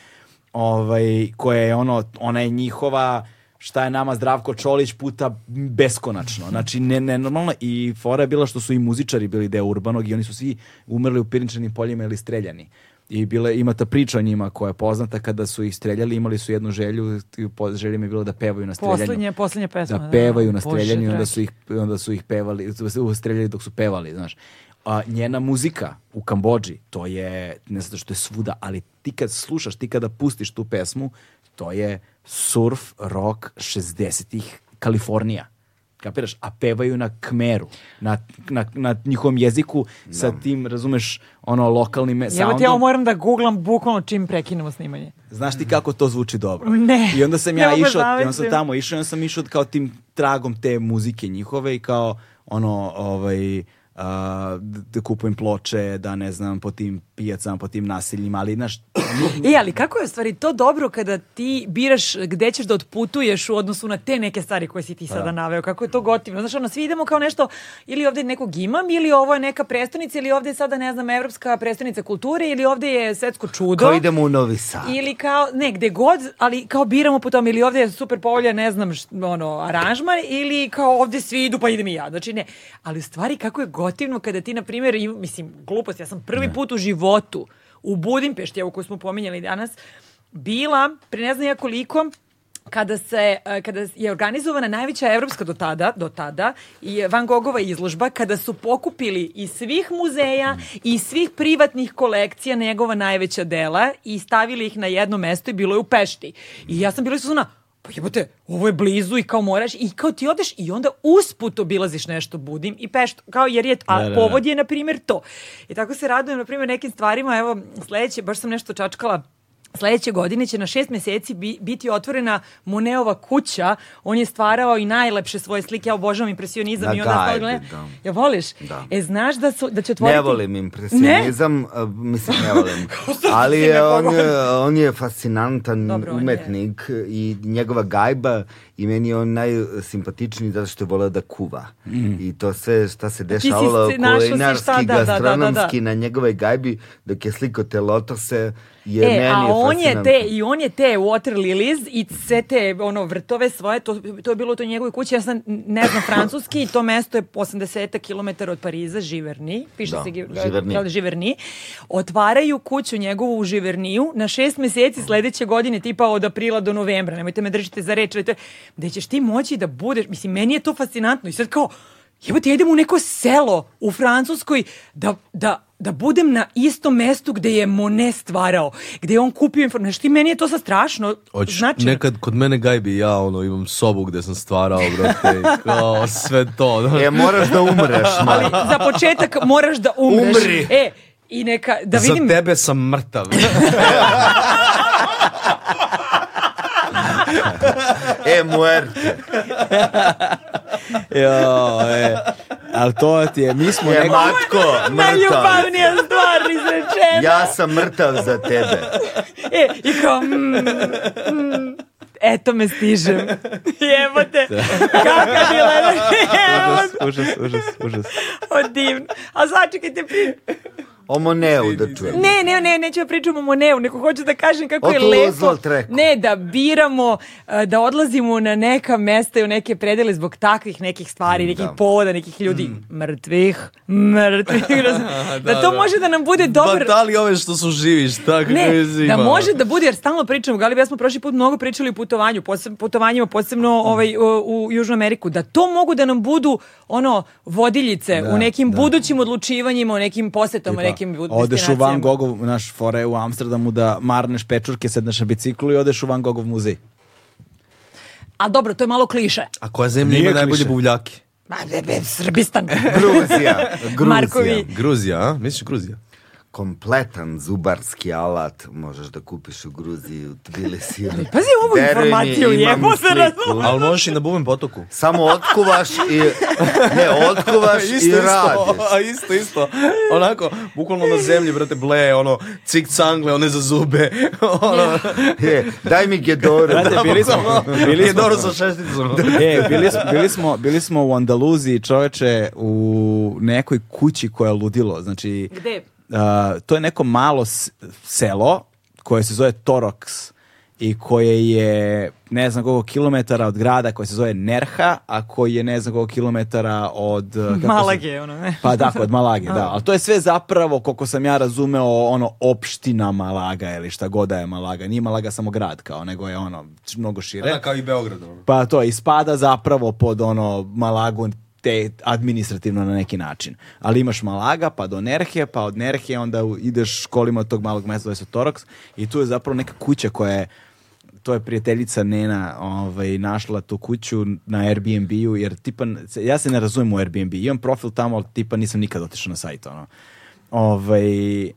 Speaker 1: ovaj, koja je ono, ona je njihova, šta je nama Zdravko Čolić puta beskonačno. Znači, ne, ne, normalno. I fora je bila što su i muzičari bili deo urbanog i oni su svi umrli u pirinčanim poljima ili streljani. I bile, ima ta priča o njima koja je poznata kada su ih streljali, imali su jednu želju, po- želja im je bilo da pevaju na streljanju
Speaker 3: Poslednje, poslednje pesme.
Speaker 1: da pevaju na
Speaker 3: Bože
Speaker 1: streljanju i onda
Speaker 3: dragi.
Speaker 1: su ih onda su ih pevali streljali dok su pevali znaš a njena muzika u Kambodži to je ne zato što je svuda ali ti kad slušaš ti kada pustiš tu pesmu to je surf rock 60-ih Kalifornija Kapiraš? A pevaju na kmeru, na, na, na njihovom jeziku, sa tim, razumeš, ono, lokalnim me-
Speaker 5: Evo ti ja ovo
Speaker 1: soundom.
Speaker 5: moram da googlam bukvalno čim prekinemo snimanje.
Speaker 1: Znaš ti kako to zvuči dobro?
Speaker 5: Ne.
Speaker 1: I onda sam ja
Speaker 5: Ne mogu
Speaker 1: išao, i onda sam
Speaker 5: zamislim.
Speaker 1: tamo išao, i onda sam išao kao tim tragom te muzike njihove i kao ono, ovaj, a, d- da kupujem ploče, da ne znam, po tim pijacama, po tim nasiljima, ali znaš,
Speaker 3: E, ali kako je u stvari to dobro kada ti biraš gde ćeš da otputuješ u odnosu na te neke stvari koje si ti sada naveo? Kako je to gotivno? Znaš, ono, svi idemo kao nešto, ili ovde nekog imam, ili ovo je neka prestonica, ili ovde je sada, ne znam, evropska prestonica kulture, ili ovde je svetsko čudo.
Speaker 4: Kao idemo u Novi Sad.
Speaker 3: Ili kao, ne, gde god, ali kao biramo po tom, ili ovdje je super povolja, ne znam, št- ono, aranžman, ili kao ovdje svi idu, pa idem i ja. Znači, ne. Ali u stvari, kako je gotivno kada ti, na primjer, im- mislim, glupost, ja sam prvi put u životu u Budimpešti, evo koju smo pominjali danas, bila, pre ne znam ja koliko, kada se e, kada je organizovana najveća evropska do tada do tada i Van Gogova izložba kada su pokupili iz svih muzeja i iz svih privatnih kolekcija njegova najveća dela i stavili ih na jedno mesto i bilo je u Pešti. I ja sam bila isusna pa jebote, ovo je blizu i kao moraš i kao ti odeš i onda usput obilaziš nešto Budim i Peštu, kao jer je, a
Speaker 1: da, da.
Speaker 3: povod je na primjer to. I tako se radujem na primjer nekim stvarima, evo sledeće, baš sam nešto čačkala Sljedeće godine će na šest mjeseci bi- biti otvorena Moneova kuća. On je stvarao i najlepše svoje slike. Ja obožavam impresionizam.
Speaker 4: Na
Speaker 3: i onda
Speaker 4: gajbi,
Speaker 3: stavljam-
Speaker 4: da.
Speaker 3: Ja voliš?
Speaker 4: Da.
Speaker 3: E, znaš da, su, da će otvoriti...
Speaker 4: Ne volim impresionizam, a, mislim ne
Speaker 3: *laughs*
Speaker 4: volim. Ali
Speaker 3: si
Speaker 4: je,
Speaker 3: me
Speaker 4: on, je,
Speaker 3: pogodio?
Speaker 4: on je fascinantan
Speaker 3: Dobro, on je.
Speaker 4: umetnik i njegova gajba i meni je on najsimpatičniji zato što je volao da kuva. I to sve šta se dešavalo
Speaker 3: Mm. si se- našao si šta,
Speaker 4: kulinarski,
Speaker 3: da, da, da, da, da.
Speaker 4: gastronomski na njegove gajbi dok je sliko te lotose je meni
Speaker 3: E, a on je te,
Speaker 4: fascinantan.
Speaker 3: i on je te water lilies i sve te ono, vrtove svoje, to, to je bilo u toj njegovoj kući, ja sam, ne znam, francuski i to mesto je 80 km od Pariza, Živerni, piše
Speaker 4: Da,
Speaker 3: se Gi-
Speaker 4: Giverny.
Speaker 3: jel, Živerni, otvaraju kuću njegovu u Živerniju na šest mjeseci sljedeće godine, tipa od aprila do novembra, nemojte me držite za reč, ali to je- gde ćeš ti moći da budeš, mislim, meni je to fascinantno i sad kao, jebote, ja idem u neko selo u Francuskoj da, da, da budem na istom mestu gde je Monet stvarao, gde je on kupio informaciju, znači meni je to sad strašno,
Speaker 12: Hoć,
Speaker 3: znači,
Speaker 12: nekad kod mene gajbi i ja ono imam sobu gde sam stvarao brate, i kao sve
Speaker 1: *laughs*
Speaker 12: to. znaš.
Speaker 4: E, moraš da
Speaker 3: *laughs*
Speaker 4: umreš,
Speaker 3: ali za početak moraš da umreš.
Speaker 12: Umri.
Speaker 3: E, i neka, da
Speaker 12: Za
Speaker 3: vidim...
Speaker 12: tebe sam
Speaker 3: *laughs*
Speaker 12: mrtav.
Speaker 4: E, muerte.
Speaker 1: jo, e, ali to ti je, mi smo
Speaker 4: E,
Speaker 1: neki...
Speaker 4: matko, mrtav.
Speaker 3: Najljubavnija stvar izrečena.
Speaker 4: Ja sam mrtav za tebe.
Speaker 3: *laughs* E, I kao, mm, mm, eto me stižem. Jebote, kakva dilema. Jebote,
Speaker 1: *laughs* Užas, užas, užas.
Speaker 3: o, divno. A začekajte, pri...
Speaker 4: O Moneu da čujem.
Speaker 3: ne, ne, ne, neću ja pričam o Moneu, nego hoću da kažem kako je
Speaker 4: Otu
Speaker 3: lepo.
Speaker 4: uzlat reku.
Speaker 3: Ne, da biramo, eh, da odlazimo na neka mesta i u neke predele zbog takvih nekih stvari, nekih povoda, nekih ljudi mrtvih, mrtvih. *laughs* razumeš? Mm. da, to može da nam bude dobar...
Speaker 12: Pa da li ove što su živiš, tako
Speaker 3: Ne, da može da bude, jer stalno pričamo, Galib, ja smo prošli put mnogo pričali o putovanju, poseb, putovanjima, posebno ovaj, u, u Južnu Ameriku, da to mogu da nam budu ono vodiljice u nekim budućim odlučivanjima, u nekim posetama, nekim bu-
Speaker 1: Odeš u
Speaker 3: destinacijama.
Speaker 1: Van Gogov, naš fore u Amsterdamu da marneš pečurke, sedneš na biciklu i odeš u Van Gogov muzej.
Speaker 3: A dobro, to je malo kliše.
Speaker 12: A koja zemlja ima
Speaker 1: Nije
Speaker 12: najbolje
Speaker 1: kliše.
Speaker 12: buvljake?
Speaker 3: Ma, be,
Speaker 1: *laughs*
Speaker 3: be, Srbistan.
Speaker 4: Gruzija, Gruzija.
Speaker 3: Markovi.
Speaker 12: Gruzija, a? Misliš Gruzija?
Speaker 4: kompletan zubarski alat možeš da kupiš u Gruziji, u Tbilisi. ili-
Speaker 3: Pazi ovu
Speaker 4: Veruj mi,
Speaker 3: informaciju,
Speaker 4: imam
Speaker 3: jebo se
Speaker 4: sliku.
Speaker 3: razumem.
Speaker 12: Ali možeš i na Bubem potoku.
Speaker 4: Samo otkuvaš i... Ne,
Speaker 1: *laughs*
Speaker 4: otkuvaš i radiš.
Speaker 12: *laughs* a isto, isto. Onako, bukvalno na zemlji, brate, ble, ono, cik cangle, one za zube. *laughs* ono,
Speaker 4: E, daj mi Gedoru.
Speaker 1: Brate, bili smo, bili
Speaker 12: je
Speaker 1: smo,
Speaker 12: dobro sa šesticom.
Speaker 1: e, bili, smo, bili, smo, bili smo u Andaluziji, čoveče, u nekoj kući koja je ludilo. Znači,
Speaker 3: Gde?
Speaker 1: a, to je neko malo s- selo koje se zove Torox i koje je ne znam koliko kilometara od grada koje se zove Nerha, a koji je ne znam koliko kilometara od... e, kako se-
Speaker 5: Malage, ono, ne?
Speaker 1: Pa da, kod
Speaker 5: *laughs*
Speaker 1: Malage, da. Ali to je sve zapravo, koliko sam ja razumeo, ono, opština Malaga ili šta god da je Malaga. Nije Malaga samo grad kao, nego je ono, č- mnogo šire.
Speaker 12: kao i Beograd.
Speaker 1: Pa to ispada zapravo pod ono Malagu te administrativno na neki način. Ali imaš Malaga, pa do Nerhe, pa od Nerhe onda u- ideš kolima od tog malog mesta zove se Torox i tu je zapravo neka kuća koja je to- to je prijateljica Nena ovaj, našla tu kuću na Airbnb-u, jer tipa, ja se ne razumem u Airbnb, imam profil tamo, ali tipa nisam nikad otišao na sajt, ono. Ovaj,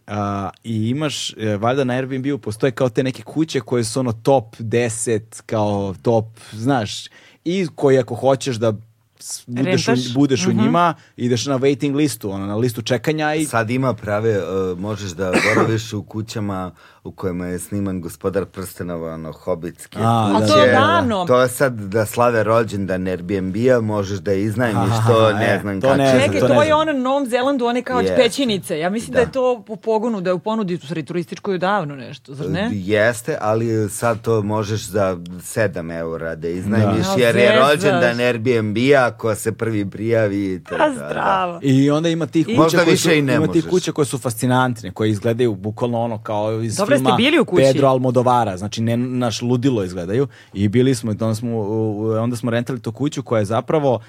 Speaker 1: a, I imaš, e, valjda na Airbnb-u postoje kao te neke kuće koje su ono top 10, kao top, znaš, i koje ako hoćeš da s- budeš, u,
Speaker 3: Rentaš?
Speaker 1: budeš u njima, ideš na waiting listu, ono, na listu čekanja i
Speaker 4: Sad ima prave, e, možeš da boraviš u kućama u kojima je sniman gospodar prstenova, ono, hobitske
Speaker 1: A,
Speaker 4: kuće.
Speaker 1: da,
Speaker 3: A to je davno.
Speaker 4: To je sad da slave rođendan Airbnb-a, možeš da iznajmiš
Speaker 1: Aha,
Speaker 4: to,
Speaker 1: e,
Speaker 4: ne znam
Speaker 1: to
Speaker 4: kako.
Speaker 1: ne znam,
Speaker 3: Čekaj,
Speaker 1: to
Speaker 3: to,
Speaker 1: ne
Speaker 3: je
Speaker 1: znam.
Speaker 3: ono na Novom Zelandu, one kao od
Speaker 4: Jeste.
Speaker 3: pećinice. Ja mislim da.
Speaker 4: Da.
Speaker 3: je to po pogonu, da je u ponudi u sredi turističkoj davno nešto, zar ne?
Speaker 4: E, Jeste, ali sad to možeš za 7 eura da iznajmiš,
Speaker 3: Da.
Speaker 4: jer je
Speaker 3: Zezaš.
Speaker 4: rođendan Airbnb-a ko se prvi prijavi. i to,
Speaker 3: A
Speaker 4: da, da.
Speaker 3: Pa zdravo.
Speaker 1: I onda ima tih kuća,
Speaker 4: Možda
Speaker 1: koje
Speaker 4: više
Speaker 1: su,
Speaker 4: i ne
Speaker 1: ima tih
Speaker 4: možeš.
Speaker 1: kuće koje su fascinantne, koje izgledaju bukvalno ono kao iz
Speaker 3: Dobro, jeste
Speaker 1: filma
Speaker 3: bili u kući?
Speaker 1: Pedro Almodovara, znači ne, naš ludilo izgledaju i bili smo, i onda smo, u- u- onda smo rentali tu kuću koja je zapravo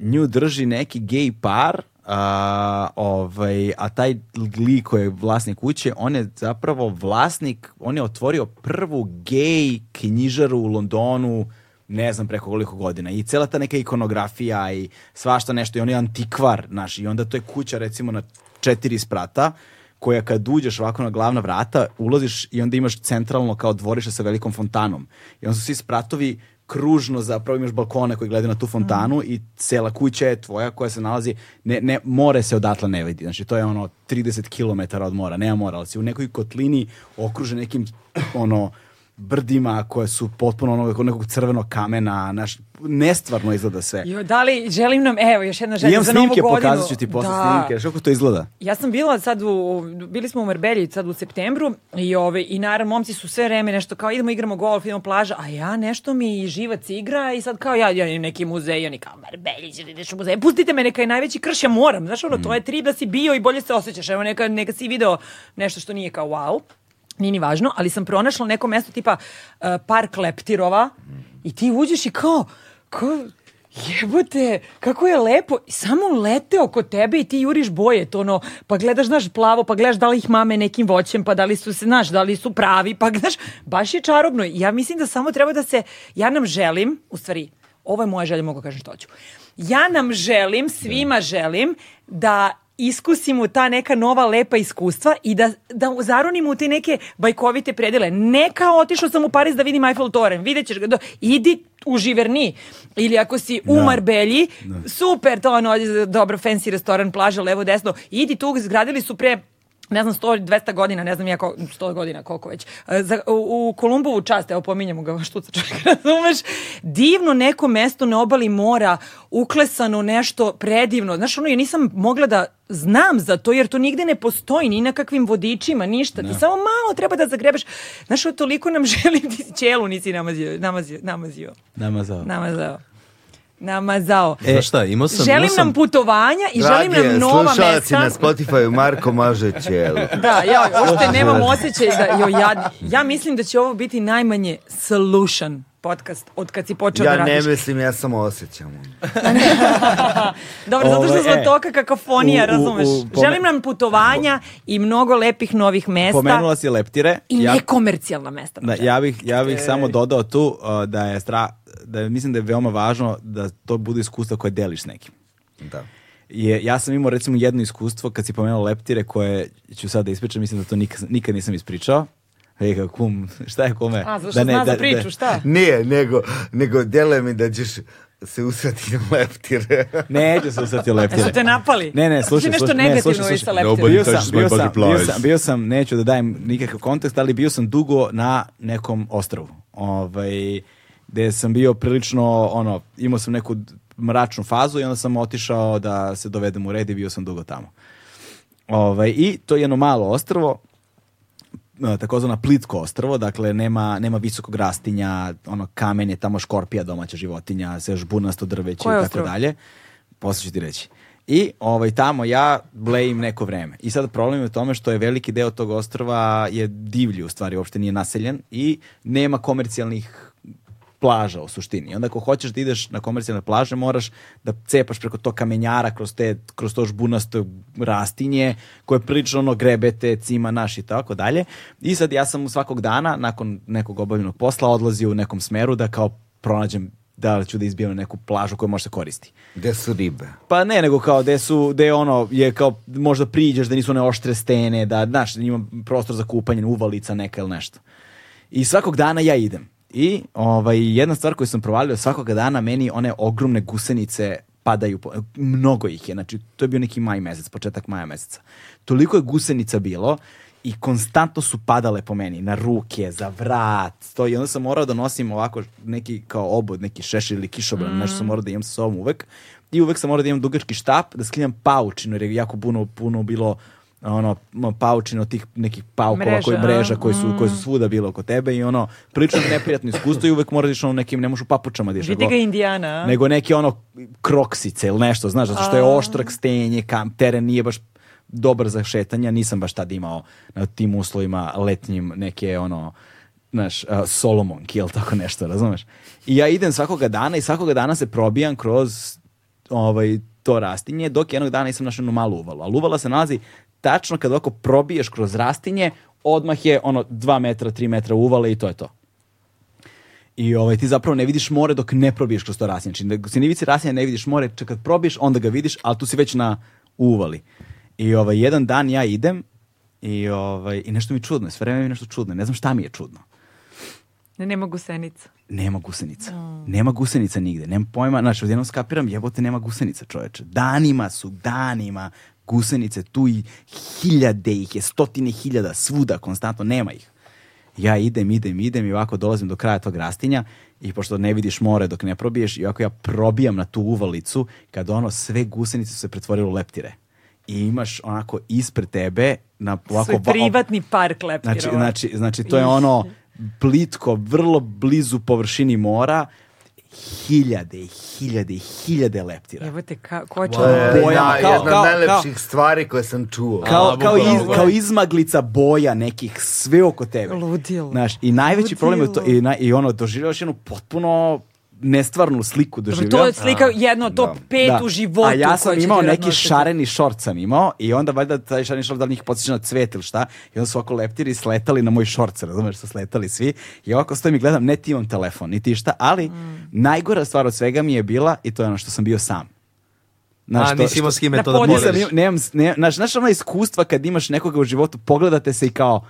Speaker 1: nju drži neki gej par, a, ovaj, a taj lik koji je vlasnik kuće, on je zapravo vlasnik, on je otvorio prvu gej knjižaru u Londonu, ne znam preko koliko godina i cela ta neka ikonografija i svašta nešto i on je antikvar naš i onda to je kuća recimo na četiri sprata koja kad uđeš ovako na glavna vrata ulaziš i onda imaš centralno kao dvorište sa velikom fontanom i onda su svi spratovi kružno zapravo imaš balkone koji gledaju na tu fontanu i cela kuća je tvoja koja se nalazi ne, ne, more se odatle ne vidi znači to je ono 30 km od mora nema mora ali si u nekoj kotlini okružen nekim ono brdima koje su potpuno onog kod nekog crvenog kamena, naš, nestvarno izgleda sve.
Speaker 3: Jo, da li želim nam, evo, još jedna želja
Speaker 1: Imam
Speaker 3: za novu
Speaker 1: snimke,
Speaker 3: godinu.
Speaker 1: pokazat ću ti posle
Speaker 3: Da.
Speaker 1: snimke, što kako to izgleda.
Speaker 3: Ja sam bila sad u, bili smo u Marbelji sad u septembru i ove, i naravno momci su sve vreme nešto kao idemo igramo golf, idemo plaža, a ja nešto mi živac igra i sad kao ja, ja idem u neki muzej, i oni kao Marbelji ćeš da ideš u muzej, pustite me neka je najveći krš, ja moram, znaš ono, to je trip da si bio i bolje se osjećaš, evo neka, neka si video nešto što nije kao wow, nije ni važno, ali sam pronašla neko mesto tipa uh, park Leptirova i ti uđeš i kao, kao jebote, kako je lepo. I samo lete oko tebe i ti juriš boje, to ono, pa gledaš, znaš, plavo, pa gledaš da li ih mame nekim voćem, pa da li su se, znaš, da li su pravi, pa znaš, baš je čarobno. I Ja mislim da samo treba da se, ja nam želim, u stvari, ovo je moja želja, mogu kažem što hoću. Ja nam želim, svima želim, da iskusimo ta neka nova lepa iskustva i da, da zaronimo u te neke bajkovite predele. Ne kao otišao sam u Pariz da vidim Eiffel Toren, vidjet ćeš ga, do, idi u Živerni ili ako si u
Speaker 1: Da.
Speaker 3: Marbelji, super to ono, dobro, fancy restoran, plaža, levo, desno, idi tu, izgradili su pre ne znam, 100, 200 godina, ne znam ja ko, 100 godina, koliko već, e, za, u, u Kolumbovu čast, evo pominjemo ga, *laughs* štuca čovjek, razumeš, divno neko mesto na obali mora, uklesano nešto predivno, znaš, ono, ja nisam mogla da znam za to, jer to nigde ne postoji, ni na kakvim vodičima, ništa, ti samo malo treba da zagrebeš, znaš, o, toliko nam *laughs* želim, ti ćelu nisi namazio, namazio, namazio,
Speaker 1: Namazao.
Speaker 3: namazao, namazao.
Speaker 12: Znaš E, šta, imao sam... imao
Speaker 3: želim
Speaker 12: sam-
Speaker 3: nam putovanja i želim nam nova
Speaker 4: slušalci
Speaker 3: mesta.
Speaker 4: na Spotify Marko maže ćelu.
Speaker 3: *laughs* Da,
Speaker 1: *laughs*
Speaker 3: ja uopšte nemam osjećaj da, jo, ja, ja mislim da će ovo biti najmanje solution podcast od kad si počeo da
Speaker 4: Ja ne
Speaker 3: radiš.
Speaker 4: mislim, ja samo osjećam. ono,
Speaker 3: Dobro, zato što
Speaker 1: Ovo,
Speaker 3: smo
Speaker 1: e,
Speaker 3: toka kakafonija,
Speaker 1: u- u-
Speaker 3: razumeš?
Speaker 1: u- pome-
Speaker 3: Želim nam putovanja i mnogo lepih novih mesta
Speaker 1: Pomenula si leptire.
Speaker 3: i
Speaker 1: ja-
Speaker 3: nekomercijalna mesta.
Speaker 1: Da, ja bih, ja bih samo dodao tu uh, da je stra, da je- mislim da je veoma važno da to budu iskustva koje deliš s nekim.
Speaker 4: Da.
Speaker 1: Je, ja sam imao recimo jedno iskustvo kad si pomenuo leptire koje ću sad da ispričam, mislim da to nikad, nikad nisam ispričao. Ej, kum, *laughs* šta je kome?
Speaker 3: A, zašto zna za priču, šta?
Speaker 4: Nije, nego, nego dele mi da ćeš se usrati na leptire.
Speaker 1: Neću se usrati u leptire.
Speaker 3: Jesu te napali?
Speaker 1: Ne, ne,
Speaker 3: Jesu ti
Speaker 1: slušaj,
Speaker 3: nešto
Speaker 1: slušaj, ne,
Speaker 3: negativno
Speaker 1: slušaj,
Speaker 3: uveli sa
Speaker 1: slušaj.
Speaker 3: leptirom?
Speaker 1: Bio sam, bio, sam, bio, sam, bio sam, neću da dajem nikakav kontekst, ali bio sam dugo na nekom ostravu. Ovaj, gde sam bio prilično, ono, imao sam neku d- mračnu fazu i onda sam otišao da se dovedem u red i bio sam dugo tamo. Ovaj, I to je jedno malo ostrvo, e, takozvano plitko ostrvo, dakle nema, nema visokog rastinja, ono kamen je tamo škorpija domaća životinja, sve žbunasto drveće
Speaker 3: Koje
Speaker 1: i tako
Speaker 3: ostrvo?
Speaker 1: dalje. Posle ću ti reći. I ovaj, tamo ja blejim neko vreme. I sad problem je u tome što je veliki deo tog ostrva je divlji, u stvari uopšte nije naseljen i nema komercijalnih plaža u suštini. I onda ako hoćeš da ideš na komercijalne plaže, moraš da cepaš preko to kamenjara, kroz, te, kroz to žbunasto rastinje, koje prilično ono grebete, cima naš i tako dalje. I sad ja sam svakog dana, nakon nekog obavljenog posla, odlazio u nekom smeru da kao pronađem da li ću da izbijem na neku plažu koja može se koristi.
Speaker 4: Gde su ribe?
Speaker 1: Pa ne, nego kao gde su, gde je ono, je kao možda priđeš da nisu one oštre stene, da, znaš, ima prostor za kupanje, uvalica neka ili nešto. I svakog dana ja idem. I ovaj, jedna stvar koju sam provalio, svakoga dana meni one ogromne gusenice padaju, po- mnogo ih je, znači to je bio neki maj mesec, početak maja meseca. Toliko je gusenica bilo i konstantno su padale po meni, na ruke, za vrat, to i onda sam morao da nosim ovako neki kao obod, neki šešir ili kišobran,
Speaker 5: Mm.
Speaker 1: nešto sam morao da imam sa sobom uvek. I uvek sam morao da imam dugački štap, da sklinjam paučinu, jer je jako puno, puno bilo ono, m- paučina od tih nekih paukova,
Speaker 3: Mreža,
Speaker 1: koji,
Speaker 3: a?
Speaker 1: mreža koji su, koji su
Speaker 5: mm.
Speaker 1: svuda bile oko tebe i ono, prilično neprijatno iskustvo i uvek moraš da ideš ono nekim, ne možeš u papučama da ideš.
Speaker 5: Vidi
Speaker 1: nego-
Speaker 5: ga Indijana, a?
Speaker 1: nego neki ono kroksice ili nešto, znaš, zato što je oštrak stenje, kam, teren nije baš dobar za šetanja, nisam baš tad imao na tim uslovima letnjim neke ono, znaš, uh, Solomonki ili tako nešto, razumeš? I ja idem svakoga dana i svakoga dana se probijam kroz ovaj, to rastinje, dok jednog dana nisam našao jednu malu uvalu. Ali uvala se nalazi tačno kad ovako probiješ kroz rastinje, odmah je ono 2 metra, 3 metra uvale i to je to. I ovaj, ti zapravo ne vidiš more dok ne probiješ kroz to rasinje. Znači, dok si na ivici rasinja ne vidiš more, čak kad probiješ, onda ga vidiš, ali tu si već na uvali. I ovaj, jedan dan ja idem i, ovaj, i nešto mi je čudno, je, sve vreme mi je nešto čudno. Ne znam šta mi je čudno.
Speaker 3: Ne, nema gusenica.
Speaker 1: Nema gusenica. Nema gusenica nigde. Nema pojma. Znači, odjednom skapiram, jebote, nema gusenica, čoveče. Danima su, danima gusenice tu i hiljade ih je, stotine hiljada, svuda, konstantno, nema ih. Ja idem, idem, idem i ovako dolazim do kraja tog rastinja i pošto ne vidiš more dok ne probiješ i ovako ja probijam na tu uvalicu kad ono sve gusenice su se pretvorile u leptire. I imaš onako ispred tebe na ovako
Speaker 5: Svoj
Speaker 1: va-
Speaker 5: privatni park leptirova.
Speaker 1: Znači, znači, znači, to je ono plitko, vrlo blizu površini mora, hiljade, i hiljade, i hiljade leptira.
Speaker 3: Evo te, ka, ko će...
Speaker 4: To je
Speaker 1: Bojama,
Speaker 4: jedna-
Speaker 1: kao-
Speaker 4: jedna
Speaker 1: kao-
Speaker 4: od najlepših stvari koje sam čuo.
Speaker 1: Kao, kao, iz-
Speaker 3: bukvalno.
Speaker 1: kao izmaglica boja nekih, sve oko tebe.
Speaker 3: Ludilo.
Speaker 1: Znaš, I najveći problem je to, i, na, i ono, doživljavaš jednu potpuno nestvarnu sliku
Speaker 3: Dobro,
Speaker 1: doživljavam.
Speaker 3: to je slika jedno top
Speaker 4: Da.
Speaker 3: pet
Speaker 1: Da.
Speaker 3: u životu.
Speaker 1: A ja
Speaker 3: koje
Speaker 1: sam
Speaker 3: će ti
Speaker 1: imao neki
Speaker 3: vjerojatno ostati.
Speaker 1: šareni šort sam imao i onda valjda taj šareni šort da li njih podsjeća na cvet ili šta i onda su ovako leptiri sletali na moj šort, razumeš, su sletali svi i ovako stojim i gledam, ne ti imam telefon, niti šta, ali
Speaker 3: Mm.
Speaker 1: najgora stvar od svega mi je bila i to je ono što sam bio sam. Znaš,
Speaker 12: A,
Speaker 1: to-
Speaker 12: nisi imao s kime
Speaker 3: Da
Speaker 12: to da
Speaker 3: podeliš.
Speaker 12: podeliš.
Speaker 1: nisam, imao- nemam, s- ne, znaš, znaš ono iskustva kad imaš nekoga u životu, pogledate se i kao,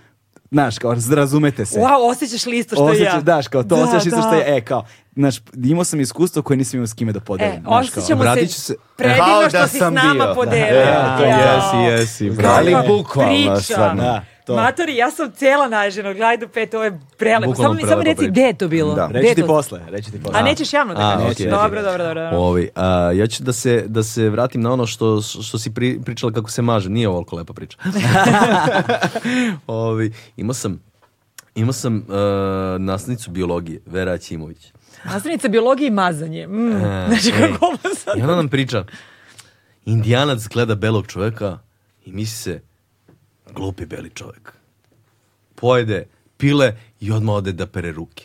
Speaker 1: znaš, kao razumete se.
Speaker 3: Wow, osjećaš li isto što i
Speaker 1: Osjećaš,
Speaker 3: ja.
Speaker 1: daš, kao to
Speaker 3: Da,
Speaker 1: osjećaš isto
Speaker 3: da.
Speaker 1: što je, e, kao, znaš, imao sam iskustvo koje nisam imao s kime da podelim.
Speaker 3: E,
Speaker 1: znaš, kao-
Speaker 3: osjećamo
Speaker 12: vratit ću
Speaker 3: se
Speaker 12: se-
Speaker 4: Kao
Speaker 3: predivno
Speaker 4: da
Speaker 3: što si s
Speaker 4: sam bio,
Speaker 3: nama
Speaker 4: da.
Speaker 3: podelio.
Speaker 12: E, to
Speaker 3: Jao.
Speaker 12: jesi, jesi, bravo.
Speaker 3: Kakva
Speaker 4: Ali bukvalno,
Speaker 3: priča.
Speaker 4: stvarno.
Speaker 1: Da, to.
Speaker 3: Matori, ja sam cijela nažena, glajdu pet, ovo je prelepo. Samo
Speaker 12: Bukvalno
Speaker 3: mi samo
Speaker 12: prelepa
Speaker 3: reci
Speaker 12: priča.
Speaker 3: gde je to bilo.
Speaker 4: Da.
Speaker 3: Gde je
Speaker 1: Reći ti
Speaker 3: to?
Speaker 1: posle, reći ti posle.
Speaker 3: A nećeš javno da
Speaker 12: A,
Speaker 3: kažeš?
Speaker 12: okej,
Speaker 3: dobro, dobro, dobro, dobro.
Speaker 12: Ovaj, a, ja ću da se, da se vratim na ono što, što si pri, pričala kako se maže. Nije ovoliko lepa priča. *laughs* Ovi, imao sam, imao sam e, nastavnicu biologije, Vera Ćimović.
Speaker 3: Nastavnica biologije i mazanje. Mm.
Speaker 12: E,
Speaker 3: znači,
Speaker 12: ej.
Speaker 3: kako ovo sad?
Speaker 12: I ona nam priča, indijanac gleda belog čoveka i misli se, glupi beli čovek. Pojede pile i odmah ode da pere ruke.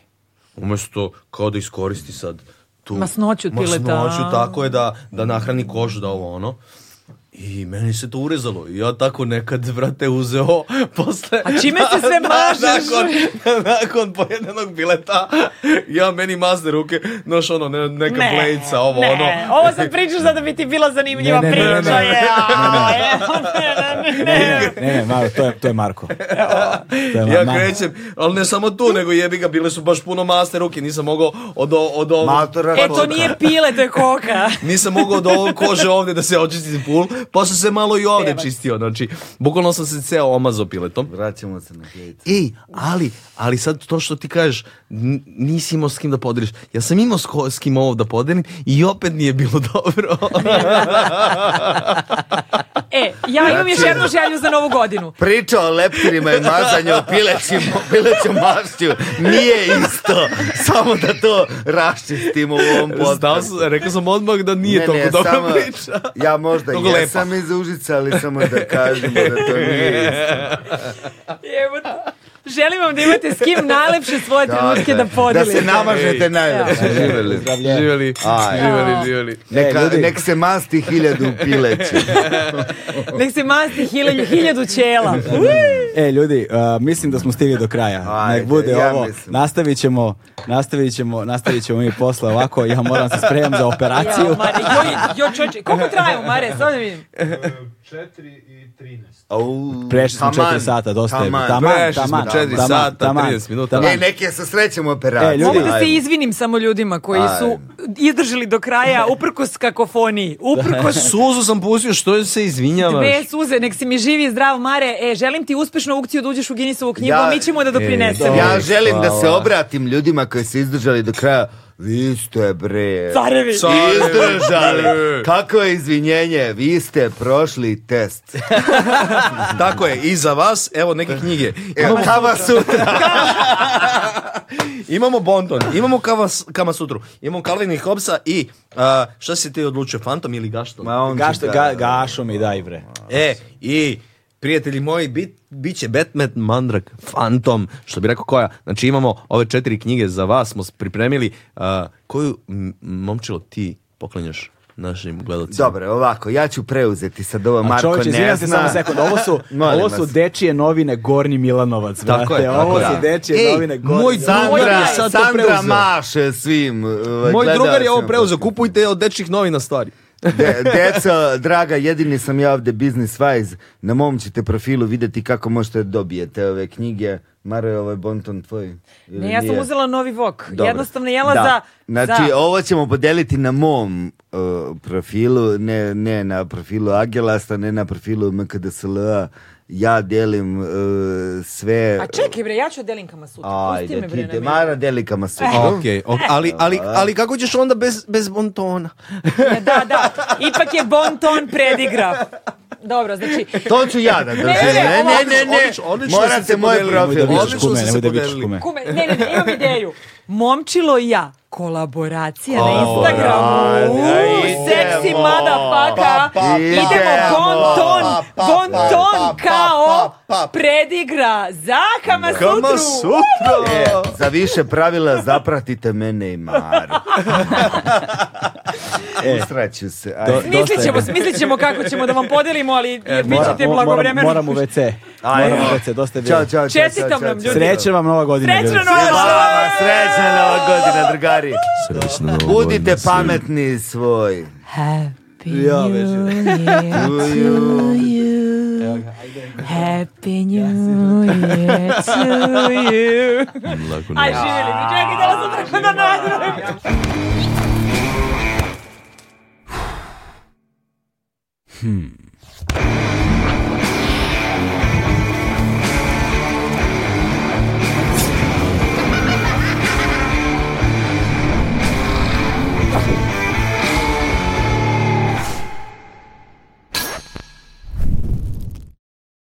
Speaker 12: Umesto kao da iskoristi sad tu
Speaker 3: Masnoću pileta.
Speaker 12: masnoću, tako je da, da nahrani kožu, da ovo ono. I meni se to urezalo. I ja tako nekad, vrate, uzeo posle...
Speaker 3: A čime se
Speaker 12: *laughs*
Speaker 3: sve mažeš?
Speaker 12: nakon, nakon pojedenog bileta, ja meni mazne ruke, noš ono, ne, neka
Speaker 3: Ne,
Speaker 12: blejca, ovo
Speaker 3: ne.
Speaker 12: ono.
Speaker 3: Ovo sad pričaš zato da bi ti bila zanimljiva
Speaker 1: Ne, ne, ne, ne,
Speaker 3: priča.
Speaker 1: ne.
Speaker 3: je, a, evo, ne, ne, ne, ne.
Speaker 1: Ne, ne, Mario, to je, to je Marko. To je
Speaker 12: Ja
Speaker 1: Ma-
Speaker 12: krećem, ali ne samo tu, nego jebi ga, bile su baš puno masne ruke, nisam mogao od, o- od ovog...
Speaker 4: Matora
Speaker 3: E, to
Speaker 4: koka.
Speaker 3: nije pile, to je koka.
Speaker 12: Nisam mogao od ovog kože ovde da se očisti pul, pa sam se malo i ovde čistio, znači, bukvalno sam se ceo omazao piletom.
Speaker 4: Vraćamo se na hejt.
Speaker 12: Ej, ali, ali sad to što ti kažeš, n- nisi imao s kim da podeliš. Ja sam imao s, ko- s kim ovo da podelim i opet nije bilo dobro.
Speaker 3: E, ja imam
Speaker 4: Znači-
Speaker 3: još jednu želju za novu godinu.
Speaker 4: Priča o leptirima i mazanju, o pilećim, pilećom mašću, nije isto. Samo da to raščistimo u ovom
Speaker 12: *laughs* Znao
Speaker 4: podcastu.
Speaker 12: sam, rekao sam odmah da nije
Speaker 4: Ne, ne,
Speaker 12: toliko dobra
Speaker 4: samo-
Speaker 12: priča.
Speaker 4: Ja možda
Speaker 12: Toliko
Speaker 4: jesam
Speaker 12: *laughs*
Speaker 4: iz Užica, ali samo da kažemo da to nije isto.
Speaker 3: Jebote. Želim vam da imate s kim najlepše svoje trenutke da
Speaker 4: Dakle, Da
Speaker 3: podelite.
Speaker 4: se namažete najlepše.
Speaker 12: Živeli, E, živeli, živeli, živeli.
Speaker 4: Neka,
Speaker 1: ljudi.
Speaker 4: nek se masti hiljadu pileće.
Speaker 3: Nek se masti hiljadu, hiljadu ćela.
Speaker 1: E, ljudi, uh, mislim da smo stigli do kraja.
Speaker 4: Ajde,
Speaker 1: Nek bude
Speaker 4: ja
Speaker 1: ovo.
Speaker 4: mislim.
Speaker 1: Nastavit ćemo, nastavit ćemo, nastavit ćemo mi posle ovako. Ja moram se spremam za operaciju.
Speaker 3: Ja, Mare, joj, joj, čoče,
Speaker 4: *laughs*
Speaker 3: koliko trajemo, Mare, samo da vidim.
Speaker 7: 4 i 13.
Speaker 4: Au,
Speaker 1: Prešli smo
Speaker 4: taman,
Speaker 1: 4 sata, dosta je.
Speaker 4: taman.
Speaker 1: Taman,
Speaker 12: Prešli smo
Speaker 1: taman,
Speaker 12: četiri
Speaker 1: taman,
Speaker 12: sata,
Speaker 1: taman,
Speaker 12: 30 minuta.
Speaker 1: taman.
Speaker 4: E, neke sa srećem operacije.
Speaker 1: E, ljudi,
Speaker 3: Mogu da se
Speaker 4: Ajde.
Speaker 3: izvinim samo ljudima koji su izdržali do kraja uprkos kakofoniji.
Speaker 4: *laughs*
Speaker 3: Uprkos
Speaker 12: Suzu sam pustio, što se izvinjavaš?
Speaker 3: dve suze, nek si mi živi i zdrav, Mare. E, želim ti uspešnu aukciju da uđeš u Guinnessovu knjigu,
Speaker 4: Ja-
Speaker 3: a
Speaker 4: E,
Speaker 3: mi ćemo da doprinesemo.
Speaker 4: Ja želim da se
Speaker 12: hvala.
Speaker 4: obratim ljudima koji su izdržali do kraja. Vi ste bre.
Speaker 3: Carevi.
Speaker 4: Izdržali. Kako je izvinjenje? Vi ste prošli test.
Speaker 12: *laughs* Tako je, i za vas, evo neke knjige.
Speaker 4: Evo, kava sutra.
Speaker 12: Imamo Bonton, imamo Kama, Kama Sutru, imamo Calvin i Hobbesa i a, šta si ti odlučio, Fantom ili Gaštom?
Speaker 4: Ma on će
Speaker 1: Gašto,
Speaker 4: da-
Speaker 1: ga, gašo mi daj bre.
Speaker 12: E, i prijatelji moji, bit, bit će Batman, Mandrak, Fantom, što bi rekao koja. Znači imamo ove četiri knjige za vas, smo pripremili. A, koju, m- momčilo, ti poklanjaš našim gledalcima?
Speaker 4: Dobro, ovako, ja ću preuzeti sad ovo
Speaker 1: A
Speaker 4: Marko
Speaker 1: čovječe,
Speaker 4: ne
Speaker 1: izvinjam se samo
Speaker 4: zna.
Speaker 1: sekund. Ovo
Speaker 12: *laughs*
Speaker 1: su,
Speaker 4: *laughs* Molim
Speaker 1: ovo su
Speaker 4: vas.
Speaker 1: dečije novine Gornji Milanovac, brate.
Speaker 12: Tako je, tako
Speaker 1: ovo
Speaker 12: je.
Speaker 1: su dečije
Speaker 12: Ej,
Speaker 1: novine Gornji
Speaker 12: moj
Speaker 1: Milanovac.
Speaker 12: Moj drugar
Speaker 4: Sandra,
Speaker 12: je sad to
Speaker 4: Sandra
Speaker 12: preuzeo.
Speaker 4: maše svim. uh,
Speaker 12: Moj drugar je ovo
Speaker 4: gledaocima.
Speaker 12: preuzeo, kupujte od dečjih novina stvari.
Speaker 4: De, deca, draga, jedini sam ja ovde Business Wise. Na mom ćete profilu videti kako možete da dobijete ove knjige. Maro je ovaj bonton tvoj? ili
Speaker 3: Ne, ja sam
Speaker 4: nije?
Speaker 3: uzela novi vok.
Speaker 4: Dobro.
Speaker 3: Jednostavno jela
Speaker 4: Da.
Speaker 3: za...
Speaker 4: Znači,
Speaker 3: za-
Speaker 4: ovo ćemo podeliti na mom uh, profilu, ne, ne na profilu Agelasta, ne na profilu MKDSLA. Ja delim uh, sve...
Speaker 3: A čekaj bre, ja ću odelim kama sutra. Pusti me
Speaker 4: E, Ajde,
Speaker 3: bre
Speaker 4: ti
Speaker 3: na
Speaker 4: te
Speaker 3: miru.
Speaker 4: Mara delikama su.
Speaker 12: Okej, ok, ali, ali, ali kako ćeš onda bez, bez Bontona?
Speaker 3: Ne, Da, da, ipak je bon ton predigra. Dobro, znači,
Speaker 4: To ću ja da držim.
Speaker 3: Ne, ne,
Speaker 4: Ne, ne, ne, ne.
Speaker 12: Odlično, odlično ste
Speaker 4: Morate
Speaker 12: se
Speaker 4: moj
Speaker 12: podelili,
Speaker 4: profil.
Speaker 12: moj
Speaker 1: Vičeš
Speaker 12: Odlično
Speaker 1: kume,
Speaker 12: ste se
Speaker 1: nemoj da vičeš
Speaker 12: podelili.
Speaker 1: kume.
Speaker 3: kume, ne, ne, ne, imam ideju. Momčilo i ja, kolaboracija na Instagramu. Uuu,
Speaker 4: Ajde,
Speaker 3: seksi
Speaker 4: idemo.
Speaker 3: madafaka.
Speaker 4: Pa, pa,
Speaker 3: Idemo
Speaker 4: idemo.
Speaker 3: bon ton,
Speaker 4: Pa, pa,
Speaker 3: bon
Speaker 4: pa,
Speaker 3: ton
Speaker 4: pa,
Speaker 3: kao
Speaker 4: pa, pa, pa.
Speaker 3: predigra za kama
Speaker 12: Kama
Speaker 3: sutru.
Speaker 12: Sutra!
Speaker 4: E, Za više pravila zapratite mene i Maru. Usraću se. Ajde.
Speaker 1: Do-
Speaker 3: Smislit ćemo, smislit ćemo kako ćemo da vam podelimo, ali
Speaker 4: E,
Speaker 3: bit
Speaker 1: Moram-
Speaker 3: ćete
Speaker 1: moram-
Speaker 3: blagovremeno.
Speaker 1: Moram u WC. Moram u WC, dosta je bilo.
Speaker 4: Ćao, čao, čao,
Speaker 3: Čestitam
Speaker 4: čao,
Speaker 3: nam,
Speaker 4: čao.
Speaker 3: ljudi.
Speaker 1: Srećna vam nova godina.
Speaker 3: Srećna
Speaker 1: ljudi.
Speaker 3: nova
Speaker 4: Hvala vam, srećna nova godina, drugari.
Speaker 12: Srećno novo
Speaker 4: Budite pametni svoj.
Speaker 13: Happy
Speaker 1: Ja, već
Speaker 13: New Year to you. Happy New Year to
Speaker 3: *laughs*
Speaker 13: you.
Speaker 3: Aj, živjeli. mi. Čekaj, da vas utrko da najdrujem.